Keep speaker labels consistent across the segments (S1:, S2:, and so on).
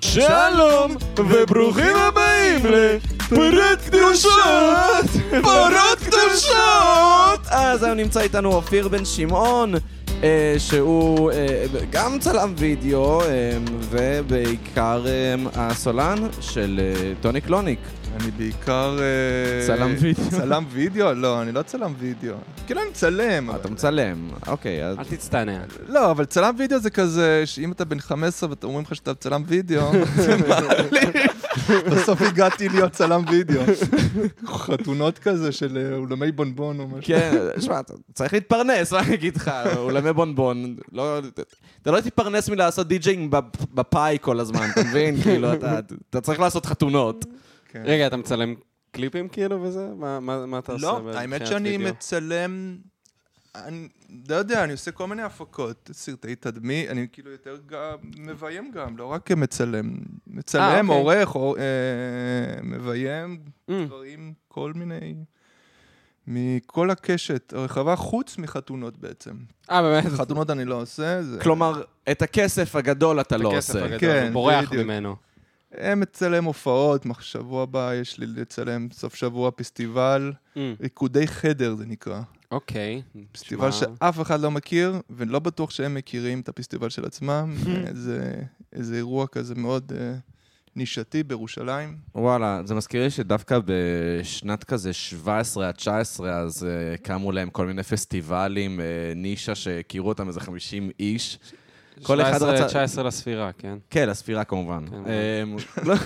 S1: שלום, וברוכים הבאים לפרות קדושות, פרות קדושות! אז היום נמצא איתנו אופיר בן שמעון, אה, שהוא אה, גם צלם וידאו, אה, ובעיקר אה, הסולן של אה, טוני קלוניק.
S2: אני בעיקר... אה,
S1: צלם וידאו.
S2: צלם וידאו? לא, אני לא צלם וידאו. כאילו אני מצלם.
S1: אתה
S2: אבל-
S1: מצלם, אוקיי, אז...
S3: אל תצטנע.
S2: לא, אבל צלם וידאו זה כזה, שאם אתה בן 15 ואומרים לך שאתה צלם וידאו, זה מעליב. בסוף הגעתי להיות צלם וידאו. חתונות כזה של אה, אולמי בונבון או משהו.
S1: כן, שמע, אתה צריך להתפרנס, מה אני אגיד לך? אולמי בונבון, לא... אתה לא תתפרנס מלעשות די-ג'יינג בפ- בפאי כל הזמן, אתה מבין? כאילו, אתה- אתה צריך לעשות חתונות.
S2: כן.
S3: רגע, אתה מצלם קליפים כאילו וזה? מה- מה מה אתה עושה?
S2: לא,
S3: מבחינת
S2: האמת שאני
S3: וידאו?
S2: מצלם... אני לא יודע, אני עושה כל מיני הפקות, סרטי תדמי, אני כאילו יותר גם מביים גם, לא רק מצלם.
S3: אה,
S2: מצלם,
S3: אוקיי.
S2: עורך, עור- אה, מביים,
S3: אה,
S2: דברים, כל מיני... מכל הקשת הרחבה, חוץ מחתונות בעצם.
S3: אה, באמת?
S2: חתונות אני לא עושה, זה...
S1: כלומר, את הכסף הגדול אתה לא
S3: הכסף
S1: עושה.
S3: הגדול,
S2: כן,
S3: הוא בורח
S2: בדיוק.
S3: ממנו.
S2: אה, מצלם הופעות, מח- שבוע הבא יש לי לצלם סוף שבוע פסטיבל,
S3: אה,
S2: ריקודי חדר זה נקרא.
S3: אוקיי.
S2: פסטיבל
S3: שמע,
S2: שאף אחד לא מכיר, ולא בטוח שהם מכירים את הפסטיבל של עצמם. איזה, איזה אירוע כזה מאוד אה, נישתי בירושלים.
S1: וואלה, זה מזכיר לי שדווקא בשנת כזה 17 עד 19, אז אה, קמו להם כל מיני פסטיבלים, אה, נישה שהכירו אותם איזה 50 איש. כל אחד
S3: 17,
S1: רצה-
S3: 19 לספירה, כן.
S1: כן, לספירה כמובן.
S3: כן.
S1: אמ, לא,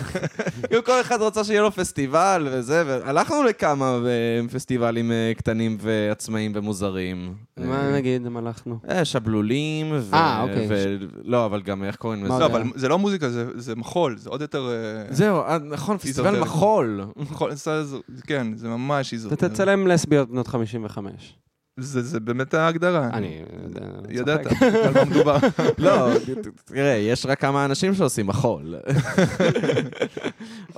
S1: כאילו, כל אחד רצה שיהיה לו פסטיבל וזה, והלכנו לכמה אה, פסטיבלים אה, קטנים ועצמאיים ומוזרים.
S3: מה
S1: אה,
S3: נגיד אם הלכנו?
S1: אה, שבלולים, ו...
S3: אה, אוקיי.
S1: ו... לא, אבל גם איך קוראים לזה?
S3: מה
S2: לא,
S3: יודע.
S2: אבל זה לא מוזיקה, זה, זה מחול, זה עוד יותר... אה,
S1: זהו, אה, נכון, פסטיבל
S2: איזוטרי.
S1: מחול.
S2: מחול, זה- זה- כן, זה ממש איזו...
S3: אתה תצלם לסביות בנות 55.
S2: זה, זה באמת ההגדרה.
S3: אני...
S2: אה. ידעת,
S3: צוחק.
S2: על מה מדובר.
S1: לא, תראה, יש רק כמה אנשים שעושים מחול.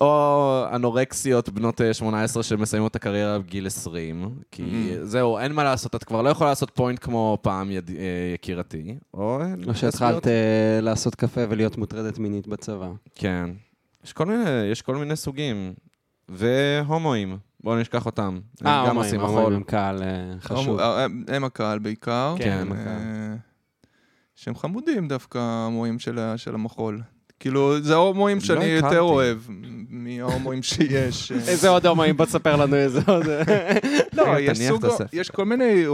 S1: או אנורקסיות בנות אה, 18 שמסיימות את הקריירה בגיל 20, כי
S2: Mhm.
S1: זהו, אין מה לעשות, את כבר לא יכולה לעשות פוינט כמו פעם, יד- אה, יקירתי. או...
S3: או שהתחלת אה, לעשות קפה ולהיות מוטרדת מינית בצבא.
S1: כן. יש כל מיני, יש כל מיני סוגים. והומואים, בואו נשכח אותם. הם
S3: אה,
S1: גם
S3: הומואים,
S1: עושים
S3: הומואים
S1: מחול.
S3: הם קהל אה, חשוב.
S2: הם, הם הקהל בעיקר.
S1: כן, הם
S2: אה,
S3: הקהל.
S2: שהם חמודים דווקא, ההומואים של, ה- של המחול. כאילו, זה ההומואים
S1: לא
S2: שאני
S1: הכרתי.
S2: יותר אוהב מההומואים שיש. אה,
S3: איזה עוד הומואים? בוא תספר לנו איזה עוד.
S2: לא,
S1: רגע,
S2: יש
S1: תניח את
S2: סוג-
S1: הספר.
S2: יש כל מיני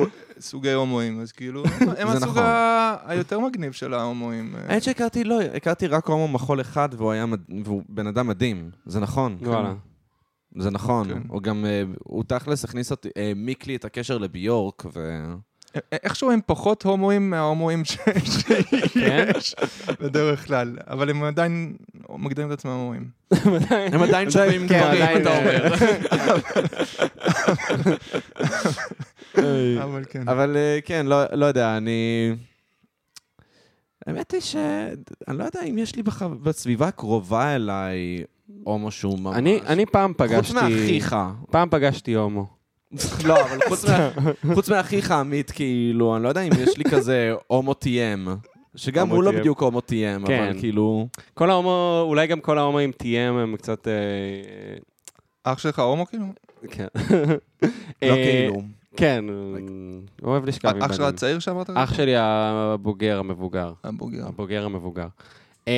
S2: סוגי הומואים, אז כאילו, הם
S1: זה
S2: הסוג
S1: נכון.
S2: ה- היותר מגניב של ההומואים.
S1: האמת שהכרתי, לא, הכרתי רק הומו מחול אחד, והוא היה, מד- והוא בן אדם מדהים. זה נכון.
S3: וואלה.
S1: זה נכון,
S2: כן.
S1: הוא גם, אה, הוא תכלס הכניס אותי, העמיק לי את הקשר לביורק, ו...
S2: א- א- אה, איכשהו הם פחות הומואים מההומואים ש- שיש
S1: כן?
S2: בדרך כלל, אבל הם עדיין מגדירים את עצמם הומואים.
S1: הם עדיין שווים
S3: כן,
S1: גברים,
S3: עדיין,
S1: אתה
S3: אה,
S1: אומר.
S2: אבל כן.
S1: אבל אה, כן, לא לא יודע, אני... האמת היא ש... אני לא יודע אם יש לי בח- בסביבה הקרובה אליי הומו שהוא ממש...
S3: אני אני פעם
S1: חוץ
S3: פגשתי...
S1: מאחיך.
S3: פעם פגשתי הומו.
S1: לא, אבל חוץ מה- חוץ מאחיך עמית, כאילו, אני לא יודע אם יש לי כזה הומו טי.אם. שגם
S3: הומו
S1: הוא לא
S3: TM.
S1: בדיוק הומו טי.אם, אבל
S3: כן.
S1: כאילו...
S3: כל ההומו, אולי גם כל ההומואים TM הם קצת... אה, אה,
S2: אח שלך הומו כאילו?
S3: כן.
S1: לא
S3: אה,
S1: כאילו.
S3: כן, הוא אוהב
S1: כן,
S3: לשכב עם
S2: אה, אח שלך
S3: בנים.
S2: הצעיר שאמרת?
S1: אה,
S3: אח שלי הבוגר, המבוגר.
S2: הבוגר.
S3: הבוגר המבוגר. אה,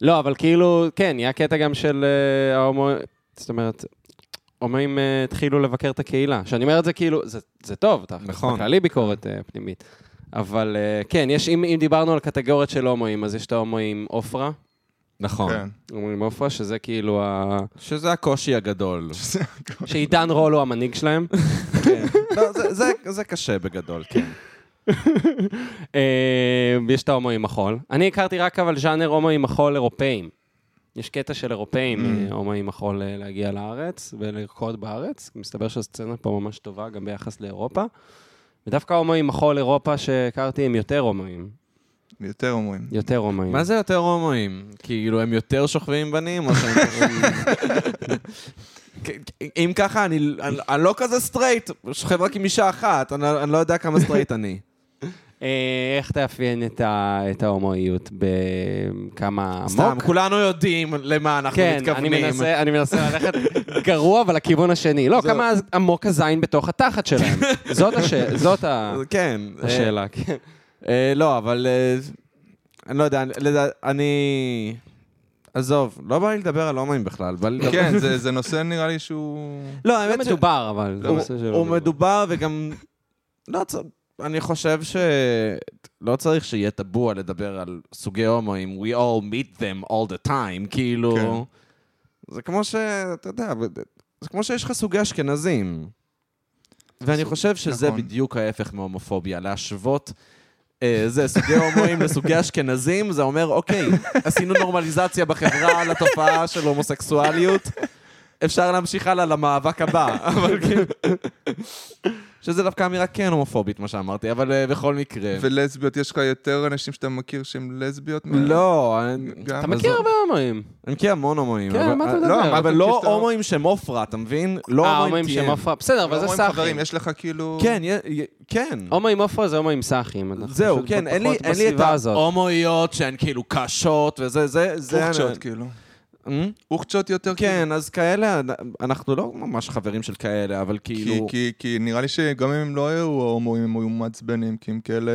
S3: לא, אבל כאילו, כן, היה קטע גם של אה, ההומו... זאת אומרת, הומואים אה, התחילו לבקר את הקהילה. שאני אומר את זה כאילו, זה- זה טוב, אתה
S1: נכון.
S3: בכללי ביקורת אה, פנימית. אבל אה, כן, יש, אם אם דיברנו על קטגוריות של הומואים, אז יש את ההומואים עופרה,
S1: נכון.
S2: כן.
S3: הומואים עופרה, שזה כאילו ה...
S1: שזה הקושי הגדול.
S3: שעידן רול הוא המנהיג שלהם.
S1: לא, זה- זה- זה קשה בגדול, כן.
S3: אה, יש את ההומואים מחול. אני הכרתי רק אבל ז'אנר הומואים מחול אירופאים. יש קטע של אירופאים,
S1: Mm.
S3: אה, הומואים מחול אה, להגיע לארץ ולרקוד בארץ. מסתבר שהסצנה פה ממש טובה גם ביחס לאירופה. ודווקא הומואים מחול אירופה שהכרתי הם יותר הומואים.
S2: יותר הומואים.
S3: יותר הומואים.
S1: מה זה יותר הומואים? כאילו, הם יותר שוכבים עם בנים, או שהם... אם ככה, אני לא אני- אני לא כזה סטרייט, שוכב רק עם אישה אחת, אני אני לא יודע כמה סטרייט אני.
S3: אה, איך תאפיין את ה- את ההומואיות? בכמה
S1: סתם,
S3: עמוק?
S1: כולנו יודעים למה אנחנו
S3: כן, אני
S1: מתכוונים.
S3: מנסה, אני מנסה ללכת גרוע, אבל לכיוון השני. לא, כמה עמוק הזין בתוך התחת שלהם. זאת השאלה, זאת ה-
S1: כן. אה,
S3: השאלה, כן.
S1: אה, לא, אבל... אה, אני לא יודע, אני- לדע- אני... עזוב, לא בא לי לדבר על הומואים בכלל. בא לי לדבר-
S2: כן, זה- זה נושא נראה לי שהוא...
S1: לא,
S3: לא
S1: האמת ש...
S3: מדובר, אבל זה
S1: הוא-
S3: נושא שלא
S1: הוא מדובר וגם... לא צ... אני חושב שלא צריך שיהיה טבוע לדבר על סוגי הומואים, we all meet them all the time, כאילו... זה כמו ש... אתה יודע, זה כמו שיש לך סוגי אשכנזים. ואני חושב שזה
S2: נכון.
S1: בדיוק ההפך מהומופוביה, להשוות... אה, זה, סוגי הומואים לסוגי אשכנזים, זה אומר, אוקיי, עשינו נורמליזציה בחברה לתופעה של הומוסקסואליות, אפשר להמשיך הלאה למאבק הבא, אבל כאילו... שזה דווקא אמירה כן הומופובית, מה שאמרתי, אבל אה, בכל מקרה...
S2: ולסביות, יש לך יותר אנשים שאתה מכיר שהם לסביות? מה-
S1: לא, אני-
S2: גם-
S3: אתה מכיר הרבה הומואים.
S1: אני מכיר המון הומואים.
S3: כן,
S1: אבל-
S3: מה אתה
S1: לא,
S3: מדבר?
S1: אבל
S2: אתה
S1: לא
S2: מכיר שאתה-
S1: הומואים שהם עופרה, אתה מבין? לא
S3: אה, הומואים
S1: TM.
S3: שהם עפרה. בסדר,
S2: לא
S3: אבל זה
S2: אומרים
S3: סאחים.
S2: חברים, יש לך כאילו...
S1: כן, יה- יה- כן.
S3: הומואים עפרה זה הומואים סאחים. אנחנו
S1: זהו,
S3: פשוט
S1: כן, אין לי
S3: פחות
S1: אין לי את
S3: בסביבה הזאת.
S1: ההומואיות שהן כאילו קשות וזה, זה, זה...
S2: אוכצ'ות כאילו.
S1: Hmm?
S2: אוכצ'ות יותר כאילו.
S1: כן, אז כאלה, אנחנו לא ממש חברים של כאלה, אבל
S2: כי,
S1: כאילו...
S2: כי, כי נראה לי שגם אם הם לא היו הומואים, הם היו מעצבנים, כי הם כאלה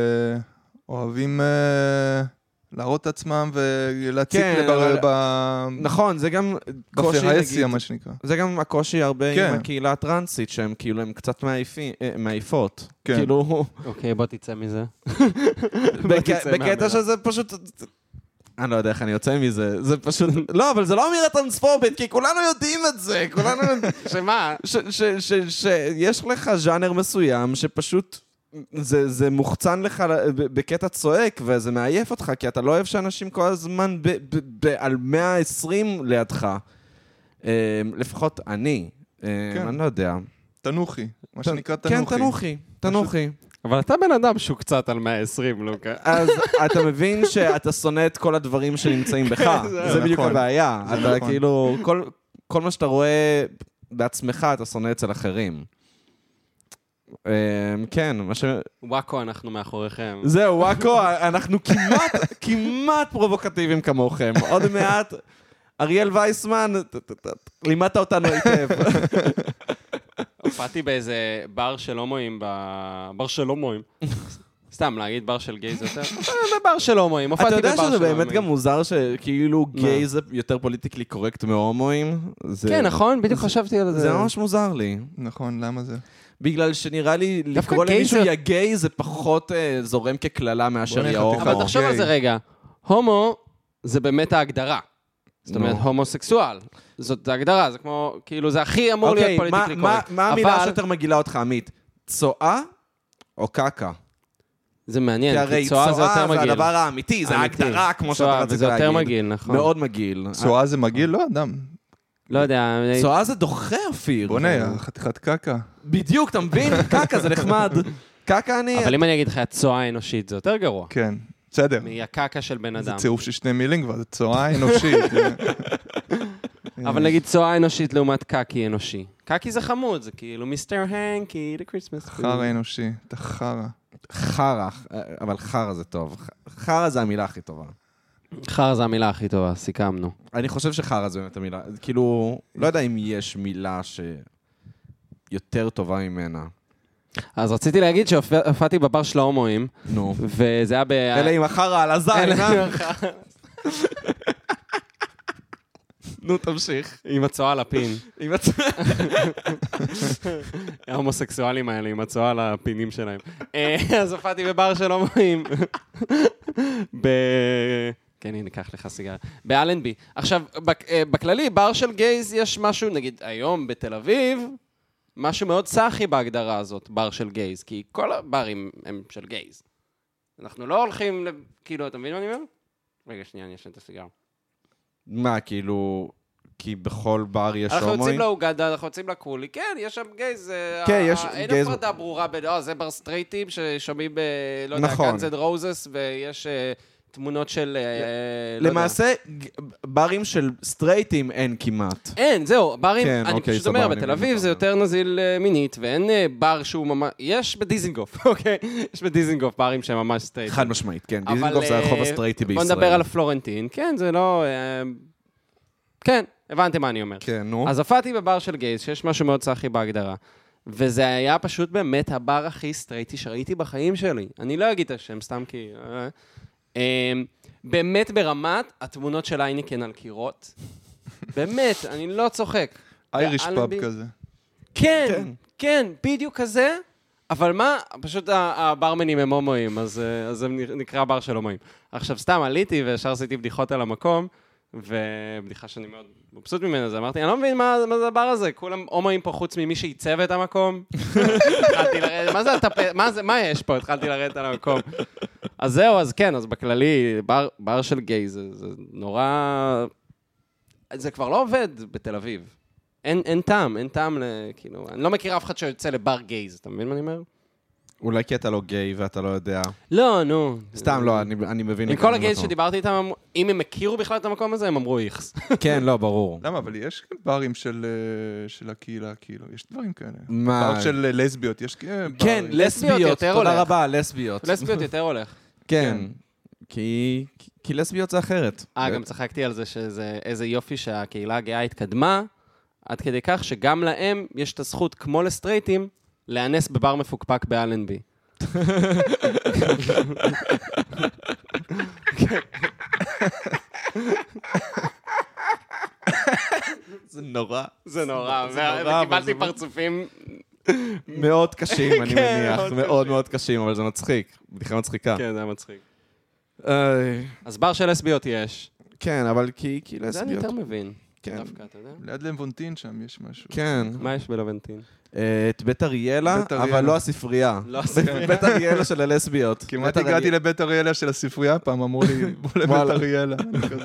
S2: אוהבים אה, להראות את עצמם ולהציק
S1: כן,
S2: לבר...
S1: אבל-
S2: ב...
S1: נכון, זה גם קושי,
S2: בפרהסיה,
S1: נגיד.
S2: מה שנקרא.
S1: זה גם הקושי הרבה
S2: כן.
S1: עם הקהילה הטרנסית, שהם כאילו, הם קצת מעיפים- אה, מעיפות.
S2: כן.
S1: כאילו,
S3: אוקיי, בוא תצא מזה.
S1: בק-
S3: תצא
S1: בקטע
S3: מהמילה.
S1: שזה פשוט... אני לא יודע איך אני יוצא מזה, זה פשוט... לא, אבל זה לא אמירה טרנספובית, כי כולנו יודעים את זה, כולנו...
S3: שמה?
S1: שיש לך ז'אנר מסוים שפשוט... זה, זה מוחצן לך ל- ב- בקטע צועק, וזה מעייף אותך, כי אתה לא אוהב שאנשים כל הזמן ב, ב, ב, על 120 לידך. אמ, לפחות אני. אמ,
S2: כן.
S1: אני לא יודע.
S2: תנוחי, מה שנקרא
S1: כן,
S2: תנוחי.
S1: תנוחי, תנוחי.
S3: אבל אתה בן אדם שהוא קצת על 120, לוקה.
S1: אז אתה מבין שאתה שונא את כל הדברים שנמצאים בך.
S2: זה
S1: זה בדיוק
S2: נכון.
S1: הבעיה.
S2: זה
S1: אתה
S2: נכון.
S1: כאילו, כל- כל מה שאתה רואה בעצמך, אתה שונא אצל אחרים. אמ, כן, מה ש...
S3: וואקו, אנחנו מאחוריכם.
S1: זהו, וואקו, אנחנו כמעט, כמעט פרובוקטיביים כמוכם. עוד מעט, אריאל וייסמן, ת- ת- ת- לימדת אותנו היטב.
S3: הופעתי באיזה בר של הומואים, ב- בר של הומואים. סתם, להגיד בר של גייז יותר? אה, בבר של הומואים, הופעתי
S1: אתה
S3: בבר של
S1: יודע שזה
S3: הומואים.
S1: באמת גם מוזר שכאילו
S3: מה?
S1: גיי זה יותר פוליטיקלי קורקט מהומואים? זה-
S3: כן, נכון? בדיוק חשבתי על זה.
S1: זה ממש מוזר לי.
S2: נכון, למה זה?
S1: אה. בגלל שנראה לי
S3: דווקא
S1: לקרוא
S3: גיי
S1: למישהו
S3: זה-
S1: יא גיי זה פחות אה, זורם כקללה מאשר
S2: בוא
S1: יא
S2: נלך
S1: הומו.
S2: לתיכון.
S3: אבל
S2: הומו.
S3: תחשוב על זה
S2: גיי.
S3: רגע. הומו זה באמת ההגדרה. זאת
S1: נו.
S3: אומרת, הומוסקסואל. זאת ההגדרה, זה כמו, כאילו, זה הכי אמור להיות
S1: אוקיי,
S3: פוליטיקלי
S1: מה- מה-
S3: קורקט.
S1: מה המילה
S3: אבל
S1: שיותר מגעילה אותך, עמית? צואה או קקה?
S3: זה
S1: כן, כי
S3: מעניין,
S1: הרי
S3: כי צואה זה יותר
S1: זה
S3: מגעיל.
S1: הדבר האמיתי, זה
S3: אמיתי.
S1: ההגדרה, כמו שאתה
S3: צואה,
S1: רצית
S3: וזה יותר
S1: להגיד.
S3: מגעיל, נכון.
S1: מאוד מגעיל. אה,
S2: צואה זה מגעיל? לא, אדם.
S3: לא יודע,
S1: צואה זה דוחה אופיר.
S2: בוא'נה, חתיכת קקה.
S1: בדיוק, אתה מבין? קקה זה נחמד. קקה אני...
S3: אבל אם אני אגיד לך צואה האנושית, זה יותר גרוע.
S2: כן, בסדר.
S3: מהקקה של בן
S2: זה
S3: אדם.
S2: צירוף של שני מילים כבר, זה צואה אנושית.
S3: אבל נגיד צואה אנושית לעומת קקי אנושי. קקי זה חמוד, זה כאילו מיסטר הנקי, the Christmas. food."
S2: חרא אנושי, אתה חרא.
S1: חרא, אה, אבל חרא זה טוב. חרא זה המילה הכי טובה.
S3: חרא זה המילה הכי טובה, סיכמנו.
S1: אני חושב שחרא זה באמת המילה. כאילו, לא יודע אם יש מילה שיותר טובה ממנה.
S3: אז רציתי להגיד שהופעתי בבר של ההומואים,
S1: נו.
S3: וזה היה ב...
S1: אלא אם החרא על הזין,
S3: אלה
S1: אה?
S3: עם החרא.
S1: נו, תמשיך.
S3: עם הצואה על הפין.
S1: אם את-
S3: ההומוסקסואלים האלה עם הצואה על הפינים שלהם. אה, אז הופעתי בבר של הומואים. ב... כן, הנה, קח לך סיגר. באלנבי. עכשיו, בק- אה, בכללי, בר של גייז יש משהו, נגיד, היום בתל אביב, משהו מאוד סאחי בהגדרה הזאת, בר של גייז, כי כל הברים הם של גייז. אנחנו לא הולכים, ל... כאילו, אתה מבין מה אני אומר? רגע, שנייה, אני אשן את הסיגר.
S1: מה, כאילו... כי בכל בר יש
S3: אנחנו
S1: הומואים?
S3: יוצאים לא לאוגנדה, אנחנו יוצאים לקולי, כן, יש שם גייז. אה,
S1: כן,
S3: אה,
S1: יש
S3: אין
S1: גייז-
S3: הפרדה ברורה בין, אה, זה בר סטרייטים ששומעים, ב- אה, לא יודע,
S1: נכון.
S3: גאנז אנד רוזס, ויש אה, תמונות של... אה, לא יודע.
S1: למעשה, ג- ברים של סטרייטים אין כמעט.
S3: אין, זהו, ברים,
S1: כן,
S3: אני
S1: אוקיי,
S3: פשוט
S1: סבבה,
S3: אומר,
S1: אני
S3: בתל
S1: מבין
S3: אביב
S1: אותך.
S3: זה יותר נזיל אה, מינית, ואין אה, בר שהוא ממש... יש בדיזינגוף, אוקיי? יש בדיזינגוף ברים שהם ממש סטרייט.
S1: חד משמעית, כן.
S3: אה, אבל,
S1: דיזנגוף זה
S3: אה,
S1: הרחוב הסטרייטי בישראל.
S3: בוא נדבר על הפלורנטין. כן, זה לא... אה, כן, הבנתם מה אני אומר.
S1: כן, נו.
S3: אז הופעתי בבר של גייז, שיש משהו מאוד סאחי בהגדרה. וזה היה פשוט באמת הבר הכי סטרייטי שראיתי בחיים שלי. אני לא אגיד את השם, סתם כי... אה. אמ, באמת ברמת התמונות של אייניקן על קירות. באמת, אני לא צוחק.
S2: אייריש
S3: באלנבי.
S2: פאב כזה.
S3: כן,
S1: כן.
S3: כן, בדיוק כזה. אבל מה, פשוט ה- הברמנים הם הומואים, אז, אה, אז זה נקרא בר של הומואים. עכשיו, סתם עליתי וישר עשיתי בדיחות על המקום, ובדיחה שאני מאוד מבסוט ממנה, זה אמרתי, אני לא מבין מה, מה זה הבר הזה, כולם הומואים פה חוץ ממי שעיצב את המקום. התחלתי לרדת, מה זה הטפ... מה זה, מה יש פה? התחלתי לרדת על המקום. אז זהו, אז כן, אז בכללי, בר, בר של גיי זה, זה נורא... זה כבר לא עובד בתל אביב. אין, אין טעם, אין טעם ל... כאילו, אני לא מכיר אף אחד שיוצא לבר גייז, אתה מבין מה אני אומר?
S1: אולי כי אתה לא גיי ואתה לא יודע.
S3: לא, נו.
S1: סתם, לא, אני אני מבין.
S3: עם
S1: לגמרי
S3: כל
S1: מה
S3: הגייז
S1: אתה אומר.
S3: שדיברתי איתם, אמרו- אם הם הכירו בכלל את המקום הזה, הם אמרו איכס.
S1: כן, לא, ברור.
S2: למה? אבל יש גם ברים של, אה, של הקהילה, כאילו, יש דברים כאלה.
S1: מה?
S2: בר של אה, לסביות, יש אה, ברים.
S1: כן,
S3: לסביות
S1: לסביות,
S3: יותר
S1: תודה
S3: הולך.
S1: רבה, לסביות.
S3: לסביות לא יותר הולך.
S1: כן. כי כי לסביות זה אחרת.
S3: אה, גם צחקתי על זה שזה איזה יופי שהקהילה הגאה התקדמה, עד כדי כך שגם להם יש את הזכות, כמו לסטרייטים, להיאנס בבר מפוקפק באלנבי.
S1: זה נורא.
S3: זה נורא,
S1: זה נורא, אבל
S3: וקיבלתי
S1: זה-
S3: פרצופים
S1: מאוד קשים, אני
S3: כן,
S1: מניח.
S3: מאוד
S1: מאוד מאוד קשים, אבל זה מצחיק. בדיחה מצחיקה.
S3: כן, זה היה מצחיק.
S1: אה,
S3: אז בר של לסביות יש.
S1: כן, אבל כי כי
S3: זה אני
S1: לסביות.
S3: יותר מבין.
S1: כן.
S3: דווקא, אתה יודע.
S2: ליד לבונטין שם יש משהו.
S1: כן.
S3: מה יש בלוונטין?
S1: אה, את בית אריאלה,
S2: בית אריאלה.
S1: אבל לא הספרייה.
S3: לא הספרייה.
S1: בית אריאלה של הלסביות.
S2: כמעט
S1: בית אריאלה.
S2: הגעתי לבית אריאלה של הספרייה פעם, אמרו לי, בוא לבית
S1: וואלה.
S2: אריאלה. אני כזה,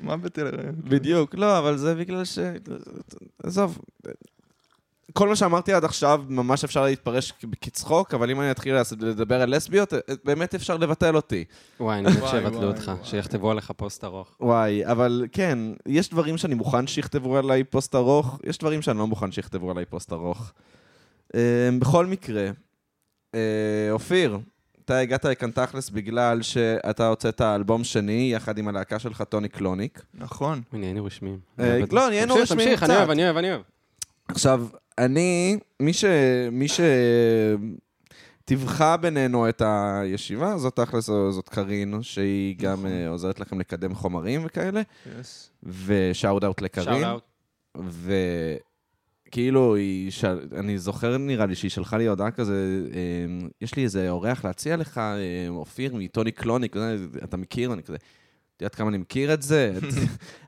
S2: מה בית אריאלה?
S1: בדיוק, לא, אבל זה בגלל ש... עזוב. כל מה שאמרתי עד עכשיו, ממש אפשר להתפרש כ- כצחוק, אבל אם אני אתחיל לעשות- לדבר על לסביות, אה, באמת אפשר לבטל אותי.
S3: וואי, אני חושב
S2: וואי,
S3: שיבטלו
S2: וואי,
S3: אותך,
S2: וואי.
S3: שיכתבו עליך פוסט ארוך.
S1: וואי, אבל כן, יש דברים שאני מוכן שיכתבו עליי פוסט ארוך, יש דברים שאני לא מוכן שיכתבו עליי פוסט ארוך. אה, בכל מקרה, אה, אופיר, אתה הגעת לכאן תכלס בגלל שאתה הוצאת אלבום שני יחד עם הלהקה שלך, טוני קלוניק.
S2: נכון.
S3: הנה, היינו רשמיים.
S1: אה,
S3: אני אוהב את
S1: לא,
S3: זה.
S1: נהיינו
S3: תמשיך,
S1: רשמיים
S3: תמשיך, אני
S1: קצת.
S3: אוהב, אני אוהב, אני אוהב.
S1: עכשיו, אני, מי ש... מי ש... תיווכה בינינו את הישיבה, זאת תכלס, זאת קארין, שהיא גם אה, עוזרת לכם לקדם חומרים וכאלה,
S2: Yes.
S1: ושאוט אאוט לקארין.
S3: שאול-אאוט.
S1: וכאילו, היא של... אני זוכר, נראה לי, שהיא שלחה לי הודעה כזה, אה, יש לי איזה אורח להציע לך, אה, אופיר מטוני קלוניק, אה, אתה מכיר? אני כזה, את יודעת כמה אני מכיר את זה? את-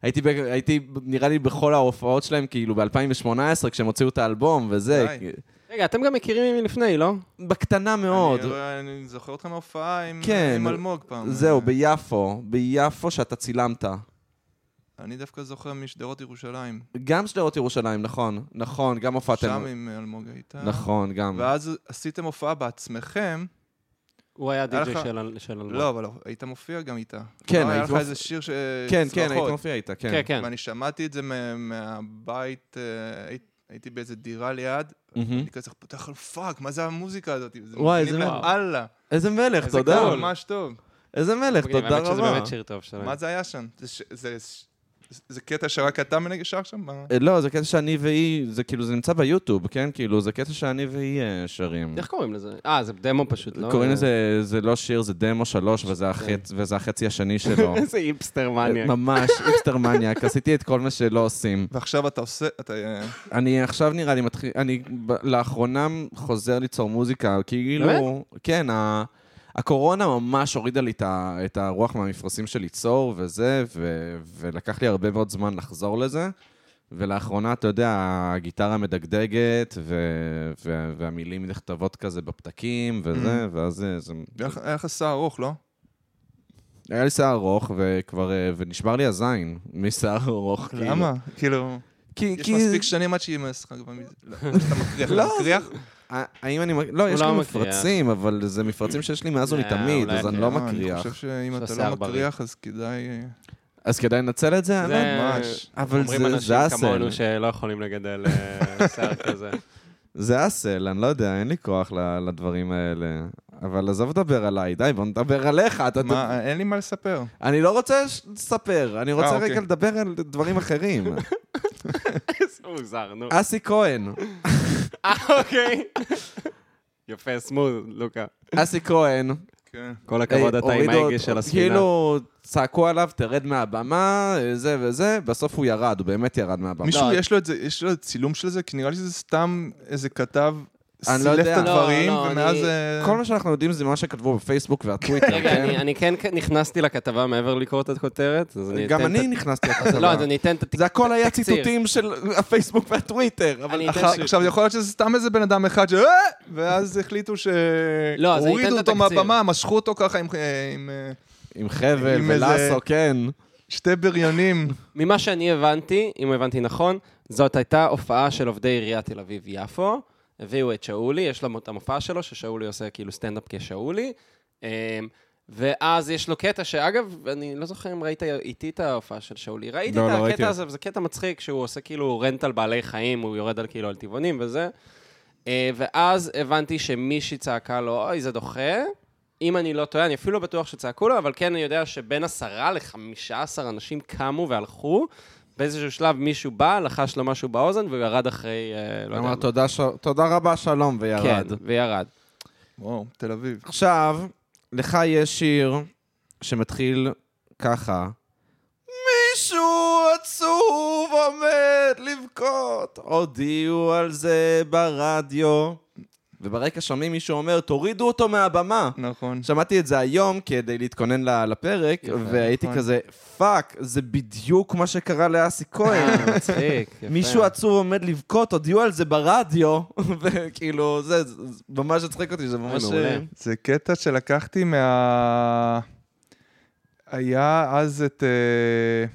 S1: הייתי, ב... הייתי, נראה לי, בכל ההופעות שלהם, כאילו, ב-2018, כשהם הוציאו את האלבום וזה.
S2: די.
S3: רגע, אתם גם מכירים מלפני, לא?
S1: בקטנה מאוד.
S2: אני- אני זוכר אותך מההופעה עם אה,
S1: כן.
S2: עם אלמוג פעם.
S1: זהו,
S2: אה,
S1: ביפו, ביפו שאתה צילמת.
S2: אני דווקא זוכר משדרות ירושלים.
S1: גם שדרות ירושלים, נכון, נכון, גם הופעתם.
S2: שם עם אלמוג הייתה.
S1: נכון, גם.
S2: ואז עשיתם הופעה בעצמכם.
S3: הוא היה
S2: היה
S3: די.ג'יי
S2: לך-
S3: של- של אלמוג.
S2: לא, אבל היית מופיע גם איתה.
S1: כן,
S2: לא, היה
S1: הייתי
S2: לך
S1: מופ-
S2: איזה שיר ש...
S1: כן, כן,
S2: צרחות.
S1: היית מופיע איתה, כן.
S3: כן, כן.
S2: ואני שמעתי את זה מה- מהבית, אה, הי- הייתי באיזה דירה ליד,
S1: מהמם.
S2: אני כזה פותח על פאק, מה זה המוזיקה הזאת?
S1: Mm-hmm. וואי,
S2: מגניב
S1: זה
S2: לה-
S3: וואו.
S2: אללה.
S1: איזה מלך,
S3: איזה
S1: תודה.
S3: קול.
S2: ממש טוב.
S1: איזה מלך,
S3: אוקיי,
S1: תודה
S3: האמת שזה
S1: רבה.
S3: באמת שיר טוב
S1: אה.
S3: שלהם.
S2: מה זה היה שם? זה ש- זה ש- זה קטע שרק אתה מנגד שר שם? מה?
S1: אה, לא, זה קטע שאני והיא, זה כאילו, זה נמצא ביוטיוב, כן? כאילו, זה קטע שאני והיא אה, שרים.
S3: איך קוראים לזה? אה, זה דמו פשוט, לא?
S1: קוראים לזה, זה לא שיר, זה דמו שלוש, וזה החצ- וזה החצי השני שלו.
S3: איזה היפסטר מניאק.
S1: אה, ממש, איפסטר מניאק, עשיתי את כל מה שלא עושים.
S2: ועכשיו אתה עושה, אתה... אה,
S1: אני עכשיו נראה לי מתחיל, אני ב- לאחרונה חוזר ליצור מוזיקה, כאילו... כן, ה- הקורונה ממש הורידה לי את ה- את הרוח מהמפרשים של ליצור וזה, ו- ולקח לי הרבה מאוד זמן לחזור לזה. ולאחרונה, אתה יודע, הגיטרה מדגדגת, ו- ו- והמילים נכתבות כזה בפתקים וזה,
S2: Mm.
S1: ואז אה, זה- זה...
S2: היה לך- היה לך שיער ארוך, לא?
S1: היה לי שיער ארוך, וכבר... אה, ונשבר לי הזין משיער ארוך. כאילו.
S2: למה? כאילו...
S1: כי...
S2: יש
S1: כי-
S2: מספיק שנים עד שיימס לך כבר מזה. לא, אתה מקריח,
S1: לא,
S2: אתה מקריח?
S1: אה, האם אני... מק- לא, יש
S3: לא
S1: לי
S3: מקריח.
S1: מפרצים, אבל זה מפרצים שיש לי מאז
S3: אה,
S1: ולתמיד,
S3: אולי
S1: אז אני
S3: כן.
S1: לא
S2: אה, אני
S1: מקריח.
S2: חושב שאם אתה
S3: שהשיער
S2: לא
S3: בריא.
S2: מקריח, אז כדאי... אה,
S1: אז כדאי לנצל את זה, האמת?
S2: ממש.
S1: אבל
S3: אומרים
S1: זה-
S3: אנשים
S1: זה אסל.
S3: כמונו שלא יכולים לגדל אה, שיער כזה.
S1: זה אסל, אני לא יודע, אין לי כוח ל- לדברים האלה. אבל עזוב לדבר עליי, די, בוא נדבר עליך. אתה- אתה-
S2: מה, אין לי מה לספר.
S1: אני לא רוצה ש- לספר, אני רוצה
S2: אה,
S1: רגע
S2: אוקיי.
S1: לדבר על דברים אחרים.
S3: זה מוזר, נו.
S1: אסי כהן,
S3: אה, אוקיי. יפה, סמוד, לוקה.
S1: אסי כהן.
S2: כן.
S3: כל הכבוד,
S1: אה,
S3: אתה עם
S1: הורידו
S3: ההגה
S1: אותו-
S3: של הספינה.
S1: כאילו, צעקו עליו, תרד מהבמה, אה, זה וזה, בסוף הוא ירד, הוא באמת ירד מהבמה.
S2: מישהו, יש לו את זה, יש לו צילום של זה? כי נראה לי שזה סתם איזה כתב
S1: אני לא
S2: סילף
S1: יודע.
S2: את הדברים,
S3: לא, לא,
S2: ומאז...
S3: אני-
S2: אה,
S1: כל מה שאנחנו יודעים זה מה שכתבו בפייסבוק והטוויטר,
S3: רגע, אני-
S1: כן?
S3: אני כן נכנסתי לכתבה מעבר לקרוא את הכותרת, אז אני אתן
S1: גם
S3: את
S1: אני
S3: ה-
S1: נכנסתי
S3: לא,
S1: לכתבה.
S3: אז אני אתן את התקציר.
S1: זה הכל היה ציטוטים של הפייסבוק והטוויטר, אבל...
S3: אני אתן
S2: אחר-
S3: ש-
S2: עכשיו, יכול להיות שזה סתם איזה בן אדם אחד ש... "אה!" ואז החליטו
S3: לא, אז אני אתן
S2: שהורידו
S3: את
S2: אותו
S3: התקציר.
S2: מהבמה, משכו אותו ככה עם- אה, עם אה,
S1: עם חבל
S2: עם איזה-
S1: ולאסו, כן.
S2: שתי בריונים.
S3: ממה שאני הבנתי, אם הבנתי נכון, זאת הייתה הופעה של עובדי עיריית תל אביב-יפו. הביאו את שאולי, יש לו את המופע שלו, ששאולי עושה כאילו סטנדאפ כשאולי. אמ, ואז יש לו קטע שאגב, אני לא זוכר אם ראית איתי את ההופעה של שאולי. ראיתי
S1: לא, לא
S3: את
S1: ראיתי
S3: הקטע הזה, וזה קטע מצחיק, שהוא עושה כאילו רנט על בעלי חיים, הוא יורד על כאילו על טבעונים וזה. אה, ואז הבנתי שמישהי צעקה לו, אוי, זה דוחה. אם אני לא טועה, אני אפילו לא בטוח שצעקו לו, אבל כן, אני יודע שבין עשרה לחמישה עשר אנשים קמו והלכו. באיזשהו שלב מישהו בא, לחש לו משהו באוזן, והוא ירד אחרי, אה, לא יודע
S1: אמר
S3: מה.
S1: "תודה ש- תודה רבה, שלום, וירד.
S3: כן, וירד.
S2: וואו, תל אביב.
S1: עכשיו, לך יש שיר שמתחיל ככה. מישהו עצוב עומד לבכות, הודיעו על זה ברדיו. וברקע שומעים מישהו אומר, תורידו אותו מהבמה.
S2: נכון.
S1: שמעתי את זה היום כדי להתכונן ל- לפרק,
S3: יפה,
S1: והייתי
S2: נכון.
S1: כזה, פאק, זה בדיוק מה שקרה לאסי כהן.
S3: אה, מצחיק, יפה.
S1: מישהו עצוב עומד לבכות, הודיעו על זה ברדיו, וכאילו, זה זה- זה ממש הצחיק אותי, זה ממש...
S3: מעולה.
S1: אה,
S2: זה קטע שלקחתי מה... היה אז את... אה,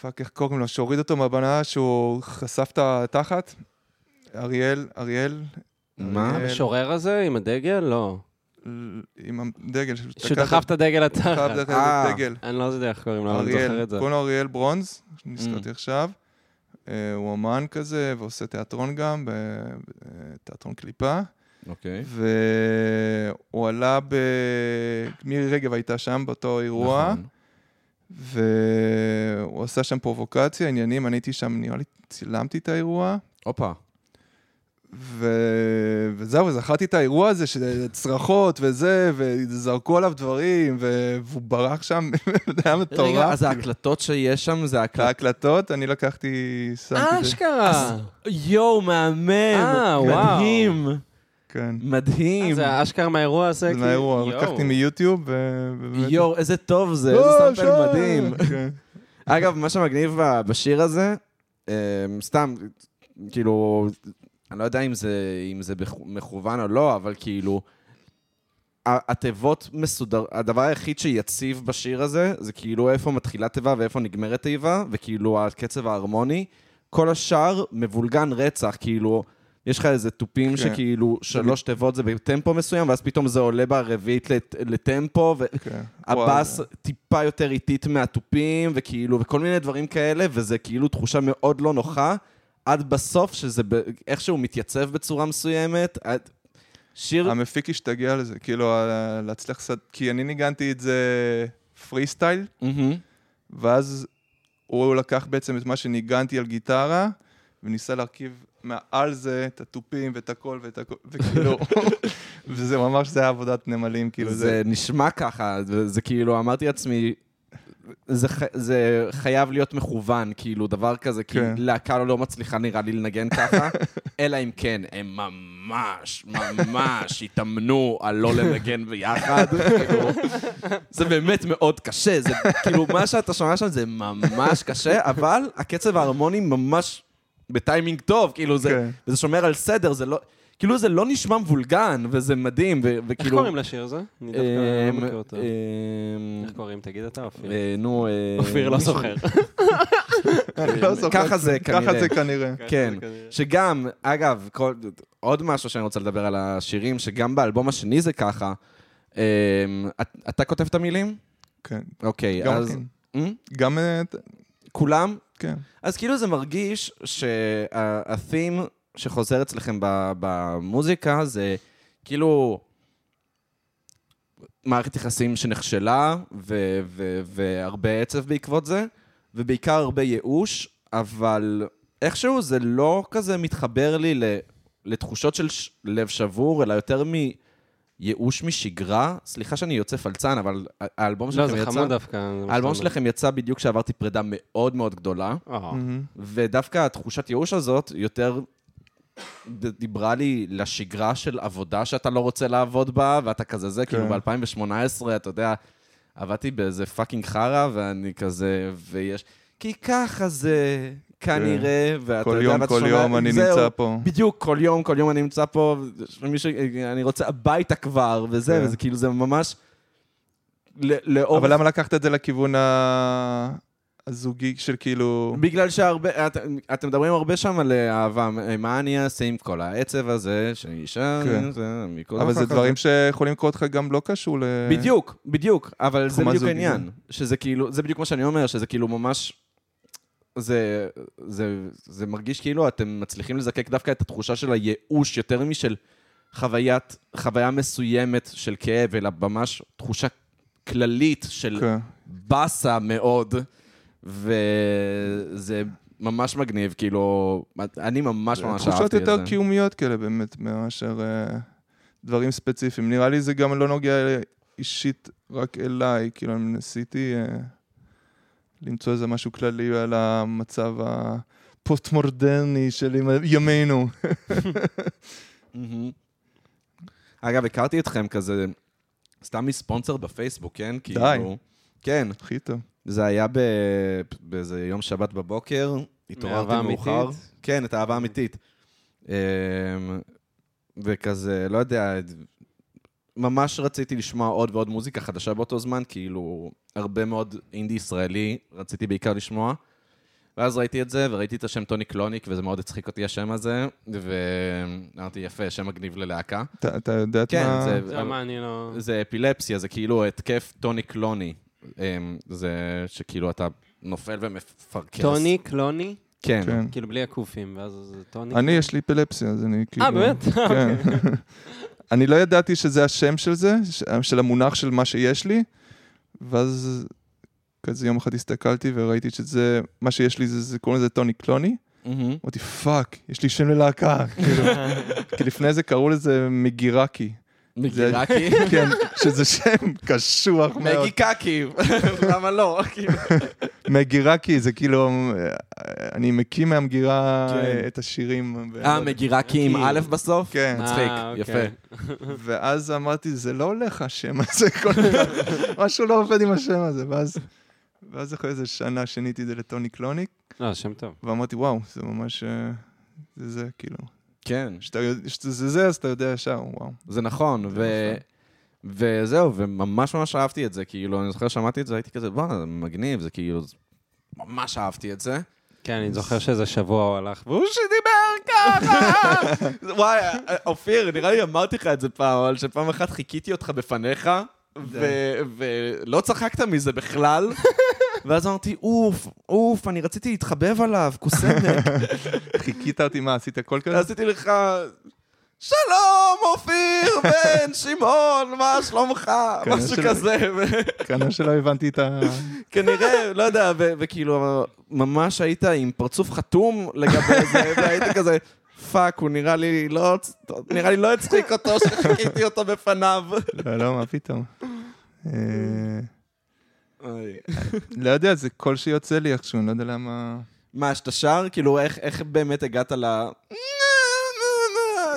S2: פאק, איך קוראים לו? שהוריד אותו מהבנה שהוא חשף את התחת? אריאל, אריאל,
S1: מה?
S2: אה,
S3: המשורר הזה עם הדגל? לא.
S2: ל- עם הדגל.
S3: שהוא דחף את הדגל
S2: חייב
S3: לתחת.
S2: דרך
S1: אה.
S2: הדגל.
S3: אני לא יודע איך קוראים לו, אבל אני זוכר
S2: אריאל,
S3: את זה. Mm.
S2: קוראים לו אריאל ברונז, נזכרתי עכשיו. אה, הוא אמן כזה, ועושה תיאטרון גם, בתיאטרון קליפה.
S1: אוקיי.
S2: והוא עלה ב... מירי רגב הייתה שם באותו אירוע,
S1: נכון.
S2: והוא עשה שם פרובוקציה, עניינים, אני הייתי שם, נראה לי, צילמתי את האירוע,
S1: הופה.
S2: ו... וזהו, וזכרתי את האירוע הזה, של צרחות וזה, וזרקו עליו דברים, ו... והוא ברח שם, זה היה
S1: רגע,
S2: מטורף.
S1: אז ההקלטות שיש שם זה
S2: את
S1: הקלטות.
S2: ההקלטות, אני לקחתי,
S3: אה,
S2: שמתי את זה.
S3: אשכרה.
S1: יואו, מהמם!
S3: אה, וואו.
S1: מדהים!
S2: כן.
S1: מדהים!
S3: אה, זה אשכרה מהאירוע הזה?
S2: זה
S3: כאילו?
S2: מהאירוע,
S3: יואו.
S2: לקחתי מיוטיוב, ו- ובאמת...
S1: יואו, איזה טוב זה,
S3: לא,
S1: איזה
S2: אה,
S1: סאמפל
S2: שם!
S1: מדהים.
S2: כן.
S1: אגב, מה שמגניב ב- בשיר הזה, אמ, סתם, כאילו, אני לא יודע אם זה, אם זה בכו- מכוון או לא, אבל כאילו, ה- התיבות מסודר, הדבר היחיד שיציב בשיר הזה, זה כאילו איפה מתחילה תיבה ואיפה נגמרת תיבה, וכאילו הקצב ההרמוני. כל השאר מבולגן רצח, כאילו, יש לך איזה תופים
S2: כן.
S1: שכאילו שלוש תיבות זה בטמפו מסוים, ואז פתאום זה עולה ברביעית לט- לטמפו, ו...
S2: כן.
S1: הבאס טיפה יותר איטית מהתופים, וכאילו, וכל מיני דברים כאלה, וזה כאילו תחושה מאוד לא נוחה, עד בסוף, שזה ב... איכשהו מתייצב בצורה מסוימת, עד... שיר...
S2: המפיק השתגע לזה, כאילו, ה- להצליח קצת, כי אני ניגנתי את זה פרי סטייל,
S1: מהמם.
S2: ואז הוא לקח בעצם את מה שניגנתי על גיטרה, וניסה להרכיב מעל זה את התופים ואת הכל ואת הכל, וכאילו, וזה ממש, זה היה עבודת נמלים, כאילו, זה...
S1: זה נשמע ככה, זה זה כאילו, אמרתי לעצמי, זה, ח... זה חייב להיות מכוון, כאילו, דבר כזה, כי
S2: כן.
S1: להקה לא מצליחה נראה לי לנגן ככה, אלא אם כן, הם ממש, ממש התאמנו על לא לנגן ביחד. כאילו, זה באמת מאוד קשה, זה כאילו, מה שאתה שומע שם זה ממש קשה, אבל הקצב ההרמוני ממש בטיימינג טוב, כאילו, זה,
S2: כן.
S1: וזה שומר על סדר, זה לא... כאילו זה לא נשמע מבולגן, וזה מדהים, ו-
S3: איך
S1: וכאילו...
S3: קוראים לשיר הזה? אני דווקא
S1: כאילו- אמ,
S3: לא מכיר אותו.
S1: אמ,
S3: איך קוראים? תגיד אתה, אופיר.
S1: אה, נו... אה,
S3: אופיר לא
S1: מישהו-
S3: זוכר.
S2: אני לא זוכר.
S1: ככה זה
S2: ככה
S1: כנראה.
S2: זה כנראה.
S1: כן, שגם, אגב, כל, עוד משהו שאני רוצה לדבר על השירים, שגם באלבום השני זה ככה. אמ, את- אתה כותב את המילים?
S2: כן.
S1: אוקיי,
S2: גם
S1: אז...
S2: כן.
S1: אמ?
S2: גם... אה, ת-
S1: כולם?
S2: כן.
S1: אז כאילו זה מרגיש שהת'ים שחוזר אצלכם ב- במוזיקה זה כאילו מערכת יחסים שנכשלה ו- ו- והרבה עצב בעקבות זה, ובעיקר הרבה ייאוש, אבל איכשהו זה לא כזה מתחבר לי ל- לתחושות של ש- לב שבור, אלא יותר מייאוש משגרה. סליחה שאני יוצא פלצן, אבל ה- האלבום
S3: לא,
S1: שלכם
S3: זה
S1: יצא...
S3: חמוד דווקא. זה מה
S1: האלבום
S3: שאתה אומר.
S1: שלכם יצא בדיוק כשעברתי פרידה מאוד מאוד גדולה.
S3: אה,
S2: מהמם.
S1: ודווקא התחושת ייאוש הזאת יותר ד- דיברה לי לשגרה של עבודה שאתה לא רוצה לעבוד בה, ואתה כזה זה, כאילו
S2: כן.
S1: ב-2018, אתה יודע, עבדתי באיזה פאקינג חרא, ואני כזה, ויש... כי ככה זה, כנראה, ואתה
S2: כן. כל
S1: יודע,
S2: יום,
S1: ואתה
S2: כל
S1: שומע,
S2: יום אני
S1: זהו,
S2: נמצא פה.
S1: בדיוק, כל יום, כל יום אני נמצא פה, ומישהו- אני רוצה הביתה כבר, וזה,
S2: כן.
S1: וזה כאילו, זה ממש... ל- לאורך
S2: אבל למה לקחת את זה לכיוון ה- הזוגי של כאילו...
S1: בגלל שהרבה, את- אתם מדברים הרבה שם על אה, אהבה, אה, מה אני אעשה עם כל העצב הזה, שאני אישה,
S2: כן.
S1: זה, מכל
S2: אבל זה
S1: הכוח
S2: דברים שיכולים לקרות לך גם לא קשור ל...
S1: הזה. בדיוק, בדיוק, אבל זה
S2: תחום
S1: בדיוק
S2: הזוגיות.
S1: העניין. שזה כאילו, זה בדיוק מה שאני אומר, שזה כאילו ממש... זה, זה, זה מרגיש כאילו אתם מצליחים לזקק דווקא את התחושה של הייאוש יותר משל חוויית, חוויה מסוימת של כאב, אלא ממש תחושה כללית של
S2: כן.
S1: באסה מאוד, וזה ממש מגניב, כאילו, אני ממש ממש אהבתי את
S2: תחושות
S1: זה.
S2: יותר קיומיות כאלה באמת, מאשר אה, דברים ספציפיים. נראה לי זה גם לא נוגע אישית רק אליי, כאילו אני ניסיתי אה, למצוא איזה משהו כללי על המצב הפוסט-מודרני של ימ- ימינו.
S1: מהמם. אגב, הכרתי אתכם כזה, סתם מספונסר בפייסבוק, כן? כאילו, כן,
S2: הכי טוב.
S1: זה היה ב- באיזה יום שבת בבוקר, התעוררתי
S3: מאהבה
S1: מאוחר.
S3: אמיתית?
S1: כן, את האהבה האמיתית. אמ, וכזה, לא יודע, ממש רציתי לשמוע עוד ועוד מוזיקה חדשה באותו זמן, כאילו, הרבה מאוד אינדי ישראלי רציתי בעיקר לשמוע. ואז ראיתי את זה, וראיתי את השם טוני קלוניק, וזה מאוד הצחיק אותי השם הזה, ואמרתי, יפה, שם מגניב ללהקה.
S2: אתה אתה יודע את
S1: כן,
S2: מה...
S1: זה...
S3: זה מה אני לא...
S1: זה אפילפסיה, זה כאילו התקף טוני קלוני. אמ, זה שכאילו אתה נופל ומפרכס.
S3: טוני, קלוני,
S1: כן.
S2: כן.
S3: כאילו בלי הקופים, ואז זה טוני.
S2: אני, יש לי אפילפסיה, אז אני כאילו...
S3: אה, באמת?
S2: כן. אני לא ידעתי שזה השם של זה, ש- של המונח של מה שיש לי, ואז כזה יום אחד הסתכלתי וראיתי שזה, מה שיש לי, זה, זה קוראים לזה טוני קלוני.
S1: מהמם.
S2: אמרתי, פאק, יש לי שם ללהקה. כאילו, כי לפני זה קראו לזה מגירקי. זה-
S1: מגירקי?
S2: כן, שזה שם קשוח מאוד.
S1: מגי קקי, למה לא? כאילו.
S2: מגירקי זה כאילו, אה, אני מקים מהמגירה
S1: כן.
S2: אה, את השירים.
S1: אה, מגירקי עם א' בסוף?
S2: כן.
S1: מצחיק,
S3: אה, אוקיי.
S1: יפה.
S2: ואז אמרתי, זה לא הולך השם הזה כל כך, משהו לא עובד עם השם הזה. ואז, ואז אחרי איזה שנה שיניתי את זה לטוני קלוניק,
S3: לא, שם טוב.
S2: ואמרתי, וואו, זה ממש... אה, זה זה, כאילו.
S1: כן,
S2: כשאתה יודע- כשזה זה זה, אז אתה יודע ישר, וואו.
S1: זה נכון, ו... וזהו, וממש ממש אהבתי את זה, כאילו, אני זוכר שמעתי את זה, הייתי כזה, בואנה, זה מגניב, זה כאילו, זה- ממש אהבתי את זה.
S3: כן, אני זוכר שאיזה שבוע הוא הלך, והוא
S1: שדיבר ככה! וואי, אופיר, נראה לי אמרתי לך את זה פעם, אבל שפעם אחת חיכיתי אותך בפניך, ו- ולא צחקת מזה בכלל. ואז אמרתי, אוף, אוף, אני רציתי להתחבב עליו, כוסמת.
S2: חיכית אותי, מה, עשית הכל כזה?
S1: ועשיתי לך, שלום, אופיר בן שמעון, מה שלומך?
S2: כנראה
S1: משהו
S2: שלא.
S1: כזה. ו-
S2: כנראה שלא הבנתי את ה...
S1: כנראה, לא יודע, ו- וכאילו, ממש היית עם פרצוף חתום לגבי זה, והיית כזה, פאק, הוא נראה לי לא, נראה לי לא הצחיק אותו שחיכיתי אותו בפניו.
S2: לא, לא, מה פתאום. אה, לא יודע, זה קול שיוצא לי איכשהו, אני לא יודע למה...
S1: מה, שאתה שר? כאילו, איך, איך באמת הגעת ל...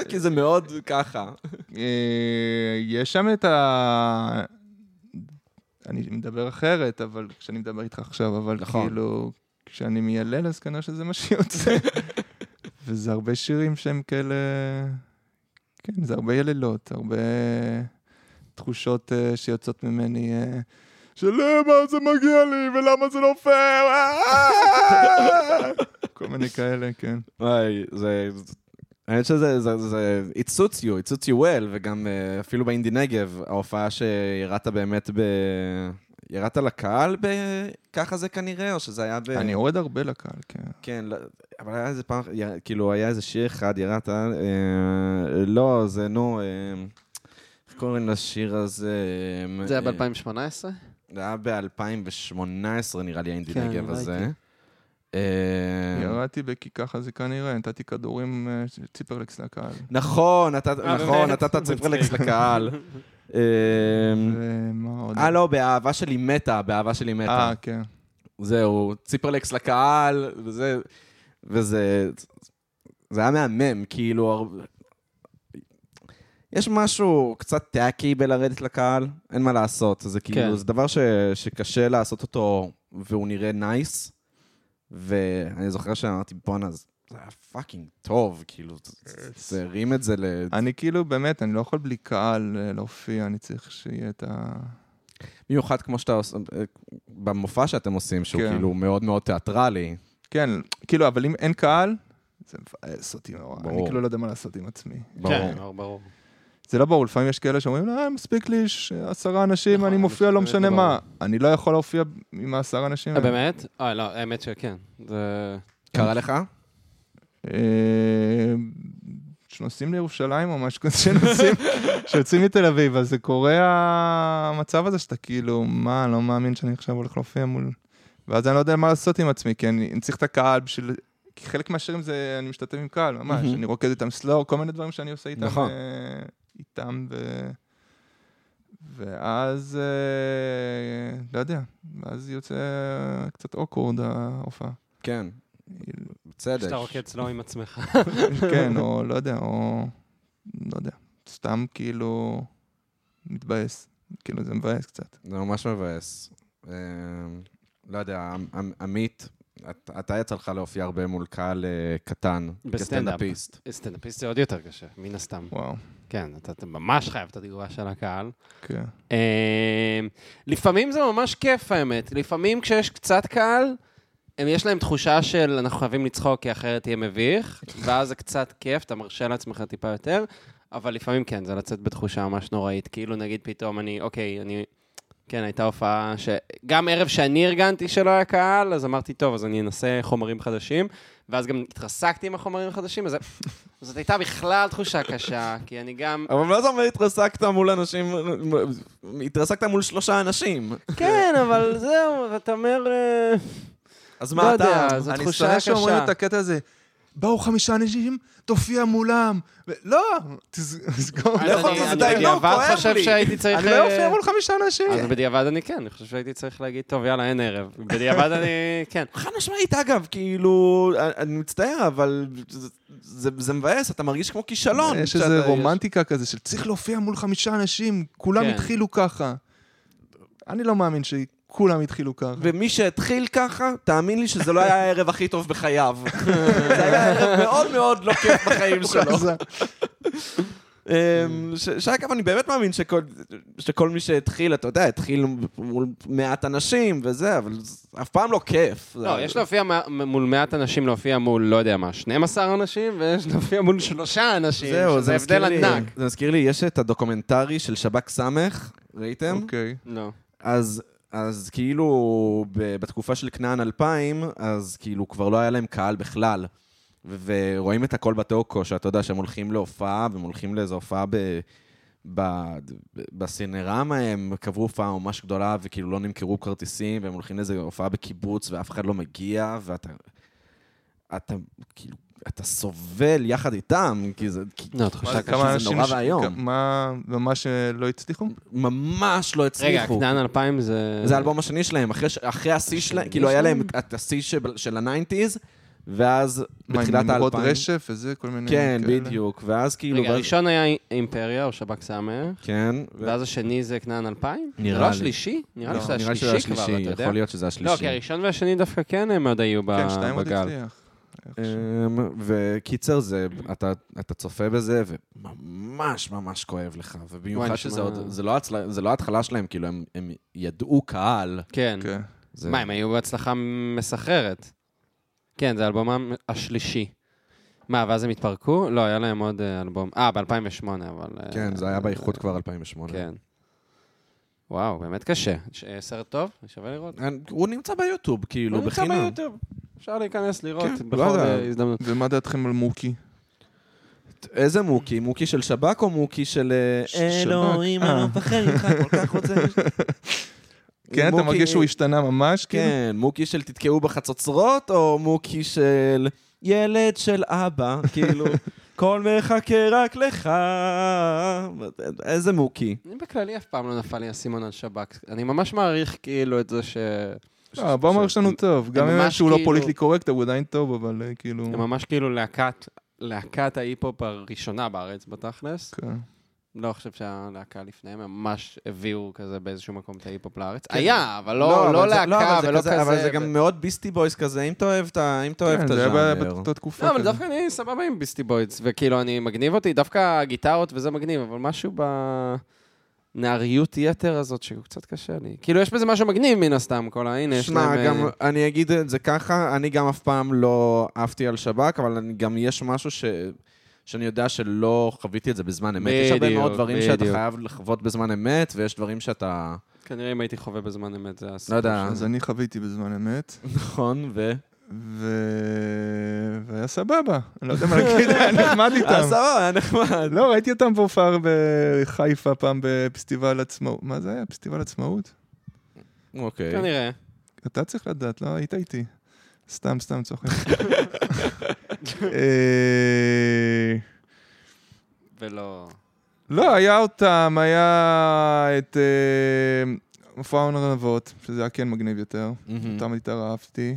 S1: כי זה מאוד ככה.
S2: אה, יש שם את ה... אני מדבר אחרת, אבל כשאני מדבר איתך עכשיו, אבל
S1: נכון.
S2: כאילו, כשאני מיילל, אז כנראה שזה מה שיוצא. וזה הרבה שירים שהם כאלה... כן, זה הרבה יללות, הרבה תחושות אה, שיוצאות ממני, אה, שלמה זה מגיע לי ולמה זה לא פייר, אה!" כל מיני כאלה, כן.
S1: וואי, זה... האמת שזה, זה, זה, it suits you, it suits you well, וגם אה, אפילו באינדי נגב, ההופעה שירדת באמת ב... ירדת לקהל בככה זה כנראה, או שזה היה ב...
S2: אני יורד הרבה לקהל, כן.
S1: כן, לא, אבל היה איזה פעם, יר- כאילו, היה איזה שיר אחד, ירדת, אה, לא, זה, נו, אה, איך קוראים לשיר הזה?
S3: זה היה
S1: אה,
S3: ב-2018?
S1: זה היה ב-2018, נראה לי, האינדי
S3: כן,
S1: נגב
S3: ראיתי.
S1: הזה. אה,
S2: ירדתי בכי ככה זה כנראה, נתתי כדורים אה, ש- ציפרלקס לקהל.
S1: נכון, נתת-
S3: אה,
S1: נכון,
S3: באמת?
S1: נתת ציפרלקס לקהל. אה,
S2: ומה עוד?
S1: אה, לא, באהבה שלי מתה, באהבה שלי מתה.
S2: אה, כן.
S1: זהו, ציפרלקס לקהל, וזה... וזה... זה היה מהמם, כאילו... הר- יש משהו קצת טאקי בלרדת לקהל, אין מה לעשות. זה
S3: כן.
S1: כאילו, זה דבר ש, שקשה לעשות אותו, והוא נראה נייס. ואני זוכר שאמרתי, בואנה, זה זה היה פאקינג טוב,
S3: אה,
S1: כאילו, זה- זה הרים את זה ל...
S2: אני כאילו, באמת, אני לא יכול בלי קהל אה, להופיע, אני צריך שיהיה את ה...
S1: במיוחד כמו שאתה עושה, במופע שאתם עושים, שהוא
S2: כן.
S1: כאילו מאוד מאוד תיאטרלי.
S2: כן, כאילו, אבל אם אין קהל, זה מבאס אותי נורא. אני
S1: ברור.
S2: כאילו לא יודע מה לעשות עם עצמי.
S1: ברור.
S3: כן, ברור.
S2: זה לא ברור, לפעמים יש כאלה שאומרים, אה, מספיק לי ש- עשרה אנשים,
S3: נכון,
S2: אני
S3: אני
S2: מופיע לא
S3: מסכים,
S2: משנה
S3: זה
S2: מה. אני לא יכול להופיע עם העשרה אנשים
S3: אה,
S2: האלה.
S3: באמת? אה, לא, האמת שכן. זה...
S1: קרה לך?
S2: אה, כשנוסעים לירושלים או משהו כזה, כשנוסעים, כשיוצאים מתל אביב, אז זה קורה המצב הזה שאתה כאילו, מה, אני לא מאמין שאני עכשיו הולך להופיע מול... ואז אני לא יודע מה לעשות עם עצמי, כי אני אני צריך את הקהל בשביל... כי חלק מהשירים זה, אני משתתף עם קהל, ממש,
S1: מהמם.
S2: אני רוקד איתם סלור, כל מיני דברים שאני עושה איתם.
S1: נכון.
S2: אה, איתם ו... ואז, אה, לא יודע, ואז יוצא קצת אוקוורד ההופעה.
S1: כן,
S2: כאילו,
S1: בצדק.
S3: שאתה רוקד סלו עם עצמך.
S2: כן, או לא יודע, או... לא יודע. סתם כאילו... מתבאס. כאילו זה מבאס קצת.
S1: זה ממש מבאס. אה, לא יודע, עמ- עמית, את- אתה יצא לך להופיע הרבה מול קהל אה, קטן.
S3: בסטנדאפ.
S1: כסטנדאפיסט.
S3: אה, סטנדאפיסט זה עוד יותר קשה, מן הסתם.
S2: וואו,
S3: כן, אתה אתה ממש חייב את התגובה של הקהל.
S2: כן.
S3: אמ, לפעמים זה ממש כיף, האמת. לפעמים כשיש קצת קהל, הם יש להם תחושה של אנחנו חייבים לצחוק כי אחרת יהיה מביך, ואז זה קצת כיף, אתה מרשה לעצמך טיפה יותר, אבל לפעמים כן, זה לצאת בתחושה ממש נוראית. כאילו, נגיד פתאום אני, אוקיי, אני... כן, הייתה הופעה ש... גם ערב שאני ארגנתי שלא היה קהל, אז אמרתי, טוב, אז אני אנסה חומרים חדשים, ואז גם התרסקתי עם החומרים החדשים, אז זה- זאת הייתה בכלל תחושה קשה, כי אני גם...
S1: אבל מה זה אומר התרסקת מול אנשים, התרסקת מול שלושה אנשים.
S3: כן, אבל זהו, ואתה אומר... אה,
S1: אז
S3: לא
S1: מה אתה?
S3: יודע, זו
S2: אני
S3: תחושה
S2: שונא שאומרים
S3: קשה.
S2: את הקטע הזה, באו חמישה אנשים, תופיע מולם. ו- לא! תס- תסגור.
S3: אז
S1: לא יכול,
S3: אני-
S1: זה
S3: אני
S1: די, לא,
S3: בדיעבד
S1: כואב
S3: חושב
S1: לי.
S3: שהייתי צריך...
S2: אני לא
S3: אה,
S2: אופיע מול חמישה אנשים.
S3: אז בדיעבד אני כן, אני חושב שהייתי צריך להגיד, טוב, יאללה, אין ערב. בדיעבד אני... כן.
S1: חד משמעית, אגב, כאילו, אני- אני מצטער, אבל זה- זה זה מבאס, אתה מרגיש כמו כישלון.
S2: אה, יש
S1: כשאתה-
S2: איזה רומנטיקה כזה של צריך להופיע מול חמישה אנשים, כולם
S3: כן.
S2: התחילו ככה. אני לא מאמין שכולם התחילו ככה.
S1: ומי שהתחיל ככה, תאמין לי שזה לא היה הערב הכי טוב בחייו. זה היה ערב מאוד מאוד לא כיף בחיים שלו.
S2: חזק.
S1: אמ, ש- שאגב, אני באמת מאמין שכל- שכל מי שהתחיל, אתה יודע, התחיל מול מעט אנשים וזה, אבל זה אף פעם לא כיף.
S3: לא, יש להופיע מ- מול מעט אנשים, להופיע מול, לא יודע מה, 12 אנשים, ויש להופיע מול שלושה אנשים,
S1: זהו,
S3: שזה
S1: זה
S3: הבדל
S1: מזכיר לי-
S3: ענק.
S1: זה מזכיר לי, יש את הדוקומנטרי של שב"כ סמך, ראיתם?
S2: אוקיי.
S3: לא.
S1: אז, אז כאילו, ב- בתקופה של כנען 2000, אז כאילו כבר לא היה להם קהל בכלל. ו- ורואים את הכל בטוקו, שאתה יודע שהם הולכים להופעה, והם הולכים לאיזו הופעה ב... ב... ב- בסינרמה, הם קבעו הופעה ממש גדולה, וכאילו לא נמכרו כרטיסים, והם הולכים לאיזו הופעה בקיבוץ, ואף אחד לא מגיע, ואתה... אתה כאילו... אתה סובל יחד איתם, כי זה... כי...
S3: לא, תחושה
S1: מה,
S3: קשה.
S1: כמה- שזה נורא
S2: ש-
S1: ואיום.
S2: כ- מה, ממש אה, לא הצליחו?
S1: ממש לא הצליחו.
S3: רגע, כנען 2000 זה...
S1: זה האלבום השני שלהם, אחרי, ש- אחרי השיא שלהם, כאילו היה להם את השיא של- של הניינטיז, ואז
S2: מה, עם
S1: בתחילת
S2: נמרוד
S1: האלפיים.
S2: רשף וזה, כל מיני...
S1: כן,
S2: כאלה?
S1: בדיוק, ואז כאילו...
S3: רגע,
S1: ואז-
S3: הראשון היה אימפריה, או שב"כ סמך,
S1: כן, ו-
S3: ואז השני זה כנען 2000?
S1: נראה
S3: זה
S1: לי.
S3: לא השלישי? נראה לי
S2: לא,
S3: שזה
S1: נראה לי שזה
S3: השלישי כבר, אתה
S1: השלישי,
S3: יודע.
S1: יכול להיות שזה
S3: לא, כי
S1: השלישי.
S3: הראשון והשני דווקא כן הם עוד היו ב-
S2: כן, שתיים עוד
S3: בגל.
S2: הצליח.
S1: אמ, וקיצר זה, אתה, אתה צופה בזה, וממש ממש כואב לך. ובמיוחד
S3: וואי,
S1: שזה
S3: נשמע-
S1: עוד, זה לא, הצל... זה לא ההתחלה שלהם, כאילו, הם, הם ידעו קהל.
S3: כן.
S2: כן.
S1: זה...
S3: מה, הם היו בהצלחה מסחררת. כן, זה אלבומם השלישי. מה, ואז הם התפרקו? לא, היה להם עוד אה, אלבום. אה, ב-2008, אבל... אה,
S1: כן, זה היה באיחוד כבר 2008.
S3: כן. וואו, באמת קשה. ש- אה, סרט טוב? שווה לראות.
S1: אני- אה, הוא נמצא ביוטיוב, כאילו,
S3: הוא נמצא
S1: בחינם.
S3: ביוטיוב. אפשר להיכנס לראות
S1: כן,
S3: בכל
S1: לא יודע.
S3: אה, הזדמנות.
S2: ומה דעתכם על
S1: אה,
S2: מוקי?
S1: איזה מוקי? מוקי של שב"כ או מוקי של... אה,
S2: ש- שב"כ.
S1: אלוהים, אני לא מפחד ממך, כל כך רוצה...
S2: כן, אתה
S1: מוקי-
S2: מרגיש שהוא השתנה ממש? כאילו?
S1: כן, מוקי של תתקעו בחצוצרות, או מוקי של ילד של אבא, כאילו, כל מחכה רק לך. איזה מוקי.
S3: אני בכללי אף פעם לא נפל לי האסימון על שב"כ. אני ממש מעריך כאילו את זה שהם
S1: כן.
S2: לא, הבומר שלנו טוב. גם אם
S3: ממש
S2: שהוא לא
S3: כאילו-
S2: פוליטלי קורקט, הוא עדיין טוב, אבל אה, כאילו...
S3: ממש כאילו להקת, להקת ההיפ-הופ הראשונה בארץ בתכלס.
S2: כן.
S3: לא חושב שהלהקה לפניהם, הם ממש הביאו כזה באיזשהו מקום את ההיפ-הופ לארץ. היה, אבל לא, לא
S1: כן. אבל זה-
S3: להקה
S1: אבל זה
S3: ולא
S1: כזה-
S3: כזה. לא,
S1: אבל זה גם מאוד ביסטי בויס כזה, אם אתה אוהב את ה- אם אתה אוהב
S2: כן,
S1: את
S2: זה היה
S1: הז'אנר.
S2: באותה תקופה.
S3: לא, אבל
S2: כזה.
S3: דווקא אני סבבה עם ביסטי בוידס, וכאילו, אני מגניב אותי, דווקא הגיטרות וזה מגניב, אבל משהו בנעריות יתר הזאת, שהוא קצת קשה לי. כאילו, יש בזה משהו מגניב מן הסתם, כל ה... הנה, יש
S1: שמע,
S3: להם...
S1: גם
S3: אה,
S1: אני אגיד את זה ככה, אני גם אף פעם לא עפתי על שב"כ, אבל אני- גם יש משהו ש... שאני יודע שלא חוויתי את זה בזמן אמת. יש הרבה
S3: בדיוק,
S1: מאוד דברים שאתה
S3: בדיוק.
S1: חייב לחוות בזמן אמת, ויש דברים שאתה...
S3: כנראה אם הייתי חווה בזמן אמת, זה
S1: לא
S3: הסיפור.
S1: יודע,
S2: אז אני חוויתי בזמן אמת,
S1: נכון, ו...
S2: ו... והיה סבבה. אני לא יודע מה להגיד, היה נחמד איתם.
S1: סבבה, היה נחמד.
S2: לא, ראיתי אותם בהופעה בחיפה פעם בפסטיבל עצמאות. מה זה היה? פסטיבל עצמאות?
S1: אוקיי.
S3: כנראה.
S2: אתה צריך לדעת, לא היית איתי. סתם, סתם צוחק. אה,
S3: ולא...
S2: לא, היה אותם, היה את אה, מופע ארנבות, שזה היה כן מגניב יותר.
S1: מהמם.
S2: אותם התערפתי.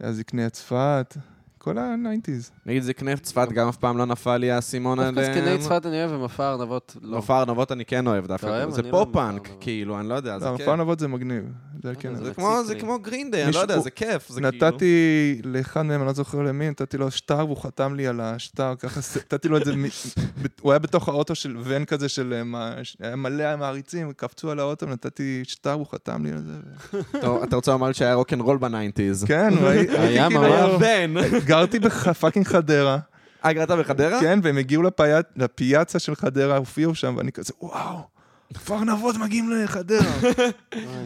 S2: היה זקני צפת, כל הניינטיז.
S1: נגיד זה כנף צפת, גם אף פעם לא נפל לי האסימון עליהם.
S3: דווקא זקני צפת אני אוהב, ומופע ארנבות לא.
S1: מופע ארנבות אני כן אוהב
S3: אתה
S1: דווקא.
S3: אוהב?
S1: זה
S3: אני לא אוהב
S1: פופ-פאנק,
S3: מופע
S1: כאילו, אני לא יודע, זה
S2: לא,
S1: כיף.
S2: מופע ארנבות זה מגניב. זה היה כן.
S3: אוקיי,
S2: זה-
S1: זה
S3: זה
S1: כמו- זה
S3: פסיק לי.
S1: כמו גרינדיי, אני לא
S2: מישהו-
S1: יודע, זה כיף. זה כאילו-
S2: נתתי לאחד מהם, אני לא זוכר למי, נתתי לו שטר והוא חתם לי על השטר, ככה, ס- נתתי לו את זה, מ- ב- הוא היה בתוך האוטו של ון כזה, של אה, מה- ש- היה מלא מעריצים, קפצו על האוטו, נתתי שטר, הוא חתם לי על זה. ו-
S1: טוב, כאילו. אתה רוצה לומר לי שהיה רוקנרול בניינטיז.
S2: כן, הוא היה
S3: היה
S2: הייתי
S3: ממש.
S2: כאילו-
S1: בן.
S2: גרתי בפאקינג חדרה,
S1: אה, גרת בחדרה?
S2: כן, והם הגיעו לפי- לפיאצה של חדרה, הופיעו שם, ואני כזה, וואו, כפר נבות מגיעים לחדרה.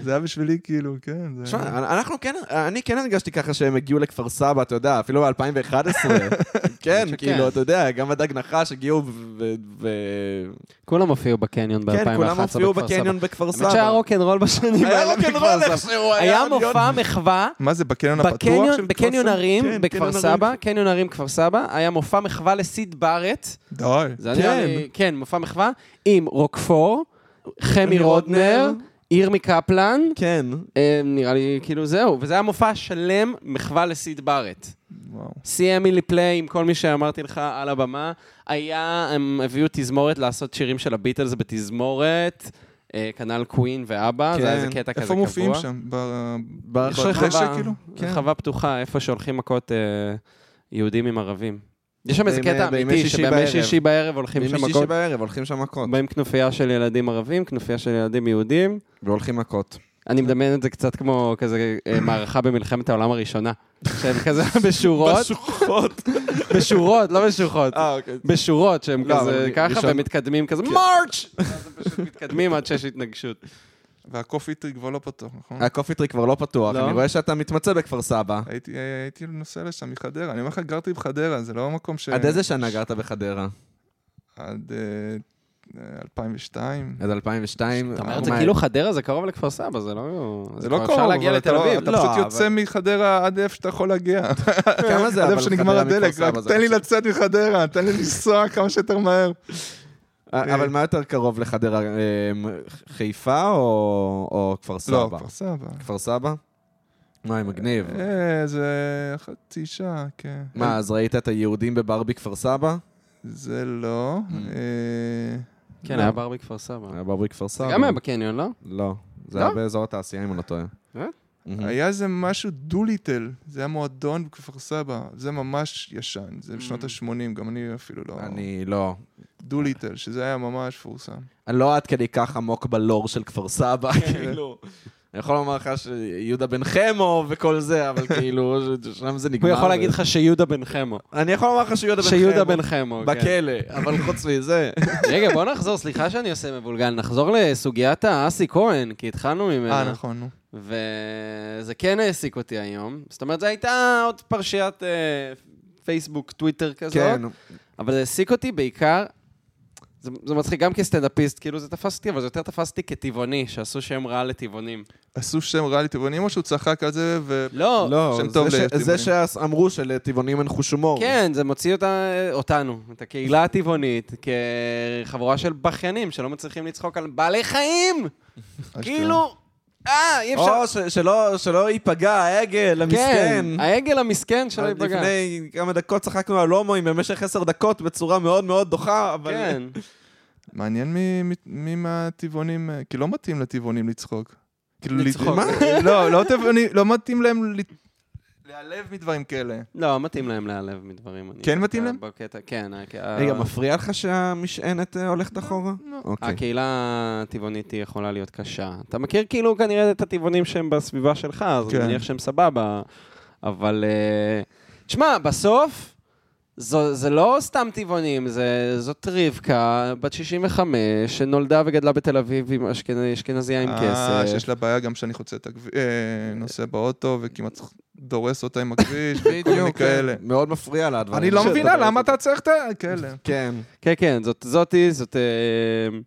S2: זה היה בשבילי כאילו, כן. זה-
S1: תשמע, אנחנו כן, אני כן הרגשתי ככה שהם הגיעו לכפר סבא, אתה יודע, אפילו ב-2011. כן,
S3: שכן.
S1: כאילו, אתה יודע, גם הדג נחש הגיעו ו- ו... ו-
S3: כולם הופיעו בקניון ב-2011
S1: כן, כולם הופיעו בקניון בכפר סבא.
S3: האמת שהיה רוקנרול בשנים
S1: היה
S3: האלה
S1: רוקנרול
S3: בכפר סבא.
S1: איכשהו,
S3: היה
S1: אני לא
S3: מופע מחווה
S2: מה זה, בקניון כן, הפתוח של כפר
S3: בקניון,
S2: סבא?
S3: בקניון
S2: כן,
S3: הרים בכפר
S2: קניון הרים.
S3: סבא, קניון הרים כפר סבא, היה מופע מחווה לסיד בארט,
S2: די.
S3: זה היה נראה לי, כן, מופע מחווה, עם רוקפור, חמי
S1: חמי
S3: רודנר,
S1: רודנר,
S3: ירמי קפלן,
S1: כן.
S3: אה, נראה לי כאילו זהו, וזה היה מופע שלם מחווה לסיד בארט.
S2: וואו.
S3: סיים מילי פליי E עם כל מי שאמרתי לך על הבמה. היה, הם הביאו תזמורת לעשות שירים של הביטלס בתזמורת, אה, כנ"ל קווין ואבא,
S1: כן.
S3: זה היה איזה קטע כזה קבוע.
S2: איפה מופיעים שם? ב-
S1: ברחוב.
S2: ברחוב. דשא, כאילו? כן.
S3: רחבה פתוחה, איפה שהולכים מכות אה, יהודים עם ערבים. יש שם איזה
S1: בימי-
S3: קטע
S1: בימי
S3: אמיתי,
S1: שישי
S3: שבימי
S1: בערב.
S3: שישי בערב הולכים שם
S1: משישי
S3: מכות.
S1: בערב הולכים שם מכות.
S3: באים כנופיה של ילדים ערבים, כנופיה של ילדים יהודים.
S1: והולכים מכות.
S3: אני מדמיין את זה קצת כמו כזה אה, מערכה במלחמת העולם הראשונה. שהם כזה בשורות,
S1: בשוחות.
S3: בשורות, לא בשוחות.
S1: אה, אוקיי.
S3: בשורות שהם
S1: לא,
S3: כזה
S1: אבל
S3: ככה,
S1: ראשון-
S3: ומתקדמים כזה מרץ'! ואז הם פשוט מתקדמים עד שיש התנגשות.
S2: והקופי טריק כבר לא פתוח, נכון?
S1: הקופיטרי כבר לא פתוח,
S3: לא?
S1: אני רואה שאתה מתמצא בכפר סבא.
S2: הייתי, הייתי נוסע לשם מחדרה, אני אומר לך, גרתי בחדרה, זה לא המקום ש...
S1: עד איזה שנה גרת בחדרה?
S2: עד אה, אה, 2002.
S1: עד 2002?
S3: אתה אומר את זה כאילו חדרה זה קרוב לכפר סבא, זה לא...
S2: זה לא
S3: כבר
S2: קרוב,
S3: אפשר להגיע
S2: אבל אתה
S3: לתל
S2: לא-
S3: אביב.
S2: אתה
S1: לא,
S2: פשוט
S1: אבל-
S2: יוצא מחדרה עד איפה שאתה יכול להגיע.
S1: כמה זה,
S2: עד
S1: אבל
S2: איפה שנגמר
S1: חדרה מכפר
S2: הדלק,
S1: סבא
S2: רק
S1: זה
S2: תן לי
S1: חשוב.
S2: לצאת מחדרה, תן לי לנסוע כמה שיותר מהר. לא,
S1: אה, אבל מה יותר קרוב לחדרה? אה, חיפה או או כפר
S2: לא,
S1: סבא?
S2: כפר סבא.
S1: כפר סבא? וואי, מגניב.
S2: אה, זה חצי שעה, כן.
S1: מה, אז ראית את היהודים בבר בכפר סבא?
S2: זה לא.
S1: Mm.
S2: אה,
S3: כן,
S2: לא.
S3: היה בר בכפר סבא.
S1: היה בר בכפר אה, סבא.
S3: גם היה בקניון, לא?
S1: לא. זה
S3: לא?
S1: היה באזור התעשייה, אם אני לא טועה.
S2: היה איזה משהו דו-ליטל, זה היה מועדון בכפר סבא, זה ממש ישן, זה בשנות ה-80, גם אני אפילו לא...
S1: אני לא.
S2: דו-ליטל, שזה היה ממש מפורסם.
S1: אני לא עד כדי כך עמוק בלור של כפר סבא, כאילו. אני יכול לומר לך שיהודה בן חמו וכל זה, אבל כאילו, שם זה נגמר.
S3: הוא יכול להגיד לך שיהודה בן חמו.
S1: אני יכול לומר לך שיהודה בן חמו.
S3: שיהודה בן חמו, כן.
S1: בכלא, אבל חוץ מזה.
S3: רגע, בוא נחזור, סליחה שאני עושה מבולגן, נחזור לסוגיית האסי כהן, כי התחלנו ממנה.
S2: אה, נכון, נו.
S3: וזה כן העסיק אותי היום. זאת אומרת, זו הייתה עוד פרשיית אה, פייסבוק, טוויטר כזאת.
S1: כן,
S3: אבל זה העסיק אותי בעיקר, זה, זה מצחיק גם כסטנדאפיסט, כאילו זה תפס אותי, אבל זה יותר תפס אותי כטבעוני, שעשו שם רע לטבעונים.
S2: עשו שם רע לטבעונים, או שהוא צחק על זה, ו...
S3: לא,
S1: לא,
S2: שם טוב
S1: זה ש-
S2: לטבעונים.
S1: זה שאמרו שלטבעונים אין חוש הומור.
S3: כן, זה מוציא אותה, אותנו, את הקהילה הטבעונית, כחבורה של בכיינים שלא מצליחים לצחוק על בעלי חיים! כאילו, אה, אי אפשר...
S1: או ש- שלא- שלא ייפגע העגל, המסכן.
S3: כן, העגל המסכן שלא ייפגע.
S1: לפני כמה דקות צחקנו על הומואים במשך עשר דקות בצורה מאוד מאוד דוחה, אבל...
S3: כן.
S2: מעניין מי- מי- מי מהטבעונים, אה, כי לא מתאים לטבעונים לצחוק. כאילו, לת-
S3: לצחוק.
S2: מה? לא, לא טבעונים, לא מתאים להם ל- להיעלב מדברים כאלה.
S3: לא, מתאים להם להיעלב מדברים. אני-
S2: כן מתאים להם?
S3: בקטע, כן. ה-
S1: רגע, מפריע לך שהמשענת אה,
S3: לא,
S1: הולכת אחורה? אוקיי.
S3: כן. הקהילה הטבעונית היא יכולה להיות קשה. אתה מכיר כאילו כנראה את הטבעונים שהם בסביבה שלך, אז
S2: כן.
S3: אני מניח שהם סבבה. אבל... אה, תשמע, בסוף, זו, זה לא סתם טבעונים, זה, זאת רבקה, בת 65, שנולדה וגדלה בתל אביב עם אשכנ- אשכנזייה עם
S2: אה,
S3: כסף.
S2: שיש לה בעיה גם שאני חוצה את הכביש, נוסע באוטו וכמעט דורס אותה עם הכביש, וכל מיני
S1: בדיוק,
S2: כאלה.
S1: כן. מאוד מפריע לה הדברים.
S2: אני לא
S1: שאתה
S2: מבינה
S1: מדבר.
S2: למה אתה צריך את ה... כאלה.
S1: כן.
S3: כן, כן, זאת זאתי, זאת... אה,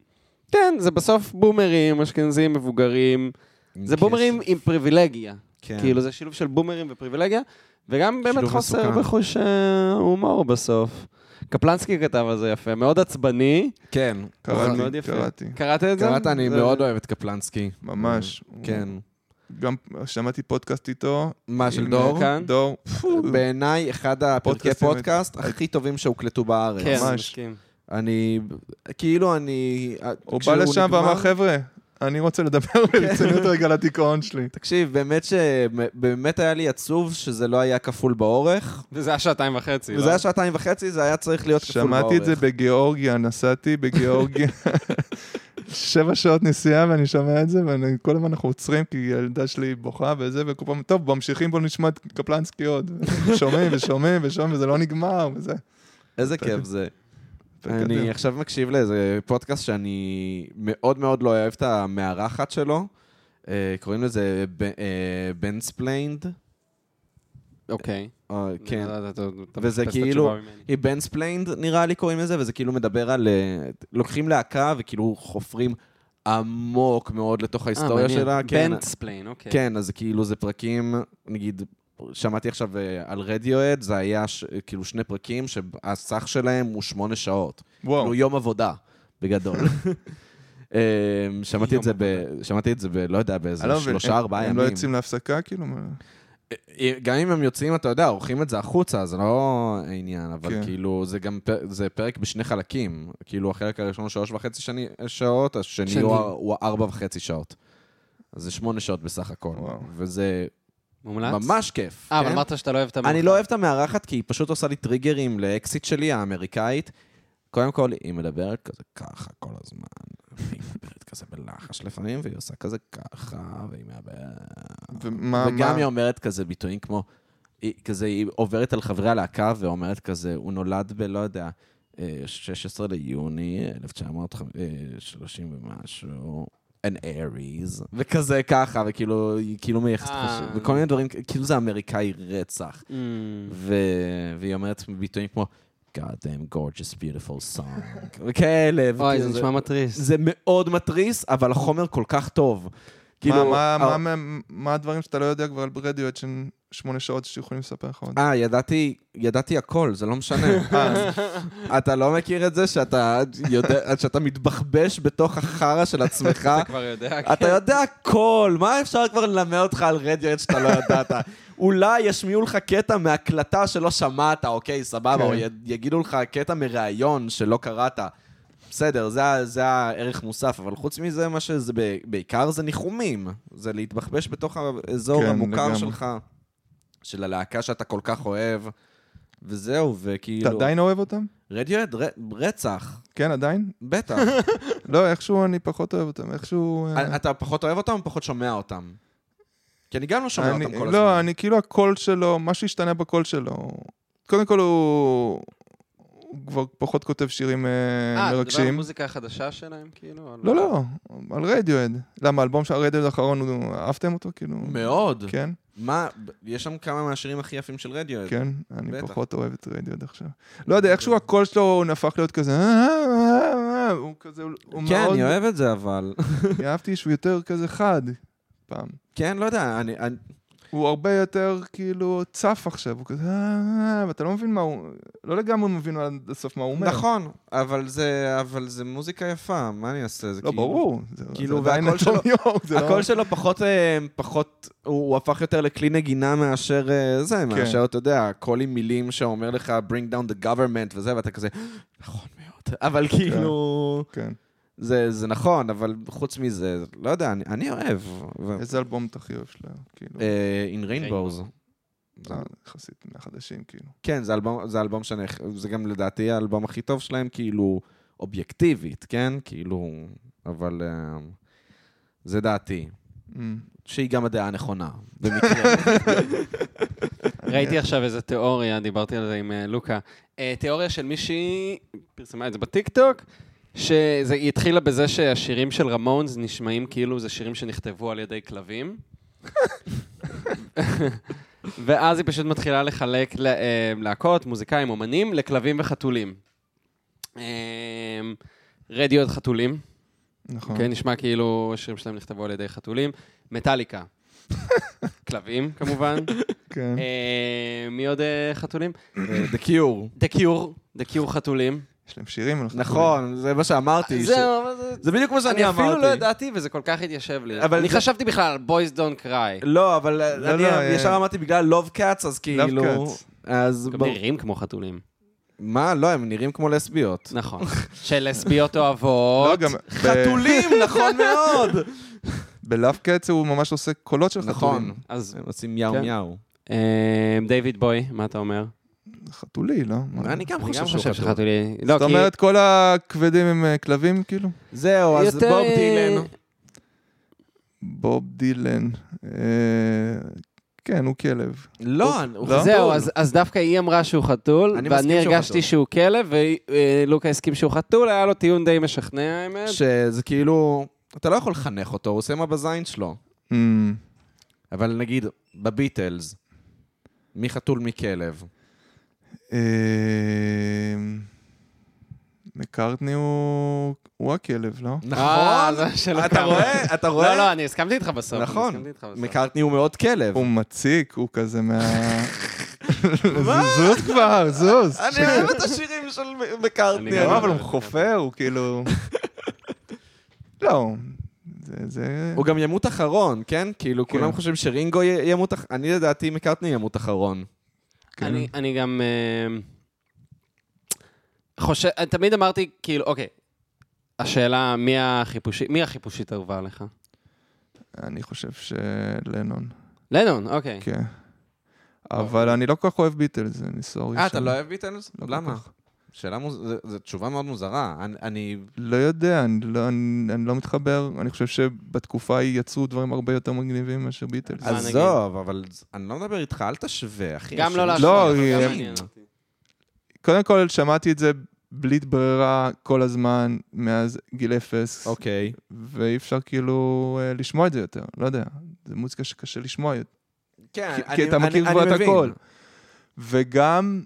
S3: כן, זה בסוף בומרים, אשכנזים, מבוגרים. זה בומרים עם פריבילגיה.
S1: כן.
S3: כאילו, זה שילוב של בומרים ופריבילגיה, וגם באמת
S1: שילוב
S3: חוסר
S1: מסוכן.
S3: בחוש אה, הומור בסוף. קפלנסקי כתב על זה יפה, מאוד עצבני.
S1: כן.
S3: מאוד
S2: קראתי,
S3: יפה.
S2: קראתי.
S3: קראת את זה?
S1: קראת, אני
S3: זה-
S1: מאוד אוהב את קפלנסקי.
S2: ממש.
S1: כן.
S2: גם שמעתי פודקאסט איתו.
S1: מה, של
S2: עם- אה,
S1: דור?
S3: כאן?
S2: דור. פו,
S1: בעיניי, אחד הפרקי
S2: פודקאסטים-
S1: פודקאסט הכי טובים שהוקלטו בארץ.
S3: כן, אני
S2: ממש.
S3: מסכים.
S1: אני... כאילו, אני...
S2: הוא בא
S1: כשהוא
S2: לשם ואמר,
S1: נגמר-
S2: חבר'ה, אני רוצה לדבר ברצינות רגע על הדיכאון שלי.
S1: תקשיב, באמת ש... באמת היה לי עצוב שזה לא היה כפול באורך.
S3: וזה היה שעתיים וחצי, לא?
S1: וזה היה שעתיים וחצי, זה היה צריך להיות כפול באורך.
S2: שמעתי את זה בגיאורגיה, נסעתי בגיאורגיה. שבע שעות נסיעה ואני שומע את זה, וכל הזמן אנחנו עוצרים כי הילדה שלי בוכה וזה, וכל פעם, טוב, ממשיכים, בואו נשמע את קפלנסקי עוד. שומעים ושומעים ושומעים, וזה לא נגמר, וזה.
S1: איזה כיף זה. אני
S2: וכזה.
S1: עכשיו מקשיב לאיזה פודקאסט שאני מאוד מאוד לא אוהב את המארחת שלו. אה, קוראים לזה אה, בן ספליינד.
S3: אוקיי.
S1: כן.
S3: אתה- אתה- אתה- אתה
S1: וזה
S3: מחפש את
S1: כאילו-
S3: התשובה ממני. אה,
S1: היא בן ספליינד נראה לי קוראים לזה, וזה כאילו מדבר על... אה, לוקחים להקה וכאילו חופרים עמוק מאוד לתוך ההיסטוריה
S3: אה, מעניין.
S1: שלה. כן,
S3: בנטספליין, אוקיי.
S1: כן, אז כאילו זה פרקים, נגיד, שמעתי עכשיו אה, על רדיואד, זה היה ש- כאילו שני פרקים שהסך שלהם הוא שמונה שעות.
S2: וואו,
S1: כאילו יום עבודה, בגדול. אמ, שמעתי את זה ב... שמעתי את זה ב... לא יודע, באיזה
S2: אני לא מבין,
S1: שלושה,
S2: הם-
S1: ארבעה
S2: הם לא
S1: ימים.
S2: יוצאים להפסקה, כאילו? מה?
S1: אה, גם אם הם יוצאים, אתה יודע, עורכים את זה החוצה, זה לא עניין, אבל
S2: כן.
S1: כאילו, זה גם פר- זה פרק בשני חלקים. כאילו, החלק הראשון הוא שלוש וחצי שני- שעות, השני
S3: שנים.
S1: הוא הוא ארבע וחצי שעות. אז זה שמונה שעות בסך הכל.
S2: וואו.
S1: וזה
S3: מומלץ?
S1: ממש כיף.
S3: אה, אבל
S1: כן?
S3: אמרת שאתה לא אוהב את המאכל.
S1: אני לא אוהב את המארחת, כי היא פשוט עושה לי טריגרים לאקזיט שלי, האמריקאית. קודם כל, היא מדברת כזה ככה כל הזמן, והיא מדברת כזה בלחש לפעמים, והיא עושה כזה ככה, והיא מאבדת...
S2: ומה,
S1: וגם
S2: מה?
S1: היא אומרת כזה ביטויים כמו, היא, כזה, היא עוברת על חברי הלהקה ואומרת כזה, הוא נולד בלא יודע, אה, 16 ליוני 1930 אה, ומשהו. an Aries, וכזה ככה, וכאילו, היא כאילו מייחסת
S3: אה.
S1: חשוב, וכל מיני דברים, כאילו זה אמריקאי רצח.
S3: Mm.
S1: ו... והיא אומרת ביטויים כמו, God damn gorgeous beautiful song, וכאלה.
S3: אוי,
S1: וכאילו
S3: זה נשמע מתריס.
S1: זה מאוד מתריס, אבל החומר כל כך טוב.
S2: מה-
S1: כאילו,
S2: מה-
S1: ה-
S2: מה- מה- מה הדברים שאתה לא יודע כבר על רדיואט שהם שמונה שעות שיכולים לספר לך עוד?
S1: אה, ידעתי, ידעתי הכל, זה לא משנה.
S2: אה.
S1: אתה לא מכיר את זה שאתה, יודע, שאתה מתבחבש בתוך החרא של עצמך?
S3: אתה כבר יודע,
S1: אתה
S3: כן.
S1: יודע הכל, מה אפשר כבר ללמד אותך על רדיואט שאתה לא ידעת? אולי ישמיעו לך קטע מהקלטה שלא שמעת, אוקיי, סבבה,
S2: כן.
S1: או י- יגידו לך קטע מראיון שלא קראת. בסדר, זה, ה- זה הערך מוסף, אבל חוץ מזה, מה שזה ב- בעיקר זה ניחומים. זה להתבחבש בתוך האזור
S2: כן,
S1: כן, המוכר
S2: לגמרי.
S1: לגמרי. שלך, של הלהקה שאתה כל כך אוהב, וזהו,
S2: אתה
S1: וכאילו...
S2: עדיין אוהב אותם?
S1: רדיואד, ר... רצח,
S2: כן, עדיין?
S1: בטח.
S2: לא, איכשהו אני פחות אוהב אותם, איכשהו... אה,
S1: אה, אתה פחות אוהב אותם או פחות שומע אותם? כי אני גם לא שומע
S2: אני,
S1: אותם כל הזמן.
S2: לא, אני כאילו הקול שלו, מה שהשתנה בקול שלו, קודם כל הוא, הוא כבר פחות כותב שירים אה,
S3: אה, אתה מדבר על
S2: מרגשים.
S3: המוזיקה החדשה שלהם, כאילו?
S2: לא, לא, על רדיואד. למה, האלבום של הרדיואד האחרון, הוא- אהבתם אותו? כאילו...
S1: מאוד.
S2: כן,
S1: מה, יש שם כמה מהשירים הכי יפים של רדיואד.
S2: כן, אני
S1: בטח.
S2: פחות אוהב את רדיואד עכשיו. לא יודע, איכשהו הקול שלו, הוא נהפך להיות כזה... "אה, אה, אה", הוא כזה, הוא הוא
S1: כן,
S2: מאוד...
S1: אני אוהב את זה, אבל...
S2: אהבתי שהוא יותר כזה חד, פעם.
S1: כן, לא יודע, אני... אני-
S2: הוא הרבה יותר כאילו צף עכשיו, הוא כזה, "אה, אה, אה", ואתה לא מבין מה הוא, לא לגמרי מבין עד הסוף מה הוא אומר.
S1: נכון, אבל זה, אבל זה מוזיקה יפה, מה אני אעשה? זה
S2: לא,
S1: כאילו-
S2: ברור. זה-
S1: כאילו,
S2: זה עדיין
S1: והקול שלו-
S2: נתניהו, זה לא-
S1: הקול שלו פחות, אה, פחות, הוא הוא הפך יותר לכלי נגינה מאשר אה,
S2: כן.
S1: זה, מאשר, אתה יודע, קול עם מילים שאומר לך, bring down the government וזה, ואתה כזה, נכון מאוד. אבל כאילו,
S2: כן.
S1: זה זה נכון, אבל חוץ מזה, לא יודע, אני- אני אוהב. ו-
S2: איזה אלבום אתה הכי אוהב שלו? כאילו,
S1: אה, In Rainbows.
S2: זה יחסית מהחדשים, כאילו.
S1: כן, זה אלבום, זה אלבום שאני, זה גם לדעתי האלבום הכי טוב שלהם, כאילו, אובייקטיבית, כן? כאילו, אבל אה, זה דעתי,
S2: אמ.
S1: שהיא גם הדעה הנכונה, במקרה.
S3: ראיתי עכשיו איזה תיאוריה, דיברתי על זה עם אה, לוקה. אה, תיאוריה של מישהי, פרסמה את זה בטיקטוק, שהיא התחילה בזה שהשירים של רמונס נשמעים כאילו זה שירים שנכתבו על ידי כלבים. ואז היא פשוט מתחילה לחלק ל- אה, להקות, מוזיקאים, אומנים, לכלבים וחתולים. אה, רדיו עד חתולים.
S2: נכון.
S3: כן, נשמע כאילו השירים שלהם נכתבו על ידי חתולים. מטאליקה. כלבים, כמובן.
S2: כן.
S3: אה, מי עוד אה, חתולים?
S1: אה, The Cure.
S3: דה קיור, דה קיור חתולים. אה,
S2: יש להם שירים על חתולים.
S1: נכון, זה מה שאמרתי. ש-
S3: זהו, אבל זה...
S1: זה בדיוק מה
S3: אני
S1: שאני
S3: אפילו לא
S1: אמרתי.
S3: ידעתי, וזה כל כך התיישב לי.
S1: אבל
S3: אני
S1: זה-
S3: חשבתי בכלל על בויז דון קריי.
S1: לא, אבל אה,
S2: לא,
S1: אני
S2: לא, אה,
S1: ישר אמרתי בגלל לוב קאץ, אז כאילו...
S2: Cats.
S1: אז...
S3: גם
S1: בר-
S3: נראים כמו חתולים.
S1: מה? לא, הם נראים כמו לסביות.
S3: נכון. שלסביות
S2: לא,
S3: אוהבות.
S2: גם...
S1: חתולים, נכון מאוד!
S2: בלאו קץ הוא ממש עושה קולות של חתולים.
S1: נכון.
S3: אז
S1: הם עושים יאו
S3: כן.
S1: יאו.
S3: אה, דיוויד בוי, מה אתה אומר?
S2: חתולי, לא? מה-
S1: אני גם
S3: אני גם
S1: חושב שהוא
S3: חושב
S1: חתול.
S3: שחתולי... לא,
S2: זאת
S3: כי
S2: אומרת, כל הכבדים הם אה, כלבים, כאילו?
S1: זהו, אז
S3: יותר-
S1: בוב דילן.
S2: בוב דילן. אה, כן, הוא כלב.
S1: לא, הוא
S2: לא?
S1: חתול.
S3: זהו, אז, אז דווקא היא אמרה שהוא חתול,
S1: אני מסכים
S3: ואני
S1: שהוא
S3: הרגשתי
S1: חתול.
S3: שהוא כלב, ולוקה הסכים שהוא חתול, היה לו טיעון די משכנע, האמת.
S1: שזה כאילו, אתה לא יכול לחנך אותו, הוא עושה מה בזין שלו.
S2: אמ,
S1: אבל נגיד, בביטלס, מי חתול מי כלב?
S2: אמ, מקארטני הוא הוא הכלב, לא?
S3: אה, זה שלא
S1: נכון? אתה
S3: קרה.
S1: רואה? אתה רואה?
S3: לא, לא, אני הסכמתי איתך בסוף. אני
S1: נכון.
S3: הסכמתי איתך בסוף.
S1: מקארטני הוא מאוד כלב.
S2: הוא מציק, הוא כזה מה... זוז כבר, זוז.
S1: אני לא אוהב את השירים של
S3: אני
S1: מקארטני.
S3: גם
S2: לא, אבל
S3: אוהב
S2: הוא
S3: את
S2: חופר, הוא כאילו... לא, זה- זה...
S1: הוא גם ימות אחרון, כן? כאילו, כולם חושבים שרינגו י- ימות אחרון. אני לדעתי מקארטני ימות אחרון.
S3: אני- אני גם אה, חושב, תמיד אמרתי, כאילו, אוקיי, השאלה, מי החיפושית, מי החיפושית האהובה עליך?
S2: אני חושב שלנון,
S3: לנון, אוקיי.
S2: כן. אבל אני לא כל כך אוהב ביטלס, אני סורי.
S1: אה, אתה
S2: שם.
S1: לא אוהב ביטלס?
S2: לא כל
S1: למה?
S2: כך.
S1: שאלה מוז... זה- זו תשובה מאוד מוזרה. אני- אני...
S2: לא יודע, אני לא, אני, אני לא מתחבר. אני חושב שבתקופה ההיא יצאו דברים הרבה יותר מגניבים מאשר ביטלס.
S3: מה נגיד?
S1: עזוב, אבל אני לא מדבר איתך, אל תשווה, אחי. אוקיי.
S3: גם לא
S1: השם-
S3: להשוות,
S2: לא,
S3: אבל גם
S2: אה,
S3: מעניין אותי.
S2: קודם כל, שמעתי את זה בלי ברירה כל הזמן, מאז גיל אפס,
S1: אוקיי.
S2: ואי אפשר כאילו אה, לשמוע את זה יותר, לא יודע. זה מוזיקה שקשה לשמוע יותר.
S1: כן,
S2: כי- כי אתה מכיר כבר את הכל. וגם,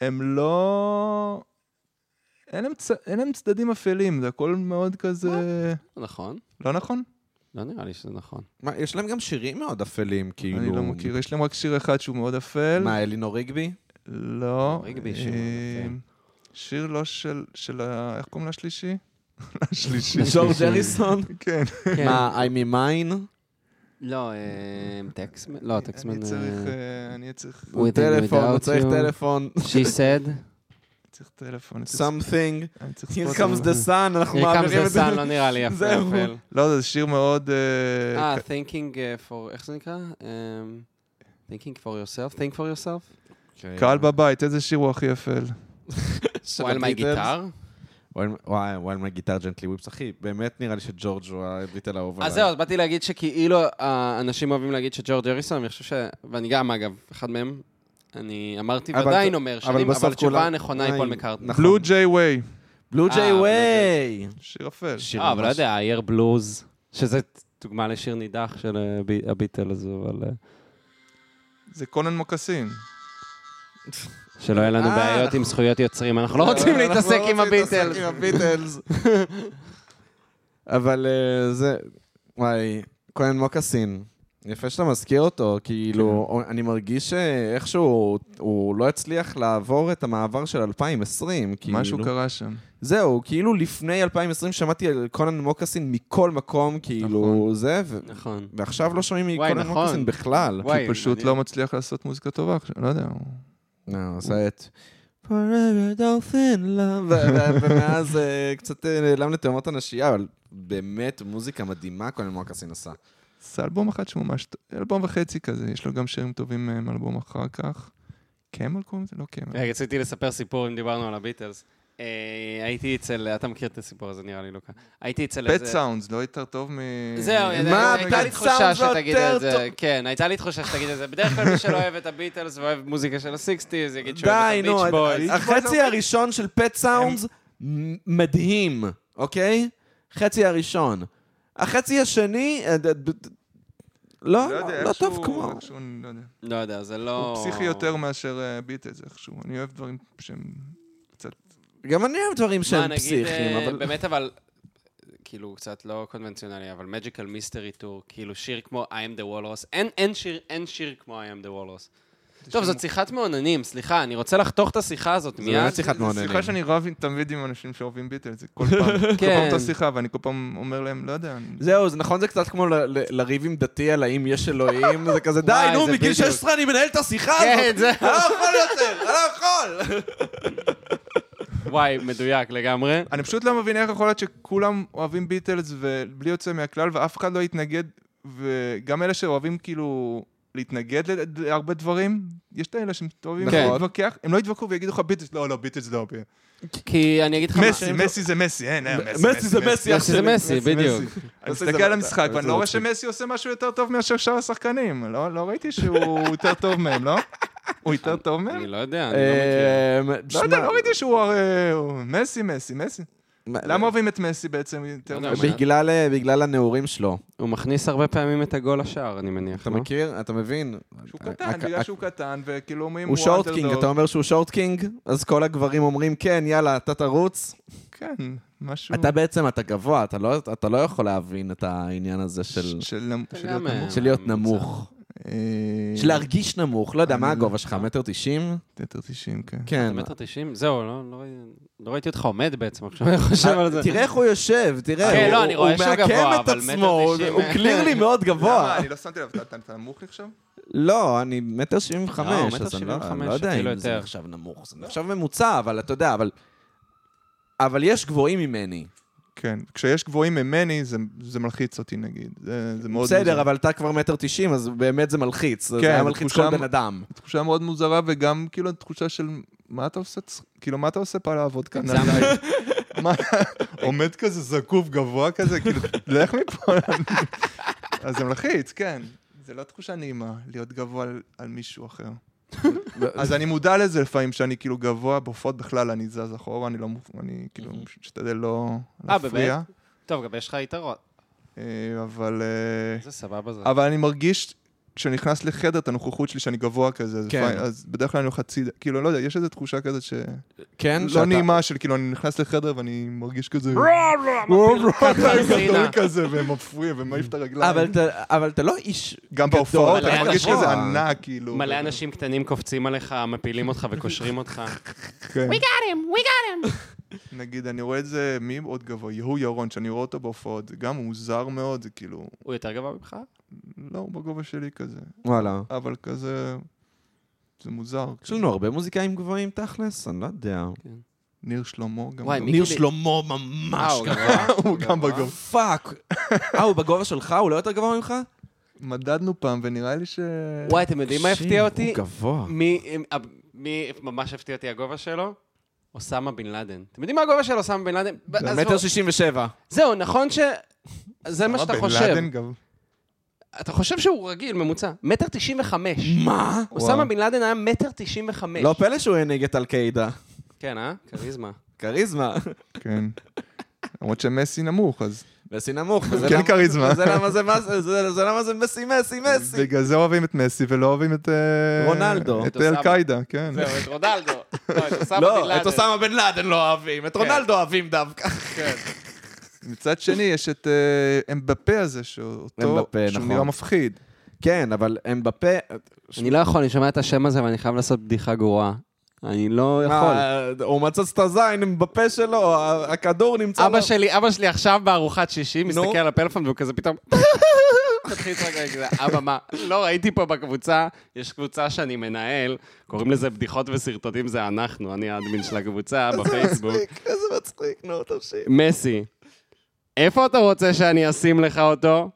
S2: הם לא... אין להם, צ... אין להם צדדים אפלים, זה הכל מאוד כזה...
S3: נכון.
S2: לא נכון?
S3: לא נראה לי שזה נכון.
S1: מה, יש להם גם שירים מאוד אפלים, כאילו...
S2: אני לא מכיר, יש להם רק שיר אחד שהוא מאוד אפל.
S1: מה, אלינור ריגבי?
S2: לא.
S3: ריגבי שיר,
S2: אה,
S3: כן.
S2: שיר לא של, של ה... איך קוראים לשלישי? השלישי.
S1: ג'ורג' אריסון?
S2: כן.
S3: כן.
S1: מה, I'm in mine?
S3: לא, אה, טקסמן, לא, טקסמן...
S2: אני צריך...
S3: אה,
S2: אה, אני צריך...
S3: Within
S1: טלפון, הוא
S3: without
S1: צריך
S3: you.
S1: טלפון.
S3: She said.
S2: צריך טלפון, אני צריך-
S4: something,
S2: אני צריך
S4: here
S2: ספוטיפיי.
S4: comes the sun, אנחנו
S3: נרקם זה
S4: מעבירים את זה.
S3: סן, לא נראה לי יפה.
S4: זהו.
S3: אפל.
S2: לא, זה שיר מאוד... אה,
S3: אה, thinking uh, for, איך זה נקרא? אמ, thinking for yourself, think for yourself.
S1: אוקיי.
S2: קהל בבית, איזה שיר הוא הכי אפל?
S4: של
S3: וואל מי
S4: הביטלס.
S3: גיטר.
S1: וואי, וואי, מה גיטר ג'נטלי וויפס, אחי, באמת נראה לי שג'ורג' הוא הביטל האהוב עליי.
S3: אז אה, זהו, אז באתי להגיד שכאילו האנשים אוהבים להגיד שג'ורג' אריסון, אני חושב ש... ואני גם, אגב, אחד מהם, אני אמרתי
S1: אבל-
S3: ועדיין אומר, שאני-
S1: בסוף
S3: אבל התשובה
S1: כולם-
S3: הנכונה היא
S1: אה,
S3: פול מקארטני.
S1: נכון.
S2: בלו ג'יי ווי,
S1: בלו
S3: אה,
S1: ג'יי
S3: בלו
S1: ווי!
S2: שיר אפל.
S1: שיר
S3: אה, אבל לא
S1: ממש-
S3: יודע, אייר בלוז, שזה דוגמה לשיר נידח של אה, בי- הביטלס, אבל... אה,
S2: זה קונן מוקסין.
S3: שלא יהיה לנו
S4: אה,
S3: בעיות עם זכויות יוצרים, אנחנו לא רוצים
S1: אנחנו לא
S3: להתעסק עם
S1: רוצים להתעסק
S3: הביטלס.
S1: עם הביטלס. אבל אה, זה, וואי, כהן מוקסין. יפה שאתה מזכיר אותו,
S3: כן.
S1: כאילו, אני מרגיש שאיכשהו הוא לא הצליח לעבור את המעבר של 2020, כאילו.
S2: משהו קרה שם.
S1: זהו, כאילו לפני 2020 שמעתי על קונן מוקסין מכל מקום, כאילו,
S2: נכון.
S1: זה, ו-
S3: נכון.
S1: ועכשיו לא שומעים
S3: וואי,
S1: מקונן
S3: נכון.
S1: מוקסין בכלל.
S3: וואי,
S2: הוא פשוט
S3: מעניין.
S2: לא מצליח לעשות מוזיקה טובה עכשיו, לא יודע. הוא-
S1: לא, הוא עשה את... Forever Dolphin Love, ו- ו- ומאז אה, קצת אה, נעלם לתאומות הנשייה, אבל באמת מוזיקה מדהימה קונן מוקסין עשה.
S2: זה אלבום אחד שהוא ממש, ט- אלבום וחצי כזה, יש לו גם שירים טובים אה, מאלבום אחר כך. קמל קוראים לזה? לא קמל.
S3: רגע, אה, רציתי לספר סיפור אם דיברנו על הביטלס. אה, הייתי אצל, אתה מכיר את הסיפור הזה נראה לי, לוקה. הייתי אצל
S2: פט
S3: איזה...
S2: סאונדס, לא יותר טוב מ...
S3: זהו,
S1: מה,
S3: הייתה לי
S1: Pet
S3: תחושה
S1: Sounds לא
S3: שתגיד
S1: יותר
S3: את זה. כן, הייתה לי תחושה שתגיד את זה. בדרך כלל מי שלא אוהב את הביטלס ואוהב מוזיקה של ה-60's, יגיד שהוא אוהב
S1: די,
S3: את
S1: נו,
S3: הביץ' בוי.
S1: החצי הראשון של פט סאונדס מדהים, אוקיי? חצי הראשון. החצי השני, אה, ד- ד- ד- לא,
S2: לא יודע,
S1: לא
S2: איכשהו-
S1: טוב כמו.
S2: איכשהו, אני לא יודע.
S3: לא יודע, זה לא...
S2: הוא פסיכי יותר מאשר אה, ביטלס איכשהו. אני אוהב דברים שהם קצת...
S1: גם אני אוהב דברים
S3: מה,
S1: שהם
S3: נגיד,
S1: פסיכיים,
S3: אה,
S1: אבל...
S3: באמת, אבל... כאילו, קצת לא קונבנציונלי, אבל Magical Mystery Tour, כאילו שיר כמו I am the Walrus, אין, אין, שיר, אין שיר כמו I am the Walrus. טוב, זאת שיחת מעוננים, סליחה, אני רוצה לחתוך את השיחה הזאת
S1: זה
S3: מיד.
S1: באמת שיחת מעוננים.
S2: סליחה שאני רב עם- תמיד עם אנשים שאוהבים ביטלס, זה כל פעם. כל פעם
S1: כן.
S2: אותה שיחה, ואני כל פעם אומר להם, לא יודע, אני-
S1: זהו, זה נכון, זה קצת כמו ל- ל- לריב עם דתי על האם יש אלוהים, זה כזה, די,
S3: וואי,
S1: נו,
S3: זה
S1: מגיל
S3: בדיוק.
S1: 16 אני מנהל את השיחה הזאת.
S3: כן, זה...
S1: אני לא יכול יותר, אני לא יכול.
S3: וואי, מדויק לגמרי.
S2: אני פשוט לא מבין איך יכול להיות שכולם אוהבים ביטלס ובלי יוצא מהכלל ואף אחד לא יתנגד וגם אלה שאוהבים כאילו להתנגד לד- להרבה דברים, יש את האלה שהם אוהבים
S3: נכון.
S2: להתווכח, הם לא יתווכחו ויגידו לך ביטלס, לא, לא, ביטלס לא, ב-
S3: כי אני אגיד לך... מה-
S2: מסי, מסי זה מסי, אין, אין,
S1: מסי זה מסי,
S3: לא,
S1: אח
S3: שזה
S1: שלי.
S3: מסי, בדיוק.
S2: אני
S1: מסי
S2: מסתכל
S1: זה-
S2: על המשחק
S1: זה
S2: ואני לא רואה
S1: מצחיק.
S2: שמסי עושה משהו יותר טוב מאשר שאר השחקנים, לא לא ראיתי שהוא יותר טוב מהם, לא? הוא יותר טוב
S3: אני
S2: מהם?
S3: לא יודע, אני לא מכיר.
S1: אה,
S2: לא
S1: תשמע,
S2: יודע, לא ראיתי שהוא הרי... הוא- מסי, מסי, מסי.
S1: מה-
S2: למה אוהבים את מסי בעצם יותר
S3: לא יודע,
S2: מהם?
S1: בגלל אה, בגלל הנעורים שלו.
S3: הוא מכניס הרבה פעמים את הגול לשער, אני מניח,
S1: אתה
S3: לא?
S1: מכיר? אתה מבין? אה,
S2: שהוא
S1: ה-
S2: קטן,
S1: ה-
S2: בגלל
S1: ה-
S2: שהוא קטן, וכאילו אומרים...
S1: אה,
S2: לא."
S1: הוא שורטקינג,
S2: אנדרדוג.
S1: אתה אומר שהוא שורטקינג? אז כל הגברים אומרים, כן, יאללה, אתה תרוץ.
S2: כן, משהו...
S1: אתה בעצם, אתה גבוה, אתה לא- אתה לא יכול להבין את העניין הזה של
S2: של... של נמ- של
S3: גם,
S2: להיות נמוך.
S3: אה,
S1: של להיות
S3: ממוצע.
S1: נמוך.
S2: אה,
S1: של להרגיש נמוך, לא יודע, מה
S2: אני-
S1: הגובה שלך? מטר תשעים?
S2: מטר תשעים, כן.
S1: כן.
S3: מטר תשעים? זהו, לא- לא- לא ראיתי אותך עומד בעצם עכשיו, אני חושב על זה.
S1: אה, תראה איך הוא יושב, תראה.
S3: כן,
S1: הוא-
S3: לא, אני
S1: הוא
S3: רואה שהוא
S1: מעקם
S3: גבוה,
S1: את
S3: אבל מטר
S1: עצמו, הוא-
S3: תשעים. אה.
S1: הוא קלירלי מאוד
S2: למה?
S1: גבוה.
S2: אני לא שמתי לב, אתה- אתה אתה נמוך לי עכשיו?
S1: לא, אני מטר שבעים
S3: לא, הוא
S1: וחמש,
S3: מטר
S1: אז אני לא-
S3: 75,
S1: אני לא יודע
S3: אפילו
S1: אם זה
S3: יותר.
S1: נחשב נמוך. זה נחשב ממוצע, אבל אתה יודע, אבל... אבל יש גבוהים ממני.
S2: כן. כשיש גבוהים ממני, זה- זה מלחיץ אותי נגיד. זה זה מאוד מוזר.
S1: בסדר, אבל אתה כבר מטר תשעים, אז באמת זה מלחיץ. זה
S2: כן,
S1: היה מלחיץ כל
S2: תחושה-
S1: בן אדם.
S2: תחושה מאוד מוזרה, וגם כאילו תחושה של מה אתה עושה, צ- כאילו מה אתה עושה פה לעבוד כאן?
S3: זה
S2: עליי? מה, עומד כזה זקוף גבוה כזה, כאילו, לך מפה. אז זה מלחיץ, כן. זה לא תחושה נעימה, להיות גבוה על- על מישהו אחר. אז אני מודע לזה לפעמים, שאני כאילו גבוה, בהופעות בכלל אני זז אחורה, אני לא, מופ- אני כאילו משתדל לא
S3: אה,
S2: להפריע.
S3: טוב, גם יש לך יתרון.
S2: אה, אבל... אה,
S3: זה סבבה זה.
S2: אבל אני מרגיש, כשאני נכנס לחדר, את הנוכחות שלי שאני גבוה כזה, אז
S1: כן.
S2: לפעמים- אז בדרך כלל אני הולך הצידה, כאילו, לא יודע, יש איזו תחושה כזאת שלא
S1: כן? שאתה-
S2: נעימה, של כאילו, אני נכנס לחדר ואני מרגיש כזה... גדול כזה, ומפריע, ומעיף את
S1: אבל
S2: הרגליים.
S1: אתה- אבל אתה לא איש...
S2: גם בהופעות,
S3: גדול,
S2: אני
S3: מלא
S2: מרגיש
S3: גבוה.
S2: כזה ענק, כאילו.
S3: מלא אנשים קטנים קופצים עליך, מפילים אותך וקושרים אותך.
S2: כן.
S5: got him. We got him.
S2: נגיד, אני רואה את זה, מי עוד גבוה? יהוא ירון, שאני רואה אותו בהופעות, זה גם מוזר מאוד, זה כאילו,
S3: הוא יותר גבוה ממך?
S2: לא, הוא בגובה שלי כזה,
S1: וואלה.
S2: אבל כזה, זה מוזר.
S1: יש לנו הרבה מוזיקאים גבוהים תכלס, אני לא יודע.
S2: ניר שלמה, גם
S3: וואי,
S2: גבוה.
S3: מי-
S1: ניר
S3: מיקי-
S1: שלמה ממש
S3: וואו,
S1: גבוה.
S2: הוא גם בגובה.
S4: פאק. אה, הוא בגובה שלך? הוא לא יותר גבוה ממך?
S2: מדדנו פעם, ונראה לי ש...
S3: וואי, אתם יודעים מה הפתיע אותי?
S1: הוא גבוה.
S3: מי, אה, מי ממש הפתיע אותי הגובה שלו? אוסמה בן לאדן. אתם יודעים מה הגובה של אוסמה בן לאדן? ב- עזבו.
S4: מטר שישים ושבע.
S3: זהו, נכון ש... זה מה שאתה
S2: בן
S3: חושב.
S2: לאדן גב-
S3: אתה חושב שהוא רגיל, ממוצע. מטר תשעים וחמש.
S4: מה?
S3: אוסמה בן לאדן היה מטר תשעים וחמש.
S1: לא פלא שהוא הנהיג את אל-קאידה.
S3: כן, אה? כריזמה.
S1: כריזמה.
S2: כן. למרות שמסי נמוך, אז...
S1: מסי נמוך. וזה
S2: כן
S1: למה-
S2: כריזמה.
S1: וזה למה זה מס- זה- זה למה זה מסי, מסי, מסי.
S2: בגלל זה אוהבים את מסי ולא אוהבים את... אה,
S1: רונלדו.
S2: את
S3: את אוסמה.
S2: אל-קאידה, כן.
S3: זהו, את רונלדו. לא, את אוסמה בן
S1: לא,
S3: לאדן.
S1: את אוסמה בן לאדן לא אוהבים, את רונלדו אוהבים דווקא.
S3: כן.
S2: מצד שני, יש את אה, אמבפה הזה, שהוא אותו-
S1: אמבפה,
S2: שהוא
S1: נכון.
S2: נראה מפחיד.
S1: כן, אבל הם בפה...
S3: אני לא יכול, אני שומע את השם הזה ואני חייב לעשות בדיחה גרועה. אני לא יכול.
S1: יכול. הוא מצץ את הזין הם בפה שלו, ה- הכדור נמצא
S3: אבא
S1: לו.
S3: שלי, אבא שלי עכשיו בארוחת שישי, מסתכל
S1: נו.
S3: על הפלאפון והוא כזה פתאום... מתחיל לצחוק כזה, אבא, מה? לא ראיתי פה בקבוצה, יש קבוצה שאני מנהל, קוראים לזה בדיחות וסרטוטים, זה אנחנו, אני האדמין של הקבוצה בפייסבוק.
S1: מצחיק, איזה מצחיק, נו, תמשיך.
S3: מסי, איפה אתה רוצה שאני אשים לך אותו?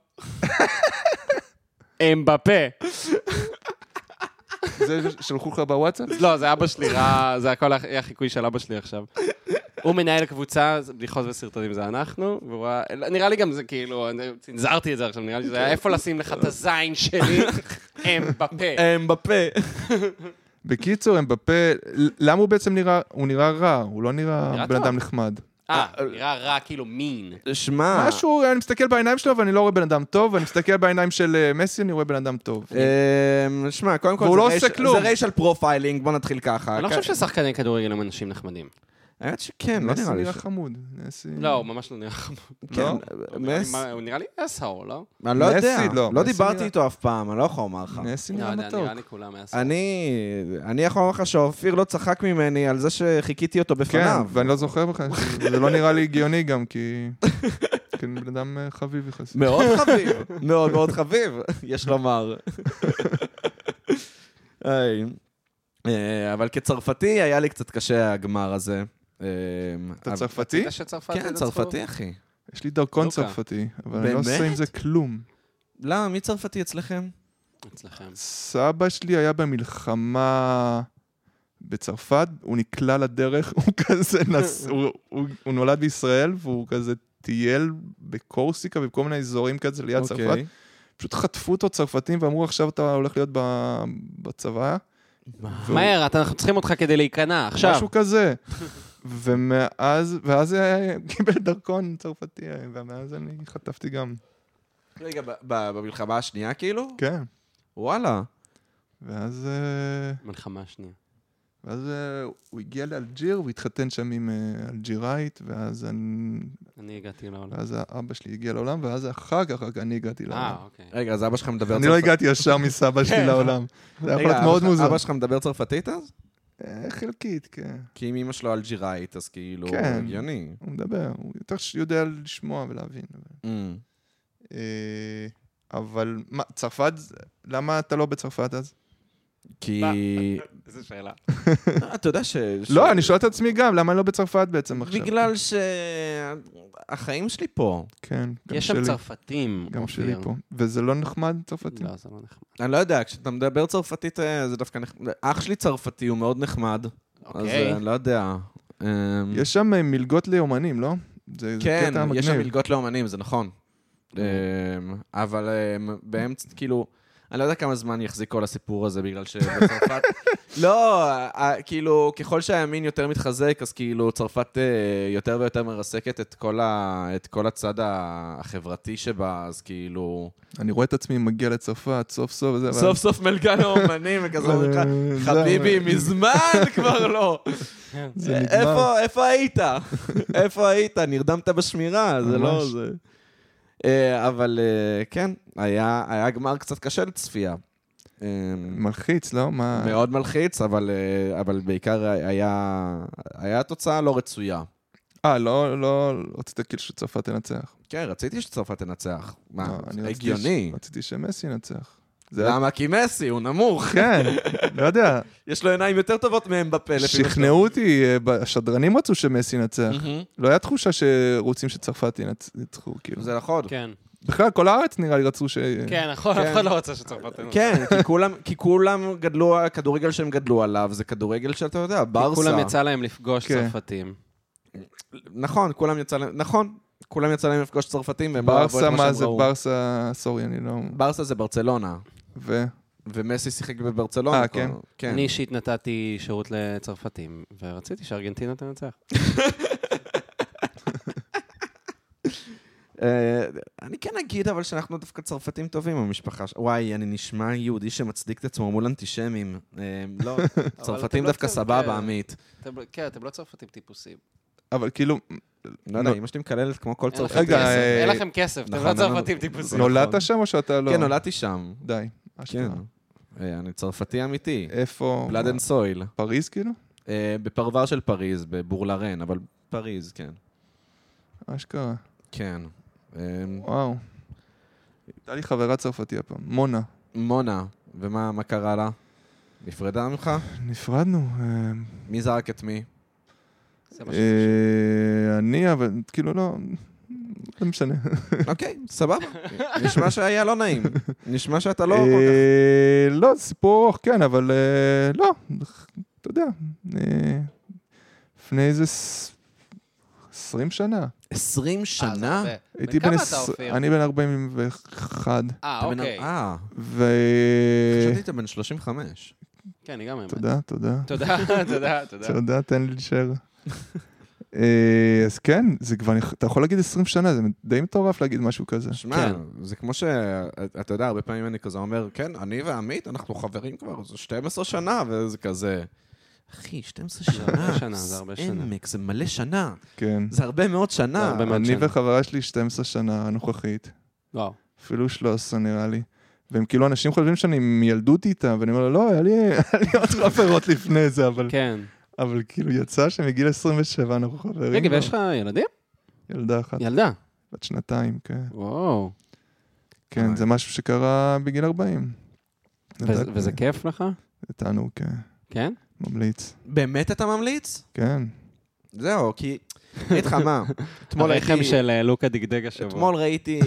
S3: אמבפה.
S2: זה שלחו לך בוואטסאפ?
S3: לא, זה אבא שלי, ראה- זה הכל היה חיקוי של אבא שלי עכשיו. הוא מנהל קבוצה, זה בדיחות וסרטונים זה אנחנו, והוא היה... לא, נראה לי גם זה כאילו, אני צנזרתי את זה עכשיו, נראה לי שזה היה איפה לשים לך את הזין שלי, הם בפה.
S1: הם בפה.
S2: בקיצור, אמבפה, למה הוא בעצם נראה... הוא נראה רע, הוא לא נראה
S3: נראה
S2: בן
S3: טוב.
S2: אדם נחמד.
S3: אה, נראה רע, כאילו מין. אה.
S1: שמע,
S2: משהו, אני מסתכל בעיניים שלו ואני לא רואה בן אדם טוב, ואני מסתכל בעיניים של אה, מסי, אני רואה בן אדם
S3: אה,
S2: טוב.
S1: אמ, שמע, קודם כל
S2: והוא
S1: זה
S2: לא עושה
S1: רייש-
S2: כלום.
S1: זה רייש על פרופיילינג, בוא נתחיל ככה.
S3: אני לא
S1: כן.
S3: חושב ששחקני כדורגל הם אנשים נחמדים.
S1: האמת שכן, לא
S2: מסי
S1: נראה לי
S2: כן, נראה
S1: ש...
S2: חמוד. מסי...
S3: לא, הוא ממש לא נראה חמוד.
S1: כן,
S2: לא?
S1: מס?
S3: הוא נראה לי אסהור, לא?
S1: אני לא יודע,
S2: מסי, לא,
S1: לא
S2: מסי
S1: דיברתי
S2: נראה-
S1: איתו אף פעם, אני לא יכול לומר לך.
S2: מסי
S3: לא
S2: נראה
S3: יודע,
S2: מתוק.
S3: נראה לי כולם אסהור.
S1: אני אני יכול לומר לך שאופיר לא צחק ממני על זה שחיכיתי אותו
S2: כן,
S1: בפניו.
S2: ואני לא זוכר בכלל, זה לא נראה לי הגיוני גם, כי... כן, בן אדם אה, חביב יחסית.
S1: מאוד חביב, מאוד מאוד חביב, יש לומר. היי. אה, אבל כצרפתי היה לי קצת קשה הגמר הזה. אה,
S2: אתה
S1: אבל-
S2: צרפתי?
S3: אתה שצרפתי
S1: כן,
S3: תנצחו?
S1: צרפתי, אחי.
S2: יש לי דרכון
S3: לוקה.
S2: צרפתי, אבל אני לא
S1: באמת?
S2: עושה עם זה כלום.
S1: למה? לא, מי צרפתי אצלכם?
S3: אצלכם.
S2: סבא שלי היה במלחמה בצרפת, הוא נקלע לדרך, הוא כזה נס... הוא, הוא, הוא נולד בישראל והוא כזה טייל בקורסיקה ובכל מיני אזורים כזה ליד okay. צרפת.
S1: אוקיי.
S2: פשוט חטפו אותו צרפתים ואמרו, עכשיו אתה הולך להיות ב- בצבא.
S3: מהר, אתה- אנחנו צריכים אותך כדי להיכנע, עכשיו.
S2: משהו כזה. ומאז, ואז אה, קיבל דרכון צרפתי, אה, ומאז אני חטפתי גם.
S1: רגע, ב- ב- במלחמה השנייה כאילו?
S2: כן.
S1: וואלה.
S2: ואז... אה,
S3: מלחמה שנייה.
S2: ואז אה, הוא הגיע לאלג'יר, הוא התחתן שם עם אה, אלג'יראית, ואז, אני,
S3: אני הגעתי לעולם.
S2: ואז אבא שלי הגיע לעולם, ואז אחר כך רק אני הגעתי לעולם.
S3: אה, אוקיי.
S1: רגע, אז אבא שלך מדבר
S2: אני לא הגעתי ישר מסבא שלי לעולם.
S1: כן.
S2: זה
S1: רגע,
S2: יכול להיות
S1: אבא
S2: מאוד
S1: שלך-
S2: מוזר.
S1: אבא שלך מדבר צרפתית אז?
S2: אה, חלקית, כן.
S1: כי אם אמא שלו אלג'יראית, אז כאילו,
S2: כן.
S1: הגיוני.
S2: הוא מדבר, הוא יותר ש- יודע לשמוע ולהבין.
S1: אמ.
S2: אה, אבל מה, צרפת, זה- למה אתה לא בצרפת אז?
S1: כי... אה,
S3: איזה שאלה.
S1: אתה יודע ש...
S2: לא, אני שואל את עצמי גם, למה אני לא בצרפת בעצם עכשיו?
S1: בגלל שהחיים שלי פה.
S2: כן, גם
S3: יש שם
S2: שלי.
S3: צרפתים.
S2: גם
S3: אופיר.
S2: שלי פה. וזה לא נחמד, צרפתים?
S3: לא, זה לא נחמד.
S1: אני לא יודע, כשאתה מדבר צרפתית אה, זה דווקא נחמד. אח שלי צרפתי, הוא מאוד נחמד. אז
S3: אוקיי.
S1: אה, אני לא יודע. אמ,
S2: יש שם אה, מלגות ליומנים, לא? זה זה
S1: כן,
S2: קטע מגניב. Mm.
S1: יש שם מלגות לאומנים, זה נכון. אמ, אבל אמ, באמצע, כאילו, אני לא יודע כמה זמן יחזיק כל הסיפור הזה, בגלל שבצרפת... לא, אה, כאילו, ככל שהימין יותר מתחזק, אז כאילו צרפת אה, יותר ויותר מרסקת את כל ה- את כל הצד ה- החברתי שבה, אז כאילו...
S2: אני רואה את עצמי מגיע לצרפת, סוף סוף, זה... אבל-
S1: סוף סוף מלגן האומנים, וכזה אומרים לך,
S2: אה, זה-
S1: חביבי, מזמן כבר לא.
S3: אה,
S2: זה נגמר.
S1: איפה- איפה היית? איפה היית? נרדמת בשמירה, זה לא
S2: ממש.
S1: זה. אה, אבל אה, כן, היה היה גמר קצת קשה לצפייה. אה,
S2: מלחיץ, לא? מה...
S1: מאוד מלחיץ, אבל אה, אבל בעיקר היה היה תוצאה לא רצויה.
S2: אה, לא, לא, רצית כאילו שצרפת תנצח.
S1: כן, רציתי שצרפת תנצח. מה,
S2: לא, אני רציתי ש-
S1: הגיוני.
S2: רציתי שמסי ינצח. זה-
S4: למה? כי מסי, הוא נמוך.
S2: כן, לא יודע.
S4: יש לו עיניים יותר טובות מהם בפה. לפי מה
S2: שכנעו אותי, אה, ב- השדרנים רצו שמסי ינצח.
S4: מהמם.
S2: לא היה תחושה שרוצים שצרפת ינצ- ינצחו, כאילו.
S1: זה נכון.
S3: כן.
S2: בכלל, כל הארץ נראה לי רצו ש...
S3: כן, נכון, אף אחד לא רוצה שצרפת... תנצח.
S1: כן, כי כולם- כי כולם גדלו, הכדורגל שהם גדלו עליו זה כדורגל שאתה יודע,
S3: כי
S1: ברסה.
S3: כולם יצא להם לפגוש
S2: כן.
S3: צרפתים.
S1: נכון, כולם יצא להם, נכון, כולם יצא להם לפגוש צרפתים. והם לא אהבו את
S2: ברסה,
S1: שהם
S2: מה זה
S1: ראו.
S2: ברסה? סורי, אני לא...
S1: ברסה זה ברצלונה,
S2: ו...
S1: ומסי שיחק בברצלונה.
S2: אה,
S1: כל-
S2: כן?
S1: כן.
S3: אני אישית נתתי שירות לצרפתים, ורציתי שארגנטינה תנצח.
S1: אה, אני כן אגיד, אבל שאנחנו דווקא צרפתים טובים במשפחה. ש- וואי, אני נשמע יהודי שמצדיק את עצמו מול אנטישמים. אה, לא,
S3: אתם
S1: צרפתים
S3: לא
S1: דווקא
S3: צרפתים.
S1: סבבה, עמית.
S3: אתם- כן, אתם לא צרפתים טיפוסים.
S2: אבל כאילו,
S1: לא יודע,
S2: נו.
S1: אמא שלי מקללת כמו כל
S3: אין לכם
S1: צרפתי.
S2: רגע,
S3: כסף,
S2: אה,
S3: אין לכם כסף, אתם
S1: נכון,
S3: לא
S1: אין לנו-
S3: צרפתים טיפוסים.
S2: נולדת שם או שאתה לא...
S1: כן, נולדתי שם.
S2: די. אשכרה.
S1: כן. אה, אני צרפתי אמיתי.
S2: אה, איפה?
S1: בלאדן סויל.
S2: פריז, כאילו?
S1: אה, בפרבר של פריז, בבורלרן, אבל פריז, כן.
S2: אשכרה.
S1: כן. אה,
S2: וואו. הייתה לי חברה צרפתי הפעם, מונה.
S1: מונה, ומה מה קרה לה? נפרדה ממך?
S2: נפרדנו. אה,
S1: מי זרק את מי?
S3: זה מה ש-
S2: אה, אני, אבל כאילו לא... לא משנה.
S1: אוקיי, סבבה. נשמע שהיה לא נעים. נשמע שאתה לא... כל כך-
S2: אה, לא, זה סיפור ארוך, כן, אבל אה, לא, אתה יודע, אה, לפני איזה ס- 20 שנה.
S1: 20
S3: אה, זה
S1: שנה?
S3: הרבה.
S2: הייתי
S3: בן
S2: בן...
S3: כמה
S2: עש-
S3: אתה, אופיר?
S2: אני בן 41,
S3: אה,
S1: אתה בן-
S3: אוקיי.
S1: אה,
S2: ו...
S3: אה.
S1: חשבתי שאתה בן 35.
S3: כן, אני גם האמת.
S2: תודה, תודה.
S3: תודה, תודה, תודה.
S2: תודה, תן לי להישאר. אה, אז כן, זה כבר, נכ- אתה יכול להגיד 20 שנה, זה די מטורף להגיד משהו כזה.
S1: שמע,
S3: כן.
S1: זה כמו ש... אה, אתה יודע, הרבה פעמים אני כזה אומר, כן, אני ועמית, אנחנו חברים כבר, זה 12 שנה, וזה כזה... אחי, 12
S3: הרבה
S1: שנה,
S3: שנה, זה הרבה שנה.
S1: עמק, זה מלא שנה.
S2: כן.
S1: זה הרבה מאוד
S3: זה
S1: שנה.
S3: הרבה מאוד
S2: אני
S3: שנה.
S2: וחברה שלי 12 שנה הנוכחית,
S3: וואו.
S2: אפילו 13 נראה לי. והם כאילו, אנשים חושבים שאני מילדות איתם, ואני אומר לו, לא, היה לי היה לי עוד חברות לפני זה, אבל-
S3: כן.
S2: אבל כאילו יצא שמגיל 27 אנחנו חברים.
S3: רגע,
S2: כבר.
S3: ויש לך כן. ילדים?
S2: ילדה אחת,
S3: ילדה.
S2: בת שנתיים, כן.
S3: וואו.
S2: כן, זה משהו שקרה בגיל 40.
S3: וזה- וזה כן. כיף לך?
S2: זה תענוג, כן.
S3: כן?
S2: ממליץ.
S1: באמת אתה ממליץ?
S2: כן.
S1: זהו, כי... אני אגיד לך מה, אתמול הייתי...
S3: הרחם של אה, לוקה דגדג השבוע.
S1: אתמול ראיתי...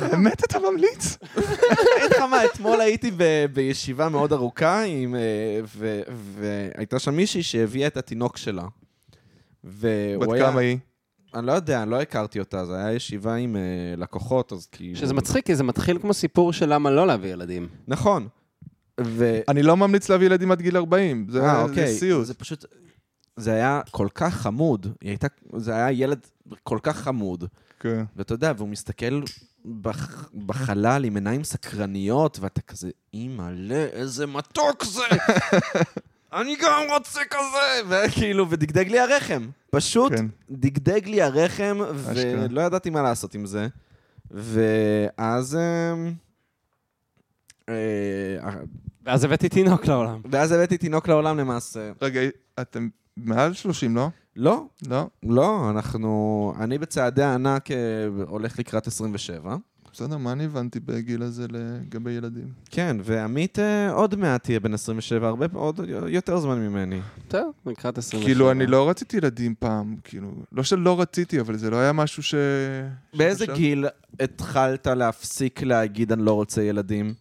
S2: באמת אתה ממליץ?
S1: אני אגיד לך מה, אתמול הייתי ב- בישיבה מאוד ארוכה, עם, אה, ו- והייתה שם מישהי שהביאה את התינוק שלה.
S2: בת
S1: והוא היה...
S2: כמה היא?
S1: אני לא יודע, אני לא הכרתי אותה, זו הייתה ישיבה עם אה, לקוחות, אז כאילו...
S3: שזה מצחיק, כי זה מתחיל כמו סיפור של למה לא להביא ילדים.
S1: נכון. ו...
S2: אני לא ממליץ להביא ילדים עד גיל 40, זה
S1: אה,
S2: זה
S1: אוקיי.
S2: סיוט.
S1: זה פשוט... זה היה כל כך חמוד, היא הייתה... זה היה ילד כל כך חמוד.
S2: כן.
S1: ואתה יודע, והוא מסתכל בח... בחלל עם עיניים סקרניות, ואתה כזה, אימא'לה, איזה מתוק זה! אני גם רוצה כזה! וכאילו, ודגדג לי הרחם. פשוט
S2: כן.
S1: דגדג לי הרחם,
S2: אשכרה.
S1: ולא ידעתי מה לעשות עם זה. ואז... אמ, אה,
S3: ואז הבאתי תינוק לעולם.
S1: ואז הבאתי תינוק לעולם למעשה.
S2: רגע, אתם מעל 30, לא?
S1: לא,
S2: לא?
S1: לא, אנחנו... אני בצעדי הענק אה, הולך לקראת 27.
S2: בסדר, מה אני הבנתי בגיל הזה לגבי ילדים?
S1: כן, ועמית אה, עוד מעט תהיה בן 27, הרבה עוד יותר זמן ממני.
S3: טוב, לקראת 27.
S2: כאילו, אני לא רציתי ילדים פעם, כאילו, לא שלא רציתי, אבל זה לא היה משהו ש...
S1: באיזה
S2: שחשב-
S1: גיל התחלת להפסיק להגיד אני לא רוצה ילדים?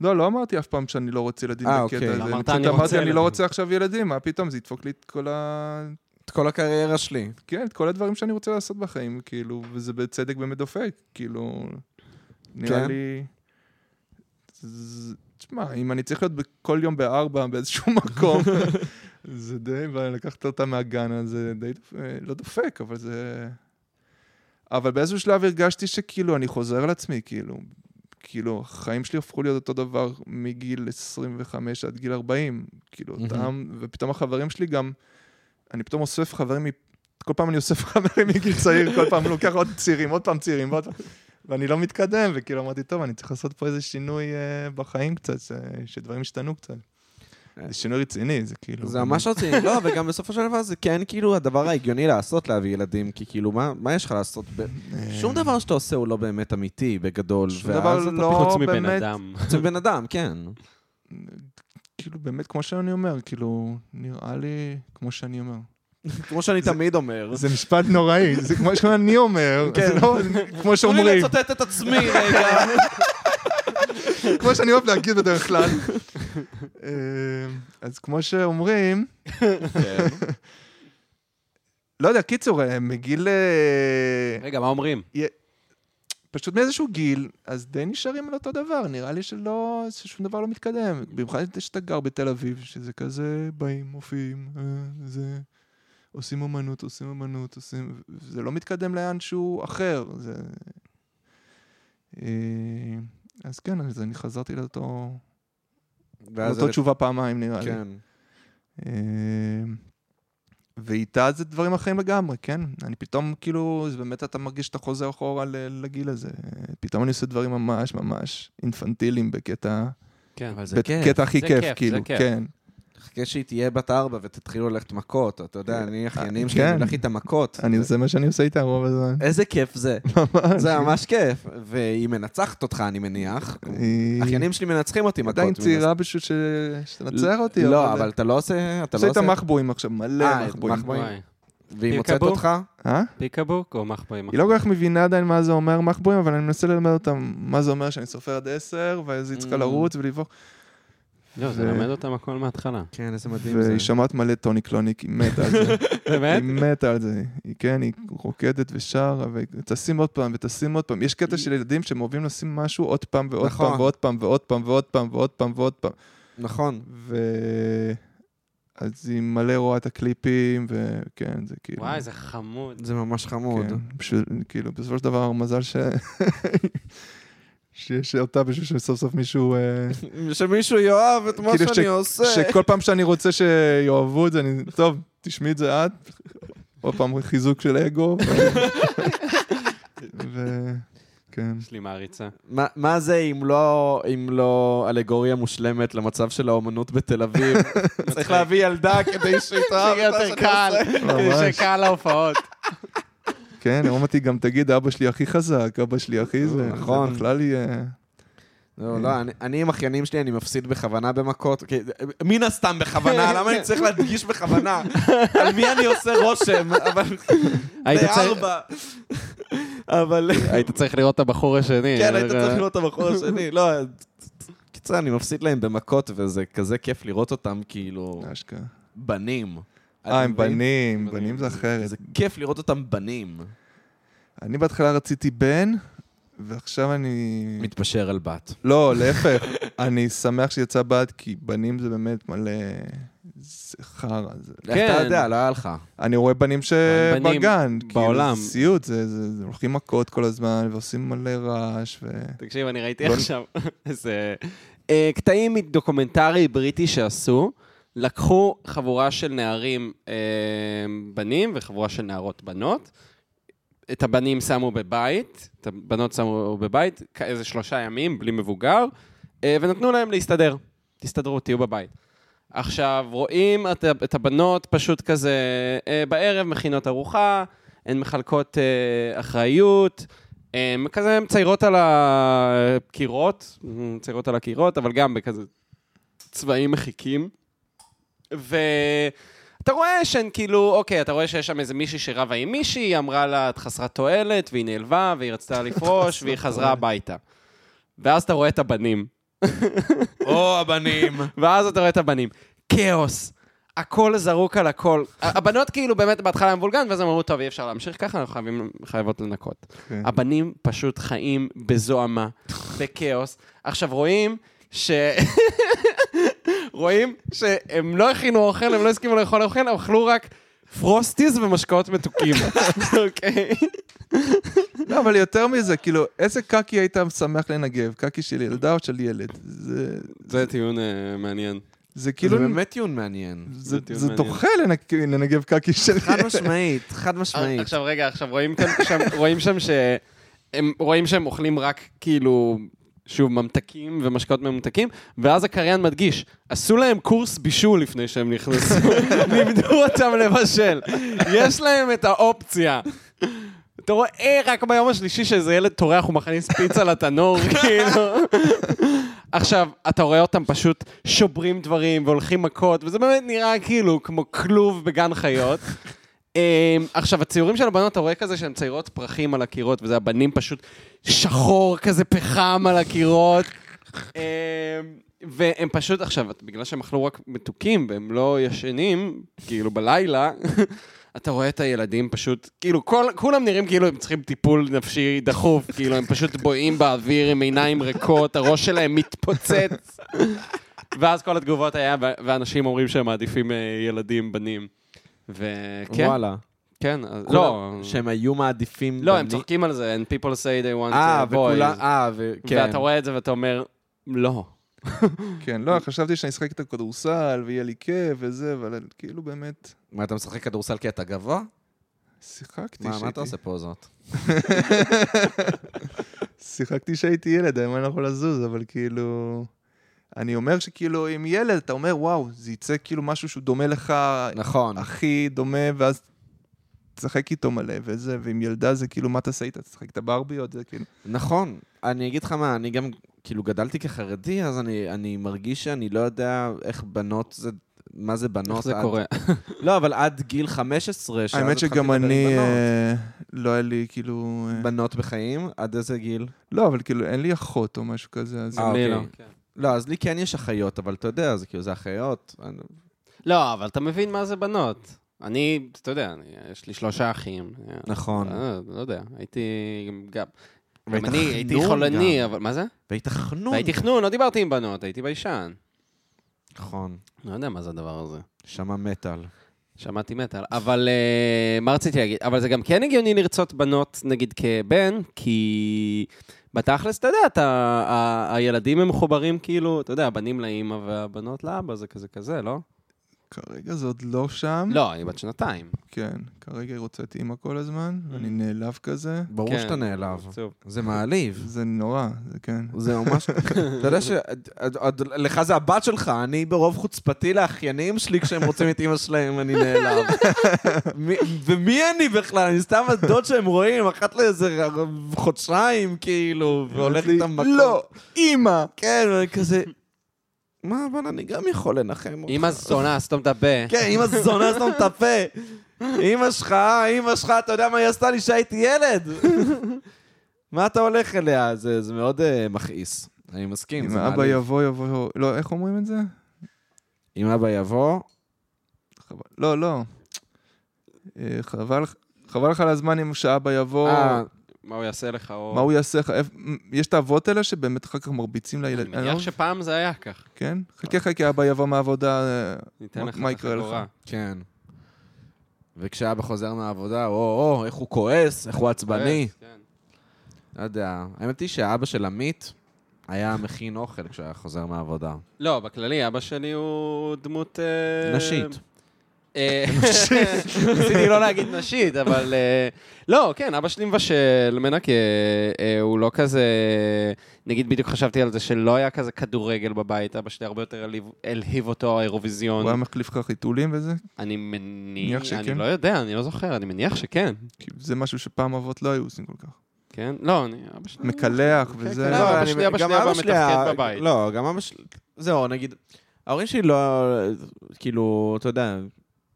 S2: לא, לא אמרתי אף פעם שאני לא רוצה ילדים
S1: אה,
S2: בקטע
S1: אוקיי.
S2: הזה.
S1: לא,
S3: אמרת,
S2: פשוט
S3: "אני רוצה
S2: אמרתי, אני
S3: ילדים".
S2: לא רוצה עכשיו ילדים, מה פתאום, זה ידפוק לי את כל ה...
S1: את כל הקריירה שלי.
S2: כן, את כל הדברים שאני רוצה לעשות בחיים, כאילו, וזה בצדק באמת דופק, כאילו, נראה
S1: כן.
S2: לי... זה- תשמע, אם אני צריך להיות כל יום בארבע באיזשהו מקום, זה די, ולקחת אותה מהגן, אז זה די, דופ- אה, לא דופק, אבל זה... אבל באיזשהו שלב הרגשתי שכאילו, אני חוזר על עצמי, כאילו, כאילו, החיים שלי הפכו להיות אותו דבר מגיל 25 עד גיל 40, כאילו,
S1: מהמם.
S2: אותם, ופתאום החברים שלי גם, אני פתאום אוסף חברים, מ- כל פעם אני אוסף חברים מגיל צעיר, כל פעם אני לוקח עוד צעירים, עוד פעם צעירים, ועוד פעם, ואני לא מתקדם, וכאילו אמרתי, טוב, אני צריך לעשות פה איזה שינוי אה, בחיים קצת, ש- שדברים אה, ישתנו קצת. זה שינוי רציני, זה כאילו...
S1: זה ממש רציני, לא, וגם בסופו של דבר זה כן כאילו הדבר ההגיוני לעשות להביא ילדים, כי כאילו, מה, מה יש לך לעשות? ב...
S2: אה,
S1: שום דבר שאתה עושה הוא לא באמת אמיתי, בגדול.
S2: שום
S1: ואז
S2: דבר
S1: אתה
S2: לא
S3: חוץ מבן
S2: באמת-
S3: אדם.
S1: פשוט בן אדם, כן.
S2: כאילו, באמת, כמו שאני אומר, כאילו, נראה לי כמו שאני אומר.
S1: כמו שאני תמיד אומר.
S2: זה משפט נוראי, זה כמו שאני אומר, זה לא כמו
S4: תנו לי
S2: שאומרים,
S4: לצטט את עצמי רגע.
S2: כמו שאני אוהב להגיד בדרך כלל. אה, אז כמו שאומרים, לא יודע, קיצור, אה, מגיל... אה,
S3: רגע, מה אומרים?
S2: פשוט מאיזשהו גיל, אז די נשארים על אותו דבר, נראה לי שלא, ששום דבר לא מתקדם. במיוחד שאתה גר בתל אביב, שזה כזה, באים, מופיעים, אה, זה... עושים אמנות, עושים אמנות, עושים... זה לא מתקדם לאן שהוא אחר, זה... אה, אז כן, אז אני חזרתי לאותו...
S1: ואז
S2: לאותו
S1: זה-
S2: תשובה פעמיים, נראה לי.
S1: כן.
S2: אמ, ואיתה זה דברים אחרים לגמרי, כן? אני פתאום, כאילו, זה באמת אתה מרגיש שאתה חוזר אחורה ל- לגיל הזה. אה, פתאום אני עושה דברים ממש ממש אינפנטיליים בקטע...
S3: כן, אבל זה...
S2: בקטע הכי
S3: זה
S2: כיף,
S3: כיף,
S2: כאילו,
S3: זה כיף.
S2: כן.
S1: חכה שהיא תהיה בת ארבע ותתחילו ללכת מכות, אתה יודע, אני אחיינים שלי,
S2: כן.
S1: אני הולך איתה מכות.
S2: אני עושה מה שאני עושה איתה רוב הזמן.
S1: איזה כיף זה.
S2: ממש.
S1: זה ממש כיף. והיא מנצחת אותך, אני מניח.
S2: היא
S1: אחיינים שלי מנצחים אותי מכות.
S2: עדיין
S1: מן
S2: צעירה בשביל ש- שתנצח אותי,
S1: הסתם. לא, אבל אתה לא עושה... אתה לא
S2: עושה
S1: עושה...
S2: איתה מחבואים עכשיו,
S1: אה,
S2: מלא מחבואים.
S1: מחבואים.
S3: וואי.
S1: והיא מוצאת
S3: פיקאבו?
S1: אותך?
S2: אה?
S3: פיקאבוק או מחפואים?
S2: היא לא כל כך מבינה עדיין מה זה אומר מחבואים, אבל אני מנסה ללמד אותה מה זה אומר שאני סופר עד עשר, ואז היא צריכה
S1: Mm.
S2: לרוץ ולברוח.
S3: לא, זה
S2: ו-
S3: למד אותם הכל מההתחלה.
S1: כן, איזה מדהים זה.
S2: והיא שומעת מלא טוני קלוניק, היא מתה על זה.
S3: באמת?
S2: היא מתה על זה. היא כן, היא רוקדת ושרה, וטסים עוד פעם, וטסים עוד פעם. יש קטע של ילדים שהם אוהבים לשים משהו עוד פעם ועוד
S1: נכון.
S2: פעם ועוד פעם ועוד פעם ועוד פעם ועוד פעם ועוד פעם.
S1: נכון.
S2: ו... אז היא מלא רואה את הקליפים, וכן, זה כאילו...
S3: וואי, זה חמוד.
S1: זה ממש חמוד.
S2: כן, בשביל, כאילו, בסופו של דבר, מזל ש... שיש אותה בשביל שסוף סוף מישהו... אה,
S1: שמישהו יאהב את מה
S2: כאילו
S1: שאני
S2: ש-
S1: עושה.
S2: שכל פעם שאני רוצה שיאהבו את זה, אני... טוב, תשמעי את זה את. עוד פעם חיזוק של אגו. ו- ו... כן.
S3: יש לי מעריצה.
S1: מה- מה זה אם לא, אם לא אלגוריה מושלמת למצב של האומנות בתל אביב? צריך להביא ילדה כדי שהיא תאהב
S3: שיהיה
S1: את מה
S3: יותר
S1: שאני
S3: קל,
S1: עושה.
S2: ממש.
S3: שקל להופעות.
S2: כן, עוד מעט היא גם תגיד, אבא שלי הכי חזק, אבא שלי הכי זה. זה
S1: נכון.
S2: בכלל יהיה...
S1: לא, לא, אני- אני עם אחיינים שלי, אני מפסיד בכוונה במכות. כי- מן הסתם בכוונה, למה אני צריך להדגיש בכוונה? על מי אני עושה רושם? אבל בארבע. אבל...
S3: היית צריך לראות את הבחור השני. אה,
S1: כן, היית צריך לראות את הבחור השני. לא, קיצר, אני מפסיד להם במכות, וזה כזה כיף לראות אותם כאילו
S2: אשכרה.
S1: בנים.
S2: אה,
S1: אתה
S2: הם
S1: מבין?
S2: בנים, בנים זה אחרת.
S1: זה כיף לראות אותם בנים.
S2: אני בהתחלה רציתי בן, ועכשיו אני...
S1: מתפשר על בת.
S2: לא, להפך. אני שמח שיצא בת, כי בנים זה באמת מלא... זה חרא. זה-
S3: כן.
S1: איך אתה יודע, לא היה לך.
S2: אני רואה בנים
S3: בנים
S2: שבגן,
S3: בעולם.
S2: כאילו, זה סיוט, זה, זה, זה הולכים מכות כל הזמן, ועושים מלא רעש, ו...
S3: תקשיב, אני ראיתי עכשיו איזה... אה, קטעים מדוקומנטרי בריטי שעשו, לקחו חבורה של נערים אה, בנים וחבורה של נערות בנות. את הבנים שמו בבית, את הבנות שמו בבית, כ- איזה שלושה ימים, בלי מבוגר, אה, ונתנו להם להסתדר. תסתדרו, תהיו בבית. עכשיו, רואים את, את הבנות פשוט כזה, אה, בערב מכינות ארוחה, הן מחלקות אה, אחריות, הן כזה מציירות על הקירות, מציירות על הקירות, אבל גם בכזה צבעים מחיקים. ואתה רואה שהן כאילו, אוקיי, אתה רואה שיש שם איזה מישהי שרבה עם מישהי, היא אמרה לה, את חסרת תועלת, והיא נעלבה, והיא רצתה לפרוש, והיא חזרה הביתה. ואז אתה רואה את הבנים.
S1: או, הבנים.
S3: ואז אתה רואה את הבנים. כאוס. הכל זרוק על הכל. הבנות כאילו באמת בהתחלה הם וולגן, ואז הם אמרו, טוב, אי אפשר להמשיך ככה, אנחנו חייבים, חייבות לנקות.
S2: כן.
S3: הבנים פשוט חיים בזוהמה, בכאוס. עכשיו רואים ש... רואים שהם לא הכינו אוכל, הם לא הסכימו לאכול אוכל, הם אכלו רק פרוסטיז ומשקאות מתוקים. אוקיי?
S2: לא, אבל יותר מזה, כאילו, איזה קקי היית שמח לנגב? קקי של ילדה או של ילד? זה,
S3: זה טיעון אה, מעניין.
S2: זה כאילו...
S1: זה באמת טיעון מעניין.
S2: זה,
S3: טיעון
S2: זה
S3: מעניין.
S2: דוחה לנק... לנגב קקי של
S1: חד
S2: ילד.
S1: משמעית, חד משמעית.
S3: עכשיו רגע, עכשיו רואים כאן, שם, רואים שם ש... הם רואים שהם אוכלים רק כאילו שוב, ממתקים ומשקאות ממותקים, ואז הקריין מדגיש, עשו להם קורס בישול לפני שהם נכנסו, לימדו אותם לבשל. יש להם את האופציה. אתה רואה "אה, רק ביום השלישי שאיזה ילד טורח ומכניס פיצה לתנור, כאילו. עכשיו, אתה רואה אותם פשוט שוברים דברים והולכים מכות, וזה באמת נראה כאילו כמו כלוב בגן חיות. אמ, עכשיו, הציורים של הבנות, אתה רואה כזה שהן ציירות פרחים על הקירות, וזה הבנים פשוט שחור כזה פחם על הקירות. אמ, והם פשוט, עכשיו, בגלל שהם אכלו רק מתוקים והם לא ישנים, כאילו בלילה, אתה רואה את הילדים פשוט, כאילו, כל, כולם נראים כאילו הם צריכים טיפול נפשי דחוף, כאילו, הם פשוט בואים באוויר עם עיניים ריקות, הראש שלהם מתפוצץ. ואז כל התגובות היה, ו- ואנשים אומרים שהם מעדיפים אה, ילדים, בנים. וכן,
S1: וואלה.
S3: כן, אז- לא,
S1: לא. שהם היו מעדיפים...
S3: לא, הם
S1: בני-
S3: צוחקים על זה, and people say they want
S1: אה,
S3: a
S1: וכולם...
S3: boy.
S1: אה, וכן.
S3: ואתה רואה את זה ואתה אומר, לא.
S2: כן, לא, חשבתי שאני אשחק את הכדורסל ויהיה לי כיף וזה, אבל כאילו באמת,
S1: מה, אתה משחק כדורסל כי אתה גבוה?
S2: שיחקתי
S1: מה, מה
S2: שהייתי-
S1: אתה עושה פה זאת?
S2: שיחקתי שהייתי ילד, היום אני לא יכול לזוז, אבל כאילו... אני אומר שכאילו, עם ילד, אתה אומר, וואו, זה יצא כאילו משהו שהוא דומה לך,
S1: נכון.
S2: הכי דומה, ואז תשחק איתו מלא וזה, ועם ילדה זה כאילו, מה תעשה איתה? תשחק את הברביות? זה כאילו...
S1: נכון. אני אגיד לך מה, אני גם כאילו גדלתי כחרדי, אז אני, אני מרגיש שאני לא יודע איך בנות זה... מה זה בנות?
S3: איך זה
S1: עד-
S3: קורה?
S1: לא, אבל עד גיל 15, שאז
S2: האמת
S1: התחלתי
S2: שגם
S1: לדבר עם
S2: אני,
S1: בנות.
S2: אה, לא היה לי כאילו... אה,
S1: בנות בחיים? עד איזה גיל?
S2: לא, אבל כאילו, אין לי אחות או משהו כזה, אז...
S1: אה,
S3: אני
S1: אוקיי.
S3: לא.
S1: לא, אז לי כן יש אחיות, אבל אתה יודע, זה כאילו, זה אחיות. אני-
S3: לא, אבל אתה מבין מה זה בנות. אני, אתה יודע, אני- יש לי שלושה אחים.
S1: נכון.
S3: אה, לא יודע, הייתי גם- גם...
S1: והיית
S3: גם אני הייתי
S1: חנון
S3: חולני,
S1: גם.
S3: אבל מה זה?
S1: והיית חנון.
S3: הייתי חנון, לא דיברתי עם בנות, הייתי ביישן.
S1: נכון.
S3: לא יודע מה זה הדבר הזה.
S1: שמע מטאל.
S3: שמעתי מטאל. אבל אה, מה רציתי להגיד? אבל זה גם כן הגיוני לרצות בנות, נגיד, כבן, כי בתכלס, אתה יודע, אתה, ה, הילדים הם מחוברים כאילו, אתה יודע, הבנים לאימא והבנות לאבא, זה כזה כזה, לא?
S2: כרגע זה עוד לא שם.
S3: לא, אני בת שנתיים.
S2: כן, כרגע היא רוצה את אימא כל הזמן, ואני נעלב כזה.
S1: ברור
S3: כן.
S1: שאתה נעלב.
S3: עצוב.
S1: זה מעליב.
S2: זה נורא, זה כן.
S1: זה ממש... אתה יודע ש... עוד- עוד- לך זה הבת שלך, אני ברוב חוצפתי לאחיינים שלי כשהם רוצים את אימא שלהם, אני נעלב. מי- ומי אני בכלל? אני סתם הדוד שהם רואים, אחת לאיזה חודשיים, כאילו, והולך
S2: לי,
S1: איתם מכות.
S2: "לא, אימא!
S1: כן, ואני כזה... מה, אבל אני גם יכול לנחם אותך.
S3: אימא זונה, סתום את הפה.
S1: כן, אימא זונה, סתום את הפה. אימא שלך, אימא שלך, אתה יודע מה היא עשתה לי כשהייתי ילד? מה אתה הולך אליה? זה זה מאוד אה, מכעיס. אני מסכים.
S2: אם
S1: זה
S2: אבא
S1: מעליב.
S2: יבוא, יבוא... לא, איך אומרים את זה?
S1: אם אבא יבוא,
S2: חבל. לא, לא. אה, חבל חבל לך על הזמן אם שאבא יבוא,
S1: אה,
S3: מה הוא יעשה לך? או...
S2: מה הוא יעשה לך? איפ- יש את האבות האלה שבאמת אחר כך מרביצים
S3: אני
S2: לילדים.
S3: מניח שפעם זה היה כך.
S2: כן? חכה חכה, אבא יבוא מהעבודה, אה,
S3: ניתן
S2: מה-
S3: לך
S2: מה יקרה לך?
S3: חגורה.
S1: כן. וכשאבא חוזר מהעבודה, או, או, איך הוא כועס, איך הוא עצבני.
S3: כן.
S1: לא יודע. האמת היא שהאבא של עמית היה מכין אוכל כשהיה חוזר מהעבודה.
S3: לא, בכללי, אבא שלי הוא דמות... אה,
S1: נשית.
S3: אה, ניסיתי לא להגיד נשית, אבל... אה, לא, כן, אבא שלי מבשל, מנקה, אה, הוא לא כזה... נגיד, בדיוק חשבתי על זה שלא היה כזה כדורגל בבית, אבא שלי הרבה יותר הלהיב- הלהיב אותו האירוויזיון.
S2: הוא היה מחליף לך חיתולים וזה?
S3: אני מניח,
S2: מניח
S3: אני
S2: שכן.
S3: לא יודע, אני לא זוכר, אני מניח שכן.
S2: כי זה משהו שפעם אבות לא היו עושים כל כך.
S3: כן? לא, אני... אבא שלי...
S2: מקלח
S3: כן,
S2: וזה.
S3: כן,
S2: לא,
S3: אבא
S1: אבל
S3: שלי,
S1: אני-
S3: אבא
S1: גם
S3: שלי, אבא מתפקד
S1: היה-
S3: בבית.
S1: לא, גם אבא שלי... זהו, נגיד, ההורים שלי לא... כאילו, אתה יודע,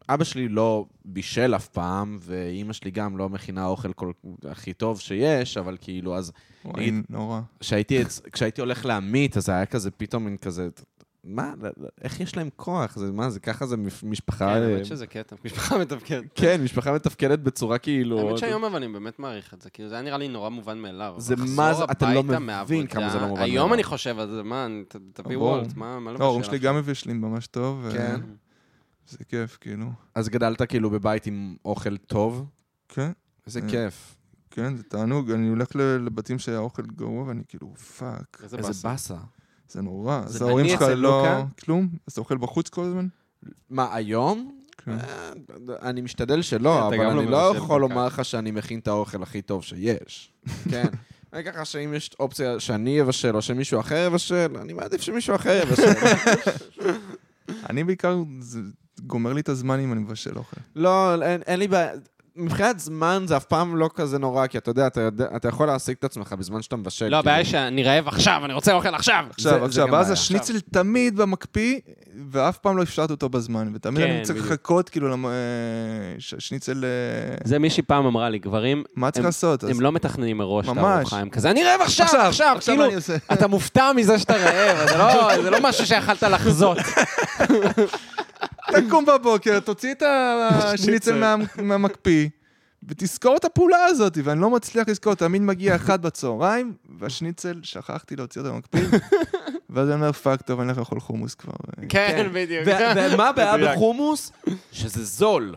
S1: אבא שלי לא בישל אף פעם, ואימא שלי גם לא מכינה אוכל כל... הכי טוב שיש, אבל כאילו, אז
S2: וואי,
S1: נגיד-
S2: נורא.
S1: כשהייתי, אצ- כשהייתי הולך להמית, אז זה היה כזה פתאום מין כזה... מה, איך יש להם כוח? זה, מה, זה ככה זה מפ- משפחה... אה,
S3: כן, האמת שזה קטע, משפחה מתפקדת.
S1: כן, משפחה מתפקדת בצורה כאילו...
S3: האמת שהיום אבל אני באמת מעריך את זה, כאילו זה היה נראה לי נורא מובן מאליו.
S1: זה
S3: אבל
S1: מה זה-
S3: לחזור
S1: אתה לא
S3: הביתה
S1: מבין
S3: מהעבודה,
S1: כמה זה לא מובן
S3: היום
S1: מאליו.
S3: אני חושב על זה, מה, אני- ת- תביא
S2: ברור.
S3: וולט, מה, מה
S2: לא, ההורים שלי
S3: לבשל
S2: גם מבשלים ממש טוב. ו-
S1: כן.
S2: זה כיף, כאילו.
S1: אז גדלת כאילו בבית עם אוכל טוב?
S2: כן,
S1: איזה
S2: אה,
S1: כיף.
S2: כן, זה תענוג. אני הולך ל- לבתים שהאוכל גרוע, ואני כאילו, פאק,
S3: עכשיו?
S1: איזה
S3: באסה.
S1: באסה.
S2: זה נורא.
S3: זה-
S2: אז ההורים
S3: אני
S2: שלך
S3: אצל
S2: לא...
S3: לוקה.
S2: כלום? אז אתה אוכל בחוץ כל הזמן?
S1: מה, היום?
S2: כן.
S1: אה, אני משתדל שלא,
S3: אתה
S1: אבל
S3: גם לא
S1: אני לא
S3: מבשל
S1: יכול
S3: כל כך.
S1: לומר לך שאני מכין את האוכל הכי טוב שיש. כן.
S4: אני ככה שאם יש אופציה שאני אבשל או שמישהו אחר יבשל, אני מעדיף שמישהו אחר יבשל.
S2: אני בעיקר, זה גומר לי את הזמן אם אני מבשל אוכל.
S4: לא, אין, אין לי בעיה. מבחינת זמן זה אף פעם לא כזה נורא, כי אתה יודע, אתה, יודע, אתה יכול להעסיק את עצמך בזמן שאתה מבשל.
S3: לא, הבעיה היא
S4: כאילו.
S3: שאני רעב עכשיו, אני רוצה אוכל עכשיו.
S2: עכשיו,
S4: זה
S2: עכשיו,
S4: גם
S2: ואז
S4: בעיה.
S2: השניצל תמיד במקפיא, ואף פעם לא הפשרתי אותו בזמן, ותמיד
S3: כן,
S2: אני צריך
S3: בדיוק.
S2: לחכות, כאילו, למ- אה, שהשניצל... אה,
S3: זה מישהי פעם אמרה לי, גברים,
S2: מה צריך
S3: הם-
S2: לעשות? אז-
S3: הם לא מתכננים מראש את
S2: ממש.
S3: הארוחה, הם כזה, אני רעב עכשיו, עכשיו,
S2: עכשיו
S3: כאילו,
S2: אני עושה.
S3: אתה מופתע מזה שאתה רעב, אז זה לא- זה לא משהו שיכלת לחזות.
S2: תקום בבוקר, תוציא את השניצל מה- מהמקפיא, ותזכור את הפעולה הזאת, ואני לא מצליח לזכור, תמיד מגיע אחד בצהריים, והשניצל, שכחתי להוציא אותו מהמקפיא, ואז אני אומר, פאק, טוב, אני הולך לאכול חומוס כבר.
S3: כן, בדיוק.
S1: ו- ומה הבעיה
S3: מדויק.
S1: בחומוס? שזה זול.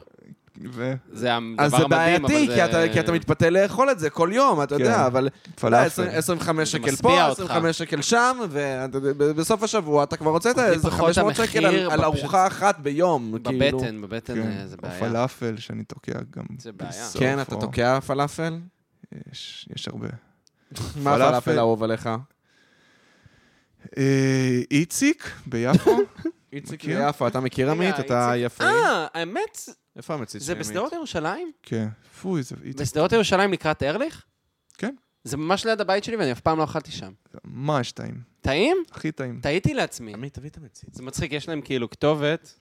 S2: ו-
S3: זה הדבר
S1: אז זה
S3: המדהים, אבל
S1: בעייתי,
S3: זה...
S1: כי אתה- כי אתה מתפתה לאכול את זה כל יום, אתה
S2: כן.
S1: יודע, אבל...
S2: פלאפל.
S1: לא, 20 25
S3: זה
S1: שקל
S3: משביע
S1: פה,
S3: אותך.
S1: 25 שקל שם, ובסוף השבוע אתה כבר רוצה את
S3: זה
S1: איזה
S3: פחות
S1: 500
S3: המחיר,
S1: שקל על- על
S3: פשוט-
S1: ארוחה אחת ביום, כאילו.
S3: בבטן, בבטן
S2: כן,
S3: אה, זה
S2: או
S3: בעיה.
S2: פלאפל שאני תוקע גם.
S3: זה בעיה.
S2: בסוף,
S1: כן, אתה
S2: או-
S1: תוקע פלאפל?
S2: יש, יש הרבה.
S1: מה
S2: פלאפל.
S1: הפלאפל האהוב עליך?
S2: אה, איציק ביפו?
S1: איציק
S2: מכיר?
S1: מיפו, אתה מכיר עמית?
S3: רגע,
S1: אתה
S3: איציק.
S1: יפה.
S3: אה, האמת,
S1: איפה המציץ של
S3: זה
S1: עמית?
S3: בשדרות ירושלים?
S2: כן. פוי, זה איציק.
S3: בשדרות ירושלים לקראת ארליך?
S2: כן.
S3: זה ממש ליד הבית שלי ואני אף פעם לא אכלתי שם.
S2: ממש טעים.
S3: טעים?
S2: הכי טעים.
S3: טעיתי לעצמי.
S1: עמית, תביא את המציץ.
S3: זה מצחיק, יש להם כאילו כתובת,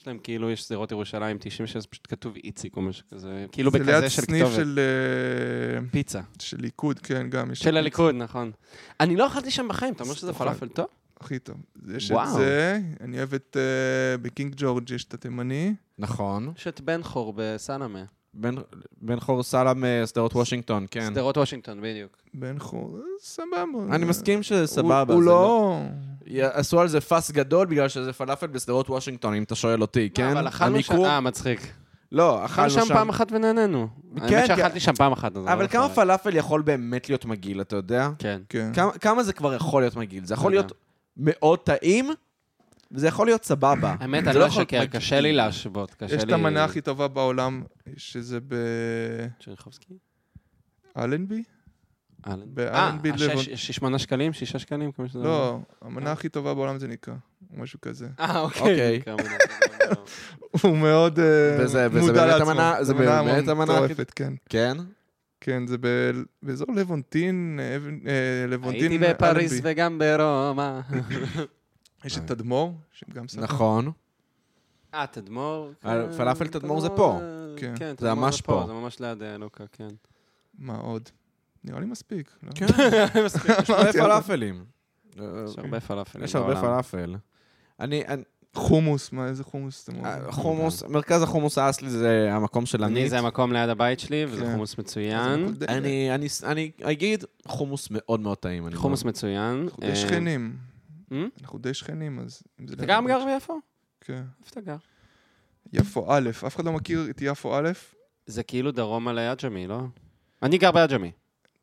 S3: יש להם כאילו, יש שדרות ירושלים 96, פשוט כתוב איציק או משהו כזה, כאילו
S2: זה ליד
S3: בכזה של
S2: סניף
S3: כתובת.
S2: של, אה,
S3: פיצה.
S2: של ליכוד, כן, גם יש.
S3: של הליכוד, נכון. אני לא אכלתי שם בחיים, אתה אומר שזה פלאפל טוב?
S2: הכי טוב. יש את
S3: וואו.
S2: זה, אני אוהב את... אה, בקינג ג'ורג' יש את התימני.
S1: נכון.
S3: יש את בן חור בסנאמה.
S1: בן- בן חור סלאם, אה, שדרות וושינגטון, כן.
S3: שדרות וושינגטון, בדיוק.
S2: בן חור, אה, סבבה.
S1: אני
S2: אה,
S1: מסכים שזה
S2: הוא-
S1: סבבה.
S2: הוא
S1: זה
S2: לא...
S1: י- עשו על זה פס גדול בגלל שזה פלאפל בשדרות וושינגטון, אם אתה שואל אותי, כן?
S3: לא, אבל אכלנו שם...
S1: המיקום-
S3: אה, מצחיק.
S1: לא,
S3: אכלנו שם פעם אחת ונהנינו. האמת
S1: כן.
S3: שאכלתי שם פעם אחת. אז אני
S1: אבל
S3: לא
S1: כמה
S3: יכול-
S1: פלאפל יכול באמת להיות מגעיל, אתה יודע?
S3: כן.
S2: כן.
S1: כמה- כמה זה כבר יכול להיות מגעיל? זה יכול
S3: לא
S1: להיות מאוד טעים, וזה יכול להיות סבבה.
S3: האמת,
S1: זה
S3: אני לא
S1: יכול להיות
S3: אשקר,
S1: מגעיל.
S3: קשה לי להשוות. קשה לי... אה,
S2: יש את המנה הכי טובה בעולם, שזה באלנבי?
S3: צ'רניחובסקי? אלן.
S2: באלנבי
S3: אה, השש-
S2: לבנ-
S3: שש- שמונה שקלים? שישה שקלים? כמה שזה... עולה.
S2: לא, המנה הכי טובה בעולם זה נקרא, משהו כזה.
S3: אה,
S1: אוקיי.
S3: אוקיי. כמה-
S2: הוא מאוד אה,
S1: וזה- וזה
S2: מודע
S1: באמת
S2: לעצמו.
S1: המנה- זה באמת המנה הכי-
S2: מטורפת, כן.
S1: כן?
S2: כן, זה ב- באזור לבונטין, אה, אבן- אה, לבונטין.
S3: הייתי בפריז
S2: אלנבי.
S3: וגם ברומא.
S2: יש את תדמור, שהם גם סבבה.
S1: נכון.
S3: אה, תדמור.
S1: אה,
S3: כן,
S1: פלאפל תדמור זה פה.
S3: אה,
S2: כן.
S3: כן,
S1: זה
S3: תדמור
S1: ממש
S3: זה
S1: פה.
S3: פה. זה ממש ליד אה, לוקה, כן.
S2: מה עוד? נראה לי מספיק.
S1: כן,
S2: לא?
S1: יש הרבה פלאפלים.
S3: יש הרבה פלאפלים
S1: יש הרבה
S3: בעולם.
S1: פלאפל. אני, אני-
S2: חומוס, מה, איזה חומוס אתם אוהבים?
S1: אה, חומוס, מרכז החומוס האסלי זה המקום של
S3: אני
S1: עמית.
S3: זה המקום ליד הבית שלי, וזה
S2: כן.
S3: חומוס
S2: אז
S3: מצוין.
S2: הכל די-
S1: אני, אני, אני אגיד, חומוס מאוד מאוד טעים. אני
S3: חומוס מצוין.
S2: אנחנו
S3: אה,
S2: די שכנים.
S3: אמ?
S2: אנחנו די שכנים, אז... אם זה
S3: אתה
S2: ליד
S3: גם
S2: הבית
S3: גר
S2: שלי-
S3: ביפו?
S2: כן.
S3: איפה אתה גר?
S2: יפו א', אף אחד לא מכיר את יפו א',
S3: זה כאילו דרומה ליג'מי, לא? אני גר ביג'מי.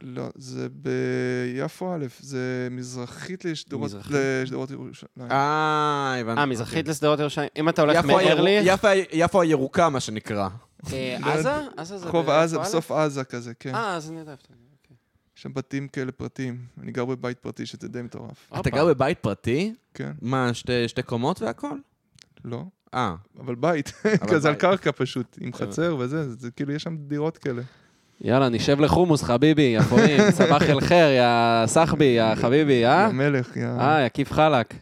S2: לא, זה ביפו א', זה מזרחית לשדרות
S3: מזרחית?
S2: לשדרות ירושלים.
S1: אה, הבנתי.
S3: אה, מזרחית לשדרות ירושלים. אם אתה הולך
S1: יפו הירוק-
S3: מארליך,
S1: יפו ה- יפו הירוקה, מה שנקרא.
S3: אה, עזה? עזה זה...
S2: רחוב
S3: ביפו
S2: עזה,
S3: א'?
S2: בסוף עזה כזה, כן.
S3: אה, אז אני יודע איפה אתה גר.
S2: יש שם בתים כאלה פרטיים. אני גר בבית פרטי, שזה די מטורף.
S3: הופה.
S1: אתה גר בבית פרטי?
S2: כן,
S1: מה, שתי שתי קומות והכל?
S2: לא.
S1: אה,
S2: אבל בית, כזה על
S1: בית.
S2: קרקע פשוט, עם חצר וזה, זה- זה כאילו, יש שם דירות כאלה.
S3: יאללה, נשב לחומוס, חביבי, יפואים, סבח אל חיר, יא סחבי, יא חביבי, אה?
S2: יא מלך, יא...
S3: אה, יקיף חלק.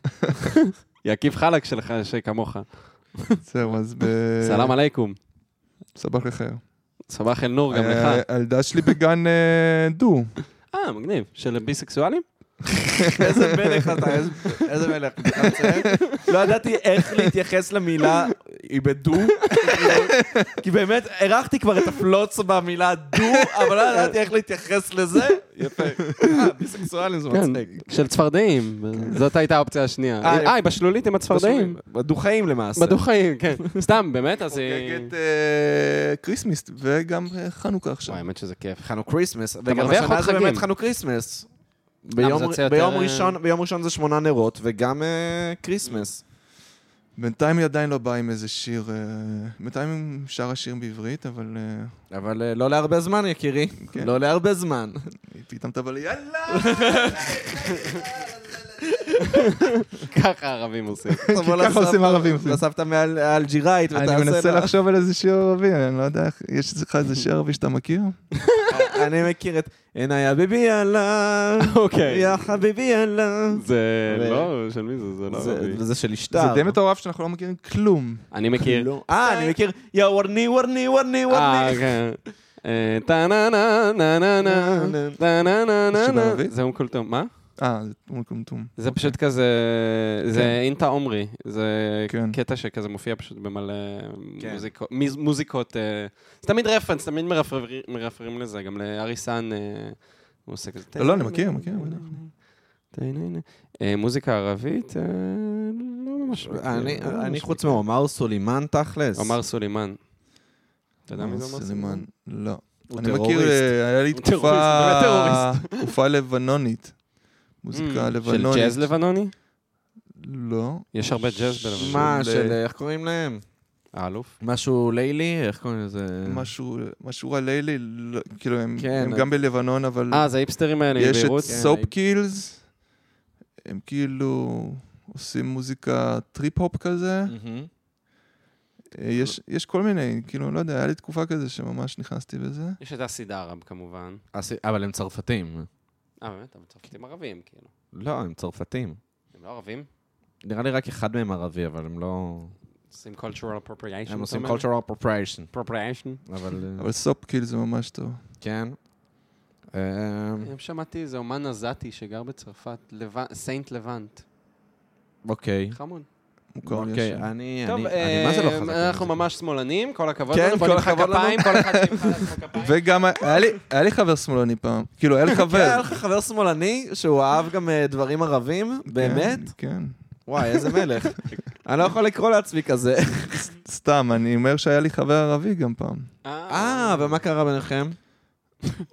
S3: יקיף חלק שלך, שכמוך.
S2: זהו, אז ב...
S3: סלאם עליכום.
S2: סבח לחיר.
S3: סבח אל נור גם
S2: אה,
S3: לך.
S2: הילדה שלי בגן אה, דו.
S3: אה, מגניב. של ביסקסואלים?
S1: איזה מלך אתה, איזה- איזה מלך. אתה מצחיק. לא ידעתי איך להתייחס למילה איבדו, כי באמת, הרחתי כבר את הפלוץ במילה דו, אבל לא ידעתי איך להתייחס לזה. יפה. אה, ביסקסואלים
S2: לא
S3: כן.
S1: זה מצחיק.
S3: של צפרדעים. זאת הייתה האופציה השנייה. אה, היא בשלולית עם הצפרדעים.
S1: בדו-חיים למעשה.
S3: בדוחאים, כן. סתם, באמת, אז היא...
S2: חוגגת אה, כריסמיס וגם אה, חנוכה
S3: וואי,
S2: עכשיו.
S3: האמת שזה כיף.
S1: חנו כריסמס, וגם
S3: מרוויח
S1: השנה
S3: עוד
S1: זה באמת
S3: חגים.
S1: חנו כריסמס.
S3: זה
S1: ביום,
S3: יוצא יותר,
S1: ביום,
S3: אה,
S1: ראשון, ביום ראשון זה שמונה נרות, וגם אה, כריסמס.
S2: בינתיים היא עדיין לא באה עם איזה שיר, אה, בינתיים היא שרה שיר בעברית, אבל אה,
S1: אבל אה, לא להרבה זמן, יקירי.
S2: כן.
S1: לא להרבה זמן.
S2: היא פתאום תבוא לי, יאללה!
S3: ככה הערבים עושים.
S1: תבוא
S2: ככה
S1: לסבתא-
S2: עושים ערבים.
S1: לסבתא מעל- האלג'יראית ותעשה לה...
S2: אני מנסה לחשוב על איזה שיר ערבי, אני לא יודע, איך- יש לך איזה שיר ערבי שאתה מכיר?
S1: אני מכיר את עיניי הביבי יאללה,
S3: אוקיי.
S1: יא חביבי יאללה.
S3: זה
S1: ו-
S3: לא, של מי זה? זה לא
S1: זה-
S3: ערבי.
S1: וזה של אשתר.
S2: זה די מטורף שאנחנו לא מכירים כלום.
S3: אני מכיר.
S1: לא. אה, אני מכיר, יא וורני וורני וורני
S3: אה,
S1: וורני.
S3: כן. אה, טה נה נה נה נה נה טה נה נה
S2: זה
S3: נה
S2: שיר
S3: נה
S2: ערבי?
S3: זה אום כולתום. מה?
S2: אה, זה תמול קומטום.
S3: זה פשוט כזה, זה אינטה עומרי, זה
S2: כן.
S3: קטע שכזה מופיע פשוט במלא
S1: כן.
S3: מוזיקו- מיז- מוזיקות, אה, זה תמיד רפרנס, תמיד מרפרר- מרפררים לזה, גם לאריסן הוא עושה כזה.
S2: לא, לא, אני מכיר, מכיר, בטח.
S3: אה, מוזיקה ערבית, אה, לא ממש מכיר.
S1: אני-
S3: לא
S2: אה,
S3: ממש
S1: אני חוץ
S3: מכיר.
S1: מעומר סולימאן תכלס.
S3: עומר סולימאן. אתה יודע מי זה עומר סולימאן?
S2: סלימאן. לא.
S1: הוא
S2: אני
S1: טרוריסט.
S2: מכיר, אה, היה לי
S3: הוא טרוריסט, באמת
S2: תקופה...
S3: טרוריסט.
S2: תקופה לבנונית. מוזיקה
S3: של
S2: לבנונית.
S3: ג'אז לבנוני?
S2: לא.
S3: יש הרבה ג'אז בלבנון.
S1: מה,
S2: של-
S1: של אה, איך קוראים להם?
S3: האלוף?
S1: משהו לילי? איך קוראים לזה?
S3: אה.
S2: משהו, משהו הלילי, לא- כאילו הם,
S1: כן,
S2: הם
S1: אז-
S2: גם בלבנון, אבל
S3: אה, זה האיפסטרים האלה
S2: יש את
S3: מביירות?
S2: סופ
S1: כן,
S2: קילס, הם כאילו עושים מוזיקה טריפ-הופ כזה,
S1: מהמם.
S2: אה, יש, יש כל מיני, כאילו, לא יודע, היה לי תקופה כזה שממש נכנסתי בזה.
S3: יש את אסיד ערב כמובן.
S1: אז- אבל הם צרפתים.
S3: אה, באמת? אבל צרפתים
S1: כן.
S3: ערבים, כאילו.
S1: לא, הם צרפתים.
S3: הם לא ערבים?
S1: נראה לי רק אחד מהם ערבי, אבל הם לא...
S3: עושים cultural appropriation.
S1: הם עושים cultural appropriation.
S3: appropriation.
S1: אבל אה,
S2: אה? אבל סופ קילס זה ממש טוב.
S1: כן. אה,
S3: היום שמעתי איזה אומן עזתי שגר בצרפת, לב- סיינט לבנט.
S1: אוקיי.
S3: חמוד.
S2: מוכר לי
S1: אוקיי,
S2: השם.
S1: אני...
S3: טוב,
S1: אני-
S3: אה,
S1: אני מה זה לא חזק?
S3: אנחנו ממש שמאלנים, כל הכבוד
S1: כן,
S3: לנו. בוא
S1: כל
S3: נמחא
S1: הכבוד לנו.
S3: כפיים, כל אחד שימחא לך כפיים.
S2: וגם היה לי, היה לי חבר שמאלני פעם, כאילו, היה לי
S1: כן, היה
S2: חבר.
S1: לך חבר שמאלני שהוא אהב גם אה, דברים ערבים? באמת?
S2: כן, כן.
S1: וואי, איזה מלך. אני לא יכול לקרוא לעצמי כזה.
S2: סתם, אני אומר שהיה לי חבר ערבי גם פעם.
S1: אה, ומה קרה ביניכם?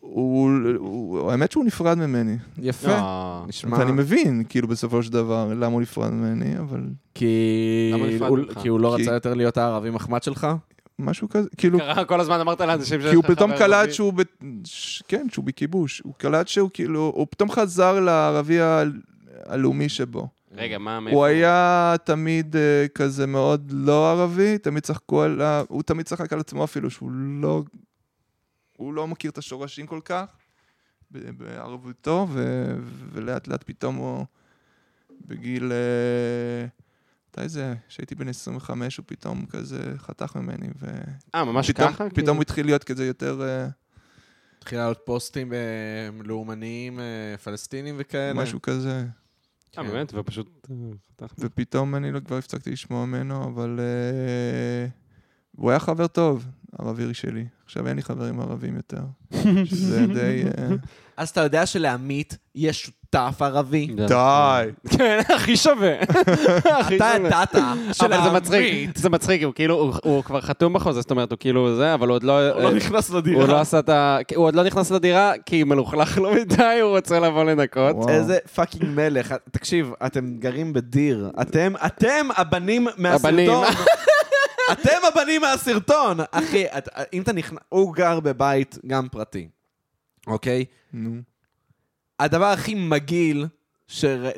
S2: הוא, הוא, האמת שהוא נפרד ממני.
S1: יפה.
S3: אה.
S1: נשמע...
S2: ואני מבין, כאילו, בסופו של דבר, למה הוא נפרד ממני, אבל
S1: כי
S3: למה נפרד
S1: הוא-
S3: ממך?
S1: כי הוא לא
S2: כי-
S1: רצה יותר להיות הערבי מחמד שלך?
S2: משהו כזה, כאילו,
S3: קרה כל הזמן אמרת לאנשים שיש
S2: כי הוא
S3: לך
S2: פתאום
S3: חבר
S2: קלט
S3: ערבי.
S2: שהוא, ב... ש... כן, שהוא בכיבוש, הוא קלט שהוא כאילו, הוא פתאום חזר לערבי ה... הלאומי שבו.
S3: רגע, מה, מאיפה?
S2: הוא היה תמיד אה, כזה מאוד לא ערבי, תמיד צחקו על ה... הוא תמיד צחק על עצמו אפילו, שהוא לא... הוא לא מכיר את השורשים כל כך ב- בערבותו, ו... ולאט לאט פתאום הוא בגיל... אה, מתי זה? כשהייתי בן 25, הוא פתאום כזה חתך ממני, ו...
S3: אה, ממש
S2: פתאום-
S3: ככה?
S2: פתאום הוא התחיל להיות כזה יותר... אה,
S1: התחיל לעלות פוסטים אה, לאומניים, אה, פלסטינים וכאלה.
S2: משהו כזה.
S3: אה, באמת? ופשוט... אה, חתכנו.
S2: ופתאום אני לא כבר הפסקתי לשמוע ממנו, אבל אה, הוא היה חבר טוב, ערבי שלי. עכשיו אין לי חברים ערבים יותר. שזה די... אה,
S1: אז אתה יודע שלעמית יש שותף ערבי?
S2: די!
S3: כן, הכי שווה. הכי
S1: אתה
S3: שווה.
S1: ידעת
S3: אבל זה
S1: שלעמית...
S3: מצחיק, זה מצחיק, הוא כאילו, הוא- הוא כבר חתום בחוזה, זאת אומרת, הוא כאילו זה, אבל הוא עוד לא...
S1: הוא לא נכנס
S3: הוא לא
S1: לדירה.
S3: עשה את ה... הוא עוד לא נכנס לדירה, כי מלוכלך לו מדי, הוא רוצה לבוא לנקות.
S2: וואו.
S1: איזה פאקינג מלך. תקשיב, אתם גרים בדיר. אתם, אתם הבנים מהסרטון.
S3: הבנים.
S1: אתם הבנים מהסרטון. אחי, את- אם אתה נכנס... הוא גר בבית גם פרטי, אוקיי?
S2: נו.
S1: הדבר הכי מגעיל,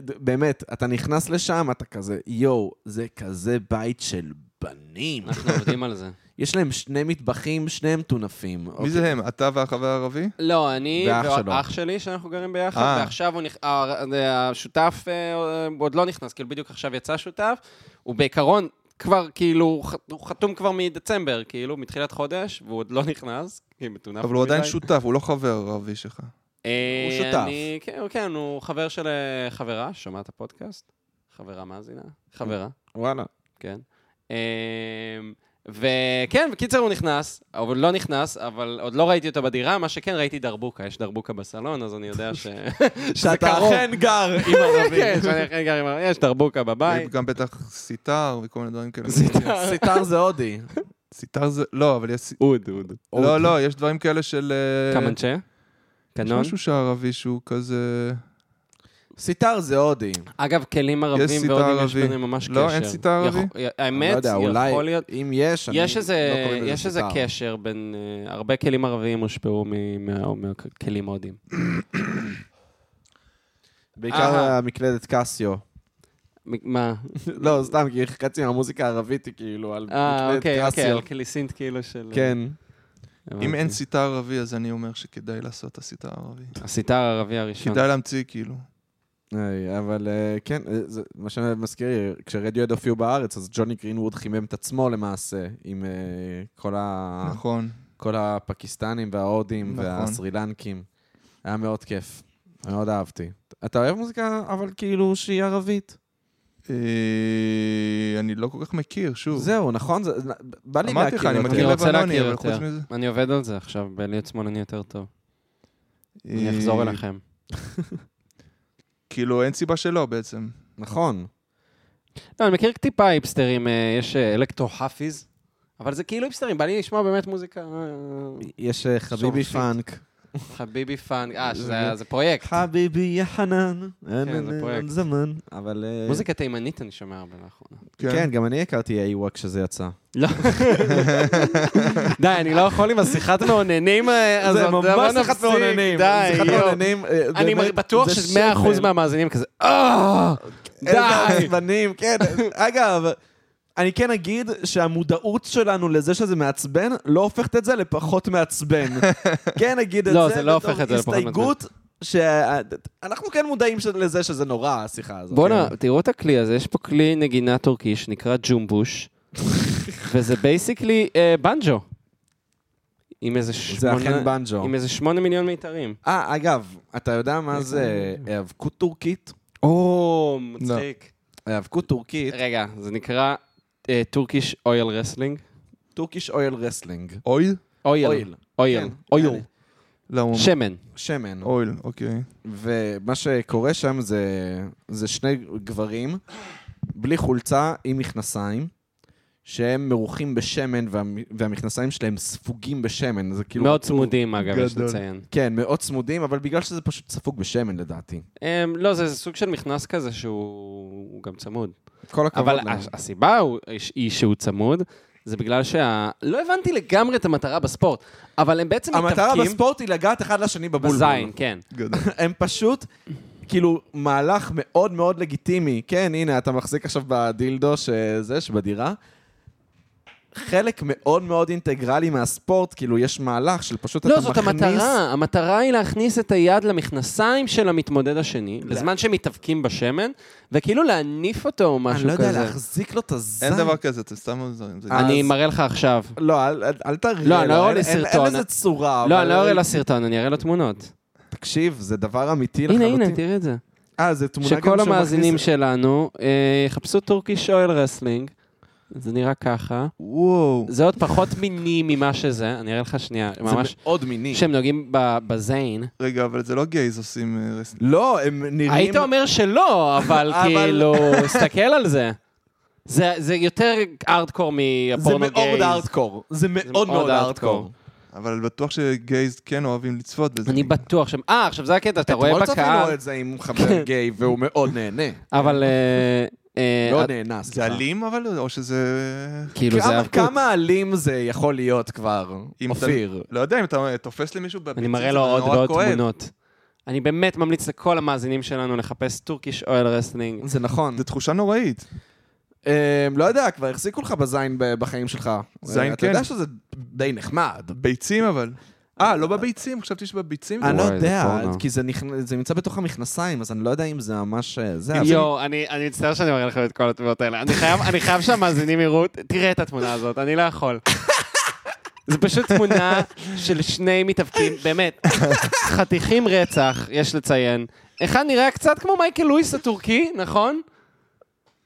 S1: שבאמת, אתה נכנס לשם, אתה כזה, יואו, זה כזה בית של בנים.
S3: אנחנו עובדים על זה.
S1: יש להם שני מטבחים, שניהם טונפים.
S2: מי
S3: אוקיי.
S2: זה הם? אתה והחבר הערבי?
S3: לא, אני
S1: ואח שלו.
S3: ואח שלי, שאנחנו גרים ביחד,
S2: אה.
S3: ועכשיו הוא נכ- ה- השותף אה, אה, עוד לא נכנס, כאילו בדיוק עכשיו יצא שותף, הוא בעיקרון כבר, כאילו, הוא ח- הוא חתום כבר מדצמבר, כאילו, מתחילת חודש, והוא עוד לא נכנס, כי מטונף.
S2: אבל הוא עדיין
S3: מדי.
S2: שותף, הוא לא חבר ערבי שלך.
S3: אה,
S1: הוא שותף.
S3: אני- כן, הוא- כן, הוא חבר של אה, חברה, שומעת הפודקאסט? חברה מאזינה? חברה,
S1: אוקיי, וואלה.
S3: כן. אה, וכן, בקיצר הוא נכנס, אבל עוד לא נכנס, אבל עוד לא ראיתי אותו בדירה, מה שכן ראיתי דרבוקה, יש דרבוקה בסלון, אז אני יודע ש... שזה
S1: שאתה
S3: קרוב.
S1: אכן גר עם ערבים.
S3: כן, שאני אכן גר עם ה- יש דרבוקה בבית.
S2: גם בטח סיטר וכל מיני דברים כאלה.
S1: סיטר זה הודי.
S2: סיטר זה... לא, אבל יש... סי-
S3: אוד, אוד.
S2: לא, לא, יש דברים כאלה של... אה,
S3: קמנצ'ה?
S2: יש
S3: קנון?
S2: משהו שהערבי שהוא כזה...
S1: סיטר זה הודי.
S3: אגב, כלים ערבים
S2: סיטה
S3: והודים יש
S2: ערבי.
S3: ביניהם ממש קשר.
S2: לא, אין סיטה
S3: יכול-
S1: אני לא
S3: האמת,
S1: יודע, אולי,
S3: יכול להיות...
S1: אם יש, אני
S3: יש איזה,
S1: לא קוראים לזה
S3: יש איזה
S1: סיטר.
S3: קשר בין... אה, הרבה כלים ערביים הושפעו מ- מה- מהכלים הודים.
S1: בעיקר
S3: אהה.
S1: המקלדת קסיו.
S3: מ- מה?
S1: לא, סתם, כי חצי מהמוזיקה הערבית היא כאילו על
S3: אה,
S1: מקלדת
S3: אוקיי, אוקיי,
S1: קסיו.
S3: על קליסינט כאילו של...
S1: כן.
S2: אם
S3: הבנתי.
S2: אין סיטה ערבי, אז אני אומר שכדאי לעשות את הסיטה הערבי.
S3: הסיטר הערבי הראשון.
S2: כדאי להמציא, כאילו.
S1: היי, אבל אה, כן, אה, זה מה שמזכיר לי, כשרדיואד הופיעו בארץ, אז ג'וני גרינווד חימם את עצמו למעשה, עם אה, כל ה-
S2: נכון.
S1: כל הפקיסטנים וההודים
S2: נכון.
S1: והסרילנקים. היה מאוד כיף, מאוד אהבתי. אתה אוהב מוזיקה, אבל כאילו שהיא ערבית.
S2: אה, אני לא כל כך מכיר, שוב.
S1: זהו, נכון? זה- בא לי
S2: אמרתי לך,
S1: להכיר
S2: אני
S1: אותה.
S2: מכיר
S3: אני רוצה
S2: לבנוני,
S3: להכיר
S2: אבל חוץ
S3: יותר.
S2: מזה...
S3: אני עובד על זה עכשיו, בלהיות שמאלני יותר טוב. אני
S2: אה,
S3: אחזור אליכם.
S2: כאילו, אין סיבה שלא בעצם.
S1: נכון.
S3: לא, אני מכיר טיפה היפסטרים, אה, יש אה, אלקטרו חאפיז, אבל זה כאילו היפסטרים, בא לי לשמוע באמת מוזיקה... אה,
S1: יש אה, חביבי
S3: שורשית.
S1: פאנק.
S3: חביבי פאנק, אה, שזה
S1: זה-
S3: היה- זה פרויקט.
S1: חביבי יחנן,
S3: כן, זה פרויקט.
S1: אין זמן. אבל... אה,
S3: מוזיקה תימנית אני שומע הרבה נכון. לאחרונה.
S1: כן, גם אני הכרתי איוואק כשזה יצא.
S3: לא. די, אני לא יכול עם השיחת מאוננים אה, הזאת. בוא נפסיק, די,
S1: שיחת
S3: יואו.
S1: מעוננים. אה,
S3: אני
S1: באמת,
S3: בטוח
S1: זה
S3: ש-100%
S1: שפל.
S3: מהמאזינים כזה, אה,
S1: איזה
S3: די.
S1: עצבנים, כן. אגב, אני כן אגיד שהמודעות שלנו לזה שזה מעצבן, לא הופכת את זה לפחות מעצבן. כן אגיד את זה
S3: לא, זה לא הופך את זה לפחות
S1: הסתייגות, שאנחנו כן מודעים של- לזה שזה נורא, השיחה הזאת.
S3: בואנה,
S1: כן.
S3: תראו את הכלי הזה, יש פה כלי נגינה טורקי שנקרא ג'ומבוש, וזה בייסיקלי בנג'ו. עם איזה
S1: כן. זה
S3: שמונה...
S1: אכן בנג'ו.
S3: עם איזה שמונה מיליון מיתרים.
S1: אה, אגב, אתה יודע מה זה היאבקות טורקית?
S3: או,
S2: מצחיק.
S1: היאבקות טורקית,
S3: רגע, זה נקרא אה, טורקיש אויל רסלינג.
S1: טורקיש אויל רסלינג.
S2: אויל?
S3: אויל.
S1: אויל.
S3: אויל.
S1: כן,
S3: אויל.
S2: לא, הוא אומר
S3: שמן.
S1: שמן.
S2: אויל, אוקיי.
S1: ומה שקורה שם זה, זה שני גברים בלי חולצה עם מכנסיים, שהם מרוחים בשמן והמ- והמכנסיים שלהם ספוגים בשמן, זה כאילו...
S3: מאוד צמודים, אגב, יש
S2: גדול.
S3: לציין.
S1: כן, מאוד צמודים, אבל בגלל שזה פשוט ספוג בשמן לדעתי.
S3: אמ, לא, זה זה סוג של מכנס כזה שהוא הוא גם צמוד.
S1: כל הכבוד
S3: אבל
S1: להם.
S3: הש- הסיבה הוא- היא שהוא צמוד, זה בגלל שה... לא הבנתי לגמרי את המטרה בספורט, אבל הם בעצם
S1: המטרה
S3: מתאבקים...
S1: בספורט היא לגעת אחד לשני בבולבול.
S3: בזין, כן.
S2: גדול.
S1: הם פשוט, כאילו, מהלך מאוד מאוד לגיטימי. כן, הנה, אתה מחזיק עכשיו בדילדו שזה, שבדירה. חלק מאוד מאוד אינטגרלי מהספורט, כאילו, יש מהלך של פשוט
S3: לא,
S1: אתה
S3: זאת
S1: מכניס...
S3: המטרה. המטרה היא להכניס את היד למכנסיים של המתמודד השני, בזמן שהם מתאבקים בשמן, וכאילו להניף אותו או
S1: אני
S3: משהו
S1: לא יודע,
S3: כזה.
S1: להחזיק לו את הזין.
S2: אין דבר כזה, אתם סתם עוזרים. זה-
S1: אה,
S3: אני
S1: אז-
S3: מראה לך עכשיו.
S1: לא, אל- אל- אל תראה.
S3: לא, אני לא
S1: לו,
S3: אראה
S1: אין-
S3: לסרטון.
S1: אין אין לזה צורה.
S3: לא,
S1: אבל-
S3: אני לא אראה לו סרטון, אני אראה לו תמונות.
S1: תקשיב, זה דבר אמיתי
S3: הנה,
S1: לחלוטין.
S3: הנה, תראי את זה.
S1: אה, זה לא תמונה גם שהוא
S3: שכל
S1: מכניס...
S3: המאזינים שלנו אה, יחפשו טורקיש אויל רסלינג. זה נראה ככה.
S2: וואו.
S3: זה עוד פחות מיני ממה שזה, אני אראה לך שנייה, ממש,
S1: זה מאוד מיני.
S3: שהם נוגעים ב- בזיין.
S2: רגע, אבל זה לא גייז עושים אה, רסט.
S1: לא, הם נראים...
S3: היית אומר שלא, אבל
S1: אבל-
S3: כאילו, תסתכל על זה. זה זה יותר ארדקור
S1: זה
S3: מהפורנו
S1: מאוד
S3: גייז.
S1: הארדקור. זה מאוד מאוד הארדקור.
S2: אבל בטוח שגייז כן אוהבים לצפות בזה.
S3: אני בטוח שהם... אה, עכשיו זה הקטע, אתה רואה
S1: אתמול צפינו
S3: בקהל,
S1: את זה עם חבר גיי, והוא מאוד נהנה.
S3: אבל... אה, אה,
S1: מאוד
S3: את-
S1: נהנה,
S2: זה
S1: סליחה.
S2: אלים אבל? או שזה...
S3: כאילו זה
S1: כמה-
S3: האבקות.
S1: כמה אלים זה יכול להיות כבר,
S2: אם אתה-
S1: אופיר?
S2: לא יודע אם אתה תופס למישהו בפיצוץ,
S3: אני מראה לו
S2: זה
S3: עוד
S2: נורא
S3: ועוד
S2: כואב.
S3: תמונות. אני באמת ממליץ לכל המאזינים שלנו לחפש טורקיש אויל רסלינג.
S1: זה נכון.
S2: זו תחושה נוראית.
S1: אה, לא יודע, כבר החזיקו לך בזין ב- בחיים שלך.
S2: זין
S1: אה, אתה
S2: כן.
S1: יודע שזה די נחמד.
S2: ביצים אבל. אה, לא בביצים, חשבתי שבביצים. זה-
S1: אני לא
S3: וואי, זה
S1: יודע,
S3: פורנו.
S1: כי זה נכנ- זה נמצא בתוך המכנסיים, אז אני לא יודע אם זה ממש... אה, זה, אבל-
S3: יואו, אני אני מצטער שאני מראה לכם את כל התמונות האלה. אני חייב- אני חייב שהמאזינים יראו, תראה את התמונה הזאת, אני לא יכול. זה פשוט תמונה של שני מתאבקים, באמת, חתיכים רצח, יש לציין. אחד נראה קצת כמו מייקל לואיס הטורקי, נכון?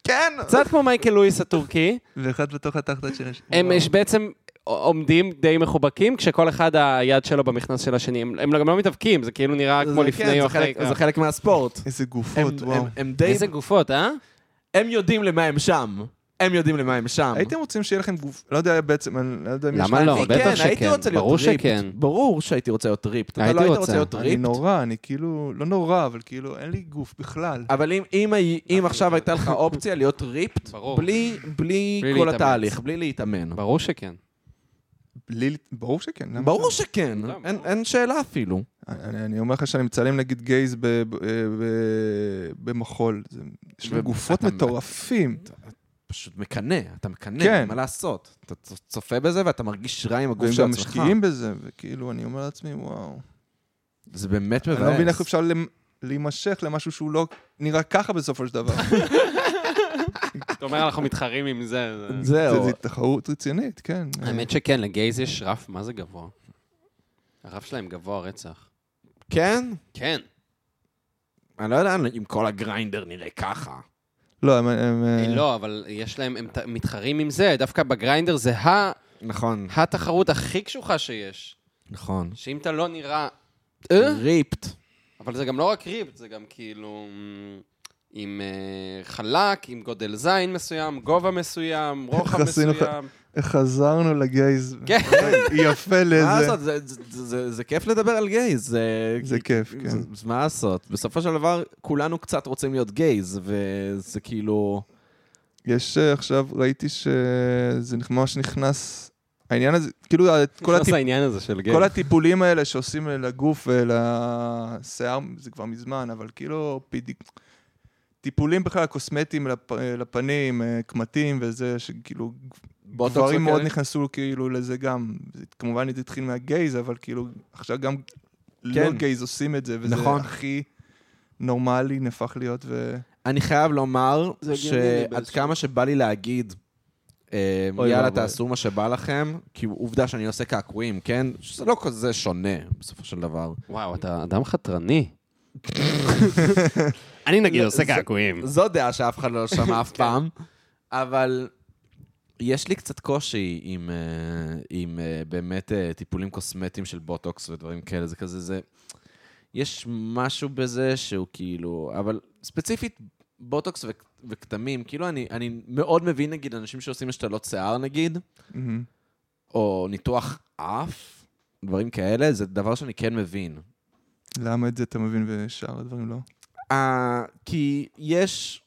S2: כן!
S3: קצת כמו מייקל לואיס הטורקי.
S2: ואחד בתוך התחתת של השני.
S3: הם יש בעצם עומדים די מחובקים, כשכל אחד היד שלו במכנס של השני. הם, הם גם לא מתאבקים, זה כאילו נראה
S1: זה-
S3: כמו
S1: כן,
S3: לפני או
S1: זה
S3: אחרי. אה.
S1: חלק-
S3: קרב.
S1: זה חלק מהספורט.
S2: איזה
S1: הם-
S2: גופות, וואו.
S1: הם- הם די...
S3: איזה גופות, אה?
S1: הם יודעים למה הם שם. הם יודעים למה הם שם.
S2: הייתם רוצים שיהיה לכם גוף, לא יודע בעצם, אני לא יודע אם יש...
S3: למה לא?
S1: אני-
S3: בטח
S1: כן, הייתי
S3: שכן.
S1: רוצה להיות
S3: ברור
S1: ריפט.
S3: שכן.
S1: ברור שהייתי רוצה להיות ריפט. אתה
S3: הייתי
S1: לא היית
S3: רוצה.
S1: רוצה להיות
S2: אני
S1: ריפט?
S2: נורא, אני כאילו, לא נורא, אבל כאילו, אין לי גוף בכלל.
S1: אבל אם, אם, הי- אם עכשיו הייתה לך אופציה להיות ריפט,
S3: ברור.
S1: בלי, בלי
S3: בלי
S1: כל
S3: להתאמץ.
S1: התהליך, בלי להתאמן.
S3: ברור שכן.
S2: בלי... ברור שכן. למה
S1: ברור
S2: לא?
S1: שכן,
S3: לא,
S1: אין,
S3: ברור.
S1: אין שאלה אפילו.
S2: אני אני אומר לך שאני מצלם נגיד גייז ב- ב- אה, ב- במחול. זה- יש לו
S1: ו-
S2: גופות
S1: אתה-
S2: מטורפים.
S1: פשוט מקנא, אתה מקנא,
S2: כן.
S1: מה לעשות? אתה צ- צופה בזה ואתה מרגיש רע עם הגוף
S2: והם
S1: של
S2: גם
S1: עצמך.
S2: משקיעים בזה, וכאילו, אני אומר לעצמי, וואו.
S1: זה באמת מבאס.
S2: אני לא מבין איך אפשר למ- להימשך למשהו שהוא לא נראה ככה בסופו של דבר.
S3: אתה אומר, אנחנו מתחרים עם זה. זה-
S1: זהו.
S2: זה- זה תחרות רצינית, כן.
S3: האמת שכן, לגייז יש רף, מה זה גבוה? הרף שלהם גבוה רצח.
S1: כן?
S3: כן.
S1: אני לא יודע אם כל הגריינדר נראה ככה.
S2: לא, הם... הם-
S3: אה, לא, אבל יש להם, הם ת- מתחרים עם זה, דווקא בגריינדר זה ה-
S1: נכון,
S3: התחרות הכי קשוחה שיש.
S1: נכון.
S3: שאם אתה לא נראה... אה?
S1: ריפט.
S3: אבל זה גם לא רק ריפט, זה גם כאילו... מ, עם אה, חלק, עם גודל זין מסוים, גובה מסוים, רוחב
S2: איך עשינו לך-
S3: מסוים.
S2: חזרנו לגייז.
S3: כן.
S2: יפה
S1: מה
S2: לזה.
S1: לעשות, זה- זה- זה- זה כיף לדבר על גייז. זה-
S2: זה כיף, כן.
S1: זה- זה מה לעשות? בסופו של דבר, כולנו קצת רוצים להיות גייז, וזה כאילו...
S2: יש אה, עכשיו, ראיתי שזה נכ- ממש נכנס, העניין הזה, כאילו ה- כל, הטיפ,
S3: העניין הזה של גייז.
S2: כל הטיפולים האלה שעושים לגוף ולשיער, זה כבר מזמן, אבל כאילו פידיק... טיפולים בכלל, קוסמטיים לפ... לפנים, אה, קמטים וזה, שכאילו
S1: בוטוקס
S2: דברים מאוד
S1: וכאלה?
S2: נכנסו כאילו לזה גם. זה- כמובן זה התחיל מהגייז, אבל כאילו עכשיו גם לא
S1: כן.
S2: גייז עושים את זה, וזה
S1: נכון.
S2: הכי נורמלי נהפך להיות ו...
S1: אני חייב לומר
S3: זה הגיוני
S1: שעד
S3: באיזשהו-
S1: כמה שבא לי להגיד, אה,
S2: אוי
S1: יאללה,
S2: ואבוי.
S1: תעשו מה שבא לכם, כי עובדה שאני עושה קעקועים, כן? שזה לא כזה שונה, בסופו של דבר.
S3: וואו, אתה אדם חתרני. אני נגיד עושה קעקועים.
S1: זו דעה שאף אחד לא שמע אף פעם, אבל יש לי קצת קושי עם, אה, עם אה, באמת אה, טיפולים קוסמטיים של בוטוקס ודברים כאלה, זה כזה, זה... יש משהו בזה שהוא כאילו, אבל ספציפית בוטוקס ו- וכתמים, כאילו אני, אני מאוד מבין נגיד אנשים שעושים השתלות שיער נגיד,
S2: מהמם.
S1: או ניתוח אף, דברים כאלה, זה דבר שאני כן מבין.
S2: למה את זה אתה מבין ושאר הדברים לא?
S1: אה, כי יש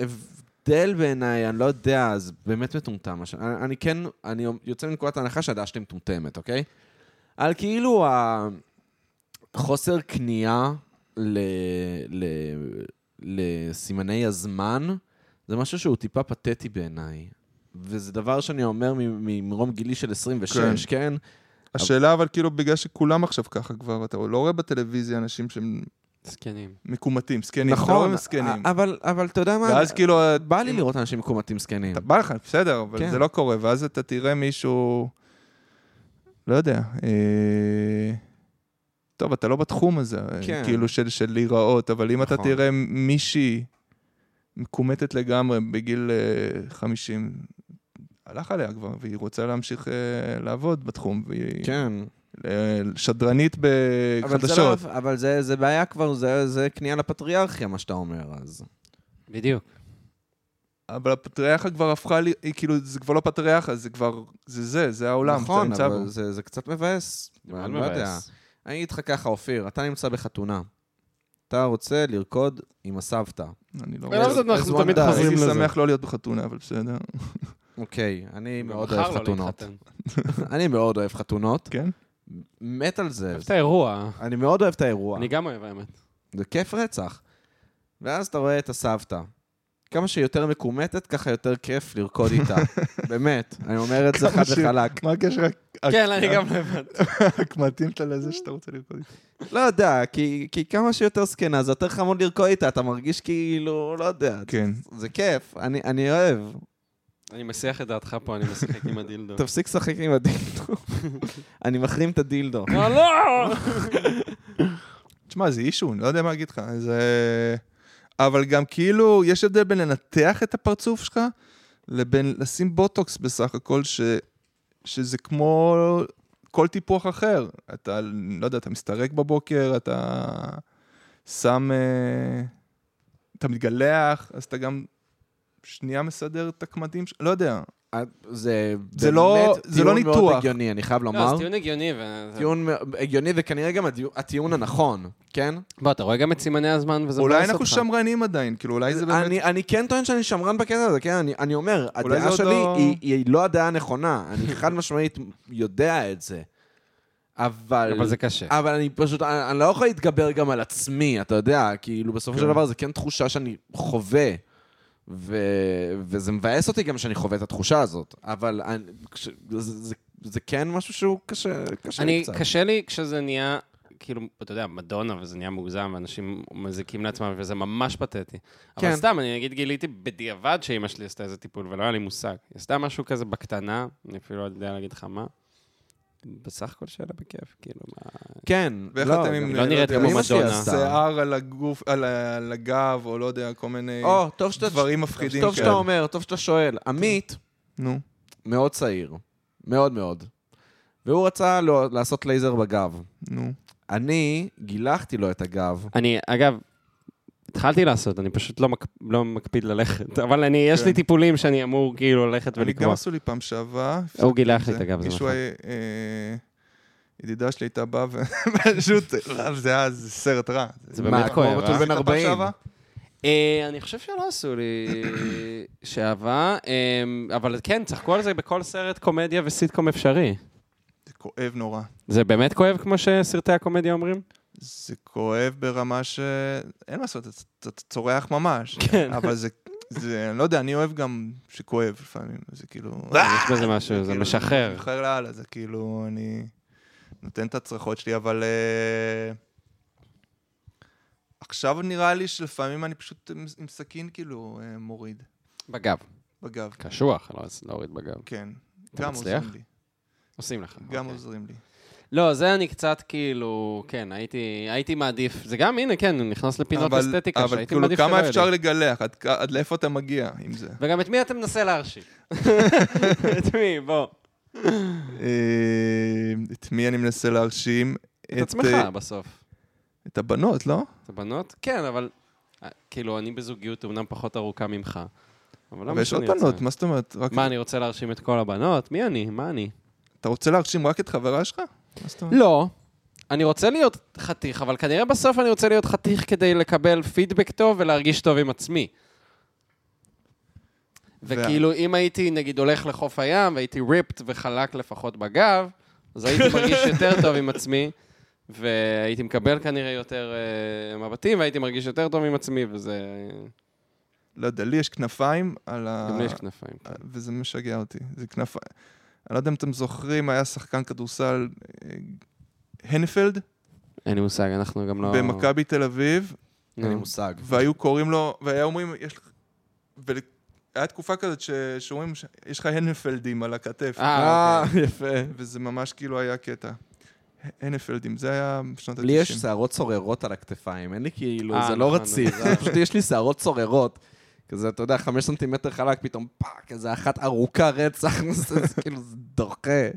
S1: הבדל בעיניי, אני לא יודע, זה באמת מטומטם. מה ש- אני, אני כן, אני יוצא מנקודת ההנחה שהדעה שלי מטומטמת, אוקיי? על כאילו החוסר כניעה ל, ל, לסימני הזמן, זה משהו שהוא טיפה פתטי בעיניי. וזה דבר שאני אומר מ- מ- ממרום גילי של 26, כן?
S2: השאלה אבל כאילו בגלל שכולם עכשיו ככה כבר, אתה לא רואה בטלוויזיה אנשים שהם
S3: זקנים.
S2: מקומטים, זקנים, אתה לא
S1: נכון,
S2: רואה זקנים.
S1: אבל, אבל אתה יודע מה,
S2: ואז כאילו, אה,
S1: בא לי לראות אנשים מקומטים זקנים.
S2: אתה בא לך, בסדר, אבל
S1: כן.
S2: זה לא קורה, ואז אתה תראה מישהו, לא יודע, אה, טוב, אתה לא בתחום הזה, אה,
S1: כן.
S2: כאילו של של להיראות, אבל אם אתה
S1: נכון.
S2: תראה מישהי מקומטת לגמרי בגיל אה, 50, הלך עליה כבר, והיא רוצה להמשיך אה, לעבוד בתחום, והיא...
S1: כן.
S2: אה, שדרנית
S1: אבל זה, לא,
S2: בחדשות.
S1: אבל זה, זה בעיה כבר, זה, זה כניעה לפטריארכיה, מה שאתה אומר, אז...
S3: בדיוק.
S2: אבל הפטריארכה כבר הפכה לי, היא כאילו, זה כבר לא פטריארכה, זה כבר, זה זה, זה העולם, שאתה
S1: נכון,
S2: נמצא
S1: אבל
S2: בו.
S1: זה, זה קצת מבאס.
S3: מאוד
S1: אני לא יודע.
S3: מבאס.
S1: אני אגיד לך ככה, אופיר, אתה נמצא בחתונה. אתה רוצה לרקוד עם הסבתא.
S2: אני לא
S3: אבל למה
S2: רואה.
S3: זה- אנחנו תמיד
S1: אז-
S3: חוזרים
S2: הייתי
S3: לזה.
S2: שמח לא להיות בחתונה, אבל בסדר.
S1: אוקיי, אני
S3: גם
S1: מאוד
S3: בחר
S1: אוהב
S3: לא
S1: חתונות.
S3: להתחתן.
S1: אני מאוד אוהב חתונות.
S2: כן?
S1: מת על זה.
S3: אוהב את האירוע.
S1: אני מאוד אוהב את האירוע.
S3: אני גם אוהב, האמת.
S1: זה כיף רצח. ואז אתה רואה את הסבתא. כמה שהיא יותר מקומטת, ככה יותר כיף לרקוד איתה. באמת, אני אומר את זה
S2: כמה
S1: חד
S2: שהיא-
S1: וחלק.
S2: מה הקשר
S3: כן, אני גם לא הבנתי.
S2: הקמטים שלה לזה שאתה רוצה לרקוד איתה?
S1: לא יודע, כי, כי כמה שיותר זקנה, זה יותר חמוד לרקוד איתה, אתה מרגיש כאילו, לא יודע.
S2: כן.
S1: זה כיף, אני, אני אוהב.
S3: אני מסיח את דעתך פה, אני משחק עם הדילדו.
S1: תפסיק לשחק עם הדילדו. אני מחרים את הדילדו.
S3: לא, לא!
S2: תשמע, זה אישו, אני לא יודע מה להגיד לך. זה... אבל גם כאילו, יש הבדל בין לנתח את הפרצוף שלך, לבין לשים בוטוקס בסך הכל, ש... שזה כמו כל טיפוח אחר. אתה, לא יודע, אתה מסתרק בבוקר, אתה שם... אה, אתה מתגלח, אז אתה גם שנייה מסדר את הקמדים, ש- לא יודע.
S1: זה
S2: זה לא-
S1: באמת
S2: זה לא
S1: טיעון מאוד
S2: ניתוח.
S1: הגיוני, אני חייב
S3: לא,
S1: לומר.
S3: זה טיעון הגיוני. ו-
S1: טיעון מאוד הגיוני וכנראה גם הדיו- הטיעון הנכון, כן?
S3: בוא, אתה רואה גם את סימני הזמן וזה
S2: אולי
S3: מבאס
S2: אנחנו
S3: אותך.
S2: שמרנים עדיין, כאילו אולי זה באמת...
S1: אני, אני כן טוען שאני שמרן בקטע הזה, כן? אני, אני אומר,
S2: אולי זה
S1: הדעה
S2: עוד
S1: שלי
S2: לא-
S1: היא, היא לא הדעה הנכונה. אני חד משמעית יודע את זה. אבל...
S3: אבל זה קשה.
S1: אבל אני פשוט, אני, אני לא יכול להתגבר גם על עצמי, אתה יודע, כאילו בסופו של דבר זה כן תחושה שאני חווה, ו, וזה מבאס אותי גם שאני חווה את התחושה הזאת, אבל אני, כש, זה, זה, זה כן משהו שהוא קשה, קשה לי
S3: אני,
S1: קצת.
S3: קשה לי כשזה נהיה, כאילו, אתה יודע, מדונה, וזה נהיה מוגזם, ואנשים מזיקים לעצמם, וזה ממש פתטי. אבל
S1: כן.
S3: סתם, אני נגיד גיליתי בדיעבד שאימא שלי עשתה איזה טיפול, ולא היה לי מושג. היא עשתה משהו כזה בקטנה, אני אפילו לא יודע להגיד לך מה. בסך הכל שאלה בכיף, כאילו, מה...
S1: כן,
S2: ואיך
S1: לא,
S2: אתם
S1: גם-
S2: עם...
S3: לא נראית
S2: יודע,
S1: כמו
S2: אמא שלי
S1: מדונה.
S2: שיער על הגוף, על ה- על הגב, או לא יודע, כל מיני
S1: או, טוב שאתה,
S2: דברים מפחידים כן.
S1: טוב שאתה
S2: כאלה.
S1: אומר, טוב שאתה שואל. עמית
S2: נו.
S1: מאוד צעיר, מאוד מאוד, והוא רצה לו- לעשות לייזר בגב.
S2: נו.
S1: אני גילחתי לו את הגב.
S3: אני, אגב, התחלתי לעשות, אני פשוט לא, מק... לא מקפיד ללכת, אבל אני, יש לי
S2: כן.
S3: טיפולים שאני אמור כאילו ללכת
S2: אני גם
S3: ולקבוע.
S2: עשו לי פעם שעברה.
S3: הוא גילח לי את
S2: זה.
S3: הגב, זה
S2: מישהו
S3: נכון.
S2: היה, אה, ידידה שלי הייתה באה ופשוט, זה היה זה סרט רע.
S3: זה
S1: מה,
S3: באמת
S1: כמו
S3: כואב,
S1: בתול
S3: אה?
S1: בן
S2: הייתה פעם
S1: 40.
S2: שעברה?
S3: אה, אני חושב שלא עשו לי שעבה, אה, אבל כן, צחקו על זה בכל סרט קומדיה וסיטקום אפשרי.
S2: זה כואב נורא.
S3: זה באמת כואב כמו שסרטי הקומדיה אומרים?
S2: זה כואב ברמה ש... אין מה לעשות, אתה- אתה אתה צורח ממש.
S3: כן.
S2: אבל זה, זה, אני לא יודע, אני אוהב גם שכואב לפעמים, זה כאילו...
S3: יש בזה משהו, זה
S2: כאילו,
S3: משחרר.
S2: משחרר לאללה, זה כאילו, אני נותן את הצרחות שלי, אבל... אה, עכשיו נראה לי שלפעמים אני פשוט עם, עם סכין כאילו אה, מוריד
S3: בגב.
S2: בגב,
S3: קשוח, לא אז להוריד בגב.
S2: כן.
S3: אתה
S2: גם
S3: מצליח?
S2: עוזרים לי,
S3: עושים לך.
S2: גם
S3: אוקיי.
S2: עוזרים לי.
S3: לא, זה אני קצת כאילו, כן, הייתי הייתי מעדיף. זה גם, הנה, כן, הוא נכנס לפינות
S2: אבל-
S3: אסתטיקה
S2: אבל
S3: שהייתי
S2: כאילו
S3: מעדיף שלא
S2: כמה
S3: יהיה
S2: אפשר
S3: לי.
S2: לגלח, עד, כ- עד לאיפה אתה מגיע עם זה?
S3: וגם את מי אתה מנסה להרשיק? את מי? בוא.
S2: אה, את מי אני מנסה להרשים?
S3: את עצמך
S2: אה,
S3: בסוף.
S2: את הבנות, לא?
S3: את הבנות? כן, אבל אה, כאילו, אני בזוגיות אומנם פחות ארוכה ממך. אבל לא
S2: אבל יש עוד
S3: משנה,
S2: בנות,
S3: יצא.
S2: מה זאת אומרת? רק-
S3: מה, אני רוצה להרשים את כל הבנות? מי אני? מה אני?
S2: אתה רוצה להרשים רק את חברה שלך? מה זאת אומרת?
S3: לא. אני רוצה להיות חתיך, אבל כנראה בסוף אני רוצה להיות חתיך כדי לקבל פידבק טוב ולהרגיש טוב עם עצמי. וכאילו, אם הייתי, נגיד, הולך לחוף הים, והייתי ריפט וחלק לפחות בגב, אז הייתי מרגיש יותר טוב עם עצמי, והייתי מקבל כנראה יותר אה, מבטים, והייתי מרגיש יותר טוב עם עצמי, וזה...
S2: לא יודע, לי יש כנפיים על ה...
S3: גם לי יש כנפיים.
S2: אה, וזה משגע אותי. זה כנפיים... אני לא יודע אם אתם זוכרים, היה שחקן כדורסל אה, הנפלד
S3: אין לי מושג, אנחנו גם לא...
S2: במכבי תל אביב,
S3: נו.
S1: אין לי מושג.
S2: והיו קוראים לו, והיו אומרים, יש לך... והיה תקופה כזאת ש... שאומרים, ש- יש לך הנפלדים על הכתף.
S3: אה, אוקיי.
S1: יפה.
S2: וזה ממש כאילו היה קטע. הנפלדים, זה היה בשנות ה-90.
S1: לי יש שערות צוררות על הכתפיים, אין לי כאילו,
S3: אה,
S1: זה
S3: נכון,
S1: לא רציף,
S3: נכון.
S1: זה פשוט יש לי שערות צוררות. כזה, אתה יודע, חמש סנטימטר חלק, פתאום פאק, איזה אחת ארוכה רצח, זה זה כאילו, זה דוחה.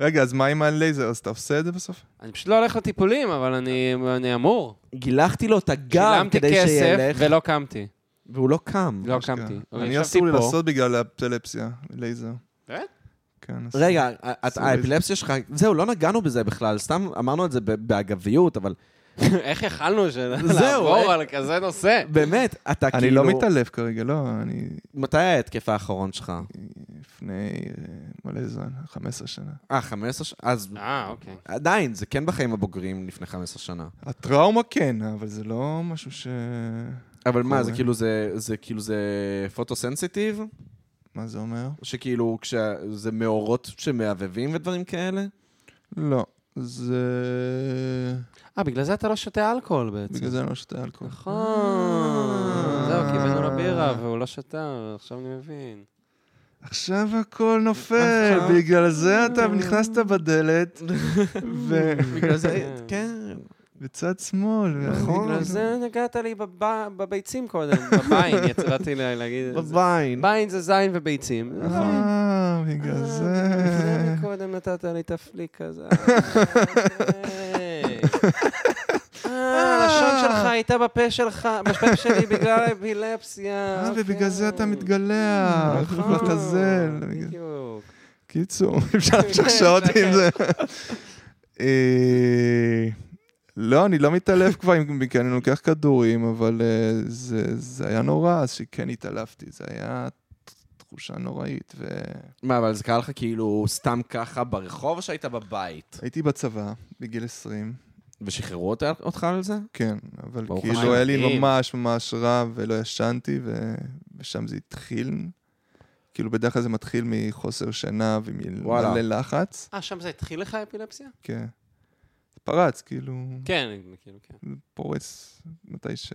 S2: רגע, אז מה עם הלייזר? אז אתה עושה את זה בסוף?
S3: אני פשוט לא הולך לטיפולים, אבל אני אני אמור.
S1: גילחתי לו את הגב
S3: שילמתי
S1: כדי
S3: כסף
S1: שילך,
S3: ולא קמתי.
S1: והוא לא קם.
S3: לא
S2: אשכרה.
S3: קמתי.
S2: אני
S3: ישבתי
S2: אסור לי
S3: פה.
S2: כאילו לעשות בגלל האפילפסיה, לייזר.
S3: באמת?
S2: כן, אסור.
S1: רגע, את-
S2: עשו
S1: האפילפסיה שלך, זהו, לא נגענו בזה בכלל, סתם אמרנו את זה ב- באגביות, אבל
S3: איך יכלנו של-
S1: זהו,
S3: לעבור
S1: אה.
S3: על כזה נושא?
S1: באמת, אתה כאילו...
S2: אני לא מתעלף כרגע, לא, אני
S1: מתי היה ההתקף האחרון שלך?
S2: לפני אה, מלא זמן, 15 שנה.
S1: אה, 15 שנה? אז
S3: אה, אוקיי.
S1: עדיין, זה כן בחיים הבוגרים לפני 15 שנה.
S2: הטראומה כן, אבל זה לא משהו ש...
S1: אבל מה, זה
S2: קורה.
S1: כאילו זה, זה כאילו זה פוטוסנסיטיב?
S2: מה זה אומר?
S1: שכאילו כשזה מאורות שמעבבים ודברים כאלה?
S2: לא. זה...
S3: אה, בגלל זה אתה לא שותה אלכוהול בעצם.
S2: בגלל זה אני לא שותה אלכוהול.
S3: נכון. זהו, קיבלנו לבירה והוא לא שתה, עכשיו אני מבין.
S2: עכשיו הכל נופל,
S1: עכשיו-
S2: בגלל זה אתה נכנסת בדלת, ו...
S1: בגלל זה, כן.
S2: בצד שמאל.
S1: נכון.
S3: בגלל זה נגעת לי בב- בביצים קודם, בביין, יצאתי לה- להגיד את זה.
S1: בביין.
S3: ביין זה זין וביצים.
S2: אה, בגלל
S3: נכון. אה,
S2: זה.
S3: בגלל זה קודם נתת לי את הפליק הזה. אה, הלשון שלך הייתה בפה שלך, בפה שלי בגלל האפילפסיה.
S2: אה,
S3: אוקיי.
S2: ובגלל זה אתה מתגלח,
S3: נכון,
S2: בחזל.
S3: בדיוק. כן,
S2: קיצור, אפשר להמשיך שעות עם זה. אה, לא, אני לא מתעלף כבר, עם- כי אני לוקח כדורים, אבל אה, זה זה היה נורא, אז שכן התעלפתי, זה היה תחושה נוראית. והייתי
S1: מה, אבל זה קרה לך כאילו סתם ככה ברחוב או שהיית בבית?
S2: בצבא בגיל 20,
S1: ושחררו אותה- אותך על זה?
S2: כן, אבל
S1: ברוך
S2: כאילו
S1: השם.
S2: היה לי
S1: מדהים.
S2: ממש ממש רע ולא ישנתי, ו- ושם זה התחיל. כאילו בדרך כלל זה מתחיל מחוסר שינה
S1: וואלה.
S2: ומלא לחץ,
S3: אה, שם זה התחיל לך האפילפסיה?
S2: כן. פרץ, כאילו,
S3: כן, כאילו, כן.
S2: פורץ מתי ש...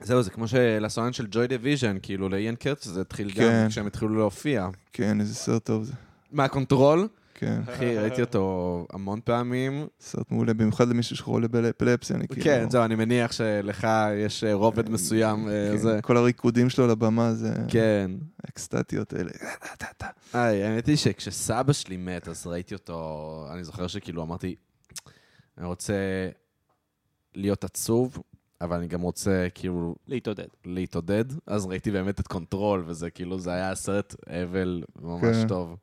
S1: זהו, זה כמו שלסולן של ג'וי דיוויז'ן, כאילו לאיין קרץ זה התחיל
S2: כן.
S1: גם כשהם התחילו להופיע.
S2: כן, איזה סרט טוב זה.
S1: מה, קונטרול?
S2: כן,
S3: אה,
S1: אחי, ראיתי אותו המון פעמים.
S2: סרט מעולה, במיוחד למישהו שחולה באפלפסיה, אני כאילו...
S1: כן, זהו, אני מניח שלך יש אה, רובד מסוים, אה,
S2: כן,
S1: זה.
S2: כל הריקודים שלו על הבמה זה
S1: כן.
S2: האקסטטיות האלה.
S1: היי, האמת היא שכשסבא שלי מת, אז ראיתי אותו, אני זוכר שכאילו אמרתי, אני רוצה להיות עצוב, אבל אני גם רוצה כאילו
S3: להתעודד.
S1: להתעודד, אז ראיתי באמת את קונטרול, וזה כאילו, זה היה סרט אבל ממש
S2: כן.
S1: טוב.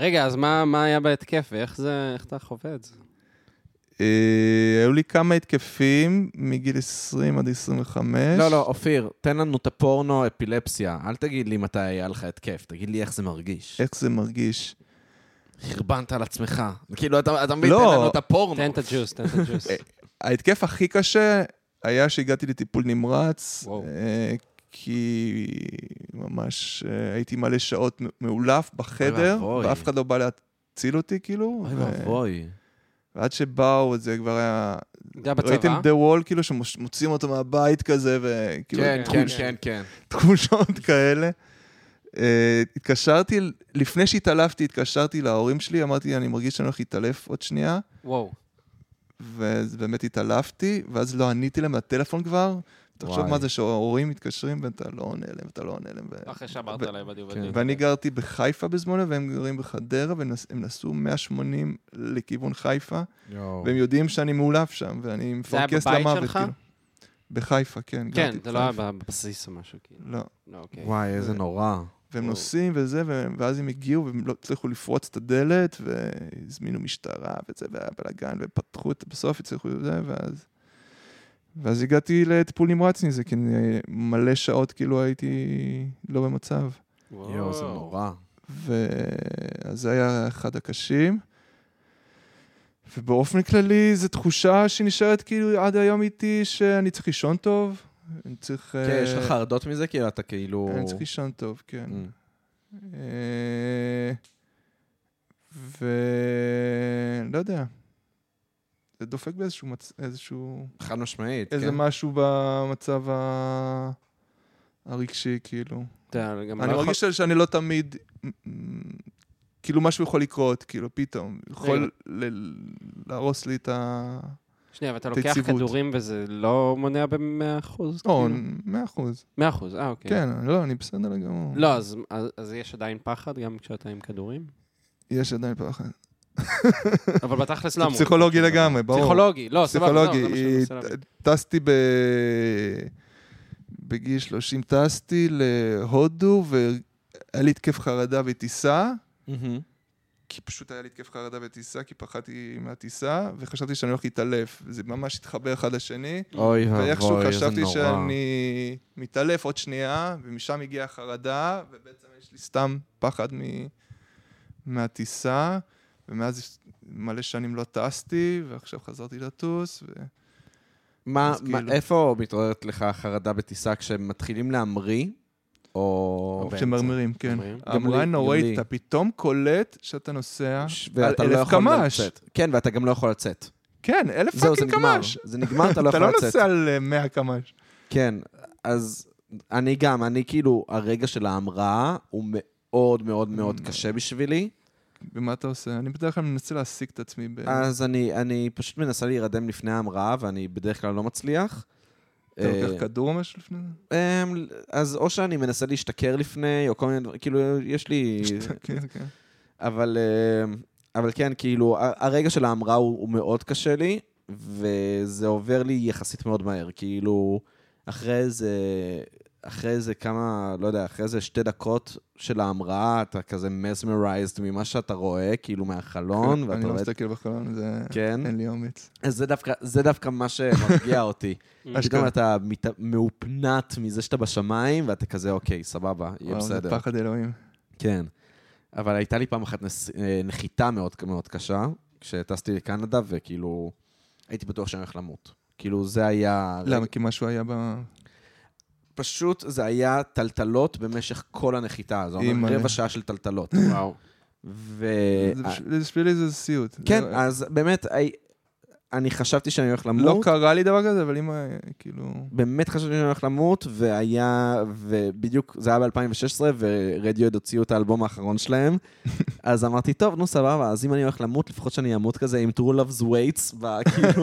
S3: רגע, אז מה מה היה בהתקף, ואיך זה, איך אתה חווה את זה?
S2: אה, היו לי כמה התקפים מגיל 20 עד 25.
S1: לא, לא, אופיר, תן לנו את הפורנו אפילפסיה. אל תגיד לי מתי היה לך התקף, תגיד לי איך זה מרגיש.
S2: איך זה מרגיש?
S1: חרבנת על עצמך. כאילו, אתה אתה מבין, תן
S2: לא.
S1: לנו את הפורנו.
S3: תן את הג'וס, תן את הג'וס.
S1: אה,
S2: ההתקף הכי קשה היה שהגעתי לטיפול נמרץ,
S3: וואו.
S2: אה, כי ממש אה, הייתי מלא שעות מאולף בחדר,
S1: ואבוי.
S2: ואף אחד לא בא להציל אותי, כאילו.
S1: אוי
S2: ו-
S1: ואבוי.
S2: ועד שבאו, זה כבר היה...
S3: זה היה
S2: ראיתם
S3: בצבא?
S2: The Wall, כאילו, שמוצאים אותו מהבית כזה, וכאילו,
S1: כן,
S2: תחוש-
S1: כן, כן, כן.
S2: תחושות כאלה. אה, התקשרתי, לפני שהתעלפתי, התקשרתי להורים שלי, אמרתי, אני מרגיש שאני הולך להתעלף עוד שנייה,
S3: וואו.
S2: ובאמת התעלפתי, ואז לא עניתי להם לטלפון כבר. תחשוב
S1: וואי.
S2: מה זה שההורים מתקשרים ואתה לא עונה להם, ואתה לא עונה להם. ו-
S3: אחרי שעברת
S2: ו-
S3: עליי בדיוק.
S1: כן.
S3: בדיוק.
S2: ואני גרתי בחיפה בזמנו, והם גרים בחדרה, והם נס- הם נסעו 180 לכיוון חיפה. והם יודעים שאני מאולף שם, ואני
S3: היה
S2: מפרקס
S3: בבית
S2: למוות.
S3: שלך?
S2: כאילו. בחיפה, כן.
S3: כן,
S2: גרתי
S3: זה לא היה
S2: בחיפה.
S3: בבסיס או משהו, כאילו.
S2: לא.
S3: לא, אוקיי.
S1: וואי, איזה נורא.
S2: והם
S3: וואו.
S2: נוסעים וזה, והם- ואז הם הגיעו, והם לא הצליחו לפרוץ את הדלת, והזמינו משטרה וזה, והיה בלאגן, ופתחו את, בסוף הצליחו את זה, ואז... ואז הגעתי לטיפול נמרץ מזה, כי אני מלא שעות כאילו הייתי לא במצב.
S3: וואו.
S1: יואו, זה נורא.
S2: ואז זה היה אחד הקשים. ובאופן כללי זו תחושה שנשארת כאילו עד היום איתי שאני צריך לישון טוב, אני צריך...
S1: כן,
S2: אה,
S1: יש לך חרדות מזה? כאילו, אתה כאילו...
S2: אני צריך לישון טוב, כן.
S1: Mm.
S2: אה, ו... לא יודע. זה דופק באיזשהו מצ... איזשהו...
S1: חד משמעית,
S2: איזה
S1: כן.
S2: משהו במצב ה... הרגשי, כאילו.
S3: אתה גם
S2: אני
S3: לא יכול...
S2: מרגיש ש- שאני לא תמיד... מ- מ- כאילו משהו יכול לקרות, כאילו, פתאום. יכול ל- להרוס לי את ה...
S3: שנייה, ואתה
S2: את
S3: לוקח
S2: היציבות.
S3: כדורים וזה לא מונע ב-100%?
S2: או,
S3: כאילו-
S2: מאה אחוז.
S3: 100%, אה, אוקיי.
S2: לא, כן, לא, אני בסדר לגמור.
S3: לא, אז- אז- אז יש עדיין פחד גם כשאתה עם כדורים?
S2: יש עדיין פחד.
S3: אבל בתכלס
S2: זה
S3: לא אמור.
S2: פסיכולוגי לגמרי, ברור.
S3: פסיכולוגי, לא, סבבה, לא,
S2: פסיכולוגי. אה,
S3: זה מה שאני
S2: היא-
S3: מנסה להבין.
S2: טסתי ב... בגיל 30 טסתי להודו, והיה לי התקף חרדה בטיסה,
S1: מהמם.
S2: כי פשוט היה לי התקף חרדה בטיסה, כי פחדתי מהטיסה, וחשבתי שאני הולך להתעלף. זה ממש התחבר אחד לשני,
S1: אוי ואבוי, איזה
S2: ואיכשהו
S1: נורא.
S2: חשבתי שאני מתעלף עוד שנייה, ומשם הגיעה החרדה, ובעצם יש לי סתם פחד מ... מהטיסה, ומאז מלא שנים לא טסתי, ועכשיו חזרתי לטוס, ו...
S1: מה,
S2: אז
S1: מה-
S2: כאילו-
S1: איפה מתעוררת לך החרדה בטיסה כשמתחילים להמריא? או...
S3: באמצע.
S2: שמרמרים, כן.
S3: אומרים.
S1: גם לי,
S2: המראה
S1: גם לי.
S2: נוראית, אתה פתאום קולט שאתה נוסע
S1: ש-
S2: על
S1: ואתה לא
S2: אלף
S1: יכול
S2: קמ"ש.
S1: לצאת. כן, ואתה גם לא יכול לצאת.
S2: כן, אלף
S1: זהו, זה
S2: פאקינג
S1: נגמר.
S2: קמ"ש.
S1: זה נגמר, אתה לא
S2: אתה לא
S1: יכול לצאת.
S2: נוסע על אה, 100 קמ"ש.
S1: כן, אז אני גם, אני כאילו, הרגע של ההמראה הוא מאוד מאוד מאוד
S2: Mm.
S1: קשה בשבילי.
S2: ומה אתה עושה? אני בדרך כלל מנסה להשיג את עצמי ב...
S1: אז אני, אני פשוט מנסה להירדם לפני ההמראה, ואני בדרך כלל לא מצליח.
S2: אתה לוקח
S1: אה,
S2: כדור או משהו לפני זה?
S1: אמ, אז או שאני מנסה להשתכר לפני, או כל מיני דברים, כאילו, יש לי...
S2: כן, כן.
S1: אה, אבל, אמ, אבל כן, כאילו, ה- הרגע של ההמראה הוא, הוא מאוד קשה לי, וזה עובר לי יחסית מאוד מהר. כאילו, אחרי איזה, אחרי איזה כמה, לא יודע, אחרי איזה שתי דקות של ההמראה, אתה כזה mesmerized ממה שאתה רואה, כאילו מהחלון, ואתה
S2: אני לא
S1: רואה... את-
S2: מסתכל בחלון, זה...
S1: כן.
S2: אין לי אומץ.
S1: אז זה דווקא, זה דווקא מה שמרגיע אותי. פתאום
S2: אשכרה.
S1: אתה מת- מאופנת מזה שאתה בשמיים, ואתה כזה, אוקיי, סבבה, יהיה
S2: וואו, זה
S1: בסדר.
S2: פחד אלוהים.
S1: כן. אבל הייתה לי פעם אחת נס... אה, נחיתה מאוד מאוד קשה, כשטסתי לקנדה, וכאילו, הייתי בטוח שאני הולך למות. כאילו, זה היה...
S2: למה? כי משהו היה ב...
S1: פשוט זה היה טלטלות במשך כל הנחיתה. זה אומר
S2: אימא'לה.
S1: רבע שעה של טלטלות.
S3: וואו.
S1: ו...
S2: זה בשביל- בשבילי זה סיוט.
S1: אה, כן,
S2: זה-
S1: אז באמת, הי- אני חשבתי שאני הולך למות.
S2: לא קרה לי דבר כזה, אבל אם... ה- כאילו...
S1: באמת חשבתי שאני הולך למות, והיה, ובדיוק, זה היה ב-2016, ורדיואד הוציאו את האלבום האחרון שלהם. אז אמרתי, טוב, נו, סבבה, אז אם אני הולך למות, לפחות שאני אמות כזה עם True Love's Waits, ב- כאילו,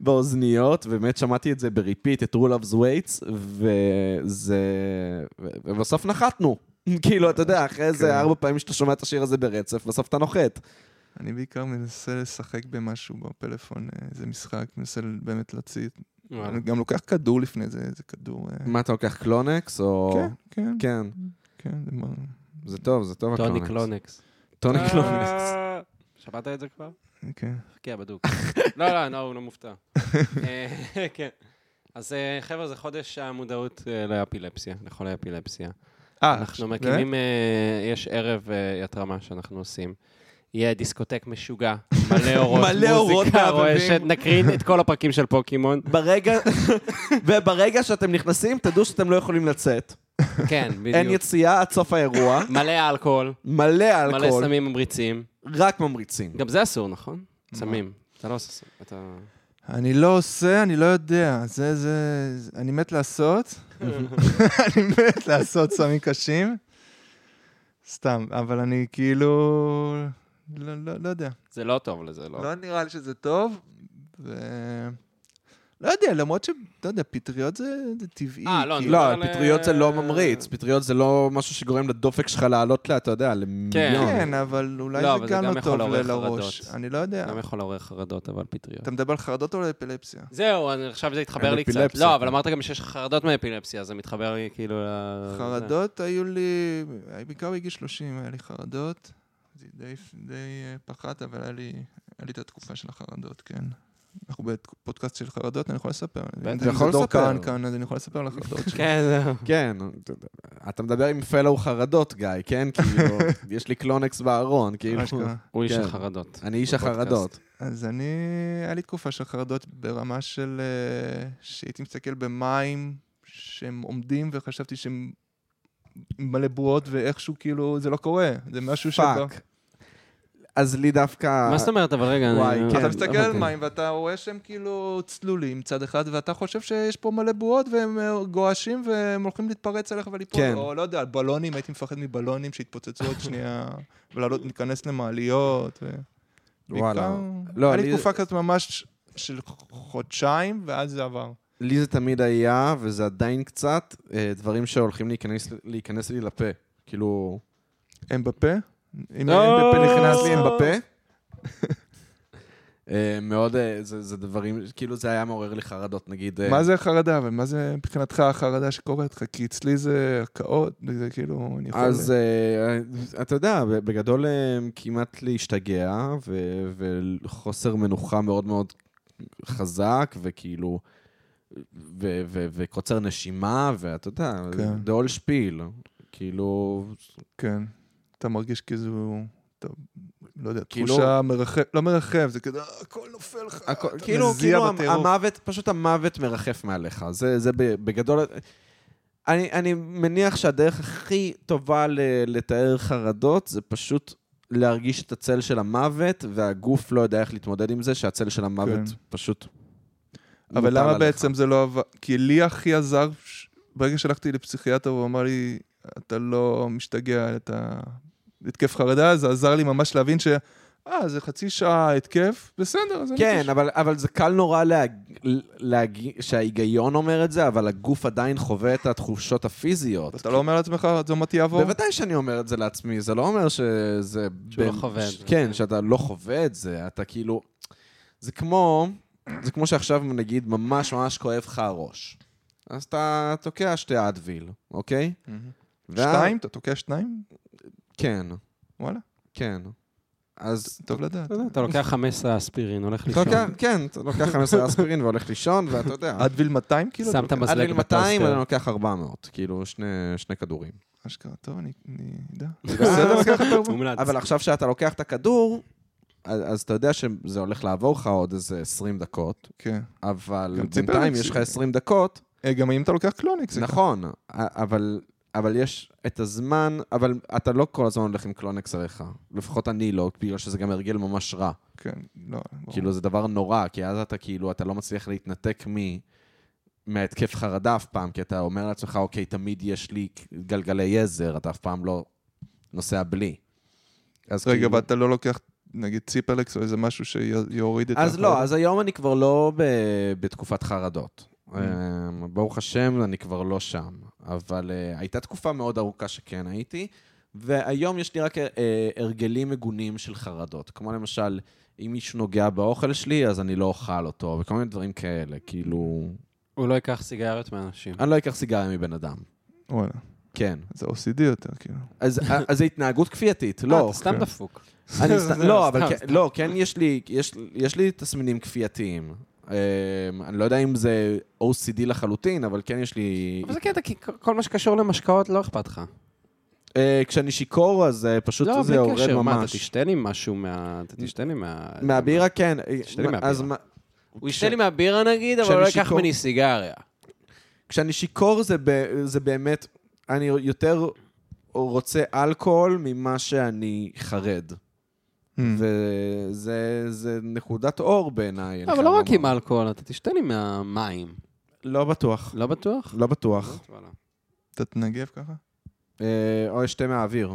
S1: באוזניות, באמת שמעתי את זה בריפיט, את True Love's Waits, וזה... ו- ובסוף נחתנו. כאילו, אתה יודע, אחרי
S2: כן.
S1: זה ארבע פעמים שאתה שומע את השיר הזה ברצף, בסוף אתה נוחת.
S2: אני בעיקר מנסה לשחק במשהו בפלאפון, אה, איזה משחק, מנסה באמת להציץ. אני גם לוקח כדור לפני זה, איזה כדור... אה,
S1: מה, אתה לוקח קלונקס, או...
S2: כן, כן,
S1: כן.
S2: כן, זה מה...
S1: זה טוב, זה טוב
S3: טוני קלונקס.
S1: טוני קלונקס.
S3: אה, שמעת את זה כבר?
S2: כן.
S3: חכה, בדוק. לא, לא, לא, הוא לא מופתע. אה, כן. אז אה, חבר'ה, זה חודש המודעות אה, לאפילפסיה, לחולי אפילפסיה.
S2: אה,
S3: אנחנו
S2: באמת?
S3: מקימים, אה, יש ערב אה, יתרמה שאנחנו עושים. יהיה דיסקוטק משוגע, מלא אורות,
S1: מלא אורות
S3: מוזיקה
S1: מהבהבים.
S3: רועשת, נקרין את כל הפרקים של פוקימון.
S1: ברגע, וברגע שאתם נכנסים, תדעו שאתם לא יכולים לצאת.
S3: כן,
S1: אין
S3: בדיוק.
S1: יציאה עד סוף האירוע.
S3: מלא אלכוהול,
S1: מלא
S3: מלא
S1: אלכוהול,
S3: סמים ממריצים.
S1: רק ממריצים.
S3: גם זה אסור, נכון? סמים. אתה לא עושה סמים. אתה...
S2: אני לא עושה, אני לא יודע. זה, זה... זה- אני מת לעשות. אני מת לעשות סמים קשים. סתם, אבל אני כאילו... לא, לא, לא יודע.
S3: זה לא טוב לזה, לא.
S2: לא נראה לי שזה טוב. ו... לא יודע, למרות ש... לא יודע, פטריות זה, זה טבעי.
S3: אה, לא,
S2: כאילו.
S1: לא,
S3: אבל,
S1: פטריות זה לא
S3: אה,
S1: ממריץ, פטריות זה לא משהו שגורם לדופק שלך לעלות לה, אתה יודע,
S3: לא.
S1: למיליון.
S2: כן, אבל אולי
S3: לא,
S2: זה
S3: אבל זה
S2: גם
S3: גם
S2: לא
S3: יכול
S2: טוב ל-
S3: לעורר
S2: לראש.
S3: חרדות.
S2: אני לא יודע.
S3: גם יכול לעורר חרדות, אבל פטריות.
S2: אתה מדבר על חרדות או על אפילפסיה?
S1: אה,
S3: זהו, אני- עכשיו זה התחבר
S1: על
S3: לי קצת.
S1: אפילפסיה.
S3: לא, אבל אמרת גם שיש לך חרדות מאפילפסיה, זה מתחבר לי כאילו... ל-
S2: חרדות היו לי, בעיקר בגיל 30 היה לי חרדות. זה די, די אה, פחת, אבל היה לי, היה לי את התקופה של החרדות, כן. אנחנו בפודקאסט של חרדות, אני יכול לספר. אם
S1: אתה
S2: זה
S1: יכול
S2: דור
S1: לספר.
S2: כהן כאן, אז אני יכול לספר על החרדות
S3: זה.
S2: שלי.
S3: כן, זהו.
S1: כן, אתה מדבר עם פלו חרדות, גיא, כן? כאילו, יש לי קלונקס בארון, כאילו.
S2: אשכרה.
S3: הוא איש
S1: כן.
S3: החרדות.
S1: אני איש
S3: בפודקאסט.
S1: החרדות.
S2: אז אני, היה לי תקופה של חרדות ברמה של... אה, שהייתי מסתכל במים שהם עומדים, וחשבתי שהם מלא בועות, ואיכשהו כאילו זה לא קורה. זה משהו שבא.
S1: פאק. אז לי דווקא...
S3: מה זאת אומרת, אבל רגע, אני-
S1: וואי, כן.
S2: אתה מסתכל על
S1: אוקיי.
S2: מים ואתה רואה שהם כאילו צלולים צד אחד, ואתה חושב שיש פה מלא בועות והם אה, גועשים והם הולכים להתפרץ עליך וליפול.
S1: כן.
S2: או לא יודע, על בלונים, הייתי מפחד מבלונים שיתפוצצו עוד שנייה, ולעלות, להיכנס למעליות. ו...
S1: וואלה.
S2: בעיקר-
S1: לא,
S2: היה לי
S1: לי-
S2: תקופה כזאת ממש של חודשיים, ואז זה עבר.
S1: לי זה תמיד היה, וזה עדיין קצת, אה, דברים שהולכים להיכנס, להיכנס לי לפה. כאילו...
S2: הם בפה? אם
S3: לא.
S2: הם בפה נכנס
S1: נכנס לי
S2: לי...
S1: הם בפה. אה, מאוד, אה, זה זה דברים, כאילו זה היה מעורר לי חרדות, נגיד... אה,
S2: מה זה החרדה? אבל מה זה מבחינתך החרדה שקורית לך? כי אצלי זה הקאות, זה כאילו, אני יכול...
S1: אז אה, אתה יודע, בגדול אה, כמעט להשתגע, ו- וחוסר מנוחה מאוד מאוד חזק, וכאילו... ו- ו- וקוצר נשימה, ואתה יודע,
S2: כן.
S1: זה עול שפיל. כאילו,
S2: כן. אתה מרגיש כאילו, אתה, לא יודע,
S1: כאילו-
S2: תחושה מרחב, לא מרחב, זה כזה, "אה, הכל נופל לך,
S1: הכל-
S2: אתה
S1: כאילו, כאילו המ-
S2: בטירוף.
S1: המוות, פשוט המוות מרחף מעליך. זה, זה ב- בגדול... אני, אני מניח שהדרך הכי טובה ל, לתאר חרדות זה פשוט להרגיש את הצל של המוות, והגוף לא יודע איך להתמודד עם זה, שהצל של המוות
S2: כן.
S1: פשוט...
S2: אבל
S1: מוטל
S2: למה
S1: עליך.
S2: בעצם זה לא עבד? כי לי הכי עזר, ש- ברגע שהלכתי לפסיכיאטר, הוא אמר לי, אתה לא משתגע, אתה... התקף חרדה, זה עזר לי ממש להבין ש... אה, זה חצי שעה התקף, בסדר, אז אני...
S1: כן,
S2: פשוט-"
S1: אבל, אבל זה קל נורא להג... להג... שההיגיון אומר את זה, אבל הגוף עדיין חווה את התחושות הפיזיות.
S2: אתה לא אומר לעצמך, זה עוד מעט יעבור?
S1: בוודאי שאני אומר את זה לעצמי, זה לא אומר שזה...
S3: שהוא לא
S1: בין-
S3: חווה את
S1: ש-
S3: זה.
S1: כן, שאתה לא חווה את זה, אתה כאילו... זה כמו... זה כמו שעכשיו, נגיד, ממש ממש כואב לך הראש. אז אתה תוקע שתי אדוויל, אוקיי? ואז-
S2: שתיים? אתה תוקע שניים?
S1: כן,
S2: וואלה,
S1: כן. אז
S2: טוב לדעת.
S3: אתה יודע, אתה לוקח 15 אספירין, הולך
S1: אתה
S3: לישון.
S1: לוקח, כן, אתה לוקח 15 אספירין והולך לישון, ואתה יודע.
S2: עד ויל 200 כאילו?
S3: שם את
S2: אתה לוקח?
S3: המזלג
S1: עד גיל 200
S3: בטוסטר.
S1: אני לוקח 400, כאילו שני שני כדורים.
S2: אשכרה, טוב, אני אני אדע.
S1: בסדר,
S2: לקחת הרבה.
S3: מומלץ.
S1: אבל עכשיו שאתה לוקח את הכדור, אז אז אתה יודע שזה הולך לעבור לך עוד איזה 20 דקות,
S2: כן.
S1: אבל
S2: גם ציפרלקס
S1: בינתיים
S2: היא-
S1: יש לך 20 דקות,
S2: אה, גם אם אתה לוקח קלוניקס. זה
S1: נכון, א- אבל... אבל יש את הזמן, אבל אתה לא כל הזמן הולך עם קלונקס עליך. לפחות אני לא, בגלל שזה גם הרגל ממש רע.
S2: כן, לא, ברור.
S1: כאילו, זה דבר נורא, כי אז אתה כאילו, אתה לא מצליח להתנתק מ... מהתקף חרדה אף פעם, כי אתה אומר לעצמך, אוקיי, תמיד יש לי גלגלי עזר, אתה אף פעם לא נוסע בלי. אז
S2: רגע,
S1: כאילו-
S2: ואתה לא לוקח, נגיד, ציפרלקס או איזה משהו שיוריד את
S1: אז
S2: החרדה?
S1: לא, אז היום אני כבר לא ב... בתקופת חרדות.
S3: Mm.
S1: אה, ברוך השם, אני כבר לא שם. אבל uh, הייתה תקופה מאוד ארוכה שכן הייתי, והיום יש לי רק uh, הרגלים מגונים של חרדות. כמו למשל, אם מישהו נוגע באוכל שלי, אז אני לא אוכל אותו, וכל מיני דברים כאלה. כאילו,
S3: הוא לא ייקח סיגריות מאנשים.
S1: אני לא אקח סיגריה מבן אדם.
S2: וואלה,
S1: כן.
S2: זה OCD יותר, כאילו.
S1: אז, אה, אז זה התנהגות כפייתית,
S3: אה,
S1: לא.
S3: אתה סתם דפוק.
S1: אני סתם,
S3: זה
S1: לא,
S3: סתם,
S1: אבל כן-
S3: סתם.
S1: לא, כן יש לי, יש, יש לי תסמינים כפייתיים. אמ, אני לא יודע אם זה OCD לחלוטין, אבל כן יש לי...
S3: אבל זה קטע, כי כל מה שקשור למשקאות לא אכפת לך.
S1: אה, כשאני שיכור, אז אה, פשוט
S3: לא,
S1: זה
S3: בלי
S1: יורד
S3: קשר, מה, אתה
S1: ממש.
S3: תשתה לי משהו מה... אתה תשתה לי מה...
S1: מהבירה כן.
S3: תשתה לי
S1: אה,
S3: מהבירה.
S1: אז מה-
S3: הוא ישתה לי מהבירה נגיד, אבל
S1: כשאני
S3: הוא לא ייקח
S1: שיכור.
S3: ממני סיגריה.
S1: כשאני שיכור זה, ב, זה באמת, אני יותר רוצה אלכוהול ממה שאני חרד.
S2: Hmm,
S1: וזה זה נקודת אור בעיניי. אני
S3: אבל
S1: חייב
S3: לא רק
S1: לומר.
S3: עם אלכוהול, אתה תשתה לי מהמים.
S1: לא בטוח.
S3: לא בטוח?
S1: לא בטוח.
S2: אתה תנגב ככה?
S1: אה, או אשתה מהאוויר.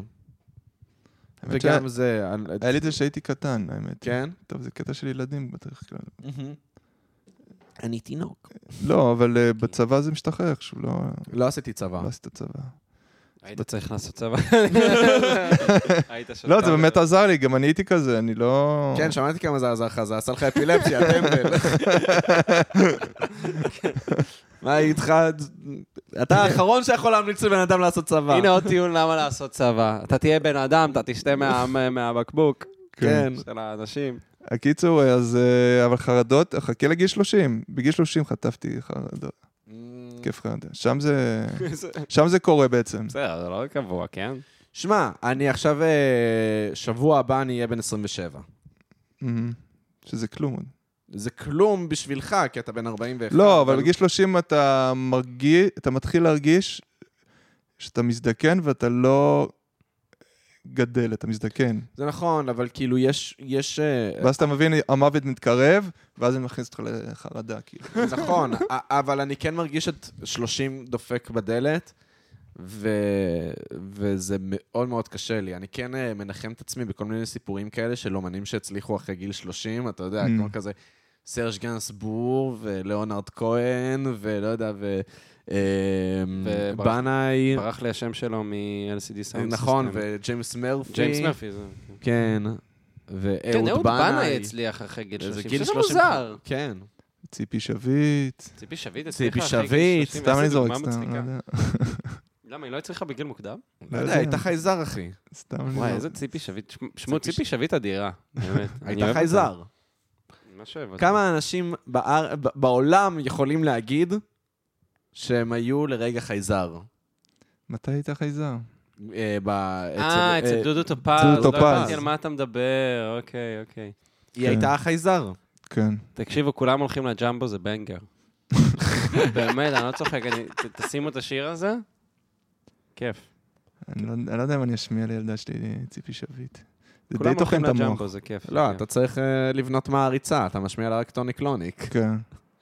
S2: האמת
S1: וגם זה... אני-
S2: שהיה לי את זה שהייתי קטן, האמת.
S1: כן?
S2: טוב, זה קטע של ילדים בדרך כלל.
S1: אני תינוק.
S2: לא, אבל אה, בצבא זה משתחרר איכשהו, לא
S1: לא עשיתי צבא.
S2: לא עשית צבא.
S3: היית צריך לעשות צבא. היית שותה.
S2: לא, זה באמת עזר לי, גם אני הייתי כזה, אני לא...
S1: כן, שמעתי כמה זה עזר לך, זה עשה לך אפילפסיה, טמבל. מה איתך? אתה האחרון שיכול להמליץ לבן אדם לעשות צבא.
S3: הנה עוד טיעון למה לעשות צבא. אתה תהיה בן אדם, אתה תשתה מה- מהבקבוק
S1: כן.
S3: של האנשים.
S2: הקיצור, אה, אז... אה, אבל חרדות, חכה לגיל 30. בגיל 30 חטפתי חרדות, כיף חרדה. שם זה... שם זה קורה בעצם.
S3: בסדר, זה לא קבוע, כן?
S1: שמע, אני עכשיו, אה, שבוע הבא אני אהיה בן 27.
S2: אמ, שזה כלום עוד.
S1: זה כלום בשבילך, כי אתה בן 41.
S2: לא, אבל בגיל 30 אתה מרגיש, אתה מתחיל להרגיש שאתה מזדקן ואתה לא גדל, אתה מזדקן.
S1: זה נכון, אבל כאילו יש... יש אה,
S2: ואז אתה מבין, המוות מתקרב, ואז אני מכניס אותך לחרדה, כאילו.
S1: נכון, א- אבל אני כן מרגיש את 30 דופק בדלת, ו... וזה מאוד מאוד קשה לי. אני כן אה, מנחם את עצמי בכל מיני סיפורים כאלה של אומנים שהצליחו אחרי גיל 30, אתה יודע,
S2: Mm.
S1: כמו כזה סרש גנסבור, ולאונרד כהן, ולא יודע, ו... אה,
S3: וברח-
S1: בנאי,
S3: ברח לי השם שלו מ-LCD סאונד.
S1: נכון, וג'יימס מרפי.
S3: ג'יימס מרפי. זה-
S1: כן,
S3: כן,
S1: ואהוד
S3: אהוד
S1: בנאי.
S3: בנאי הצליח אחרי גיל
S1: זה
S3: 30.
S1: גיל
S3: שזה
S1: 30.
S3: מוזר.
S1: כן.
S2: ציפי שביט,
S3: ציפי שביט
S1: ציפי
S3: הצליחה אחרי גיל
S1: שביט,
S3: 30.
S2: סתם
S3: איזה
S2: אני זורק,
S3: דוגמה
S2: סתם, לא
S3: מצחיקה.
S2: יודע.
S3: למה, היא לא הצליחה בגיל מוקדם?
S1: לא
S2: לא
S1: יודע,
S2: יודע.
S1: הייתה חייזר, אחי.
S2: סתם אני לא.
S3: וואי,
S2: זורק.
S3: איזה ציפי שביט. שמ- שמעו, ציפי שביט אדירה, באמת. אני
S1: הייתה
S3: אוהב
S1: חייזר.
S3: אותה. ממש אוהב אותה.
S1: כמה אנשים באר... ב- בעולם יכולים להגיד שהם היו לרגע חייזר?
S2: מתי היית חייזר?
S1: אה, ב...
S3: אה, אצל דודו טופז.
S2: דודו
S3: לא
S2: טופז.
S3: הבנתי על מה אתה מדבר, אוקיי, אוקיי.
S1: היא הייתה החייזר.
S2: כן.
S3: תקשיבו, כולם הולכים לג'מבו, זה בנגר. באמת, אני לא צוחק, אני- ת- תשימו את השיר הזה, כיף.
S2: אני לא אני לא יודע אם אני אשמיע לילדה שלי ציפי שביט. זה די
S3: כולם
S2: טוחן
S3: הולכים
S2: את המוח.
S3: לג'מבו, זה כיף.
S1: לא, אתה צריך אה, לבנות מעריצה, אתה משמיע לה רק טוני קלוניק.
S2: כן.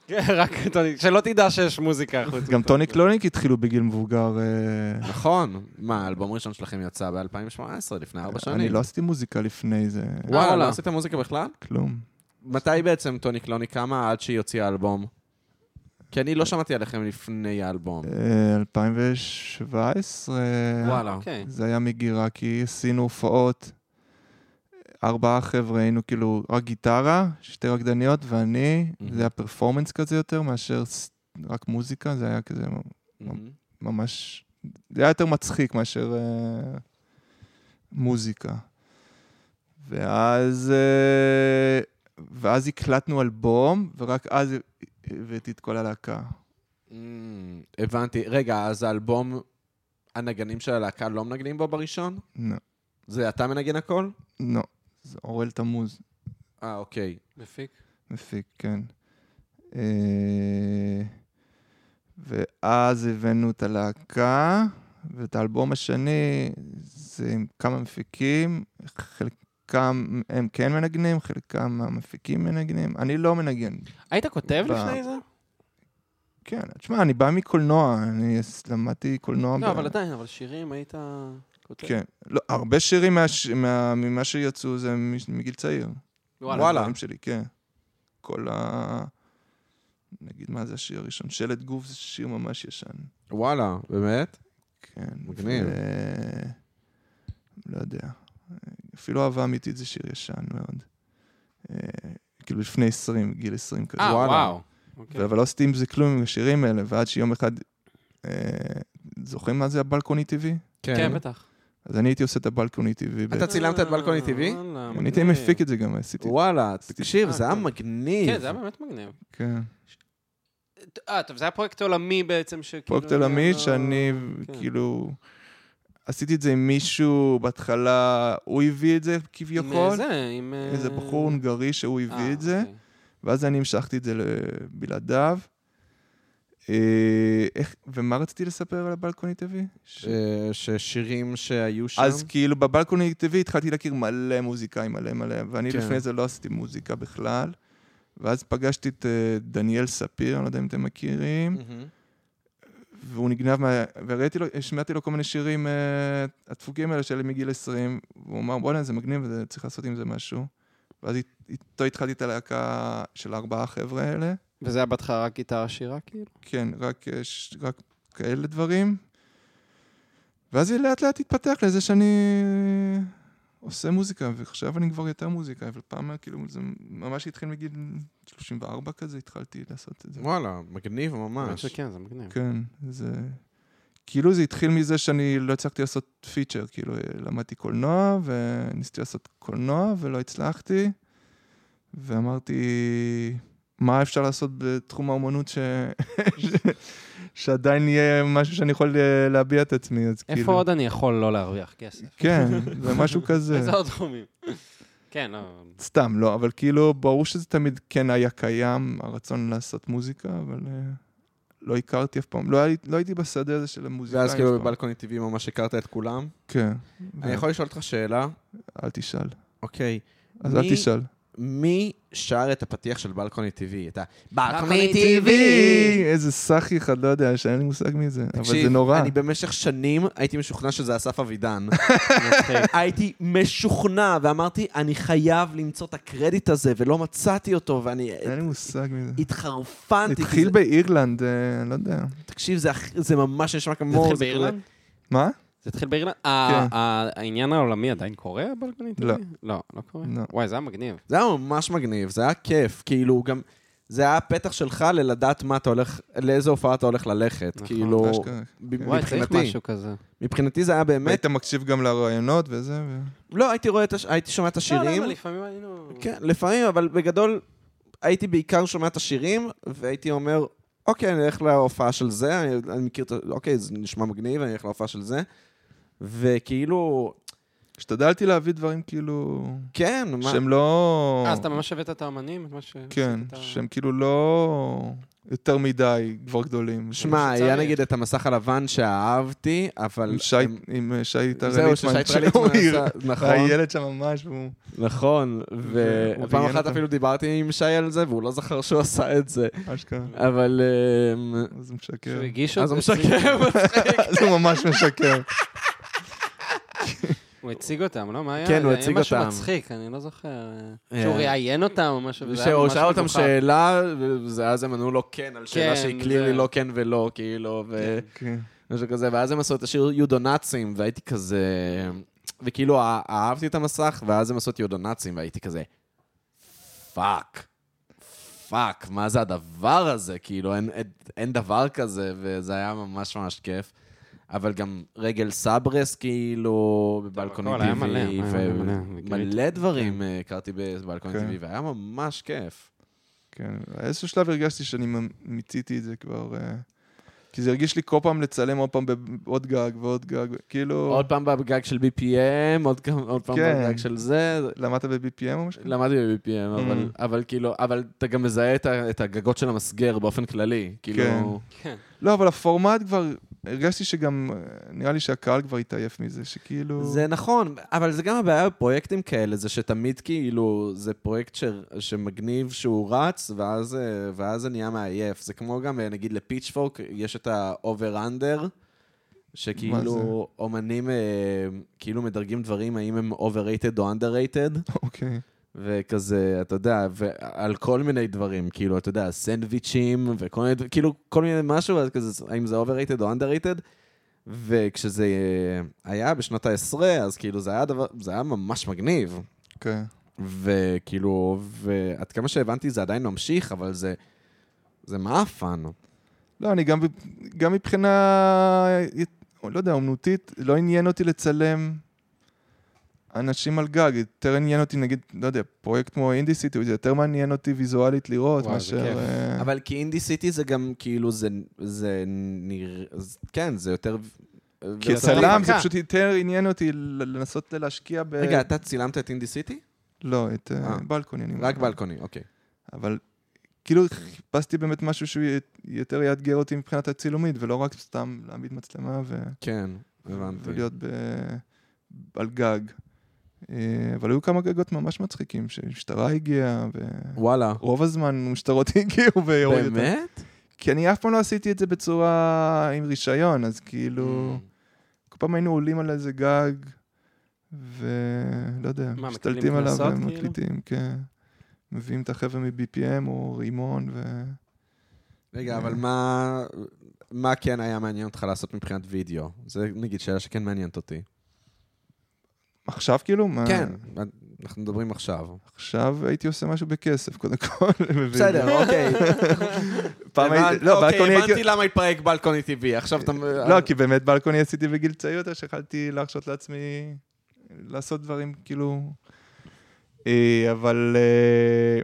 S3: כן, רק טוני, שלא תדע שיש מוזיקה חוץ.
S2: גם
S3: מזה.
S2: טוני קלוניק התחילו בגיל מבוגר. אה,
S1: נכון. מה, האלבום הראשון שלכם יצא ב-2018, לפני ארבע שנים.
S2: אני לא עשיתי מוזיקה לפני זה,
S1: וואלה, לא
S3: וואלה.
S1: עשית מוזיקה בכלל?
S2: כלום.
S1: מתי בעצם טוני קלוניק קמה עד שהיא הוציאה אלבום? כי אני לא שמעתי עליכם לפני האלבום.
S2: אה, 2017,
S1: וואלה.
S3: אוקיי.
S2: זה היה מגירה, כי עשינו הופעות. ארבעה חבר'ה, היינו כאילו רק גיטרה, שתי רקדניות ואני, זה היה פרפורמנס כזה יותר מאשר ס- רק מוזיקה, זה היה כזה אה, ממש... זה היה יותר מצחיק מאשר אה, מוזיקה. ואז, אה, ואז הקלטנו אלבום, ורק אז אה, הבאתי את כל הלהקה.
S1: הבנתי. רגע, אז האלבום, הנגנים של הלהקה לא מנגנים בו בראשון?
S2: לא,
S1: זה אתה מנגן הכל?
S2: לא, זה אורל תמוז.
S1: אה, אוקיי.
S3: מפיק.
S2: מפיק, כן. אה, ואז הבאנו את הלהקה, ואת האלבום השני זה עם כמה מפיקים, חלקם הם כן מנגנים, חלקם המפיקים מנגנים. אני לא מנגן.
S3: היית כותב
S2: ב-
S3: לפני זה?
S2: כן, תשמע, אני בא מקולנוע, אני למדתי קולנוע. ב-
S3: לא, אבל עדיין, אבל שירים היית כותב.
S2: כן. לא, הרבה שירים מהש- מה- ממה שיצאו זה מ- מגיל צעיר.
S3: וואלה.
S2: וואלה. הדברים שלי, כן. כל ה... נגיד, מה זה השיר הראשון? שלט גוף זה שיר ממש ישן.
S1: וואלה, באמת?
S2: כן.
S1: מגניב.
S2: ו- לא יודע. אפילו אהבה אמיתית זה שיר ישן מאוד. אה, כאילו לפני 20, גיל 20 כזה.
S3: אה,
S1: וואלה.
S3: וואו. אוקיי.
S2: אבל לא עשיתי עם זה כלום עם השירים האלה, ועד שיום אחד... אה, זוכרים מה זה הבלקוני טבעי?
S3: כן, בטח.
S2: אז אני הייתי עושה את הבלקוני טבעי. ב-
S1: אתה צילמת את בלקוני טבעי?
S3: וואלה,
S2: אני הייתי
S3: אה, מגניב.
S2: מפיק את זה גם, עשיתי.
S1: וואלה, תקשיב,
S3: אה,
S1: זה היה
S3: כן.
S1: מגניב.
S3: כן, זה היה באמת מגניב.
S2: כן.
S3: אה, טוב, זה היה פרויקט עולמי בעצם, שכאילו...
S2: פרויקט
S3: היה
S2: תל עמית,
S3: לו-
S2: שאני
S3: כאילו, לא- כן.
S2: כאילו... עשיתי את זה עם מישהו, בהתחלה הוא הביא את זה
S3: עם, אה,
S2: כביכול,
S3: זה, עם... אה,
S2: איזה בחור הונגרי שהוא
S3: אה,
S2: הביא את זה,
S3: אוקיי.
S2: ואז אני המשכתי את זה ל- בלעדיו. אה, איך- ומה רציתי לספר על הבלקוני טבעי? ש-
S1: אה, ששירים שהיו שם.
S2: אז כאילו בבלקוני טבעי התחלתי להכיר מלא מוזיקאים, מלא מלא, ואני
S1: כן.
S2: לפני זה לא עשיתי מוזיקה בכלל. ואז פגשתי את אה, דניאל ספיר, אני לא יודע אם אתם מכירים.
S1: מהמם.
S2: והוא נגנב מה... והראיתי לו, השמעתי לו כל מיני שירים אה, הדפוקים האלה שלי מגיל 20, והוא אמר, בוא'נה, זה מגניב, זה- צריך לעשות עם זה משהו. ואז אית- איתו התחלתי את הלהקה של ארבעה חבר'ה האלה.
S3: וזה היה בהתחלה רק גיטרה שירה, כאילו?
S2: כן, רק, אה, ש- רק כאלה דברים. ואז היא לאט לאט התפתח לזה שאני עושה מוזיקה, ועכשיו אני כבר יותר מוזיקאי, אבל פעם היה כאילו, זה ממש התחיל מגיל 34 כזה, התחלתי לעשות את זה.
S1: וואלה, מגניב
S3: האמת
S1: ממש.
S3: שכן, זה מגניב.
S2: כן, זה... כאילו זה התחיל מזה שאני לא הצלחתי לעשות פיצ'ר, כאילו למדתי קולנוע וניסיתי לעשות קולנוע ולא הצלחתי, ואמרתי, מה אפשר לעשות בתחום האומנות ש... שעדיין יהיה משהו שאני יכול אה, להביע את עצמי, אז כאילו...
S3: איפה עוד אני יכול לא להרוויח כסף?
S2: כן, זה משהו
S1: כאילו-
S2: כזה.
S3: איזה עוד תחומים? כן, לא...
S2: סתם, לא, אבל כאילו, ברור שזה תמיד כן היה קיים, הרצון לעשות מוזיקה, אבל אה, לא הכרתי אף פעם. לא, היה, לי- לא הייתי בשדה הזה של המוזיקאים
S1: ואז כאילו
S2: אף פעם.
S1: בבלקוני טבעי ממש הכרת את כולם.
S2: כן.
S1: אני יכול לשאול אותך שאלה?
S2: אל תשאל.
S1: אוקיי.
S2: אז
S1: מי-
S2: אל תשאל.
S1: מי שר את הפתיח של בלקוני טבעי? את ה...
S3: בלקוני
S2: טבעי! איזה סאחי אחד, לא יודע, שאין לי מושג מי זה. אבל
S1: תקשיב,
S2: זה נורא.
S1: אני במשך שנים הייתי משוכנע שזה אסף אבידן.
S3: מצחיק.
S1: הייתי משוכנע, ואמרתי, אני חייב למצוא את הקרדיט הזה, ולא מצאתי אותו, ואני
S2: אין לי מושג מי זה.
S1: התחרפנתי. כי
S2: התחיל
S1: זה-
S2: באירלנד, אה, אני לא יודע.
S1: תקשיב, זה הכ- זה ממש נשמע
S3: זה
S1: כמו...
S3: התחיל
S1: זה
S3: באירלנד?
S2: מה?
S3: זה התחיל באירלנד?
S1: כן.
S3: אה, אה, העניין העולמי עדיין קורה בלקוני טבעי?
S2: לא.
S3: לא, לא קורה?
S2: לא.
S3: וואי, זה היה מגניב.
S1: זה היה ממש מגניב, זה היה כיף, כאילו גם... זה היה הפתח שלך ללדעת מה אתה הולך, לאיזה הופעה אתה הולך ללכת,
S3: נכון.
S1: כאילו,
S2: אשכרה.
S1: ב-
S3: וואי, צריך
S1: מבחינתי,
S3: משהו כזה.
S1: מבחינתי זה היה באמת,
S2: היית מקשיב גם לרעיונות וזה, ו...
S1: לא, הייתי רואה את, הש... הייתי שומע את
S3: לא,
S1: השירים,
S3: למה? לפעמים היינו...
S1: כן, לפעמים, אבל בגדול, הייתי בעיקר שומע את השירים, והייתי אומר, אוקיי, אני אלך להופעה של זה, אני, אני מכיר את ה... אוקיי, זה נשמע מגניב, אני אלך להופעה של זה. וכאילו,
S2: השתדלתי להביא דברים כאילו...
S1: כן, מה...
S2: שהם לא...
S3: אה, אז אתה ממש הבאת את האמנים? את מה ש...
S2: כן,
S3: עשית את ה-
S2: שהם כאילו לא יותר מדי כבר גדולים.
S1: שמע,
S3: שצריך.
S1: היה נגיד את המסך הלבן שאהבתי, אבל...
S2: עם שי, עם אה, שי טרליטמן,
S1: זהו, ששי
S2: שהוא
S1: טרליטמן
S2: העיר.
S1: עשה... נכון,
S2: הילד שם ממש, והוא...
S1: נכון.
S2: הוא
S1: ופעם
S2: ראיין
S1: אחת
S2: אותו.
S1: אפילו דיברתי עם שי על זה, והוא לא זכר שהוא עשה את זה.
S2: אשכרה.
S1: אבל... אמ,
S2: אז הוא
S3: שהוא
S2: משקר.
S3: הגיש
S1: אז הוא
S3: אותו,
S1: משקר.
S2: אז הוא ממש משקר.
S3: הוא הציג אותם, לא? מה היה?
S1: כן, הוא
S3: היה
S1: הציג
S3: משהו
S1: אותם.
S3: מצחיק, אני לא זוכר.
S1: אה.
S3: שהוא ראיין אותם או משהו, וזה היה
S1: שהוא
S3: ממש
S1: שאל אותם
S3: מגוחך.
S1: שאלה, ואז הם ענו לו כן, על שאלה
S3: כן,
S1: שהיא קלירלי
S3: זה-
S1: לא כן ולא, כאילו,
S2: כן.
S1: ומשהו כזה, ואז הם עשו את השיר יודו נאצים, והייתי כזה... וכאילו אה- אהבתי את המסך, ואז הם עשו אותי עוד הנאצים, והייתי כזה, פאק, פאק, מה זה הדבר הזה? כאילו, אין, אין, אין דבר כזה, וזה היה ממש ממש כיף. אבל גם רגל סברס, כאילו, בבלקוני
S3: הכל היה
S1: TV,
S3: מלא, היה מלא, מלא, כן.
S1: ומלא דברים אה, הכרתי בבלקוני
S2: כן.
S1: TV, והיה ממש כיף.
S2: כן, באיזשהו שלב הרגשתי שאני מ- מיציתי את זה כבר. אה, כי זה הרגיש לי כל פעם לצלם עוד פעם בעוד גג ועוד גג, כאילו...
S1: עוד פעם בגג של BPM, עוד כמה- עוד פעם
S2: כן.
S1: בגג של זה,
S2: למדת ב-BPM או משהו?
S1: למדתי ב-BPM, אבל, אבל כאילו, אבל אתה גם מזהה את, ה- את הגגות של המסגר באופן כללי. כאילו,
S2: כן.
S3: כן.
S2: לא, אבל הפורמט כבר, הרגשתי שגם, אה, נראה לי שהקהל כבר התעייף מזה, שכאילו...
S1: זה נכון, אבל זה גם הבעיה בפרויקטים כאלה, זה שתמיד כאילו, זה פרויקט ש, שמגניב שהוא רץ, ואז, אה, ואז זה נהיה מעייף. זה כמו גם, אה, נגיד, לפיצ'פורק יש את ה-over-under, שכאילו אומנים אה, כאילו מדרגים דברים, האם הם overrated או underrated.
S2: אוקיי.
S1: וכזה, אתה יודע, ועל כל מיני דברים, כאילו, אתה יודע, סנדוויצ'ים וכל מיני, דבר- כאילו, כל מיני משהו, אז כזה, האם זה overrated או underrated? וכשזה אה, היה בשנות ה-10, אז כאילו, זה היה דבר, זה היה ממש מגניב.
S2: כן.
S1: וכאילו, ועד כמה שהבנתי זה עדיין ממשיך, אבל זה, זה מאפן.
S2: לא, אני גם, ב- גם מבחינה, לא יודע, אומנותית, לא עניין אותי לצלם אנשים על גג, יותר עניין אותי, נגיד, לא יודע, פרויקט כמו אינדי סיטי, זה יותר מעניין אותי ויזואלית לראות,
S3: וואי, זה
S2: מאשר...
S3: כיף.
S2: אה,
S1: אבל כי אינדי סיטי זה גם, כאילו, זה, זה נראה, אז כן, זה יותר... אה,
S2: כי
S1: ויותר
S2: הצלם זה
S1: הפקה.
S2: פשוט יותר עניין אותי ל- לנסות להשקיע ב...
S1: כן. רגע, אתה צילמת את אינדי סיטי?
S2: לא, את אה,
S1: אה.
S2: בלקוני. אני
S1: רק
S2: אומר.
S1: בלקוני, אוקיי.
S2: אבל כאילו חיפשתי באמת משהו שהוא י- יותר יאתגר אותי מבחינת הצילומית, ולא רק סתם להעמיד מצלמה ו...
S1: כן, הבנתי.
S2: ולהיות ב... על גג. אה, אבל היו כמה גגות ממש מצחיקים, שהמשטרה הגיעה,
S1: וואלה.
S2: ורוב הזמן משטרות הגיעו ויורידו אותם.
S1: באמת?
S2: כי אני אף פעם לא עשיתי את זה בצורה עם רישיון, אז כאילו...
S1: Mm.
S2: כל פעם היינו עולים על איזה גג, ולא יודע,
S3: מה,
S2: משתלטים
S3: מקבלים
S2: עליו
S3: קנסות, כאילו?
S2: ומקליטים, כן. מביאים את החבר'ה מ-BPM או רימון, ו...
S1: רגע, אבל מה... מה כן היה מעניין אותך לעשות מבחינת וידאו? זה נגיד שאלה שכן מעניינת אותי.
S2: עכשיו כאילו? מה-
S1: כן, אנחנו מדברים עכשיו.
S2: עכשיו הייתי עושה משהו בכסף, קודם כל. מבין?
S1: אוקיי.
S2: פעם הייתי... לא, בלקוני הייתי...
S1: למה התפרק בלקוני TV, עכשיו אתה...
S2: לא, כי באמת בלקוני עשיתי בגיל צעיר יותר, שיכלתי להרשות לעצמי לעשות דברים כאילו... אה, אבל אה,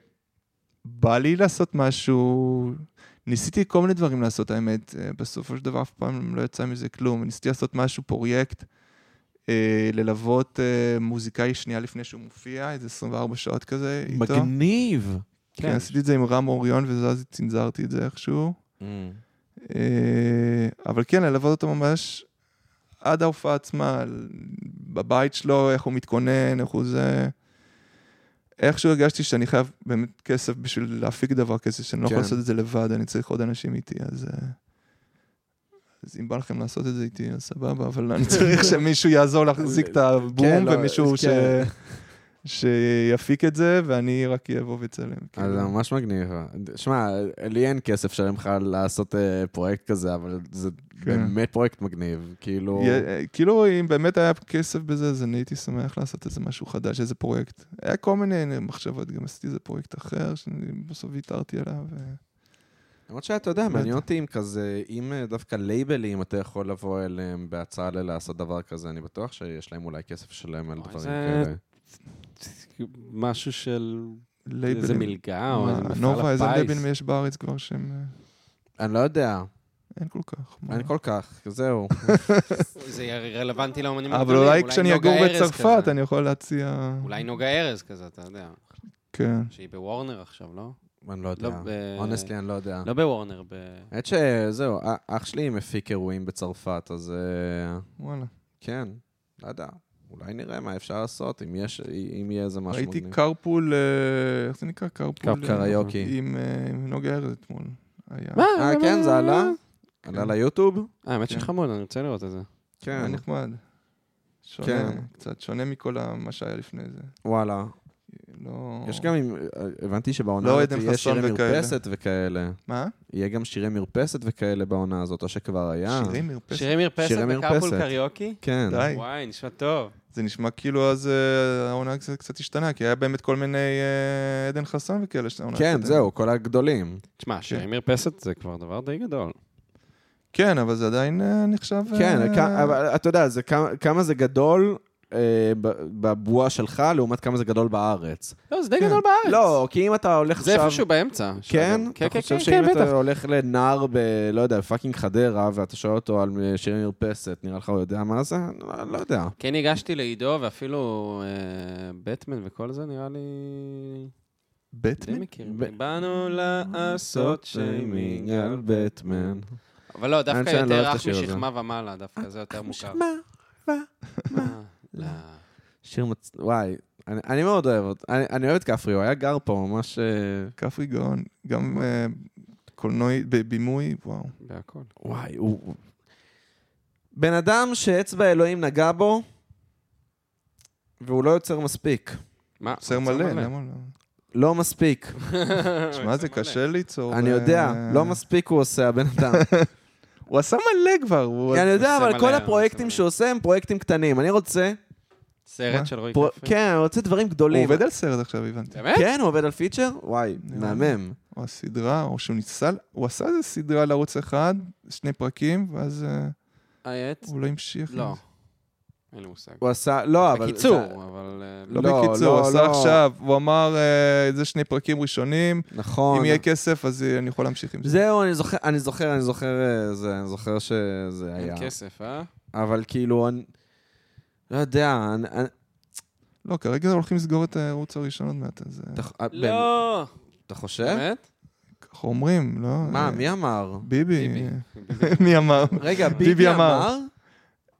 S2: בא לי לעשות משהו... ניסיתי כל מיני דברים לעשות, האמת. אה, בסופו של דבר אף פעם לא יצא מזה כלום. ניסיתי לעשות משהו, פרויקט, אה, ללוות אה, מוזיקאי שנייה לפני שהוא מופיע, איזה 24 שעות כזה איתו.
S1: מגניב.
S2: כן, עשיתי את זה עם רם אוריון, ואז צנזרתי את זה איכשהו.
S1: Mm.
S2: אה, אבל כן, ללוות אותו ממש עד ההופעה עצמה, ל- בבית שלו, איך הוא מתכונן, איך הוא זה. איכשהו הרגשתי שאני חייב באמת כסף בשביל להפיק דבר כזה, שאני לא יכול
S1: כן.
S2: לעשות את זה לבד, אני צריך עוד אנשים איתי, אז... אה, אז אם בא לכם לעשות את זה איתי, אז סבבה, אבל אני צריך שמישהו יעזור להחזיק את
S1: כן,
S2: הבום,
S1: לא,
S2: ומישהו ש-
S1: כן.
S2: שיפיק את זה, ואני רק אבוא ואצלם.
S1: אז זה
S2: כאילו.
S1: ממש מגניב. שמע, לי אין כסף שלם לך לעשות אה, פרויקט כזה, אבל זה
S2: כן.
S1: באמת פרויקט מגניב. כאילו...
S2: יה- כאילו, אם באמת היה כסף בזה, אז אני הייתי שמח לעשות איזה משהו חדש, איזה פרויקט. היה כל מיני אה, מחשבות, גם עשיתי איזה פרויקט אחר, שבסוף ויתרתי עליו. אה, ו-
S1: למרות שאתה יודע,
S2: באמת.
S1: מעניין אותי אם כזה, אם אה, דווקא לייבלים אתה יכול לבוא אליהם בהצעה ללעשות דבר כזה, אני בטוח שיש להם אולי כסף שלם על
S3: אוי,
S1: דברים
S3: זה-
S1: כאלה.
S3: משהו של
S2: לייבלים.
S3: איזה מלגה או
S2: מה,
S3: איזה מפעל
S2: נובה, איזה
S3: הפיס.
S2: לייבלים יש בארץ כבר שהם... אה,
S1: אני לא יודע,
S2: אין כל כך. מה.
S1: אין כל כך, זהו.
S3: זה יהיה רלוונטי לאומנים
S2: אבל
S3: הגדולים,
S2: אולי כשאני
S3: נוגה
S2: אגור
S3: ארז
S2: בצרפת,
S3: כזה.
S2: אני יכול להציע...
S3: אולי נוגה ארז כזה, אתה יודע.
S2: כן.
S3: שהיא בוורנר עכשיו, לא?
S1: אני לא יודע.
S3: לא ב-
S1: אונסטלי, אני לא יודע.
S3: לא בוורנר, ב...
S1: האמת שזהו, א- אח שלי מפיק אירועים בצרפת, אז אה,
S2: וואלה.
S1: כן, לא יודע. אולי נראה מה אפשר לעשות, אם יש, אם יהיה איזה משהו
S2: ראיתי
S1: מגניב.
S2: קרפול, אה, איך זה נקרא? קרפול.
S1: קר- קריוקי.
S2: עם אה, עם נוגה ארז אתמול. היה.
S1: אה,
S2: לא,
S1: כן, זה עלה? עלה ליוטיוב?
S3: אה, האמת
S2: כן.
S3: שחמוד, אני רוצה לראות את זה.
S1: כן,
S2: היה נחמד. שונה,
S1: כן.
S2: קצת שונה מכל ה- מה שהיה לפני זה.
S1: וואלה.
S2: לא...
S1: יש גם, אם- אה, הבנתי שבעונה
S2: לא
S1: הזאת
S2: עדן
S1: יהיה
S2: חסון
S1: שירי
S2: וכאלה.
S1: מרפסת וכאלה.
S2: מה?
S1: יהיה גם שירי מרפסת וכאלה בעונה הזאת, או שכבר היה.
S2: שירים מרפסת?
S3: שירי מרפסת
S1: שירי
S3: בקרפול
S1: מרפסת.
S3: קריוקי?
S1: כן.
S2: די.
S3: וואי, נשמע טוב.
S2: זה נשמע כאילו אז אה, העונה קצת- קצת השתנה, כי היה באמת כל מיני אה, עדן חסון וכאלה. של העונה
S1: כן,
S2: הקודמת.
S1: זהו, כל הגדולים.
S3: תשמע, שירי מרפסת זה כבר דבר די גדול.
S2: כן, אבל זה עדיין אה, נחשב... אה,
S1: כן, כ- אבל אתה יודע, זה כמה- כמה זה גדול אה, ב- בבועה שלך, לעומת כמה זה גדול בארץ.
S3: לא, זה די
S2: כן.
S3: גדול בארץ.
S1: לא, כי אם אתה הולך
S3: זה
S1: עכשיו...
S3: איפשהו באמצע.
S1: כן?
S3: שאגב,
S1: אתה
S3: כן,
S1: חושב
S3: כן,
S1: שאם
S3: כן, בטח.
S1: אתה הולך לנער ב... לא יודע, פאקינג חדרה, ואתה שואל אותו על אה, שירי מרפסת, נראה לך הוא יודע מה זה? לא- לא יודע.
S3: כן ניגשתי לעידו, ואפילו אה, בטמן וכל זה, נראה לי... די
S2: בטמן?
S3: מכירים.
S1: ב-
S3: באנו לעשות שיימינג על ב...
S1: בטמן.
S3: אבל לא, דווקא
S1: האמת שאני לא
S3: יותר
S1: אוהב את
S3: רך
S1: השיר הזה.
S3: משכמה ומעלה, דווקא זה יותר מוכר. מה? לא.
S1: שיר מצ... וואי, אני, אני מאוד אוהב אותו. אני, אני אוהב את כפרי, הוא היה גר פה ממש... אה,
S2: כפרי גאון, גם אה, קולנועי, בבימוי, וואו.
S3: בהכל.
S1: וואי, הוא... הוא- בן אדם שאצבע אלוהים נגע בו, והוא לא יוצר מספיק.
S3: מה?
S2: יוצר מלא, למה לא?
S1: לא מספיק.
S2: שמע, זה קשה ליצור.
S1: אני
S2: אה,
S1: יודע, לא מספיק הוא עושה, הבן אדם.
S2: הוא עשה מלא כבר, הוא...
S1: כן, אני יודע,
S3: עושה
S1: אבל
S3: מלא,
S1: כל
S3: עושה
S1: הפרויקטים
S3: מלא.
S1: שהוא עושה הם פרויקטים קטנים. אני רוצה...
S3: סרט
S2: מה?
S3: של רועי
S1: פרו-
S3: כפרי.
S1: כן, אני רוצה דברים
S2: הוא
S1: גדולים.
S2: עובד על סרט עכשיו, הבנתי.
S3: באמת?
S1: כן, הוא עובד על פיצ'ר? וואי,
S2: נראה לי.
S1: מהמם.
S2: או הסדרה, או שהוא ניסה... הוא עשה איזה סדרה לערוץ אחד, שני פרקים, ואז אה,
S3: האט?
S2: הוא לא המשיך. עם
S3: לא.
S2: זה.
S3: אין לי מושג.
S1: הוא עשה... לא, אבל...
S3: בקיצור, אבל... אה,
S1: לא,
S2: לא בקיצור, הוא
S1: לא,
S2: עשה
S1: לא.
S2: עכשיו, הוא אמר, אה, זה שני פרקים ראשונים,
S1: זה- נכון.
S2: אם יהיה כסף אז אה, אני יכול להמשיך עם זה.
S1: זהו, אני זוכר, אני זוכר, אני זוכר אה, זה, אני זוכר שזה לא היה.
S3: אין כסף, אה?
S1: אבל כאילו, אני... לא יודע, אני... אני
S2: לא, כרגע הולכים לסגור את הערוץ הראשון עוד מעט, אז אה,
S1: אתה, ח- אה, בן-
S3: לא.
S1: אתה חושב?
S3: באמת?
S2: ככה אומרים, לא?
S1: מה,
S2: אה,
S1: מי אמר?
S2: ביבי.
S3: ביבי.
S2: מי אמר?
S1: רגע, ביבי,
S2: ביבי אמר.
S1: אמר?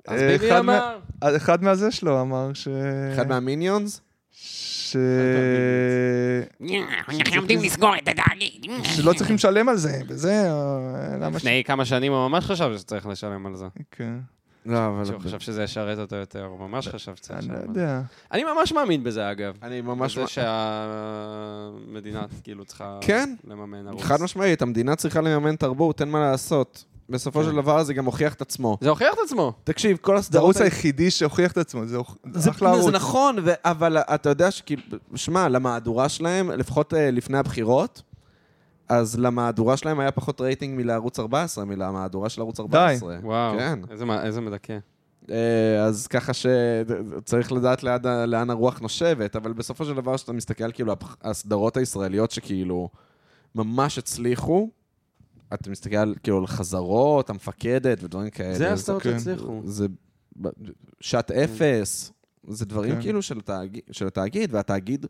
S3: אז
S2: אה,
S3: ביבי
S2: אחד
S3: אמר.
S2: אחד מהזה שלו אמר ש...
S1: אחד מהמיניונס?
S2: ש...
S5: אנחנו עומדים לסגור את התאגיד.
S2: שלא צריכים לשלם על זה, וזה, אה, למה ש...
S3: לפני כמה שנים הוא ממש חשב שצריך לשלם על זה.
S2: כן,
S1: לא, אבל...
S3: שהוא חשב שזה ישרת אותו יותר, הוא ממש חשב שצריך
S2: אני לא
S3: לשלם על זה.
S2: יודע.
S3: אני ממש מאמין בזה, אגב.
S1: אני ממש...
S3: זה שהמדינה כאילו צריכה
S1: כן.
S3: לממן ערוץ.
S1: חד משמעית, המדינה צריכה לממן תרבות, אין מה לעשות. בסופו
S3: כן.
S1: של דבר זה גם הוכיח את עצמו.
S3: זה הוכיח את עצמו.
S1: תקשיב, כל
S2: זה
S1: הסדרות...
S2: הערוץ היחידי שהוכיח את עצמו, זה הוכ-
S1: זה,
S2: אחלה ערוץ.
S1: זה נכון, ו- אבל אתה יודע שכאילו, שמע, למהדורה שלהם, לפחות אה, לפני הבחירות, אז למהדורה שלהם היה פחות רייטינג מלערוץ 14, מלמהדורה של ערוץ 14.
S3: וואו,
S1: כן.
S3: איזה מה- איזה מדכא.
S1: אה, אז ככה שצריך לדעת לאן, ה- לאן הרוח נושבת, אבל בסופו של דבר, כשאתה מסתכל, כאילו, הפח- הסדרות הישראליות שכאילו ממש הצליחו, אתה מסתכל כאילו על חזרות, המפקדת ודברים כאלה.
S3: זה הסדרות
S2: כן.
S3: שהצליחו.
S1: זה ב- שעת אפס, זה דברים
S2: כן.
S1: כאילו של, התאג... של התאגיד, והתאגיד,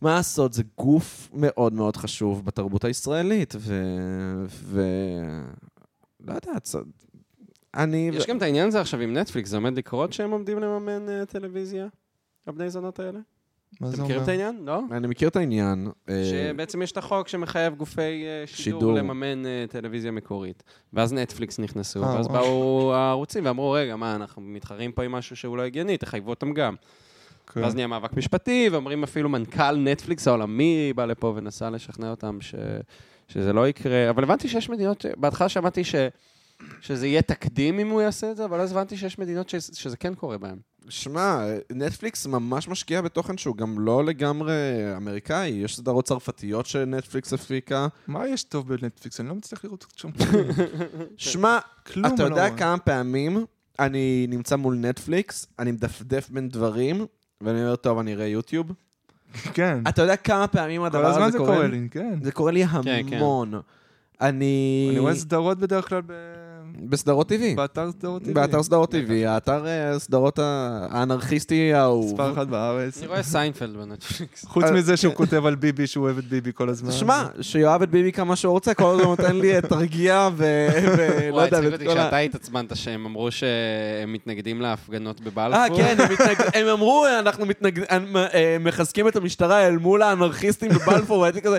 S1: מה לעשות, זה גוף מאוד מאוד חשוב בתרבות הישראלית, ו... ו... לא יודע, צ... אני...
S3: יש גם את העניין הזה עכשיו עם נטפליקס, זה עומד לקרות שהם עומדים לממן אה, טלוויזיה? הבני זונות האלה?
S2: מה
S3: אתם
S2: זה
S3: מכירים
S2: אומר?
S3: את העניין? לא?
S1: אני מכיר את העניין. אה,
S3: שבעצם יש את החוק שמחייב גופי אה, שידור
S1: שידור.
S3: לממן אה, טלוויזיה מקורית. ואז נטפליקס נכנסו,
S2: אה,
S3: ואז
S2: וואו.
S3: באו הערוצים ואמרו, רגע, מה, אנחנו מתחרים פה עם משהו שהוא לא הגיוני, תחייבו אותם גם.
S2: כן.
S3: ואז נהיה מאבק משפטי, ואומרים אפילו מנכ"ל נטפליקס העולמי בא לפה ונסה לשכנע אותם ש... שזה לא יקרה. אבל הבנתי שיש מדינות, ש- בהתחלה שמעתי ש... שזה יהיה תקדים אם הוא יעשה את זה, אבל אז הבנתי שיש מדינות ש... שזה כן קורה בהן.
S1: שמע, נטפליקס ממש משקיע בתוכן שהוא גם לא לגמרי אמריקאי. יש סדרות צרפתיות שנטפליקס הפיקה.
S2: מה יש טוב בנטפליקס? אני לא מצליח לראות שם
S1: שמע,
S2: כלום.
S1: אתה
S2: אני לא
S1: יודע
S2: רואה.
S1: כמה פעמים אני נמצא מול נטפליקס, אני מדפדף בין דברים, ואני אומר, טוב, אני אראה יוטיוב.
S2: כן.
S1: אתה יודע כמה פעמים
S2: כל
S1: הדבר
S2: הזמן
S1: הזה
S2: זה
S1: קורה?
S2: קורה לי, כן.
S1: זה קורה לי
S3: כן.
S1: המון. אני...
S2: אני רואה סדרות בדרך כלל ב-
S1: בסדרות TV.
S2: באתר סדרות TV.
S1: באתר סדרות TV, האתר אה, סדרות ה- האנרכיסטי האהוב.
S2: מספר אחת בארץ.
S3: אני רואה סיינפלד בנטפליקס.
S2: חוץ
S1: אה,
S2: מזה שהוא כותב על ביבי, שהוא אוהב את ביבי כל הזמן.
S1: שמע, שיואב את ביבי כמה שהוא רוצה, כל הזמן הוא נותן לי את הרגיעה ו- ולא
S3: וואי,
S1: אה, לא יודע,
S3: הצחיק
S1: ואת
S3: אותי
S1: כל ה...
S3: כשאתה התעצבנת שהם אמרו שהם מתנגדים להפגנות בבלפור.
S1: אה, כן, הם, מתנגד... הם אמרו, אנחנו מתנגד... אנ- אה, מחזקים את המשטרה אל מול האנרכיסטים בבלפור, והייתי כזה,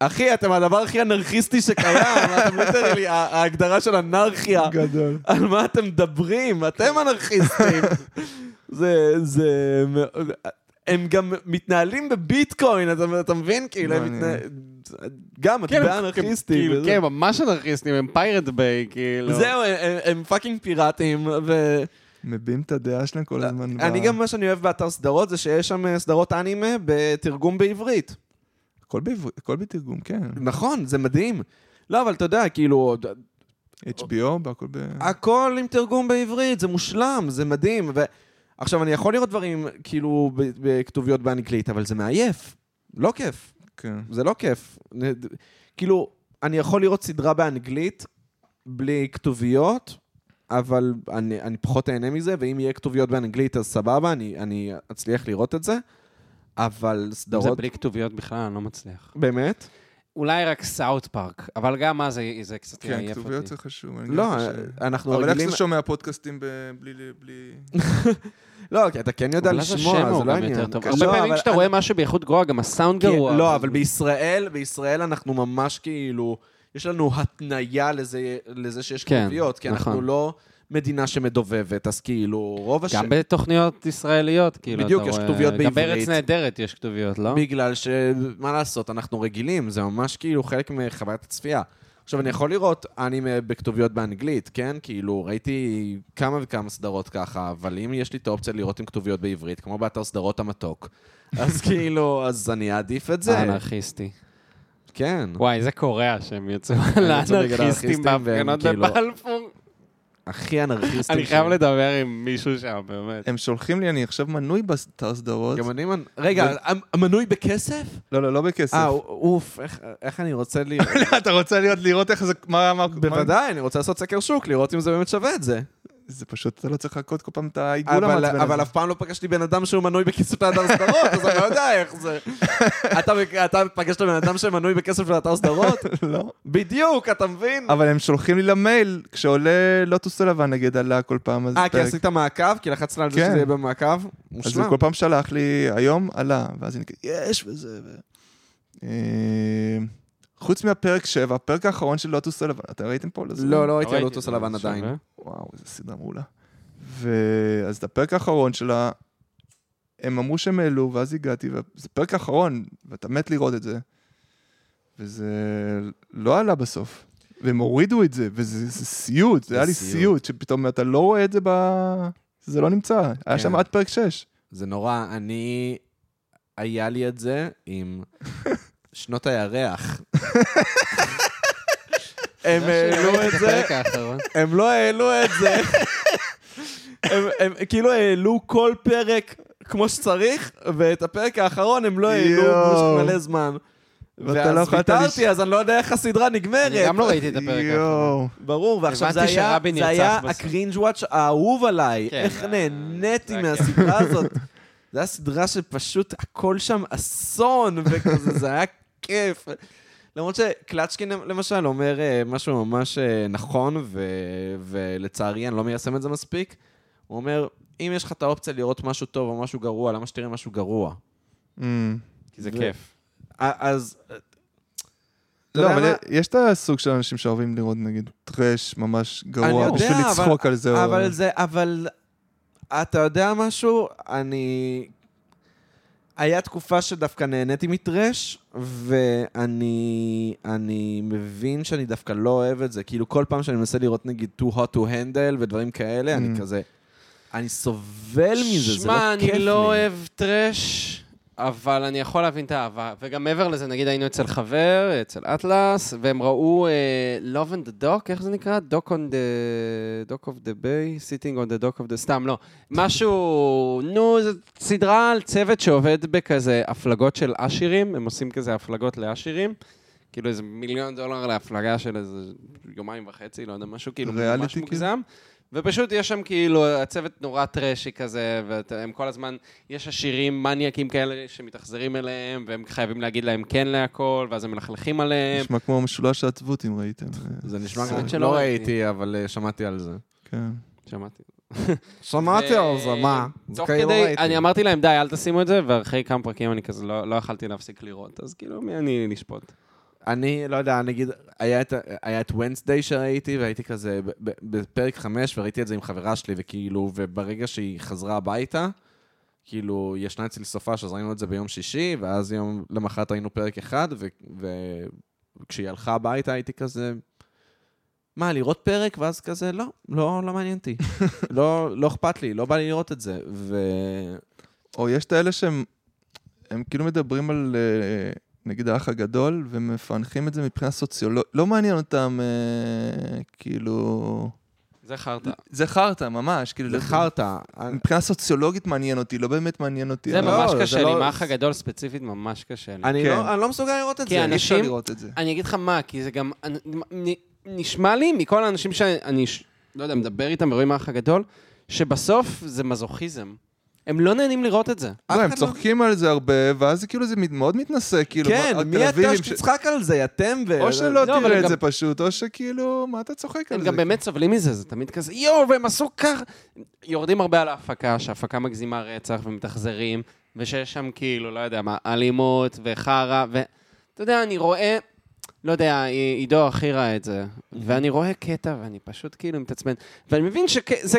S1: אחי, אתם הדבר הכי אנרכיסטי שקיים, אתם ליטרלי, ה- ההגדרה של אנרכיה,
S2: גדול.
S1: על מה אתם מדברים? אתם אנרכיסטים. זה, זה... מאוד- הם גם מתנהלים בביטקוין, אתה- אתה מבין? כאילו, הם
S2: מעניין.
S1: מתנהלים... גם, אתה
S3: לא, כן,
S1: יודע,
S3: הם-
S1: אנרכיסטים.
S3: כאילו,
S1: וזה.
S3: כן, ממש אנרכיסטים, הם פיירט ביי, כאילו.
S1: זהו, הם- הם- הם פאקינג פיראטים, ו...
S2: מביעים את הדעה שלהם כל הזמן.
S1: לא, אני
S2: ב-
S1: גם, מה שאני אוהב באתר סדרות זה שיש שם אה, סדרות אנימה בתרגום בעברית.
S2: הכל בעברית, הכל בתרגום, כן.
S1: נכון, זה מדהים. לא, אבל אתה יודע, כאילו,
S2: HBO, והכל ב...
S1: אה, הכל עם תרגום בעברית, זה מושלם, זה מדהים. ו... עכשיו, אני יכול לראות דברים, כאילו, ב- בכתוביות באנגלית, אבל זה מעייף. לא כיף.
S2: כן.
S1: זה לא כיף. נ- כאילו, אני יכול לראות סדרה באנגלית בלי כתוביות, אבל אני, אני פחות אהנה מזה, ואם יהיה כתוביות באנגלית אז סבבה, אני, אני אצליח לראות את זה, אבל
S3: זה
S1: סדרות...
S3: בלי כתוביות בכלל, אני לא מצליח.
S1: באמת?
S3: אולי רק סאוט פארק, אבל גם אז זה- זה קצת
S2: כן,
S3: יעייף
S2: כתוביות
S3: אותי.
S2: זה חשוב. אני
S1: לא,
S2: גם חושב.
S1: אנחנו
S2: אבל איך
S1: רגילים...
S2: אתה שומע פודקאסטים ב- בלי... בלי-
S1: לא, כי אתה כן יודע
S3: אולי זה
S1: לשמוע,
S3: שם הוא
S1: זה לא
S3: גם יותר
S1: עניין.
S3: טוב.
S1: לא,
S3: הרבה פעמים
S1: אבל-
S3: כשאתה רואה משהו באיכות גרועה, גם הסאונד גרוע.
S1: כן, לא, אבל בישראל, בישראל אנחנו ממש כאילו, יש לנו התניה לזה, לזה שיש
S3: כן,
S1: כתוביות, כי אנחנו
S3: נכון.
S1: לא מדינה שמדובבת, אז כאילו, רוב הש...
S3: גם בתוכניות ישראליות, כאילו, אתה
S1: בדיוק,
S3: רואה...
S1: יש כתוביות
S3: גם בארץ
S1: בעברית.
S3: נהדרת יש כתוביות, לא?
S1: בגלל ש... מה לעשות, אנחנו רגילים, זה ממש כאילו חלק מחוויית הצפייה. עכשיו, אני יכול לראות אנימה בכתוביות באנגלית, כן? כאילו, ראיתי כמה וכמה סדרות ככה, אבל אם יש לי את האופציה לראות עם כתוביות בעברית, כמו באתר סדרות המתוק, אז כאילו, אז אני אעדיף את זה.
S3: אנרכיסטי.
S1: כן.
S3: וואי, זה קורע שהם יצאו
S1: יצאו נגד
S3: לאנרכיסטים
S1: האנרכיסטים והם
S3: בהפגנות
S1: כאילו-
S3: בבלפור.
S1: הכי אנרכיסטים.
S3: אני חייב
S1: ש-
S3: לדבר עם מישהו שם, באמת.
S2: הם שולחים לי, אני עכשיו מנוי באתר סדרות.
S1: גם אני... מנ- רגע, המ- המנוי בכסף?
S2: לא, לא, לא בכסף.
S1: אה, אוף, איך- איך אני רוצה ל...
S2: אתה רוצה להיות- לראות איך זה... מה... מה-
S1: בוודאי, אני רוצה לעשות סקר שוק, לראות אם זה באמת שווה את זה.
S2: זה פשוט, אתה לא צריך לחכות כל פעם את
S1: אבל,
S2: העיגול המעצבן
S1: אבל
S2: הזה.
S1: אף פעם לא פגשתי בן אדם שהוא מנוי בכסף לאתר סדרות, אז אני לא יודע איך זה. אתה, אתה פגשת בן אדם שמנוי בכסף לאתר סדרות?
S2: לא.
S1: בדיוק, אתה מבין?
S2: אבל הם שולחים לי למייל, כשעולה לוטוס הלבן נגיד עלה כל פעם, אז
S1: אה, כי
S2: פרק.
S1: עשית מעקב? כי לחצת על זה
S2: כן.
S1: שזה יהיה במעקב?
S2: אז הוא
S1: מושלם.
S2: כל פעם שלח לי, היום עלה, ואז אני כזה, יש וזה, ו... אה, חוץ מהפרק 7, הפרק האחרון של לוטוס הלבן, אתם ראיתם פה? לזום?
S1: לא, לא ראיתי
S3: ראיתי
S1: על
S3: את
S1: לוטוס
S3: זה,
S1: הלבן
S3: זה
S1: עדיין.
S3: שווה.
S2: וואו, איזה סדרה מעולה. ואז את הפרק האחרון שלה, הם אמרו שהם העלו, ואז הגעתי, וזה פרק האחרון, ואתה מת לראות את זה. וזה לא עלה בסוף. והם הורידו את זה, וזה זה סיוט, זה היה לי
S1: סיוט.
S2: סיוט, שפתאום אתה לא רואה את זה ב... זה לא נמצא, היה
S1: כן.
S2: שם עד פרק 6.
S1: זה נורא, אני... היה לי את זה עם שנות הירח. הם
S3: אה, לא
S1: העלו את זה,
S3: הפרק האחרון.
S1: הם לא העלו את זה. הם, הם כאילו העלו כל פרק כמו שצריך, ואת הפרק האחרון הם לא העלו
S2: יואו.
S1: במשך מלא זמן.
S2: ואתה לא
S1: ואז
S2: יכולת לש-
S1: ויתרתי, אז אני לא יודע איך הסדרה
S3: אני
S1: נגמרת.
S3: גם לא ראיתי את הפרק האחרון.
S2: יואו.
S1: ברור, ועכשיו זה
S3: הבנתי
S1: היה,
S3: שרבין
S1: זה
S3: נרצח
S1: היה
S3: בסוף.
S1: הקרינג' וואץ' האהוב עליי.
S3: כן, אה,
S1: איך
S3: זה-
S1: נהניתי
S3: זה היה
S1: מהסדרה הזאת. זו הייתה סדרה שפשוט הכל שם אסון, וכזה, זה היה כיף. למרות שקלצ'קין למשל אומר אה, משהו ממש אה, נכון, ו... ולצערי אני לא מיישם את זה מספיק. הוא אומר, אם יש לך את האופציה לראות משהו טוב או משהו גרוע, למה שתראה משהו גרוע?
S2: Mm.
S3: כי זה
S1: ו-
S3: כיף.
S1: אה, אז... אה, אתה
S2: לא,
S1: יודע
S2: אבל
S1: מה?
S2: יש את הסוג של אנשים שאוהבים לראות נגיד טרש ממש גרוע,
S1: יודע,
S2: בשביל
S1: אבל-
S2: לצחוק על זה. או-
S1: אבל זה, אבל... אתה יודע משהו? אני... היה תקופה שדווקא נהניתי מטרש, ואני אני מבין שאני דווקא לא אוהב את זה. כאילו, כל פעם שאני מנסה לראות נגיד too hot to handle ודברים כאלה, אני
S2: Mm.
S1: כזה... אני סובל מזה, זה לא כיף לי.
S3: שמע, אני לא אוהב טרש, אבל אני יכול להבין את האהבה. וגם מעבר לזה, נגיד היינו אצל חבר, אצל אטלס, והם ראו אה, Love and the Dock, איך זה נקרא? Dock on the... Dock of the Bay? Sitting on the Dock of the... סתם, לא. משהו... נו, זו סדרה על צוות שעובד בכזה הפלגות של עשירים, הם עושים כזה הפלגות לעשירים. כאילו איזה מיליון דולר להפלגה של איזה יומיים וחצי, לא יודע, משהו כאילו
S2: ריאליטי,
S3: ממש
S2: כאילו?
S3: מוגזם. ופשוט יש שם כאילו, הצוות נורא טרשי כזה, והם כל הזמן, יש עשירים מניאקים כאלה שמתאכזרים אליהם, והם חייבים להגיד להם כן להכל, ואז הם מלכלכים עליהם.
S2: נשמע כמו משולש העצבות אם ראיתם. אה,
S1: זה נשמע
S3: סרט
S1: כמו...
S3: שלא
S1: לא
S3: ראיתי.
S1: ראיתי, אבל אה, שמעתי על זה.
S2: כן.
S3: שמעתי.
S1: שמעתי על זה, כאילו מה?
S3: אה, תוך
S2: כאילו לא
S3: כדי, אני אמרתי להם, די, אל תשימו את זה, ואחרי כמה פרקים אני כזה לא לא יכלתי להפסיק לראות, אז כאילו, מי אני לשפוט?
S1: אני לא יודע, נגיד, היה את, היה את Wednesday שראיתי, והייתי כזה ב- ב- בפרק חמש, וראיתי את זה עם חברה שלי, וכאילו, וברגע שהיא חזרה הביתה, כאילו, ישנה אצלי סופש, אז ראינו את זה ביום שישי, ואז יום למחרת ראינו פרק אחד, ו- ו- וכשהיא הלכה הביתה הייתי כזה, מה, לראות פרק? ואז כזה, לא, לא, לא מעניין אותי. לא, לא אכפת לי, לא בא לי לראות את זה. ו...
S2: או יש את האלה שהם הם כאילו מדברים על, אה, נגיד, האח הגדול, ומפענחים את זה מבחינה סוציולוגית. לא מעניין אותם, אה, כאילו...
S3: זה חרטא.
S1: לא,
S2: זה חרטא, ממש. כאילו,
S1: זה חרטא.
S2: מבחינה סוציולוגית מעניין אותי, לא באמת מעניין אותי.
S3: זה
S2: אבל-
S3: ממש
S1: זה
S3: קשה לי,
S1: לא-
S3: עם האח הגדול ספציפית ממש קשה לי.
S1: אני
S2: כן.
S1: לא- אני לא מסוגל לראות את
S3: כי
S1: זה.
S2: אי אפשר
S3: אנשים-
S2: לראות את זה.
S3: אני אגיד לך מה, כי זה גם... אני- נ- נשמע לי מכל האנשים שאני, ש- לא יודע, מדבר איתם ורואים האח הגדול, שבסוף זה מזוכיזם. הם לא נהנים לראות את זה.
S2: לא, הם
S1: אחד לא-
S2: צוחקים על זה הרבה, ואז זה כאילו זה מת- מאוד מתנשא, כאילו...
S1: כן,
S2: מה-
S1: מי אתה
S2: התל אביבים ש-
S1: שתצחק על זה, אתם ו...
S2: או שלא
S3: אבל
S2: תראה
S3: הם
S2: את זה
S3: גם-
S2: פשוט, או שכאילו, מה אתה צוחק על
S3: הם
S2: זה?
S3: גם
S1: כן.
S3: באמת סובלים מזה, זה תמיד כזה, יואו, והם עשו כך. יורדים הרבה על ההפקה, שההפקה מגזימה רצח ומתאכזרים, ושיש שם כאילו, לא יודע מה, אלימות וחרא, ואתה יודע, אני רואה, לא יודע, עי- עידו הכי ראה את זה, ואני רואה קטע ואני פשוט כאילו מתעצבן, ואני מבין שזה...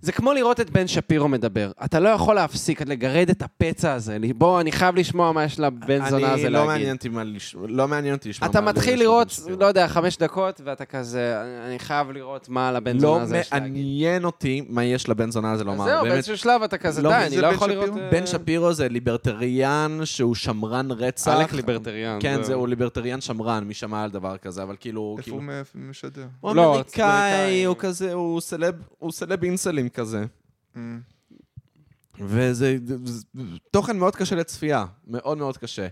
S3: זה כמו לראות את בן שפירו מדבר. אתה לא יכול להפסיק לגרד את הפצע הזה. בוא, אני חייב לשמוע מה יש לבן זונה הזה
S1: אני
S3: להגיד.
S1: לא מעניין אותי מה לשמוע, לא מעניין אותי לשמוע
S3: אתה
S1: מה
S3: מתחיל
S1: יש
S3: לראות,
S1: לבן שפירו.
S3: לא יודע, חמש דקות, ואתה כזה, "אני- אני חייב לראות מה על הבן
S1: לא
S3: זונה הזה יש להגיד.
S1: מעניין אותי מה יש לבן זונה הזה
S3: אז
S1: לומר.
S3: זהו,
S1: באמת,
S3: באיזשהו שלב אתה כזה, די,
S1: לא, מי
S3: אני
S2: זה
S3: לא
S2: בן
S3: יכול
S2: שפירו?
S3: לראות... אה,
S1: בן שפירו זה ליברטריאן שהוא שמרן רצח.
S3: עלק ליברטריאן.
S1: כן, זהו, ליברטריאן שמרן, מי שמע על דבר כזה, אבל כאילו...
S2: איפה
S1: כאילו-
S2: הוא מ- משדר?
S1: הוא
S3: לא,
S1: אמריקאי,
S3: אמריקאי.
S1: הוא כזה, הוא סלב, הוא סלב אינסלים כזה.
S2: אה.
S1: וזה זה- תוכן מאוד קשה לצפייה, מאוד מאוד קשה.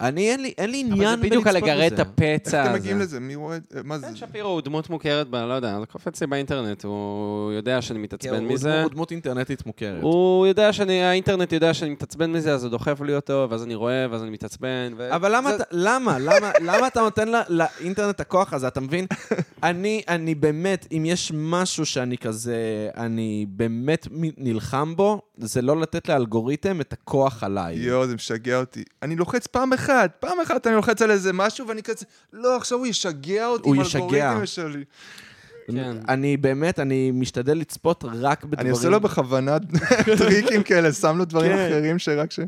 S1: אני, אין לי, אין לי עניין
S3: אבל זה בדיוק על
S1: בלצפות
S3: לגרד את
S1: בזה.
S2: איך
S3: הפצע
S2: אתם מגיעים
S3: הזה.
S2: לזה? מי רואה את זה? מה זה?
S3: בן שפירו הוא דמות מוכרת, ב- לא יודע, זה קופץ לי באינטרנט, הוא יודע שאני
S1: כן,
S3: מתעצבן
S1: הוא
S3: מזה.
S1: דמות- הוא דמות אינטרנטית מוכרת.
S3: הוא יודע שאני, האינטרנט יודע שאני מתעצבן מזה, אז הוא דוחף לי אותו, ואז אני רואה, ואז אני מתעצבן. ו-
S1: אבל למה,
S3: זה-
S1: אתה, למה, למה, למה אתה נותן לא, לאינטרנט את הכוח הזה, אתה מבין? אני, אני באמת, אם יש משהו שאני כזה, אני באמת מ- נלחם בו, זה לא לתת לאלגוריתם את הכוח עליי.
S2: אה, יואו, זה משגע אותי. אני לוחץ פעם אחת, פעם אחת אני לוחץ על איזה משהו, ואני כזה, לא, עכשיו הוא ישגע אותי
S1: הוא
S2: עם
S1: ישגע.
S2: האלגוריתם שלי.
S3: כן.
S1: אני באמת, אני משתדל לצפות רק בדברים...
S2: אני עושה לו בכוונה טריקים כאלה, שם לו דברים
S1: כן.
S2: אחרים שרק ש...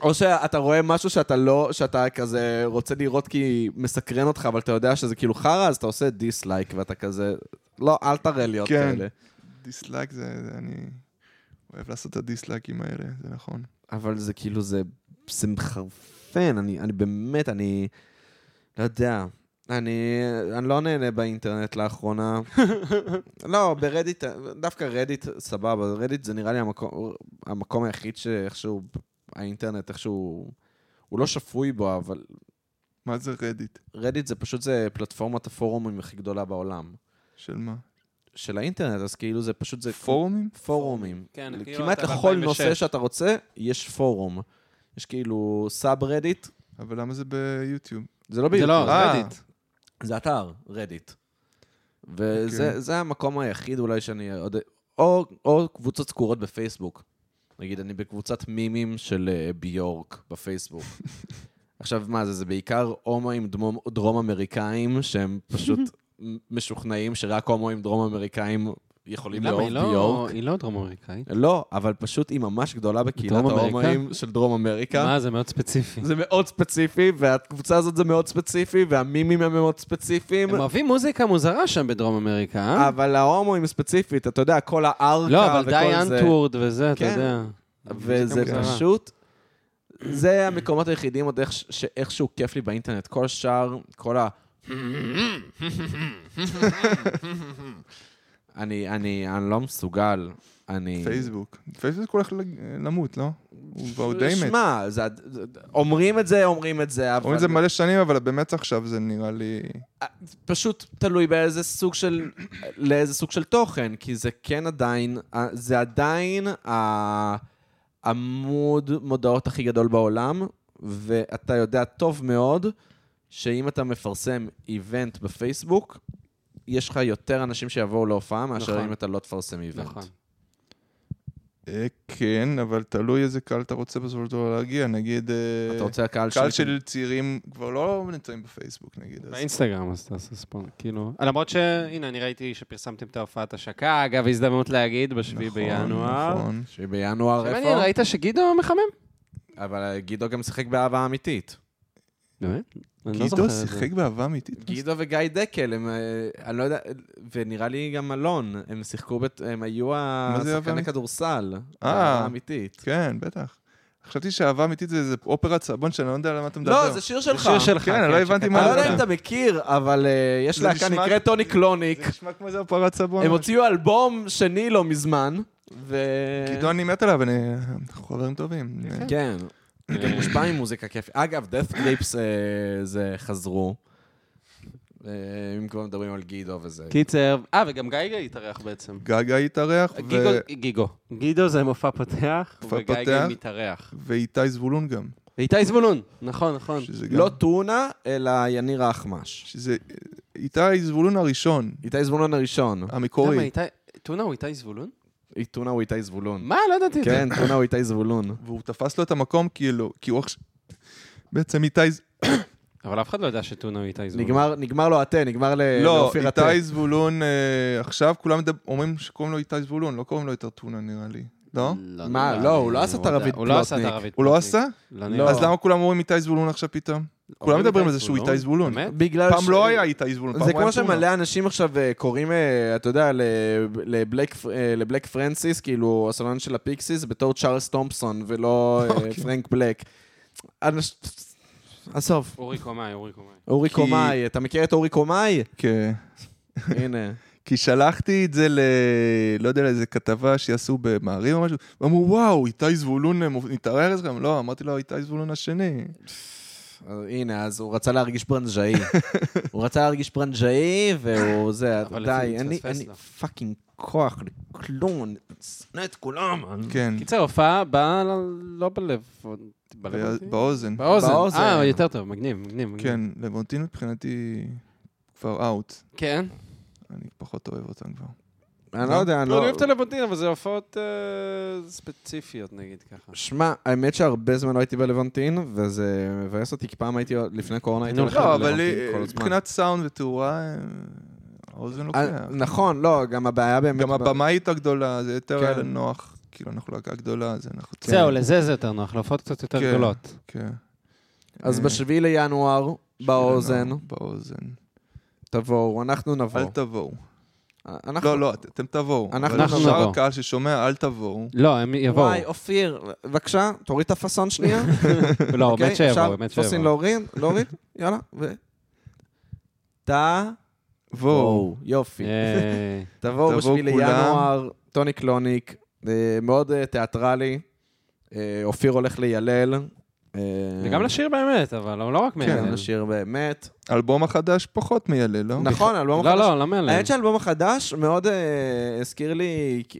S1: או שאתה רואה משהו שאתה לא, שאתה כזה רוצה לראות כי מסקרן אותך, אבל אתה יודע שזה כאילו חרא, אז אתה עושה דיסלייק, ואתה כזה, לא, אל תראה לי עוד
S2: כן.
S1: כאלה.
S2: דיסלייק זה, זה- אני אוהב לעשות את הדיסלייקים האלה, זה נכון.
S1: אבל זה כאילו, זה, זה מחרפן, אני, אני באמת, אני לא יודע. אני, אני לא נהנה באינטרנט לאחרונה. לא, ברדיט, דווקא רדיט, סבבה, רדיט זה נראה לי המקום, המקום היחיד שאיכשהו, האינטרנט איכשהו, הוא לא שפוי בו, אבל
S2: מה זה רדיט?
S1: רדיט זה פשוט, זה פלטפורמת הפורומים הכי גדולה בעולם.
S2: של מה?
S1: של האינטרנט, אז כאילו זה פשוט, זה
S2: פורומים?
S1: פורומים.
S3: כן, כאילו
S1: כמעט
S3: אתה
S1: לכל
S3: ב-
S1: נושא
S3: 2006.
S1: שאתה רוצה, יש פורום. יש כאילו סאב רדיט,
S2: אבל למה זה ביוטיוב?
S1: זה לא
S3: זה
S1: ביוטיוב.
S3: לא,
S2: אה.
S3: זה רדיט.
S1: זה אתר, רדיט.
S2: אוקיי.
S1: וזה זה המקום היחיד אולי שאני עוד... או, או קבוצות סגורות בפייסבוק. נגיד, אני בקבוצת מימים של אה, ביורק בפייסבוק. עכשיו, מה זה? זה בעיקר הומואים דמום- דרום-אמריקאים, שהם פשוט משוכנעים שרק הומואים דרום-אמריקאים יכולים
S3: למה,
S1: לאהוב
S3: היא לא-
S1: ביורק.
S3: היא לא דרום אמריקאית.
S1: לא, אבל פשוט היא ממש גדולה בקהילת
S3: דרום אמריקה?
S1: ההומואים של דרום אמריקה.
S3: מה, זה מאוד ספציפי.
S1: זה מאוד ספציפי, והקבוצה הזאת זה מאוד ספציפי, והמימים הם מאוד ספציפיים.
S3: הם אוהבים מוזיקה מוזרה שם בדרום אמריקה, אה?
S1: אבל ההומואים ספציפית, אתה יודע, כל הארכה
S3: לא, אבל
S1: וכל
S3: די
S1: זה,
S3: אנטוורד וזה, אתה
S1: כן.
S3: יודע.
S1: וזה
S3: מוזיקה מוזרה.
S1: פשוט... זה המקומות היחידים עוד איך, ש- שאיכשהו כיף לי באינטרנט. כל השאר, כל ה... אני, אני, אני לא מסוגל. אני...
S2: פייסבוק. פייסבוק הולך ל- למות, לא? הוא כבר די מת.
S1: שמע, זה- אומרים את זה, אומרים את זה, אבל...
S2: אומרים את זה מלא שנים, אבל באמת עכשיו זה נראה לי...
S1: פשוט תלוי באיזה סוג של, לאיזה סוג של תוכן, כי זה כן עדיין, אה, זה עדיין העמוד מודעות הכי גדול בעולם, ואתה יודע טוב מאוד שאם אתה מפרסם איבנט בפייסבוק, יש לך יותר אנשים שיבואו להופעה מאשר
S3: נכון.
S1: אם אתה לא תפרסם איבנט.
S3: נכון.
S2: אה, כן, אבל תלוי איזה קהל אתה רוצה בסופו של דבר להגיע. נגיד, אה,
S1: אתה רוצה הקהל
S2: קהל של צעירים כבר לא נמצאים בפייסבוק, נגיד. אז-
S3: באינסטגרם אז תעשה ספונד, כאילו. למרות ש... הנה, אני ראיתי שפרסמתם את ההופעת השקה, אגב, הזדמנות להגיד, בשביעי
S2: נכון,
S3: בינואר.
S2: נכון.
S1: שבינואר
S3: מעניין,
S1: אה, איפה?
S3: ראית שגדעו מחמם?
S1: אבל גידו גם שיחק באהבה אמיתית.
S3: באמת? אני לא זוכר
S2: גידו
S3: את זה.
S2: שיחק באהבה אמיתית?
S1: גידו וגיא דקל, הם... אה, אני לא יודע... ונראה לי גם אלון, הם שיחקו, בת- הם היו
S2: זה אהבה
S1: השחקני
S2: אמיתית?
S1: כדורסל.
S2: אה.
S1: אהבה אמיתית.
S2: כן, בטח. חשבתי שאהבה אמיתית זה איזה אופרת סבון שאני לא יודע על מה אתה מדבר.
S1: לא, זה שיר שלך.
S3: שיר שלך.
S2: כן, אני לא
S3: כן,
S2: הבנתי
S1: אני
S2: מה
S1: לא
S2: זה.
S1: יודע אם אתה מכיר, אבל אה, יש
S2: זה
S1: להקה
S2: נשמע-
S1: נקראת טוני קלוניק.
S2: זה נשמע כמו איזה אופרת סבון.
S1: הם הוציאו אלבום שני לא מזמן, ו...
S2: גידו אני מת עליו, אני- אנחנו חברים טובים.
S1: כן. גם מושפע ממוזיקה כיפית. אגב, death clips אה, זה חזרו. אה, אם כבר מדברים על גידו וזה.
S3: קיצר, אה, וגם גייגה התארח בעצם.
S2: גגה התארח, ו-
S3: גיגו, גיגו. גידו זה מופע פותח,
S2: מופע
S3: וגייגה
S2: פותח.
S3: מתארח.
S2: ואיתי זבולון גם.
S3: ואיתי זבולון, נכון, נכון.
S2: שזה גם-
S1: לא טונה, אלא יניר אחמש.
S2: שזה איתי זבולון הראשון,
S1: איתי זבולון הראשון.
S3: למה
S2: המקורי.
S3: איתי... טונה הוא איתי זבולון?
S1: אי- טונה הוא איתי זבולון.
S3: מה? לא ידעתי את זה.
S1: כן, טונה הוא איתי זבולון.
S2: והוא תפס לו את המקום כאילו, כי הוא עכשיו... בעצם איתי... ז-
S3: אבל אף אחד לא ידע שטונה הוא איתי זבולון.
S1: נגמר- נגמר לו התה, נגמר ל-
S2: לא,
S1: אה, לאופיר התה.
S2: איתי זבולון, אה, עכשיו כולם מדבר- אומרים שקוראים לו איתי זבולון, לא קוראים לו יותר טונה נראה לי. לא?
S1: מה,
S3: נראה
S1: לא,
S3: לי,
S1: הוא לא עשה את
S3: יודע.
S1: הרביד
S3: הוא לא עשה את
S1: פלוטניק.
S3: הרביד
S2: הוא לא
S3: פלוטניק.
S2: עשה?
S3: לא
S1: לא.
S3: נראה לי.
S2: אז למה כולם אומרים איתי זבולון עכשיו פתאום? כולם מדברים על זה שהוא איתי זבולון.
S3: לא- באמת?
S1: בגלל אה, ש-
S2: פעם לא היה איתי זבולון, פעם הוא
S1: זה
S2: היה טונה.
S1: כמו שמלא אנשים עכשיו אה, קוראים, אה, אתה יודע, ל- לבלק פר- אה, לבלק פרנסיס, כאילו הסולן של הפיקסיס, בתור צ'ארלס תומפסון ולא אה,
S2: אוקיי.
S1: פרנק בלק. אנש- עזוב,
S3: אורי קומאי, אורי קומאי.
S1: אורי
S2: כי-
S1: קומאי, אתה מכיר את אורי קומאי?
S2: כן.
S1: הנה.
S2: כי שלחתי את זה ל... לא יודע, לאיזה כתבה שיעשו במעריב או משהו, ואמרו, וואו, איתי זבולון אה, מוב- מתערער אצלכם? לא, אמרתי לו, איתי זבולון השני.
S1: אה, אז הנה, אז הוא רצה להרגיש ברנז'אי. הוא רצה להרגיש ברנז'אי, והוא זה, די,
S3: אבל לפעמים
S1: אין לי
S3: התפספס לו.
S1: פאקינג כוח לכלום, אני שונא את כולם.
S2: כן,
S1: כאילו,
S3: קיצר, הופעה באה ל- לא בלב, בלב
S2: בא-
S3: אותי?
S2: באוזן.
S3: באוזן.
S1: באוזן.
S3: אה, יותר טוב, מגניב, מגניב. מגניב.
S2: כן, לבונטין מבחינתי כבר אאוט.
S3: כן.
S2: אני פחות אוהב אותם כבר.
S1: אני לא יודע, אני
S3: לא
S1: לא...
S3: אני אוהב את הלבונטין, אבל זה הופעות אה, ספציפיות, נגיד ככה.
S1: שמע, האמת שהרבה זמן לא הייתי בלוונטין, וזה מבאס אותי, כי פעם הייתי, לפני קורונה הייתי
S3: נו,
S1: הולך
S2: לא, אבל
S1: ללוונטין כל הזמן.
S2: מבחינת סאונד ותאורה, אה, האוזן
S1: אה,
S2: לוקח.
S1: נכון, לא, גם הבעיה באמת...
S2: גם
S1: ב-
S2: הבמאית הגדולה, זה יותר
S1: כן.
S2: היה לנו נוח. כאילו, אנחנו להקה גדולה, אז אנחנו...
S3: כן. זהו, לזה זה יותר נוח, להופעות קצת יותר
S2: כן.
S3: גדולות.
S2: כן.
S1: אז בשביעי לינואר, באוזן,
S2: אה, כן, באוזן.
S1: תבואו, אנחנו
S2: אל
S1: נבוא. אה,
S2: תבואו.
S1: אנחנו-
S2: לא, לא, את- אתם תבואו.
S1: אנחנו
S2: אבל
S3: נבוא.
S2: שאר הקהל ששומע, אל תבואו.
S3: לא, הם יבואו.
S1: וואי, אופיר, בבקשה, תוריד את הפאסון שנייה.
S3: לא,
S1: אוקיי?
S3: באמת שיבואו,
S1: אפשר?
S3: באמת
S1: פאסון
S3: שיבואו.
S1: להוריד, להוריד, יאללה, ו... תבואו,
S2: בואו.
S1: יופי.
S3: אה, ייי.
S1: תבואו
S2: תבואו
S1: בשביל
S2: כולם.
S1: ינואר, טוני קלוניק, אה, מאוד אה, תיאטרלי. אה, אופיר הולך לילל. אה,
S3: וגם לשיר באמת, אבל לא לא רק
S1: כן,
S3: מהלל.
S1: לשיר באמת.
S2: האלבום החדש פחות מיילל, לא?
S1: נכון, האלבום
S3: לא,
S1: החדש.
S3: לא, לא מהלל.
S1: האמת שהאלבום החדש מאוד אה, הזכיר לי כ-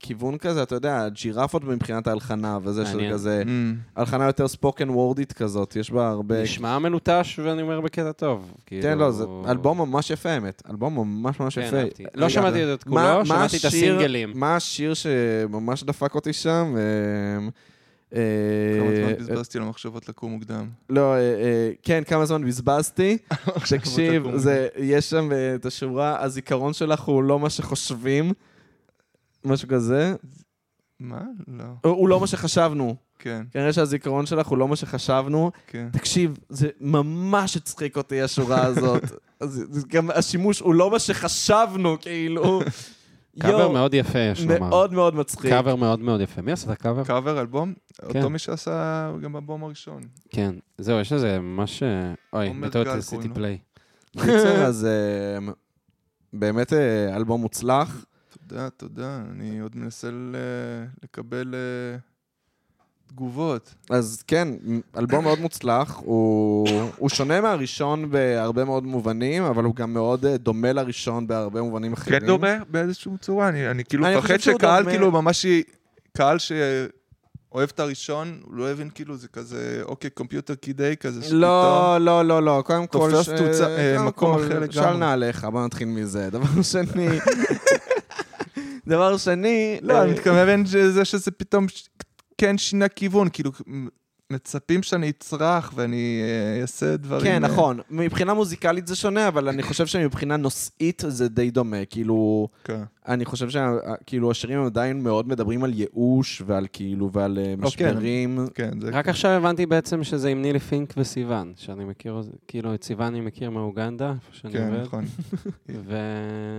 S1: כיוון כזה, אתה יודע, ג'ירפות מבחינת ההלחנה וזה, שזה
S3: מעניין. Mm-hmm.
S1: כזה,
S2: Mm.
S1: הלחנה יותר ספוקן וורדית כזאת, יש בה הרבה...
S3: נשמע מלוטש, ואני אומר בקטע טוב.
S1: כן,
S3: כאילו-
S1: לא, זה אלבום ממש יפה, האמת. אלבום ממש ממש
S3: כן,
S1: יפה.
S3: אהבתי.
S1: רגע,
S3: לא שמעתי את
S1: מה-
S3: כולו,
S1: מה
S3: שמעתי את
S1: השיר-
S3: הסינגלים.
S1: מה השיר שממש דפק אותי שם? אמ, אה,
S2: כמה
S1: אה,
S2: זמן בזבזתי על מחשבות לקום מוקדם.
S1: לא, אה, אה, כן, כמה זמן בזבזתי. תקשיב,
S2: לקום.
S1: זה- יש שם אה, את השורה, הזיכרון שלך הוא לא מה שחושבים. משהו כזה.
S2: מה? לא.
S1: הוא- הוא לא מה שחשבנו.
S2: כן,
S1: כנראה שהזיכרון שלך הוא לא מה שחשבנו.
S2: כן.
S1: תקשיב, זה ממש הצחיק אותי, השורה הזאת. אז זה גם השימוש הוא לא מה שחשבנו, כאילו.
S3: קאבר
S1: יואו,
S3: מאוד יפה, יש לומר.
S1: מאוד מאוד מצחיק.
S3: קאבר מאוד מאוד יפה. מי עשה את הקאבר?
S1: נכון.
S2: קאבר אלבום?
S3: כן.
S2: אותו מי שעשה גם באלבום הראשון.
S3: כן. זהו, יש לזה ממש... אה, אוי,
S2: עומר
S3: בטעות
S2: גל
S3: עשיתי
S2: קוראים לו.
S3: פליי.
S1: קיצר, אז אה, באמת אה, אלבום מוצלח.
S2: תודה, תודה. אני עוד מנסה ל- לקבל אה, תגובות.
S1: אז כן, אלבום מאוד מוצלח. הוא הוא שונה מהראשון בהרבה מאוד מובנים, אבל הוא גם מאוד אה, דומה לראשון בהרבה מובנים אחרים.
S2: כן דומה באיזשהו צורה, אני, אני כאילו
S1: אני
S2: מפחד
S1: חושב שהוא
S2: שקהל
S1: דומה.
S2: כאילו ממש, י- קהל שאוהב את הראשון, הוא לא הבין כאילו זה כזה, אוקיי, קומפיוטר קידי כזה, שפתאום...
S1: לא, לא, לא, לא, קודם כל...
S2: תופס
S1: ש-
S2: תוצא- אה,
S1: קודם
S2: מקום
S1: כל,
S2: אחר לגמרי.
S1: של נעליך, בוא נתחיל מזה. דבר שני,
S4: דבר שני...
S2: לא,
S4: אה,
S2: אני מתכוון שזה שזה פתאום ש- כן שינה כיוון, כאילו מ- מצפים שאני אצרח ואני אה, אעשה דברים.
S4: כן,
S2: אה,
S4: נכון. מבחינה מוזיקלית זה שונה, אבל אני חושב שמבחינה נושאית זה די דומה. כאילו,
S2: כן.
S4: אני חושב שכאילו השירים הם עדיין מאוד מדברים על ייאוש ועל כאילו ועל אה, משברים.
S2: כן, זה...
S3: רק עכשיו הבנתי בעצם שזה עם נילי פינק וסיוון, שאני מכיר, כאילו את סיוון אני מכיר מאוגנדה, איפה שאני
S2: כן,
S3: עובד,
S2: נכון.
S1: את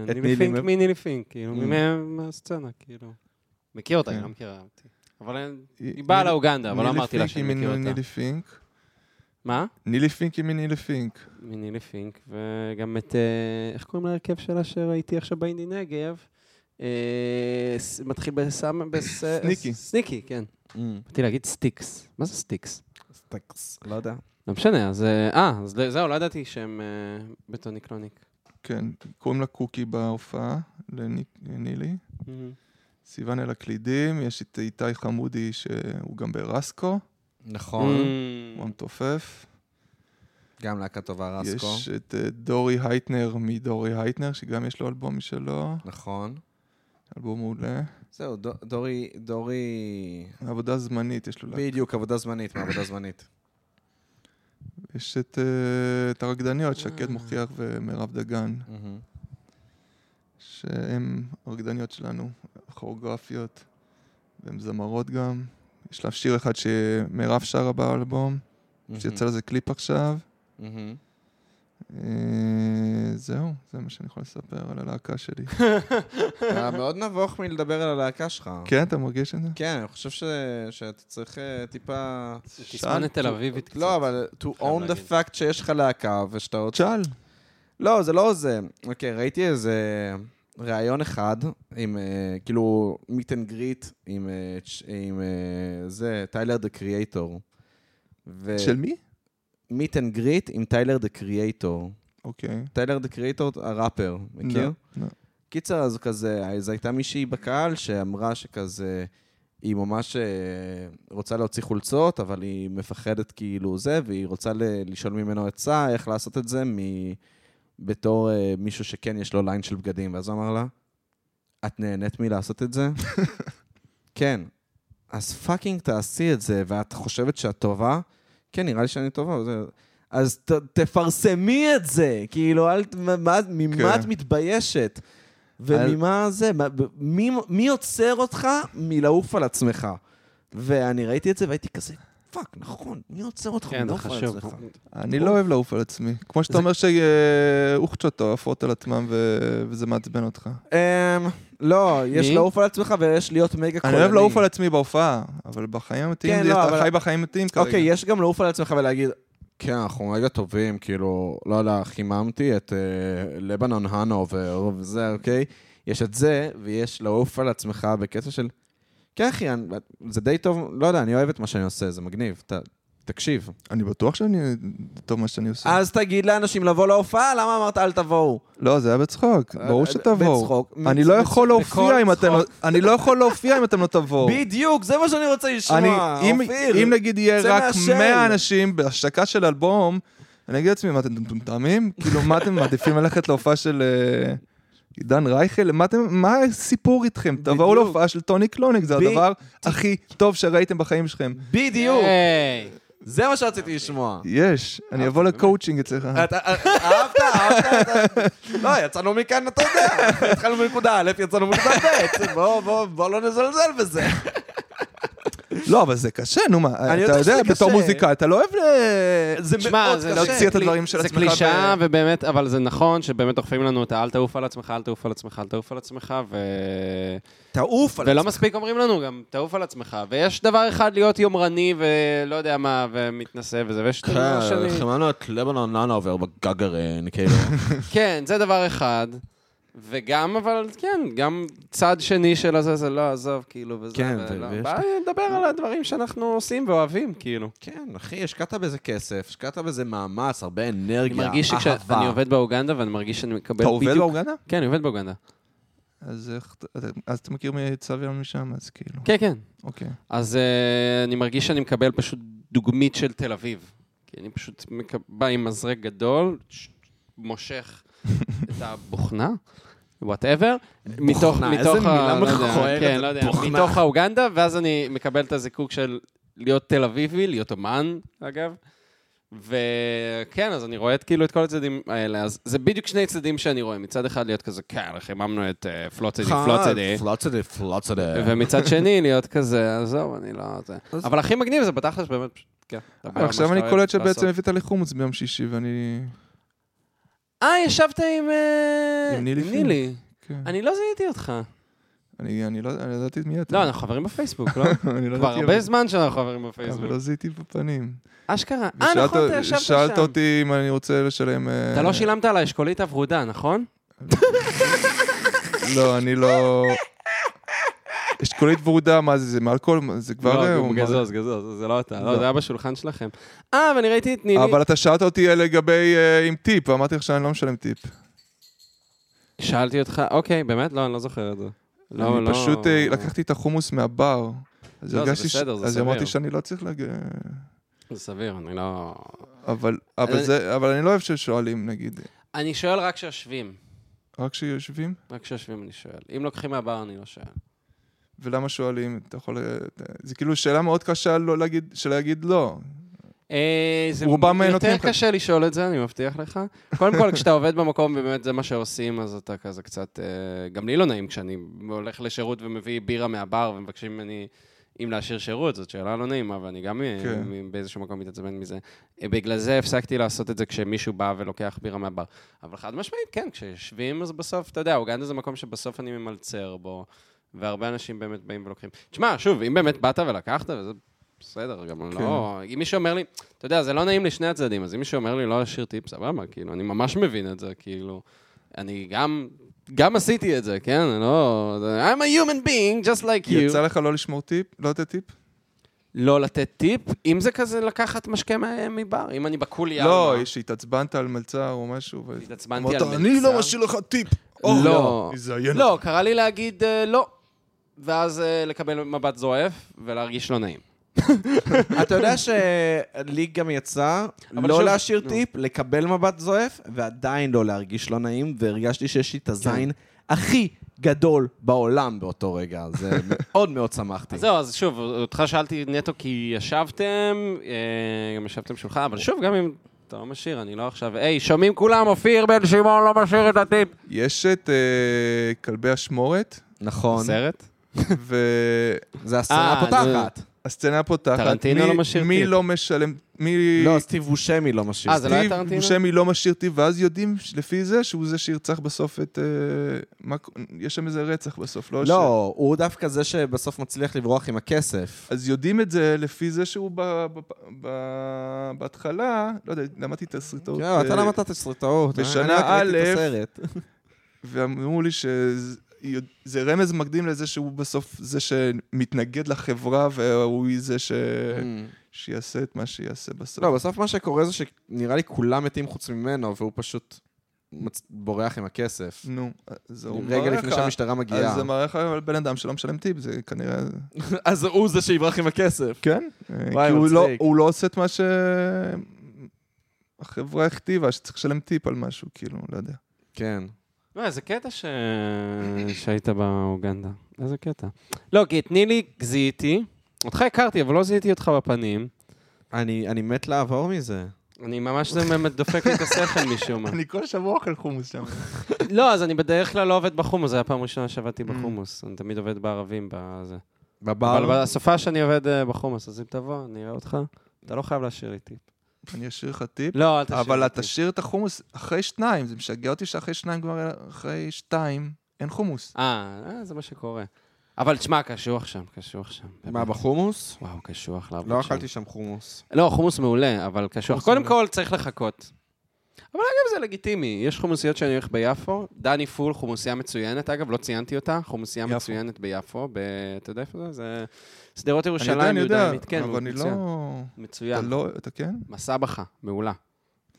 S3: ונילי
S1: נילי
S3: פינק
S1: מ-
S3: מנילי פינק, כאילו,
S1: Mm.
S3: ממה- מהסצנה, כאילו. מכיר אותה, היא
S2: כן.
S3: לא מכירה אותי. אבל אין- היא באה לאוגנדה, אבל לא
S2: נילי
S3: אמרתי לה
S2: פינק היא
S3: שאני מכיר
S2: מנילי
S3: אותה.
S2: פינק.
S3: מה?
S2: נילי פינק היא מנילי פינק.
S3: מנילי פינק, וגם את, אה, איך קוראים להרכב שלה שראיתי עכשיו באינדי נגב? אה, ס- מתחיל בסם... בס- אה,
S2: סניקי.
S3: סניקי, כן.
S2: Mm.
S3: באתי להגיד סטיקס. מה זה סטיקס?
S4: סטקס, לא יודע.
S3: לא משנה, אז... אה, אה, אז לא- זהו, לא ידעתי שהם אה, בטוניק לוניק.
S2: כן, קוראים לה קוקי בהופעה, לני- לנילי.
S3: Mm-hmm.
S2: סיוון אל הקלידים, יש את איתי חמודי שהוא גם ברסקו, Mm.
S1: נכון.
S3: Mm-hmm.
S2: הוא המתופף.
S1: גם להקה טובה, רסקו.
S2: יש את אה, דורי הייטנר מדורי הייטנר, שגם יש לו אלבום משלו,
S1: נכון.
S2: אלבום מעולה.
S1: זהו, דו- דורי, דורי...
S2: עבודה זמנית יש לו. לה.
S1: בדיוק, עבודה זמנית, מעבודה זמנית.
S2: יש את, אה, את הרקדניות, שקד
S3: אה.
S2: מוכיח ומירב דגן,
S1: מהמם.
S2: שהן הרקדניות שלנו, כוריאוגרפיות, והן זמרות גם. יש לה שיר אחד שמירב שרה באלבום, שיצא לזה קליפ עכשיו.
S1: מהמם.
S2: אה, זהו, זה מה שאני יכול לספר על הלהקה שלי.
S1: אתה מאוד נבוך מלדבר על הלהקה שלך.
S2: כן, אתה מרגיש את זה?
S1: כן, אני חושב ש- שאתה צריך אה, טיפה...
S3: תסמונת תל אביבית קצת.
S1: לא, אבל to
S3: חייב
S1: own
S3: להגיד.
S1: the fact שיש לך להקה ושאתה עוד...
S2: תשאל.
S1: לא, זה לא זה. אוקיי, ראיתי איזה ראיון אחד עם, אה, כאילו, meet and greet עם, אה, צ'- עם אה, זה, טיילר דה קריאייטור.
S2: של מי?
S1: meet and greet עם טיילר דה קריאייטור.
S2: אוקיי.
S1: טיילר דה קריאייטור, הראפר, מכיר?
S2: לא.
S1: קיצר, אז כזה, אז הייתה מישהי בקהל שאמרה שכזה, היא ממש אה, רוצה להוציא חולצות, אבל היא מפחדת כאילו זה, והיא רוצה ל- לשאול ממנו עצה איך לעשות את זה מ... בתור אה, מישהו שכן יש לו ליין של בגדים. ואז הוא אמר לה, את נהנית מלעשות את זה? כן. אז פאקינג תעשי את זה, ואת חושבת שאת טובה? כן, נראה לי שאני טובה. זה... אז ת, תפרסמי את זה, כאילו, אל, ת- מה- מה, ממה
S2: כן.
S1: את מתביישת? וממה זה? מה- ב- מי, מי עוצר אותך מלעוף על עצמך? ואני ראיתי את זה והייתי כזה, פאק, נכון, מי עוצר אותך
S3: כן, זה
S1: מלעוף על
S3: חשוב.
S1: עצמך?
S2: אני לא אוהב לעוף על עצמי. כמו שאתה אומר שאוכצ'ות עפות על עצמם ו- וזה מעצבן אותך.
S1: אמ, לא, יש
S3: מי?
S1: לעוף על עצמך ויש להיות מגה
S2: אני
S1: קולני.
S2: אוהב לעוף על עצמי בהופעה, אבל בחיים המתים,
S1: כן,
S2: זה-
S1: לא,
S2: אתה
S1: אבל-
S2: חי בחיים המתים כרגע.
S1: אוקיי, יש גם לעוף על עצמך ולהגיד, כן, אנחנו מגה טובים, כאילו, לא יודע, חיממתי את אה, לבנון הנובר וזה, אוקיי? יש את זה, ויש לעוף על עצמך בקטע של... כן, אחי, אני- זה די טוב, לא יודע, אני אוהב את מה שאני עושה, זה מגניב, ת- תקשיב.
S2: אני בטוח שאני... טוב מה שאני עושה.
S1: אז תגיד לאנשים לבוא להופעה, למה אמרת אל תבואו?
S2: לא, זה היה בצחוק. ברור שתבואו.
S1: בצחוק.
S2: אני לא יכול
S3: בכל
S2: להופיע אם אתם לא- אני לא יכול להופיע אם אתם לא תבואו.
S1: בדיוק, זה מה שאני רוצה
S2: אני,
S1: לשמוע,
S2: אם,
S1: אופיר.
S2: אם נגיד יהיה
S1: צא
S2: רק
S1: מהשל.
S2: 100 אנשים בהשקה של אלבום, אני אגיד לעצמי, מה אתם מטומטמים? כאילו, מה אתם מעדיפים ללכת להופעה של אה, עידן רייכל? מה, אתם, מה הסיפור איתכם? תבואו
S1: בדיוק.
S2: להופעה של טוני קלוניק, זה
S1: ב-
S2: הדבר הכי טוב שראיתם בחיים שלכם.
S1: בדיוק,
S3: היי!
S1: זה מה שרציתי לשמוע.
S2: יש, אני אבוא
S1: אוקיי.
S2: לקואוצ'ינג אצלך.
S1: אתה- אה, אהבת, אהבת, אתה- לא, יצאנו מכאן, אתה יודע, התחלנו מנקודה א', יצאנו מנקודה ב', בוא, בוא, בוא לא נזלזל בזה.
S2: לא, אבל זה קשה, נו מה, אתה
S1: יודע
S2: יודע,
S1: שזה
S2: בתור
S1: קשה.
S2: מוזיקאי, אתה לא אוהב ל-
S1: זה
S3: תשמע,
S1: מאוד
S3: זה
S1: קשה.
S2: להוציא את
S3: קלי-
S2: הדברים של
S3: זה
S2: עצמך
S3: קלישאה,
S2: ב-
S3: ובאמת, אבל זה נכון שבאמת דוחפים לנו את האל תעוף על עצמך, אל תעוף על עצמך, אל תעוף על עצמך, ו...
S1: תעוף על
S3: ולא
S1: עצמך.
S3: מספיק אומרים לנו גם, תעוף על עצמך. ויש דבר אחד להיות יומרני ולא יודע מה, ומתנשא וזה, ויש דבר שני.
S1: שמענו כן, את לבנון נאנובר בגגרן, כאילו.
S3: כן, זה דבר אחד. וגם, אבל כן, גם צד שני של הזה, זה לא עזוב, כאילו, וזה,
S1: כן,
S3: ולא.
S1: ויש-
S3: בא לדבר על הדברים שאנחנו עושים ואוהבים, כאילו.
S1: כן, אחי, השקעת בזה כסף, השקעת בזה מאמץ, הרבה
S3: אני
S1: אנרגיה,
S3: מרגיש
S1: אהבה.
S3: שכשאני עובד באוגנדה ואני מרגיש שאני מקבל
S2: אתה
S3: בדיוק...
S2: עובד באורגנה?
S3: כן, אני עובד באוגנדה.
S2: אז איך אתה- אז אתה מכיר מי צוויר משם, אז כאילו,
S3: כן, כן.
S2: אוקיי.
S3: אז אה, אני מרגיש שאני מקבל פשוט דוגמית של תל אביב. כי אני פשוט מק- בא עם מזרק גדול, ש- מושך את הבוכנה, וואטאבר, מתוך,
S4: בוכנה,
S3: מתוך,
S4: איזה מילה
S3: לא יודע,
S4: מכוערת,
S3: כן, לא יודע,
S4: בוכנה.
S3: מתוך האוגנדה, ואז אני מקבל את הזיקוק של להיות תל אביבי, להיות אומן, אגב. וכן, אז אני רואה את, כאילו את כל הצדדים האלה, אז זה בדיוק שני צדדים שאני רואה, מצד אחד להיות כזה, כן, חיממנו את אה, פלוצדי, פלוצדי,
S1: פלוצדי, פלוצדי.
S3: כן. ומצד שני להיות כזה, עזוב, אני לא... זה."
S4: אז-
S3: אבל הכי מגניב זה בתכלס באמת, פשוט, כן. לדבר על מה
S2: לא, עכשיו
S3: שאתה
S2: אני
S3: אוהב
S2: קולט שבעצם
S3: לעשות.
S2: הבאת לי חומוס ביום שישי, ואני...
S3: אה, ישבת עם... אה,
S2: עם נילי
S3: עם
S2: פינק.
S3: נילי.
S2: כן.
S3: אני לא זיהיתי אותך.
S2: אני אני לא אני ידעתי מי אתה.
S3: לא, אנחנו חברים בפייסבוק, לא?
S2: אני לא
S3: כבר
S2: ידעתי,
S3: הרבה
S2: אבל-
S3: זמן שאנחנו חברים
S2: אבל
S3: בפייסבוק.
S2: לא זיהיתי בפנים.
S3: אשכרה. אה,
S2: ושאלת-
S3: נכון, אתה ישבת שם.
S2: שאלת אותי אם אני רוצה לשלם... אה,
S3: אתה לא שילמת על האשכולית הוורודה, נכון?
S2: לא, אני לא... אשכולית ורודה, מה זה, זה מאלכוהול? מה, זה כבר... אה, הוא
S3: לא,
S2: אמר-
S3: גזוז, גזוז, זה לא אתה.
S2: לא.
S3: לא, זה היה בשולחן שלכם. אה, ואני ראיתי את נילי.
S2: אבל אתה שאלת אותי אה, לגבי אה, עם טיפ, ואמרתי לך שאני לא משלם טיפ.
S3: שאלתי אותך, אוקיי, באמת? לא, אני לא זוכר את זה. לא,
S2: אני
S3: לא.
S2: פשוט אה, לקחתי את החומוס מהבר. אז
S3: לא, זה
S2: הרגשתי ש-
S3: בסדר, זה
S2: אז
S3: סביר.
S2: אמרתי שאני לא צריך להגיע...
S3: זה סביר, אני לא...
S2: אבל, אבל,
S3: אני-
S2: זה, אבל אני לא אוהב ששואלים, נגיד,
S3: אני שואל רק כשיושבים.
S2: רק כשיושבים?
S3: רק כשיושבים אני שואל. אם לוקחים מהבר, אני לא שואל.
S2: ולמה שואלים? אתה יכול... אה, זה כאילו שאלה מאוד קשה לא להגיד, שלהגיד לא.
S3: אה, זה
S2: רובם
S3: יותר
S2: נותנים לך.
S3: קשה לשאול את זה, אני מבטיח לך. קודם כל, כשאתה עובד במקום, באמת זה מה שעושים, אז אתה כזה קצת... אה, גם לי לא נעים כשאני הולך לשירות ומביא בירה מהבר ומבקשים ממני אם להשאיר שירות, זאת שאלה לא נעימה, ואני גם אה,
S2: כן.
S3: מ- באיזשהו מקום מתעצבן מזה. אה, בגלל זה הפסקתי לעשות את זה כשמישהו בא ולוקח בירה מהבר. אבל חד משמעית, כן, כשיושבים, אז בסוף, אתה יודע, אוגנדה זה מקום שבסוף אני ממלצר בו, והרבה אנשים באמת באים ולוקחים. תשמע, שוב, אם באמת באת ולקחת, וזה בסדר, גם
S2: כן.
S3: לא... אם מישהו אומר לי, אתה יודע, זה לא נעים לשני הצדדים, אז אם מישהו אומר לי לא להשאיר טיפ, סבבה, כאילו, אני ממש מבין את זה, כאילו. אני גם, גם עשיתי את זה, כן? אני לא... I'm a human being, just like you.
S2: יצא לך לא לשמור טיפ? לא לתת טיפ?
S3: לא לתת טיפ, אם זה כזה לקחת משקה מה- מבר, אם אני בקוליה...
S2: לא,
S3: או מה.
S2: שהתעצבנת על מלצר או משהו. ו-
S3: התעצבנתי על מלצר.
S2: לא לך טיפ.
S3: לא.
S2: מזיין.
S3: לא, קרה לי להגיד אה, לא, ואז אה, לקבל מבט זועף ולהרגיש לא נעים.
S4: אתה יודע שלי גם יצא
S3: אבל
S4: לא
S3: שוב,
S4: להשאיר
S3: נו.
S4: טיפ, לקבל מבט זועף, ועדיין לא להרגיש לא נעים, והרגשתי שיש לי
S3: כן.
S4: את הזין הכי גדול בעולם באותו רגע. זה מאוד מאוד שמחתי.
S3: אז זהו, אז שוב, אותך שאלתי נטו כי ישבתם, אה, גם ישבתם שולחן, אבל שוב, גם אם אתה לא משאיר, אני לא עכשיו, היי, שומעים כולם, אופיר בן שמעון לא משאיר את הטיפ.
S2: יש את אה, כלבי אשמורת,
S4: נכון.
S3: סרט?
S2: והסצנה
S4: זה הסצנה
S3: אה,
S4: הפותחת.
S2: פותחת.
S3: טרנטינו
S2: מי-
S3: לא משאיר
S2: מי
S3: טיפ.
S2: לא משלם... מי...
S4: לא, סטיב בושמי לא משאיר.
S3: אה, זה לא היה טרנטינו?
S2: בושמי לא משאיר טיב, ואז יודעים ש- לפי זה שהוא זה שירצח בסוף את... אה, מה ק- יש שם איזה רצח בסוף, לא? ש-
S4: לא, הוא דווקא זה שבסוף מצליח לברוח עם הכסף.
S2: אז יודעים את זה לפי זה שהוא ב- ב- ב- בהתחלה, לא יודע, למדתי תסריטאות.
S3: אוקיי.
S4: לא, אתה
S2: אה,
S4: למדת את הסרטאות. אה?
S2: בשנה
S4: אני רק ראיתי את
S2: א',
S4: הסרט.
S2: ואמרו לי שזה רמז מקדים לזה שהוא בסוף זה שמתנגד לחברה, והוא זה ש...
S3: כן.
S2: שיעשה את מה שיעשה בסוף.
S4: Mm. לא, בסוף מה שקורה זה שנראה לי כולם מתים חוץ ממנו, והוא פשוט מצ- בורח עם הכסף.
S2: נו, אז הוא
S4: רגע
S2: מראה
S4: לפני
S2: לך-
S4: שהמשטרה מגיעה.
S2: אז זה מראה לך על בן אדם שלא משלם טיפ, זה כנראה...
S4: אז הוא זה שיברח עם הכסף.
S2: כן. אה,
S4: וואי,
S2: כי הוא לא,
S4: מצחיק.
S2: הוא לא עושה את מה ש... החברה הכתיבה, שצריך לשלם טיפ על משהו, כאילו, לא יודע.
S4: כן.
S3: לא, איזה קטע ש... שהיית באוגנדה. איזה קטע. לא, כי את נילי זיהיתי, אותך הכרתי, אבל לא זיהיתי אותך בפנים.
S4: אני אני מת לעבור מזה.
S3: אני ממש, זה באמת דופק לי את השכל משום מה.
S2: אני כל שבוע אוכל חומוס שם.
S3: לא, אז אני בדרך כלל לא עובד בחומוס, זו הייתה פעם ראשונה שעבדתי בחומוס. אני תמיד עובד בערבים בזה. אבל
S4: בבר?
S3: בסופה שאני עובד אה, בחומוס, אז אם תבוא, אני אראה אותך. אתה לא חייב להשאיר לי טיפ.
S2: אני אשאיר לך טיפ,
S3: לא, אל תשאיר לי טיפ.
S2: אבל תשאיר את החומוס אחרי שניים, זה משגע אותי שאחרי שניים כבר, אחרי שתיים, אין חומוס.
S3: אה, אה, זה מה שקורה. אבל תשמע, קשוח שם, קשוח שם.
S4: מה, בחומוס?
S3: וואו, קשוח לעבוד
S4: לא
S3: שם.
S4: אכלתי שם חומוס.
S3: לא, חומוס מעולה, אבל קשוח.
S2: חומוס
S3: קודם
S2: מעולה.
S3: כל, צריך לחכות. אבל אגב, זה לגיטימי. יש חומוסיות שאני הולך ביפו, דני פול, חומוסייה מצוינת, אגב, לא ציינתי אותה, חומוסייה
S2: יפו.
S3: מצוינת ביפו, ב... אתה יודע איפה זה? זה שדרות
S2: אני יודע,
S3: ירושלים,
S2: אני
S3: יהודה
S2: יודע,
S3: עמית, כן,
S2: אבל אני לא...
S3: מצוין.
S2: אתה
S3: מצוין.
S2: לא, אתה כן?
S3: מסע בכה, מעולה.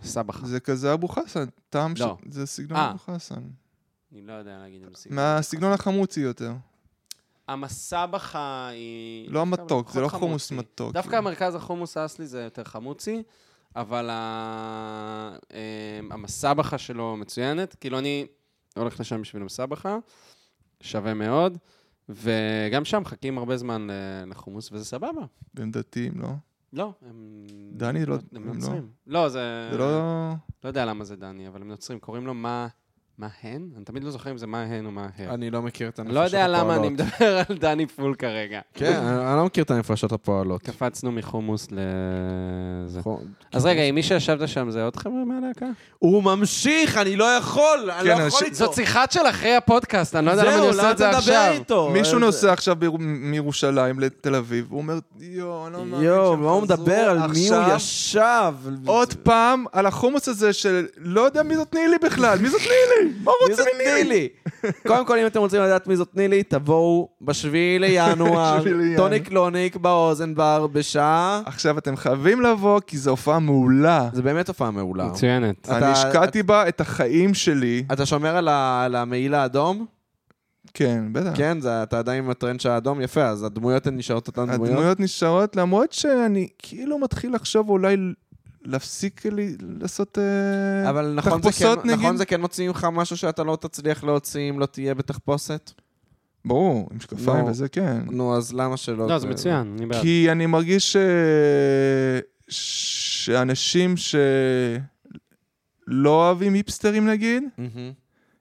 S3: מסע בכה.
S2: זה כזה אבו חסן, טעם של...
S3: לא.
S2: זה סגנון
S3: אה.
S2: אבו חסן.
S3: אני לא יודע להגיד אם זה
S2: מהסגנון החמוצי יותר.
S3: המסע בכה היא...
S2: לא
S3: דווקא
S2: המתוק, זה
S3: פחות
S2: לא חומוס
S3: חמוצי.
S2: מתוק.
S3: דווקא המרכז החומוס האסלי זה יותר חמוצי, אבל ה- אמ, המסבכה שלו מצוינת. כאילו אני הולך לשם בשביל המסבכה, שווה מאוד. וגם שם מחכים הרבה זמן ל- לחומוס, וזה סבבה.
S2: והם דתיים, לא?
S3: לא, הם...
S2: דני, לא-
S3: הם
S2: הם לא.
S3: נוצרים. לא, זה...
S2: זה לא...
S3: לא יודע למה זה דני, אבל הם נוצרים. קוראים לו מה... מה הן? אני תמיד לא זוכר אם זה מה הן או מה הן.
S6: אני לא מכיר את
S3: כן. אני לא יודע למה אני מדבר על דני פול כרגע.
S6: כן, אני אני לא מכיר את הנפשות הפועלות.
S3: קפצנו מחומוס לזה.
S6: נכון.
S3: אז רגע, עם מי שישבת שם זה עוד חבר'ה מהלהקה?
S2: לא.
S1: הוא ממשיך, אני לא יכול, אני לא
S2: כן,
S1: יכול
S2: אנשים-
S1: איתו.
S3: זאת שיחה של אחרי הפודקאסט, אני לא יודע למה אני עושה את זה עכשיו.
S1: איתו? אה,
S2: מישהו
S3: אה,
S1: אז-
S2: נוסע עכשיו ביר- מירושלים לתל אביב, הוא אומר, יואו, אני לא מאמין
S1: יואו,
S2: שהם
S1: מה הוא
S2: חזרו
S1: מדבר? על מי הוא
S2: עכשיו."
S1: ישב?
S2: עוד פעם, על החומוס הזה של לא יודע מי זאת נילי בכלל, מי זאת נילי? מה הוא
S1: מי
S2: רוצה
S1: זאת נילי? קודם כל, אם אתם רוצים לדעת מי זאת נילי, תבואו בשביעי לינואר,
S2: בשביעי לינואר.
S1: טוני קלוניק באוזן בר בשעה.
S2: עכשיו אתם חייבים לבוא, כי זו הופעה מעולה.
S1: זה באמת הופעה מעולה.
S3: מצוינת.
S1: אתה-
S2: אני השקעתי בה את החיים שלי.
S1: אתה שומר על ה- על המעיל האדום?
S2: כן, בטח.
S1: כן, זה- אתה עדיין עם הטרנד של האדום? יפה, אז הדמויות הן נשארות אותן דמויות?
S2: הדמויות נשארות, למרות שאני כאילו מתחיל לחשוב אולי להפסיק לי לעשות אה,
S1: אבל נכון זה,
S2: תחפושות
S1: כן, נכון
S2: נגיד.
S1: זה כן מוציאים לך משהו שאתה לא תצליח להוציא אם לא תהיה בתחפושת?
S2: ברור, עם משקפיים
S1: לא.
S2: וזה כן.
S1: נו, אז למה שלא?
S3: לא, זה מצוין, אני בעד.
S2: כי אני מרגיש ש... שאנשים שלא אוהבים היפסטרים נגיד,
S1: מהמם.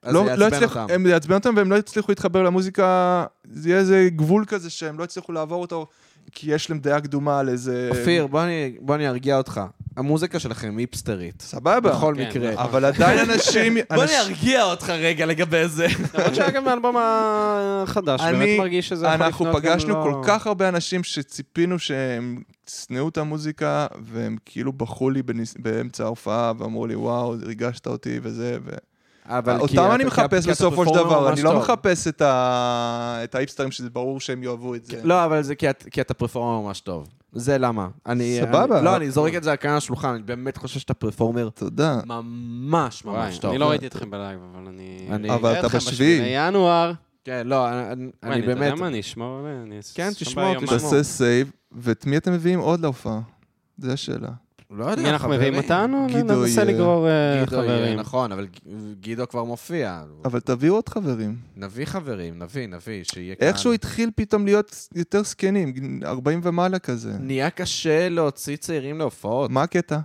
S1: אז
S2: לא,
S1: זה
S2: לא
S1: יעצבן
S2: הצליח,
S1: אותם.
S2: הם יעצבן אותם והם לא יצליחו להתחבר למוזיקה, זה יהיה איזה גבול כזה שהם לא יצליחו לעבור אותו, כי יש להם דעה קדומה על איזה...
S1: אופיר, בוא אני- בוא אני ארגיע אותך. המוזיקה שלכם היפסטרית.
S2: סבבה.
S1: בכל
S3: כן,
S1: מקרה.
S3: נכון.
S2: אבל עדיין אנשים...
S1: בוא אני
S2: אנש-
S1: ארגיע אותך רגע לגבי זה.
S3: למרות שהיה גם האלבום החדש,
S2: אני-
S3: באמת מרגיש שזה יכול
S2: אנחנו
S3: לפנות גם
S2: פגשנו
S3: לא-
S2: כל כך הרבה אנשים שציפינו שהם שנאו את המוזיקה, והם כאילו בכו לי בניס- באמצע ההופעה, ואמרו לי, וואו, ריגשת אותי וזה, ו...
S1: אבל כי
S2: אותם
S1: אתה-
S2: אני
S1: כי-
S2: מחפש
S1: כי אתה
S2: בסופו של
S1: פרפורמר
S2: דבר,
S1: ממש
S2: אני לא
S1: טוב.
S2: מחפש את ה- את ההיפסטרים, שזה ברור שהם יאהבו את זה.
S1: לא, אבל זה כי את- כי אתה פרפורמר ממש טוב. זה למה. אני...
S2: סבבה.
S1: אני- לא, אני זורק את זה על כאן השולחן, אני באמת חושב שאתה פרפורמר
S2: תודה.
S1: ממש
S3: וואי,
S1: ממש טוב.
S3: אני לא ראיתי אתכם בלייב, אבל אני...
S1: אני-
S2: אבל
S3: אראה
S2: אתה
S3: אתכם
S2: בשביעי.
S3: בשביעי לינואר.
S1: כן, לא, אני- אני-
S3: וואי,
S1: אני
S3: אתה
S1: באמת...
S3: יודע מה, אני אשמור עליה, אני...
S1: כן,
S3: שם
S1: תשמור,
S3: ביומן.
S1: תשמור.
S2: תעשה סייב, ואת מי אתם מביאים עוד להופעה? זו השאלה.
S1: לא יודע,
S3: מי אנחנו מביאים
S1: חברים.
S3: אותנו?
S2: גידו
S3: ננסה
S2: יהיה.
S3: לגרור אה,
S1: גידו,
S3: חברים.
S1: נכון, אבל ג- גידו כבר מופיע.
S2: אבל תביאו עוד חברים.
S1: נביא חברים, נביא, נביא, שיהיה כאן.
S2: איכשהו התחיל פתאום להיות יותר זקנים, 40 ומעלה כזה.
S1: נהיה קשה להוציא צעירים להופעות.
S2: מה הקטע?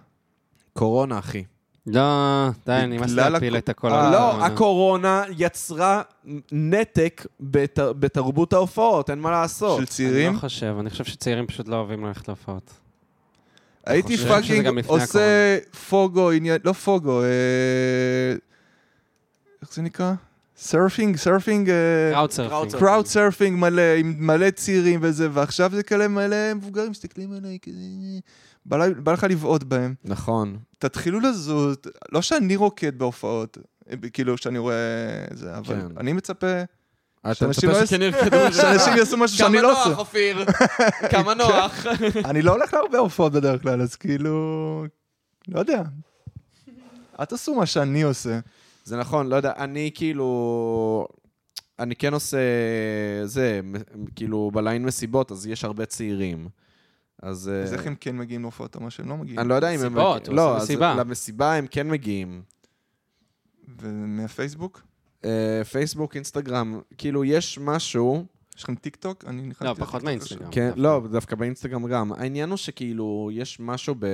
S1: קורונה, אחי.
S3: לא, די, נמאס
S2: בגלל
S3: להפיל
S2: הקו-
S3: את הכל.
S2: אה,
S3: על
S1: לא,
S3: הקורונה.
S1: הקורונה יצרה נתק בת- בתרבות ההופעות, אין מה לעשות.
S2: של
S3: אני
S2: צעירים?
S3: לא חושב, אני חושב שצעירים פשוט לא אוהבים ללכת להופעות.
S2: הייתי
S3: חושב שזה גם
S2: פאקינג
S3: לפני
S2: עושה פוגו, עניין, לא פוגו, אה, איך זה נקרא? סרפינג, סרפינג,
S1: אה,
S3: קראוט סרפינג.
S2: קראוד סרפינג מלא, עם מלא צעירים וזה, ועכשיו זה כאלה מלא מבוגרים מסתכלים עליי כזה, בא לי- בא לך לבעוט בהם.
S1: נכון.
S2: תתחילו לזוז, לא שאני רוקד בהופעות, אה, כאילו שאני רואה זה, אבל
S1: כן.
S2: אני מצפה
S1: אתה
S2: שאנשים
S1: מצפה
S2: לא
S1: שכן ירקדו
S2: שאנשים יעשו משהו שאני
S1: כמה
S2: לא עושה.
S1: נוח, אופיר. כמה נוח.
S2: אני לא הולך להרבה הופעות בדרך כלל, אז כאילו... לא יודע. אל תעשו מה שאני עושה.
S1: זה נכון, לא יודע, אני כאילו... אני כן עושה זה, מ- כאילו בליין מסיבות, אז יש הרבה צעירים. אז...
S2: אז
S1: אה,
S2: איך הם כן מגיעים להופעות, אתה אומר שהם לא מגיעים.
S1: אני לא יודע אם הם...
S3: מסיבות, הוא
S1: לא,
S3: עושה
S1: אז
S3: מסיבה.
S1: למסיבה הם כן מגיעים.
S2: ומהפייסבוק?
S1: אה, פייסבוק, אינסטגרם, כאילו יש משהו,
S2: יש לכם טיק טוק? אני נכנסתי...
S3: לא,
S2: לטיק
S3: פחות
S2: טוק
S3: מהאינסטגרם.
S1: כן,
S3: דווקא.
S1: לא, דווקא באינסטגרם גם. העניין הוא שכאילו יש משהו ב...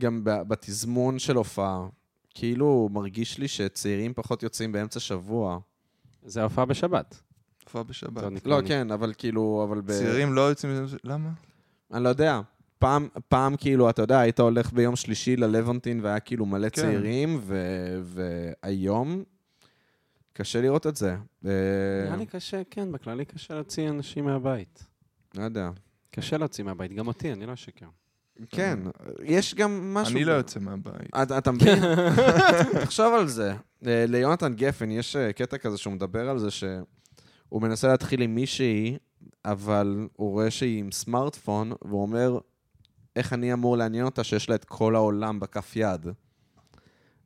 S1: גם ב- בתזמון של הופעה. כאילו, מרגיש לי שצעירים פחות יוצאים באמצע שבוע.
S3: זה ההופעה בשבת.
S2: עכשיו. הופעה בשבת.
S3: זה עוד נקרא
S1: לא,
S3: לי.
S1: כן, אבל כאילו, אבל ב...
S2: צעירים לא יוצאים... למה?
S1: אני לא יודע. פעם, פעם כאילו, אתה יודע, היית הולך ביום שלישי ללוונטין והיה כאילו מלא
S2: כן.
S1: כן. צעירים, ו... והיום קשה לראות את זה. אה,
S3: נראה לי קשה, כן, בכללי קשה להוציא אנשים מהבית.
S1: לא יודע.
S3: קשה להוציא מהבית, גם אותי, אני לא אשקר.
S1: כן, יש גם משהו...
S2: אני לא יוצא מהבית.
S1: אתה, אתה מבין? תחשוב על זה. אה, ליונתן גפן יש אה, קטע כזה שהוא מדבר על זה שהוא מנסה להתחיל עם מישהי, אבל הוא רואה שהיא עם סמארטפון, והוא אומר, איך אני אמור לעניין אותה שיש לה את כל העולם בכף יד?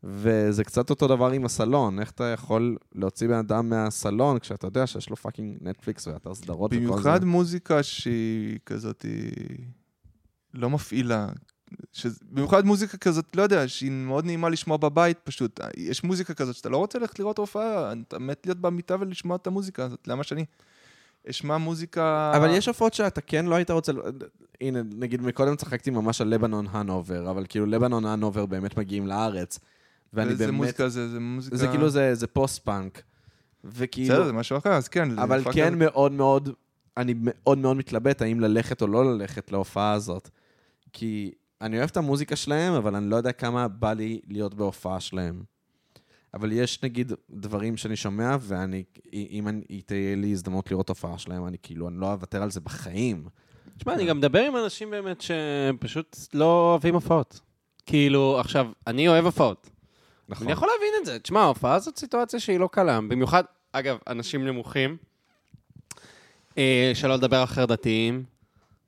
S1: וזה קצת אותו דבר עם הסלון, איך אתה יכול להוציא בן אדם מהסלון כשאתה יודע שיש לו פאקינג נטפליקס ואתר סדרות וכל אוקיי, זה.
S2: במיוחד מוזיקה שהיא כזאת... היא לא מפעילה. שזה- במיוחד מוזיקה כזאת, לא יודע, שהיא מאוד נעימה לשמוע בבית פשוט. יש מוזיקה כזאת שאתה לא רוצה ללכת לראות הופעה, אתה מת להיות במיטה ולשמוע את המוזיקה הזאת. למה שאני אשמע מוזיקה...
S1: אבל יש הופעות שאתה כן לא היית רוצה... הנה, נגיד מקודם צחקתי ממש על לבנון הנובר, אבל כאילו לבנון הנובר באמת מגיעים לארץ. ואני
S2: זה
S1: באמת...
S2: מוזיקה, זה, זה מוזיקה...
S1: זה כאילו, זה זה פוסט-פאנק. וכאילו...
S2: בסדר, זה משהו אחר, אז כן. זה
S1: אבל
S2: הופעה
S1: כן
S2: כזאת.
S1: מאוד מאוד, אני מאוד מאוד מתלבט האם ללכת או לא ללכת להופעה הזאת. כי אני אוהב את המוזיקה שלהם, אבל אני לא יודע כמה בא לי להיות בהופעה שלהם. אבל יש נגיד דברים שאני שומע, ואני, אם אני, אם תהיה לי הזדמנות לראות הופעה שלהם, אני כאילו, אני לא אוותר על זה בחיים.
S3: תשמע, אני גם מדבר עם אנשים באמת שפשוט לא אוהבים הופעות. כאילו, עכשיו, אני אוהב הופעות.
S1: נכון.
S3: אני יכול להבין את זה. תשמע, ההופעה זאת סיטואציה שהיא לא קלה. במיוחד, אגב, אנשים נמוכים, אה, שלא לדבר על חרדתיים,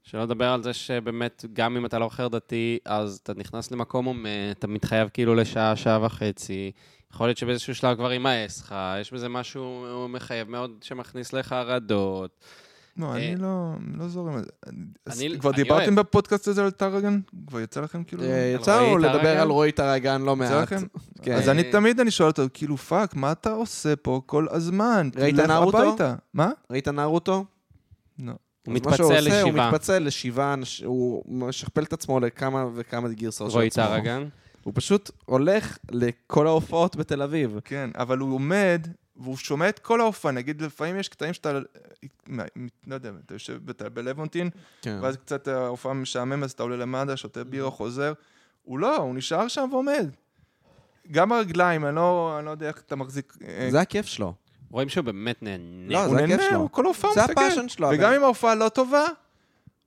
S3: שלא לדבר על זה שבאמת, גם אם אתה לא חרדתי, אז אתה נכנס למקום עומד, אתה מתחייב כאילו לשעה, שעה וחצי. יכול להיות שבאיזשהו שלב כבר יימאס לך, יש בזה משהו מחייב מאוד שמכניס לך הרעדות.
S2: לא, אני
S3: אה,
S2: לא לא זורם על זה. אז
S3: אני-
S2: כבר
S3: אני
S2: דיברתם
S3: אוהב.
S2: בפודקאסט הזה על טרגן? כבר יצא לכם כאילו?
S1: אה,
S3: על
S1: יצא לנו
S3: רועי
S1: לדבר
S3: טרגן?
S1: על רועי טרגן לא
S2: יצא
S1: מעט.
S2: לכם?
S1: כן.
S2: אוקיי. אז אני תמיד אני שואל אותו, כאילו, פאק, מה אתה עושה פה כל הזמן?
S1: ראית
S2: תלך
S1: נערותו?
S2: הביתה. מה?
S1: ראית נרוטו?
S2: לא.
S3: הוא
S1: אז מה שהוא
S3: מתפצל
S1: עושה,
S3: לשבעה.
S1: הוא מתפצל לשבעה, אנש- הוא משכפל את עצמו לכמה וכמה גרסאות של
S3: רועי
S1: עצמו.
S3: טרגן.
S1: הוא פשוט הולך לכל ההופעות בתל אביב.
S2: כן, אבל הוא עומד, והוא שומע את כל ההופעה. נגיד, לפעמים יש קטעים שאתה, מה, לא יודע, אתה יושב בת- בלוונטין,
S1: כן.
S2: ואז קצת ההופעה משעמם, אז אתה עולה למד"א, שותה בירה, חוזר. הוא לא, הוא נשאר שם ועומד. גם הרגליים, אני לא, אני לא יודע איך אתה מחזיק... אה,
S1: זה הכיף שלו.
S3: רואים שהוא באמת נהנה.
S1: לא,
S2: הוא
S1: זה הכיף
S2: נהנה,
S1: שלו.
S2: הוא כל הופעה
S1: זה
S2: מסתכל.
S1: הפאשן שלו, אבל-
S2: וגם אם ההופעה לא טובה,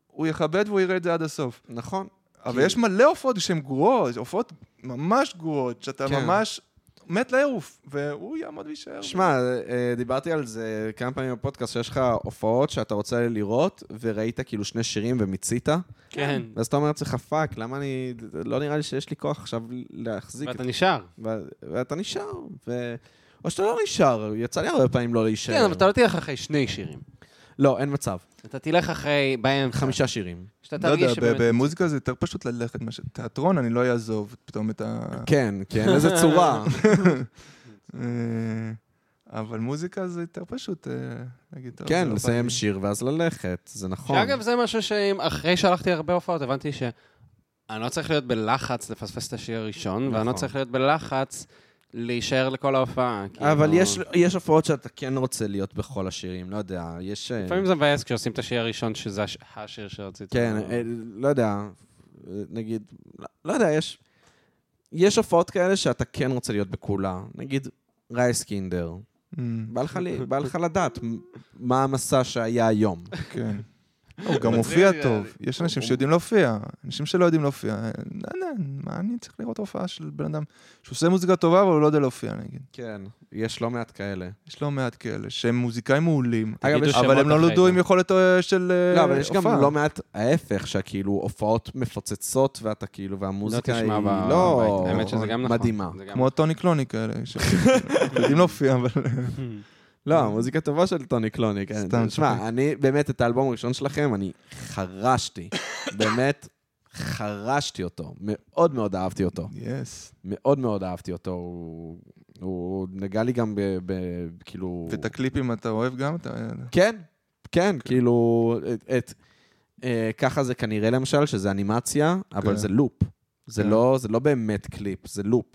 S2: הוא יכבד והוא יראה את זה עד הסוף.
S1: נכון.
S2: אבל
S1: כי-
S2: יש מלא הופעות שהן גרועות, הופעות ממש גרועות, שאתה
S1: כן.
S2: ממש מת לעוף, והוא יעמוד ויישאר.
S1: שמע, אה, דיברתי על זה כמה פעמים בפודקאסט, שיש לך הופעות שאתה רוצה לראות, וראית כאילו שני שירים ומיצית,
S3: כן.
S1: ואז אתה אומר לעצמך, פאק, למה אני... לא נראה לי שיש לי כוח עכשיו להחזיק את
S3: ואתה נשאר.
S1: ו- ואתה נשאר, ו... או שאתה לא נשאר, יצא לי הרבה פעמים לא להישאר.
S3: כן, אבל אתה לא תלך אחרי שני שירים.
S1: לא, אין מצב.
S3: אתה תלך אחרי באמצע.
S1: חמישה שירים.
S3: שאתה
S2: לא יודע,
S3: תרגיש
S2: ב-
S3: שבאמת...
S2: במוזיקה זה יותר פשוט ללכת מאשר תיאטרון, אני לא אעזוב פתאום את ה...
S1: כן, כן, איזה צורה.
S2: אה, אבל מוזיקה זה יותר פשוט, אה, נגיד... טוב, זה
S1: כן,
S2: לא בא
S1: לסיים
S2: לי.
S1: שיר ואז ללכת, זה נכון.
S3: שאגב, זה משהו שאחרי שהלכתי הרבה הופעות, הבנתי ש... אני לא צריך להיות בלחץ לפספס את השיר הראשון, ואני לא
S1: נכון.
S3: צריך להיות בלחץ להישאר לכל ההופעה. כאילו-
S1: אבל יש- יש הופעות שאתה כן רוצה להיות בכל השירים, לא יודע, יש... אה,
S3: לפעמים זה מבאס כשעושים את השיר הראשון, שזה הש- השיר שרצית.
S1: כן, אה, לא יודע, אה, נגיד, לא- לא יודע, יש... יש הופעות כאלה שאתה כן רוצה להיות בכולה. נגיד, רייס קינדר.
S2: אמ,
S1: בא לך לי- בא לך לדעת מ- מה המסע שהיה היום.
S2: כן. לא, הוא גם מופיע טוב. יש אנשים שיודעים להופיע, אנשים שלא יודעים להופיע. אה, לא, לא, מה אני צריך לראות הופעה של בן אדם שעושה מוזיקה טובה, אבל הוא לא יודע להופיע, נגיד.
S1: כן, יש לא מעט כאלה.
S2: יש לא מעט כאלה שהם מוזיקאים מעולים,
S1: אגב,
S3: תגידו
S1: יש-
S3: שמות
S2: אבל הם לא
S3: אחרי
S2: נולדו
S3: זה.
S2: עם יכולת אה, של אה, הופעה.
S1: לא, אבל יש גם לא מעט ההפך, שכאילו הופעות מפוצצות, ואתה כאילו, והמוזיקה היא
S3: תשמע ב-
S1: לא
S3: בבית. האמת שזה גם נכון.
S1: מדהימה.
S3: זה גם
S2: כמו טוני קלוני כאלה, ש- יודעים להופיע, אבל...
S1: לא, המוזיקה טובה של טוני קלוני, כן.
S2: סתם,
S1: תשמע, אני באמת, את האלבום הראשון שלכם, אני חרשתי. באמת, חרשתי אותו. מאוד מאוד אהבתי אותו.
S2: יס.
S1: מאוד מאוד אהבתי אותו. הוא- הוא נגע לי גם ב... ב- כאילו...
S2: ואת הקליפים אתה אוהב גם? אתה- אה,
S1: כן, כן, כאילו... את- את... אה, ככה זה כנראה, למשל, שזה אנימציה, אבל
S2: כן.
S1: זה לופ. זה
S2: כן.
S1: לא זה לא באמת קליפ, זה לופ.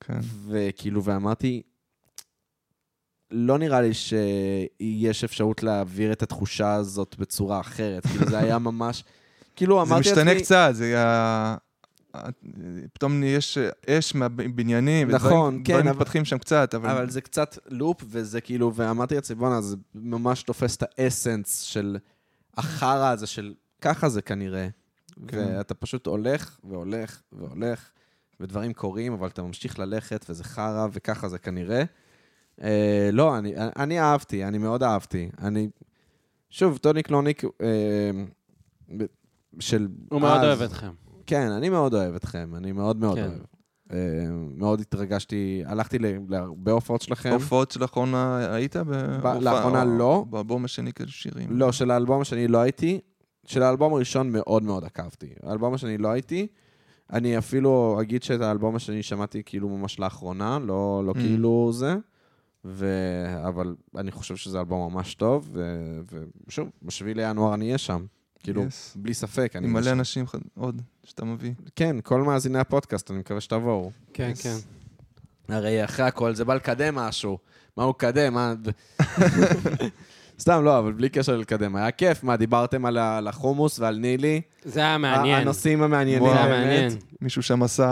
S2: כן.
S1: לא, וכאילו, ואמרתי, לא נראה לי שיש אפשרות להעביר את התחושה הזאת בצורה אחרת. כאילו, זה היה ממש... כאילו,
S2: זה
S1: אמרתי לעצמי...
S2: משתנה קצת, זה ה... ה- פתאום יש אש מהבניינים,
S1: נכון,
S2: ודברים-
S1: כן,
S2: דברים
S1: אבל-
S2: מתפתחים שם קצת, אבל...
S1: אבל זה קצת לופ, וזה כאילו, ואמרתי לעצמי, בואנה, זה ממש תופס את האסנס של החרא הזה, של ככה זה כנראה.
S2: כן.
S1: ואתה פשוט הולך והולך והולך, ודברים קורים, אבל אתה ממשיך ללכת, וזה חרא, וככה זה כנראה. אה, לא, אני, אני אהבתי, אני מאוד אהבתי. אני... שוב, טוני קלוניק אה, ב- של...
S3: הוא מאוד
S1: אז-
S3: אוהב אתכם.
S1: כן, אני מאוד אוהב אתכם, אני מאוד מאוד
S3: כן.
S1: אוהב. אה, מאוד התרגשתי, הלכתי ל- להרבה הופעות שלכם.
S2: הופעות שלאחרונה היית? בהופעה?
S1: כן. לאחרונה לא.
S2: באלבום השני כאלה שירים.
S1: לא, של האלבום השני לא הייתי. של האלבום הראשון מאוד מאוד עקבתי. האלבום השני לא הייתי. אני אפילו אגיד שאת האלבום השני שמעתי כאילו ממש לאחרונה, לא,
S2: Mm.
S1: לא כאילו זה, ו... אבל אני חושב שזה אלבום ממש טוב, ו... ושוב, בשביעי לינואר אני אהיה שם. כאילו,
S2: Yes.
S1: בלי ספק, אני
S2: עם
S1: אהיה
S2: מלא
S1: שם.
S2: אנשים חד- עוד שאתה מביא.
S1: כן, כל מאזיני הפודקאסט, אני מקווה שתבואו.
S3: כן, כן.
S1: הרי אחרי הכל זה בא לקדם משהו. מה הוא קדם? מה... סתם, לא, אבל בלי קשר לקדם. היה כיף, מה, דיברתם על ה- על החומוס ועל נילי?
S3: זה היה מעניין. זה
S1: הנושאים המעניינים,
S3: היה
S1: האמת.
S3: מעניין.
S2: מישהו שם עשה...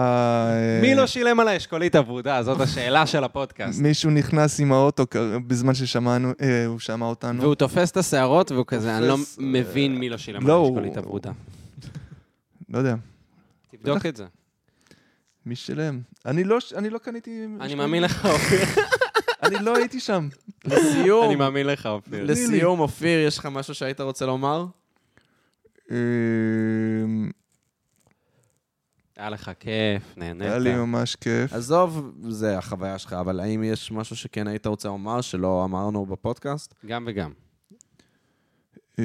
S2: אה,
S3: מי לא שילם על האשכולית הוורודה? זאת השאלה של הפודקאסט.
S2: מישהו נכנס עם האוטו כ- בזמן ששמענו, אה, הוא שמע אותנו.
S3: והוא תופס את השערות והוא כזה, אני לא
S2: תופס, אה,
S3: מבין מי לא שילם על
S2: לא,
S3: האשכולית
S2: הוא-
S3: הוורודה.
S2: לא יודע,
S3: תבדוק את זה.
S2: מי שלם? אני לא ש- אני לא קניתי...
S3: אני מאמין לך, אופיר.
S2: אני לא הייתי שם.
S3: אני
S2: לא.
S1: לסיום,
S3: מאמין לך, אופיר.
S1: לסיום, אופיר, יש לך משהו שהיית רוצה לומר?
S2: אמ,
S3: היה לך כיף, נהנית.
S2: היה לי ממש כיף.
S1: עזוב, זה החוויה שלך, אבל האם יש משהו שכן היית רוצה לומר שלא אמרנו בפודקאסט?
S3: גם וגם.
S2: אמ,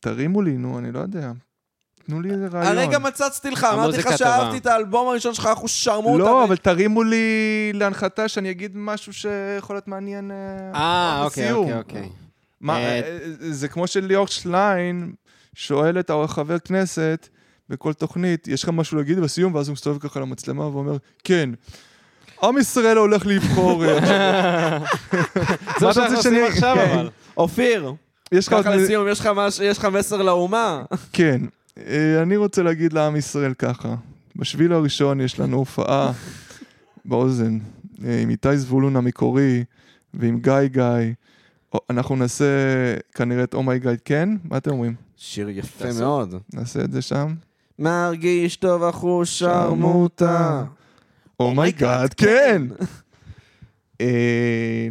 S2: תרימו לי, נו, אני לא יודע. תנו לי איזה רעיון.
S1: הרגע מצצתי לך, אמרתי
S3: המוזיקה
S1: לך
S3: טובה.
S1: שאהבתי את האלבום הראשון שלך, אחוז שרמוטה.
S2: לא,
S3: אה,
S2: אבל תרימו לי להנחתה שאני אגיד משהו שיכול להיות מעניין. אה,
S3: אה,
S2: עוד
S3: אוקיי,
S2: לסיום.
S3: אוקיי, אוקיי.
S2: מה,
S3: אה,
S2: אה, זה כמו שליאור שליין שואל את החבר כנסת בכל תוכנית, יש לך משהו להגיד בסיום? ואז הוא מסתובב ככה למצלמה ואומר, כן. עם ישראל הולך לבחור. אה, עכשיו."
S3: זה
S2: מה
S3: מה
S2: אתה
S3: שאנחנו
S2: רוצה
S3: עושים
S2: שאני-
S3: עכשיו,
S2: כן.
S3: אבל.
S1: אופיר,
S2: יש לך עוד...
S1: ככה לסיום, יש לך מש- יש לך מסר לאומה?
S2: כן. אה, אני רוצה להגיד לעם ישראל ככה, בשביל הראשון יש לנו הופעה באוזן אה, עם איתי זבולון המקורי ועם גיא גיא. או- אנחנו נעשה כנראה את אומי גיא כן? מה אתם אומרים?
S1: שיר יפה מאוד.
S2: נעשה את זה שם?
S1: מרגיש טוב אחוז שרמוטה. Oh
S2: אומייגאד, Oh כן! אה,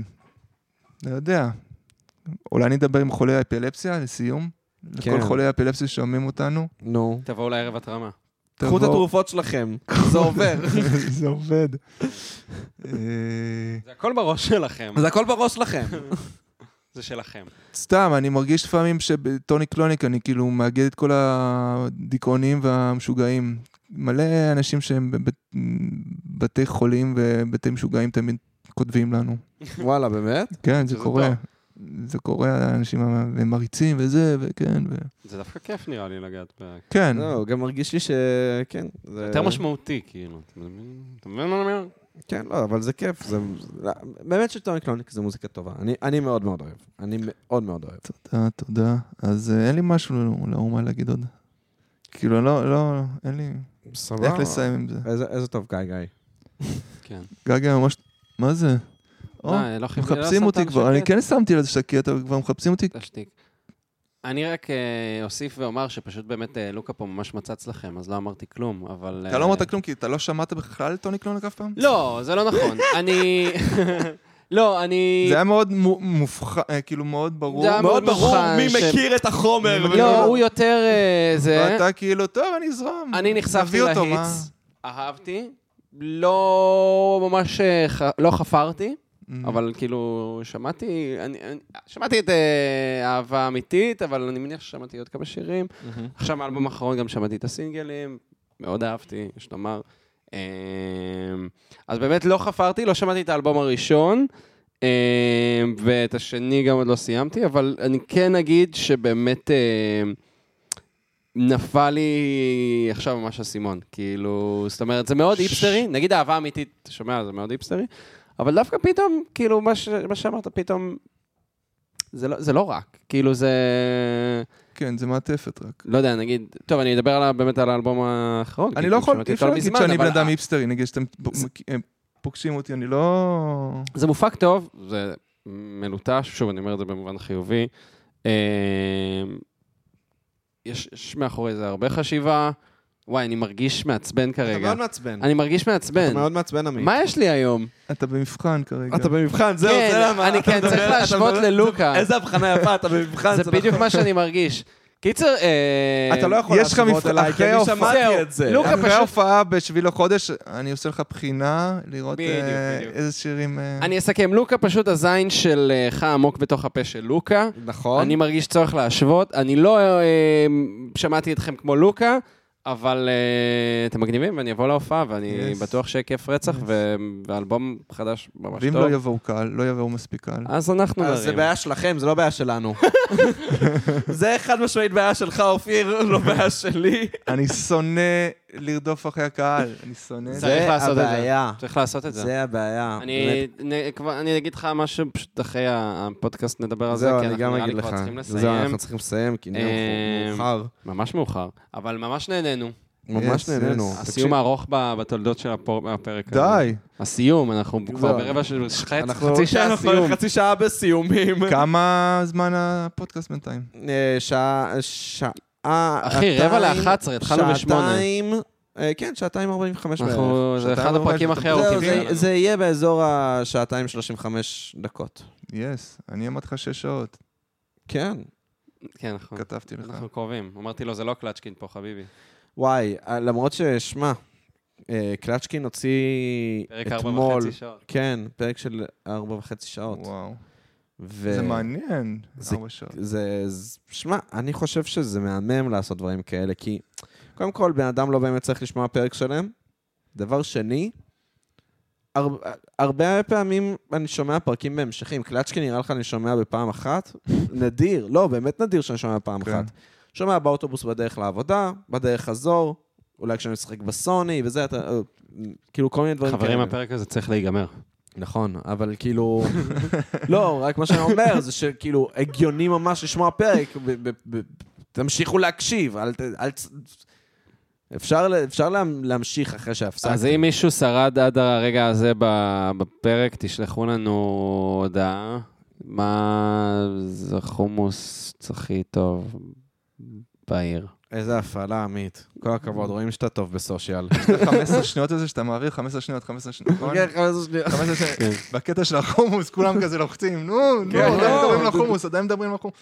S2: לא יודע. אולי נדבר עם חולי האפילפסיה לסיום? לכל
S1: כן.
S2: חולי האפילפסיה ששומעים אותנו.
S1: נו.
S3: תבואו לערב התרמה.
S1: קחו את
S2: תבואו-
S1: התרופות שלכם, זה עובר.
S2: זה עובד. אה,
S3: זה הכל בראש שלכם.
S1: זה הכל בראש שלכם.
S3: זה שלכם.
S2: סתם, אני מרגיש לפעמים שבטוני קלוניק אני כאילו מאגד את כל הדיכאונים והמשוגעים. מלא אנשים שהם בבתי חולים ובתי משוגעים תמיד כותבים לנו.
S1: וואלה, באמת?
S2: כן, זה
S3: שזה
S2: קורה. זה קורה, האנשים המ- הם מריצים וזה, וכן, ו...
S3: זה דווקא כיף נראה לי לגעת ב...
S2: כן,
S1: לא, גם מרגיש לי ש... כן. זה
S3: יותר משמעותי, כאילו. אתה מבין אתה מבין מה אני אומר?
S1: כן, לא, אבל זה כיף. זה... באמת שטוני קלוניק זה מוזיקה טובה. אני, אני מאוד מאוד אוהב. אני מאוד מאוד אוהב.
S2: תודה, תודה. אז אה, אין לי משהו לאומה להגיד עוד. כאילו, לא, לא, אין לי...
S1: סבבה.
S2: איך לסיים עם זה?
S1: איזה, איזה טוב, גיא, גיא.
S3: כן.
S2: גגה ממש... מה זה? או,
S3: אה, לא חיפ- לא
S2: מחפשים
S3: שמת
S2: אותי
S3: על
S2: כבר, אני
S3: שקט?
S2: כן שמתי על שקט, אבל כבר מחפשים אותי.
S3: תשתיק. אני רק אה, אוסיף ואומר שפשוט באמת אה, לוקה פה ממש מצץ לכם, אז לא אמרתי כלום, אבל...
S2: אתה
S3: אה,
S2: לא אמרת כלום, כי אתה לא שמעת בכלל טוני קלונק אף פעם?
S3: לא, זה לא נכון. אני... לא, אני...
S2: זה היה מאוד מו- מופח... אה, כאילו מאוד ברור.
S3: זה היה מאוד ברור מי מכיר
S1: את החומר.
S3: לא, הוא יותר אה, זה.
S2: ואתה כאילו, טוב, אני אזרום.
S3: אני נחשפתי
S2: נביא אותו, מה?
S3: להיטס, אהבתי. לא ממש... אה, ח- לא חפרתי.
S2: Mm.
S3: אבל כאילו, שמעתי, אני, אני, שמעתי את אה, אהבה אמיתית, אבל אני מניח ששמעתי עוד כמה שירים. עכשיו, מהאלבום האחרון גם שמעתי את הסינגלים, מאוד אהבתי, יש לומר. אה, אז באמת לא חפרתי, לא שמעתי את האלבום הראשון, אה, ואת השני גם עוד לא סיימתי, אבל אני כן אגיד שבאמת אה, נפל לי עכשיו ממש אסימון. כאילו, זאת אומרת, זה מאוד היפסטרי, נגיד אהבה אמיתית, אתה שומע, זה מאוד היפסטרי, אבל דווקא פתאום, כאילו, מה, ש, מה שאמרת, פתאום... זה לא, זה לא רק, כאילו זה...
S2: כן, זה מעטפת רק.
S3: לא יודע, נגיד, טוב, אני אדבר על, ה- באמת על האלבום האחרון.
S2: אני
S3: כי
S2: לא יכול,
S3: שמעתי
S2: אי אפשר
S3: אותו
S2: להגיד
S3: מזמן,
S2: שאני בן
S3: אבל
S2: אדם
S3: ה-
S2: היפסטרי, נגיד שאתם אה, פוגשים אותי, אני לא...
S3: זה מופק טוב, זה מלוטש, שוב, אני אומר את זה במובן חיובי. אה, יש, יש מאחורי זה הרבה חשיבה. וואי, אני מרגיש מעצבן
S1: אתה
S3: כרגע.
S1: מאוד מעצבן.
S3: אני מרגיש מעצבן.
S1: אתה מאוד מעצבן, עמית.
S3: מה יש לי היום?
S2: אתה במבחן כרגע.
S1: אתה במבחן, זהו,
S3: כן,
S1: זה למה.
S3: אני
S1: אתה
S3: כן, צריך
S1: מדבר- אתה
S3: להשוות
S1: מדבר-
S3: ללוקה.
S1: איזה הבחנה יפה, אתה במבחן. לא-
S3: זה בדיוק מה שאני מרגיש. קיצר, אה,
S1: אתה לא יכול
S2: יש לך
S1: להשוות
S2: מבחן-
S1: אליי, כי
S2: אחרי
S1: אני
S2: ההופעה-
S1: שמעתי
S3: זהו,
S1: את זה.
S3: לוקה
S2: אחרי
S3: פשוט-
S2: ההופעה בשביל החודש, אני עושה לך בחינה, לראות
S3: בדיוק,
S2: אה,
S3: בדיוק.
S2: איזה שירים... אה,
S3: אני אסכם. לוקה פשוט הזין שלך עמוק בתוך הפה של לוקה.
S1: נכון.
S3: אני מרגיש צורך להשוות. אני לא אה, שמעתי אתכם כמו לוקה, אבל אה, אתם מגניבים, ואני אבוא להופעה, ואני
S2: Yes.
S3: בטוח שיהיה כיף רצח, ו- ואלבום חדש ממש
S2: ואם
S3: טוב.
S2: לא יבואו קהל, לא יבואו מספיק קהל.
S3: אז אנחנו
S4: אז זה
S3: נרים.
S4: בעיה שלכם, זה לא בעיה שלנו. זה חד משמעית בעיה שלך, אופיר, לא בעיה שלי.
S3: אה-
S2: אני שונא לרדוף אחרי הקהל, אני שונא את זה.
S3: צריך לעשות את זה.
S4: הבעיה.
S3: צריך לעשות את זה.
S4: זה הבעיה.
S1: אה,
S3: אני, נ, כבר, אני אגיד לך משהו פשוט אחרי הפודקאסט נדבר על זה,
S1: זהו,
S3: לא כי
S1: אני
S3: אנחנו
S1: גם
S3: נראה לי
S1: אגיד
S3: כבר
S1: לך.
S3: צריכים
S1: זהו,
S3: לסיים.
S1: אנחנו צריכים לסיים, כי נהיה
S3: אה,
S1: מאוחר.
S3: ממש מאוחר, אבל ממש נהנינו.
S1: ממש
S2: yes,
S1: נהנינו.
S2: yes.
S3: הסיום הארוך ב- בתולדות של הפור- הפרק הזה.
S2: די.
S3: הסיום, אנחנו כבר
S1: זהו.
S3: ברבע של חצי,
S1: אנחנו-
S3: חצי שעה
S4: אנחנו
S3: סיום.
S4: חצי שעה בסיומים.
S2: כמה זמן הפודקאסט בינתיים?
S1: אה, שעה... שעה...
S3: אחי, רבע ל-11, התחלנו בשמונה.
S1: שעתיים... אה, כן, שעתיים 45 בערך.
S3: אנחנו, אוקיי, זה
S1: שעתיים
S3: אחד
S1: ארבעים
S3: הפרקים הכי
S1: וחמש. זהו,
S3: ארוכים.
S1: לא זה-
S3: שלנו.
S1: זה יהיה באזור השעתיים 35 דקות.
S2: יס, אני אמרתי לך שש שעות,
S1: כן.
S3: כן, נכון.
S2: כתבתי לך.
S3: אנחנו קרובים. אמרתי לו, זה לא קלצ'קין פה, חביבי.
S1: וואי, אה, למרות ששמע, אה, קלצ'קין הוציא
S3: פרק ארבע
S1: אתמול...
S3: וחצי שעות.
S1: כן, פרק של ארבע וחצי שעות.
S2: וואו.
S1: ו-
S3: אה,
S2: זה מעניין,
S1: זה-
S2: ארבע שעות.
S1: זה, זה- שמע, אני חושב שזה מהמם לעשות דברים כאלה, כי קודם כל, בן אדם לא באמת צריך לשמוע פרק שלם. דבר שני, הר, הרבה פעמים אני שומע פרקים בהמשכים. קלצ'קי נראה לך אני שומע בפעם אחת? נדיר, לא, באמת נדיר שאני שומע פעם
S2: כן.
S1: אחת. שומע באוטובוס בדרך לעבודה, בדרך חזור, אולי כשאני משחק בסוני וזה, אתה, אה, כאילו כל מיני דברים
S3: חברים, הפרק הזה צריך להיגמר.
S1: נכון, אבל כאילו... לא, רק מה שאני אומר זה שכאילו הגיוני ממש לשמוע פרק, ב- ב- ב- תמשיכו להקשיב, אל ת... אל ת- אפשר, ל- אפשר לה, להמשיך אחרי שהפסקתי.
S3: אז אם מישהו שרד עד הרגע הזה ב- בפרק, תשלחו לנו הודעה. מה זה חומוס הכי טוב בעיר?
S1: איזה הפעלה, עמית. כל הכבוד, רואים שאתה טוב בסושיאל.
S2: יש לך 15 שניות הזה שאתה מעריך, 15 שניות, 15 שניות, נכון?
S3: כן,
S1: אוקיי, חמש שניות.
S2: 15 שניות. בקטע של החומוס, כולם כזה לוחצים, נו, נו, עדיין מדברים על החומוס, עדיין מדברים על החומוס.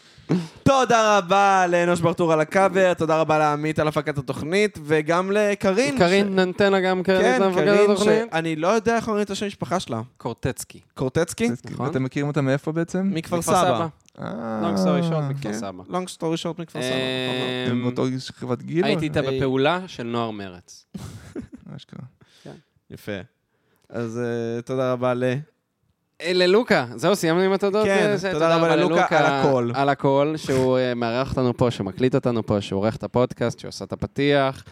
S4: תודה רבה לאנוש ברטור על הקאבר, תודה רבה לעמית על הפקת התוכנית, וגם לקרין.
S3: קרין, נתן לה גם
S4: ש-
S3: קרין
S4: כן,
S3: את המפקד
S4: קרין,
S3: התוכנית?
S4: ש- אני לא יודע איך אומרים את השם משפחה שלה.
S3: קורטצקי.
S4: קורטצקי?
S3: נכון.
S2: כן, אתם מכירים אותה מאיפה בעצם?
S4: מכפר סבא.
S2: אה,
S3: לונג סטורי שורט מכפר
S2: כן.
S3: סבא.
S4: לונג סטורי שורט מכפר סבא. אמ,
S3: אה,
S2: אמ, הם באותו חברת גיל? או-
S3: הייתי איתה
S2: אה,
S3: בפעולה של נוער מרץ.
S2: אשכרה.
S1: יפה. אז אה, תודה רבה ל...
S3: אה, ללוקה, זהו, סיימנו עם התודות?
S4: כן,
S3: אה, זה-
S4: תודה רבה ללוקה, על הכל.
S3: על הכל, שהוא אה, מארח אותנו פה, שמקליט אותנו פה, שעורך את הפודקאסט, שעושה את הפתיח,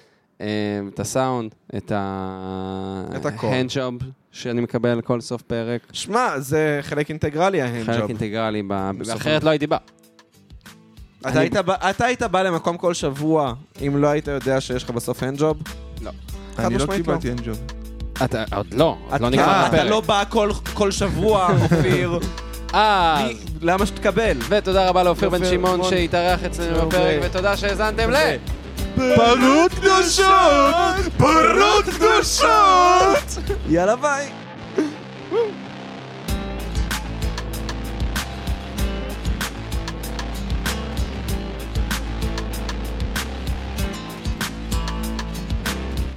S3: אה, את הסאונד, את ה...
S1: את הכל.
S3: הנדג'וב שאני מקבל כל סוף פרק.
S4: שמע, זה חלק אינטגרלי
S3: חלק
S4: ההנדג'וב.
S3: אינטגרלי, ב- אחרת לא הייתי בא.
S4: אתה
S3: אני-
S4: היית בא- אתה היית בא למקום כל שבוע, אם לא היית יודע שיש לך בסוף הנדג'וב?
S2: אני לא
S4: משמעית לא.
S2: קיבלתי אין ג'וב.
S3: אתה עוד לא, עוד לא נגמר
S4: אתה- אתה לא
S3: הפרק.
S4: בא כל- כל שבוע, אופיר.
S3: אה,
S4: מי- למה שתקבל?
S3: ותודה רבה לאופיר בן
S4: אופיר, אוקיי.
S3: שמעון
S4: רון.
S3: שהתארח אצלנו בפרק, ותודה שהאזנתם ל...
S2: פרות קדושות! פרות קדושות!
S4: יאללה ביי.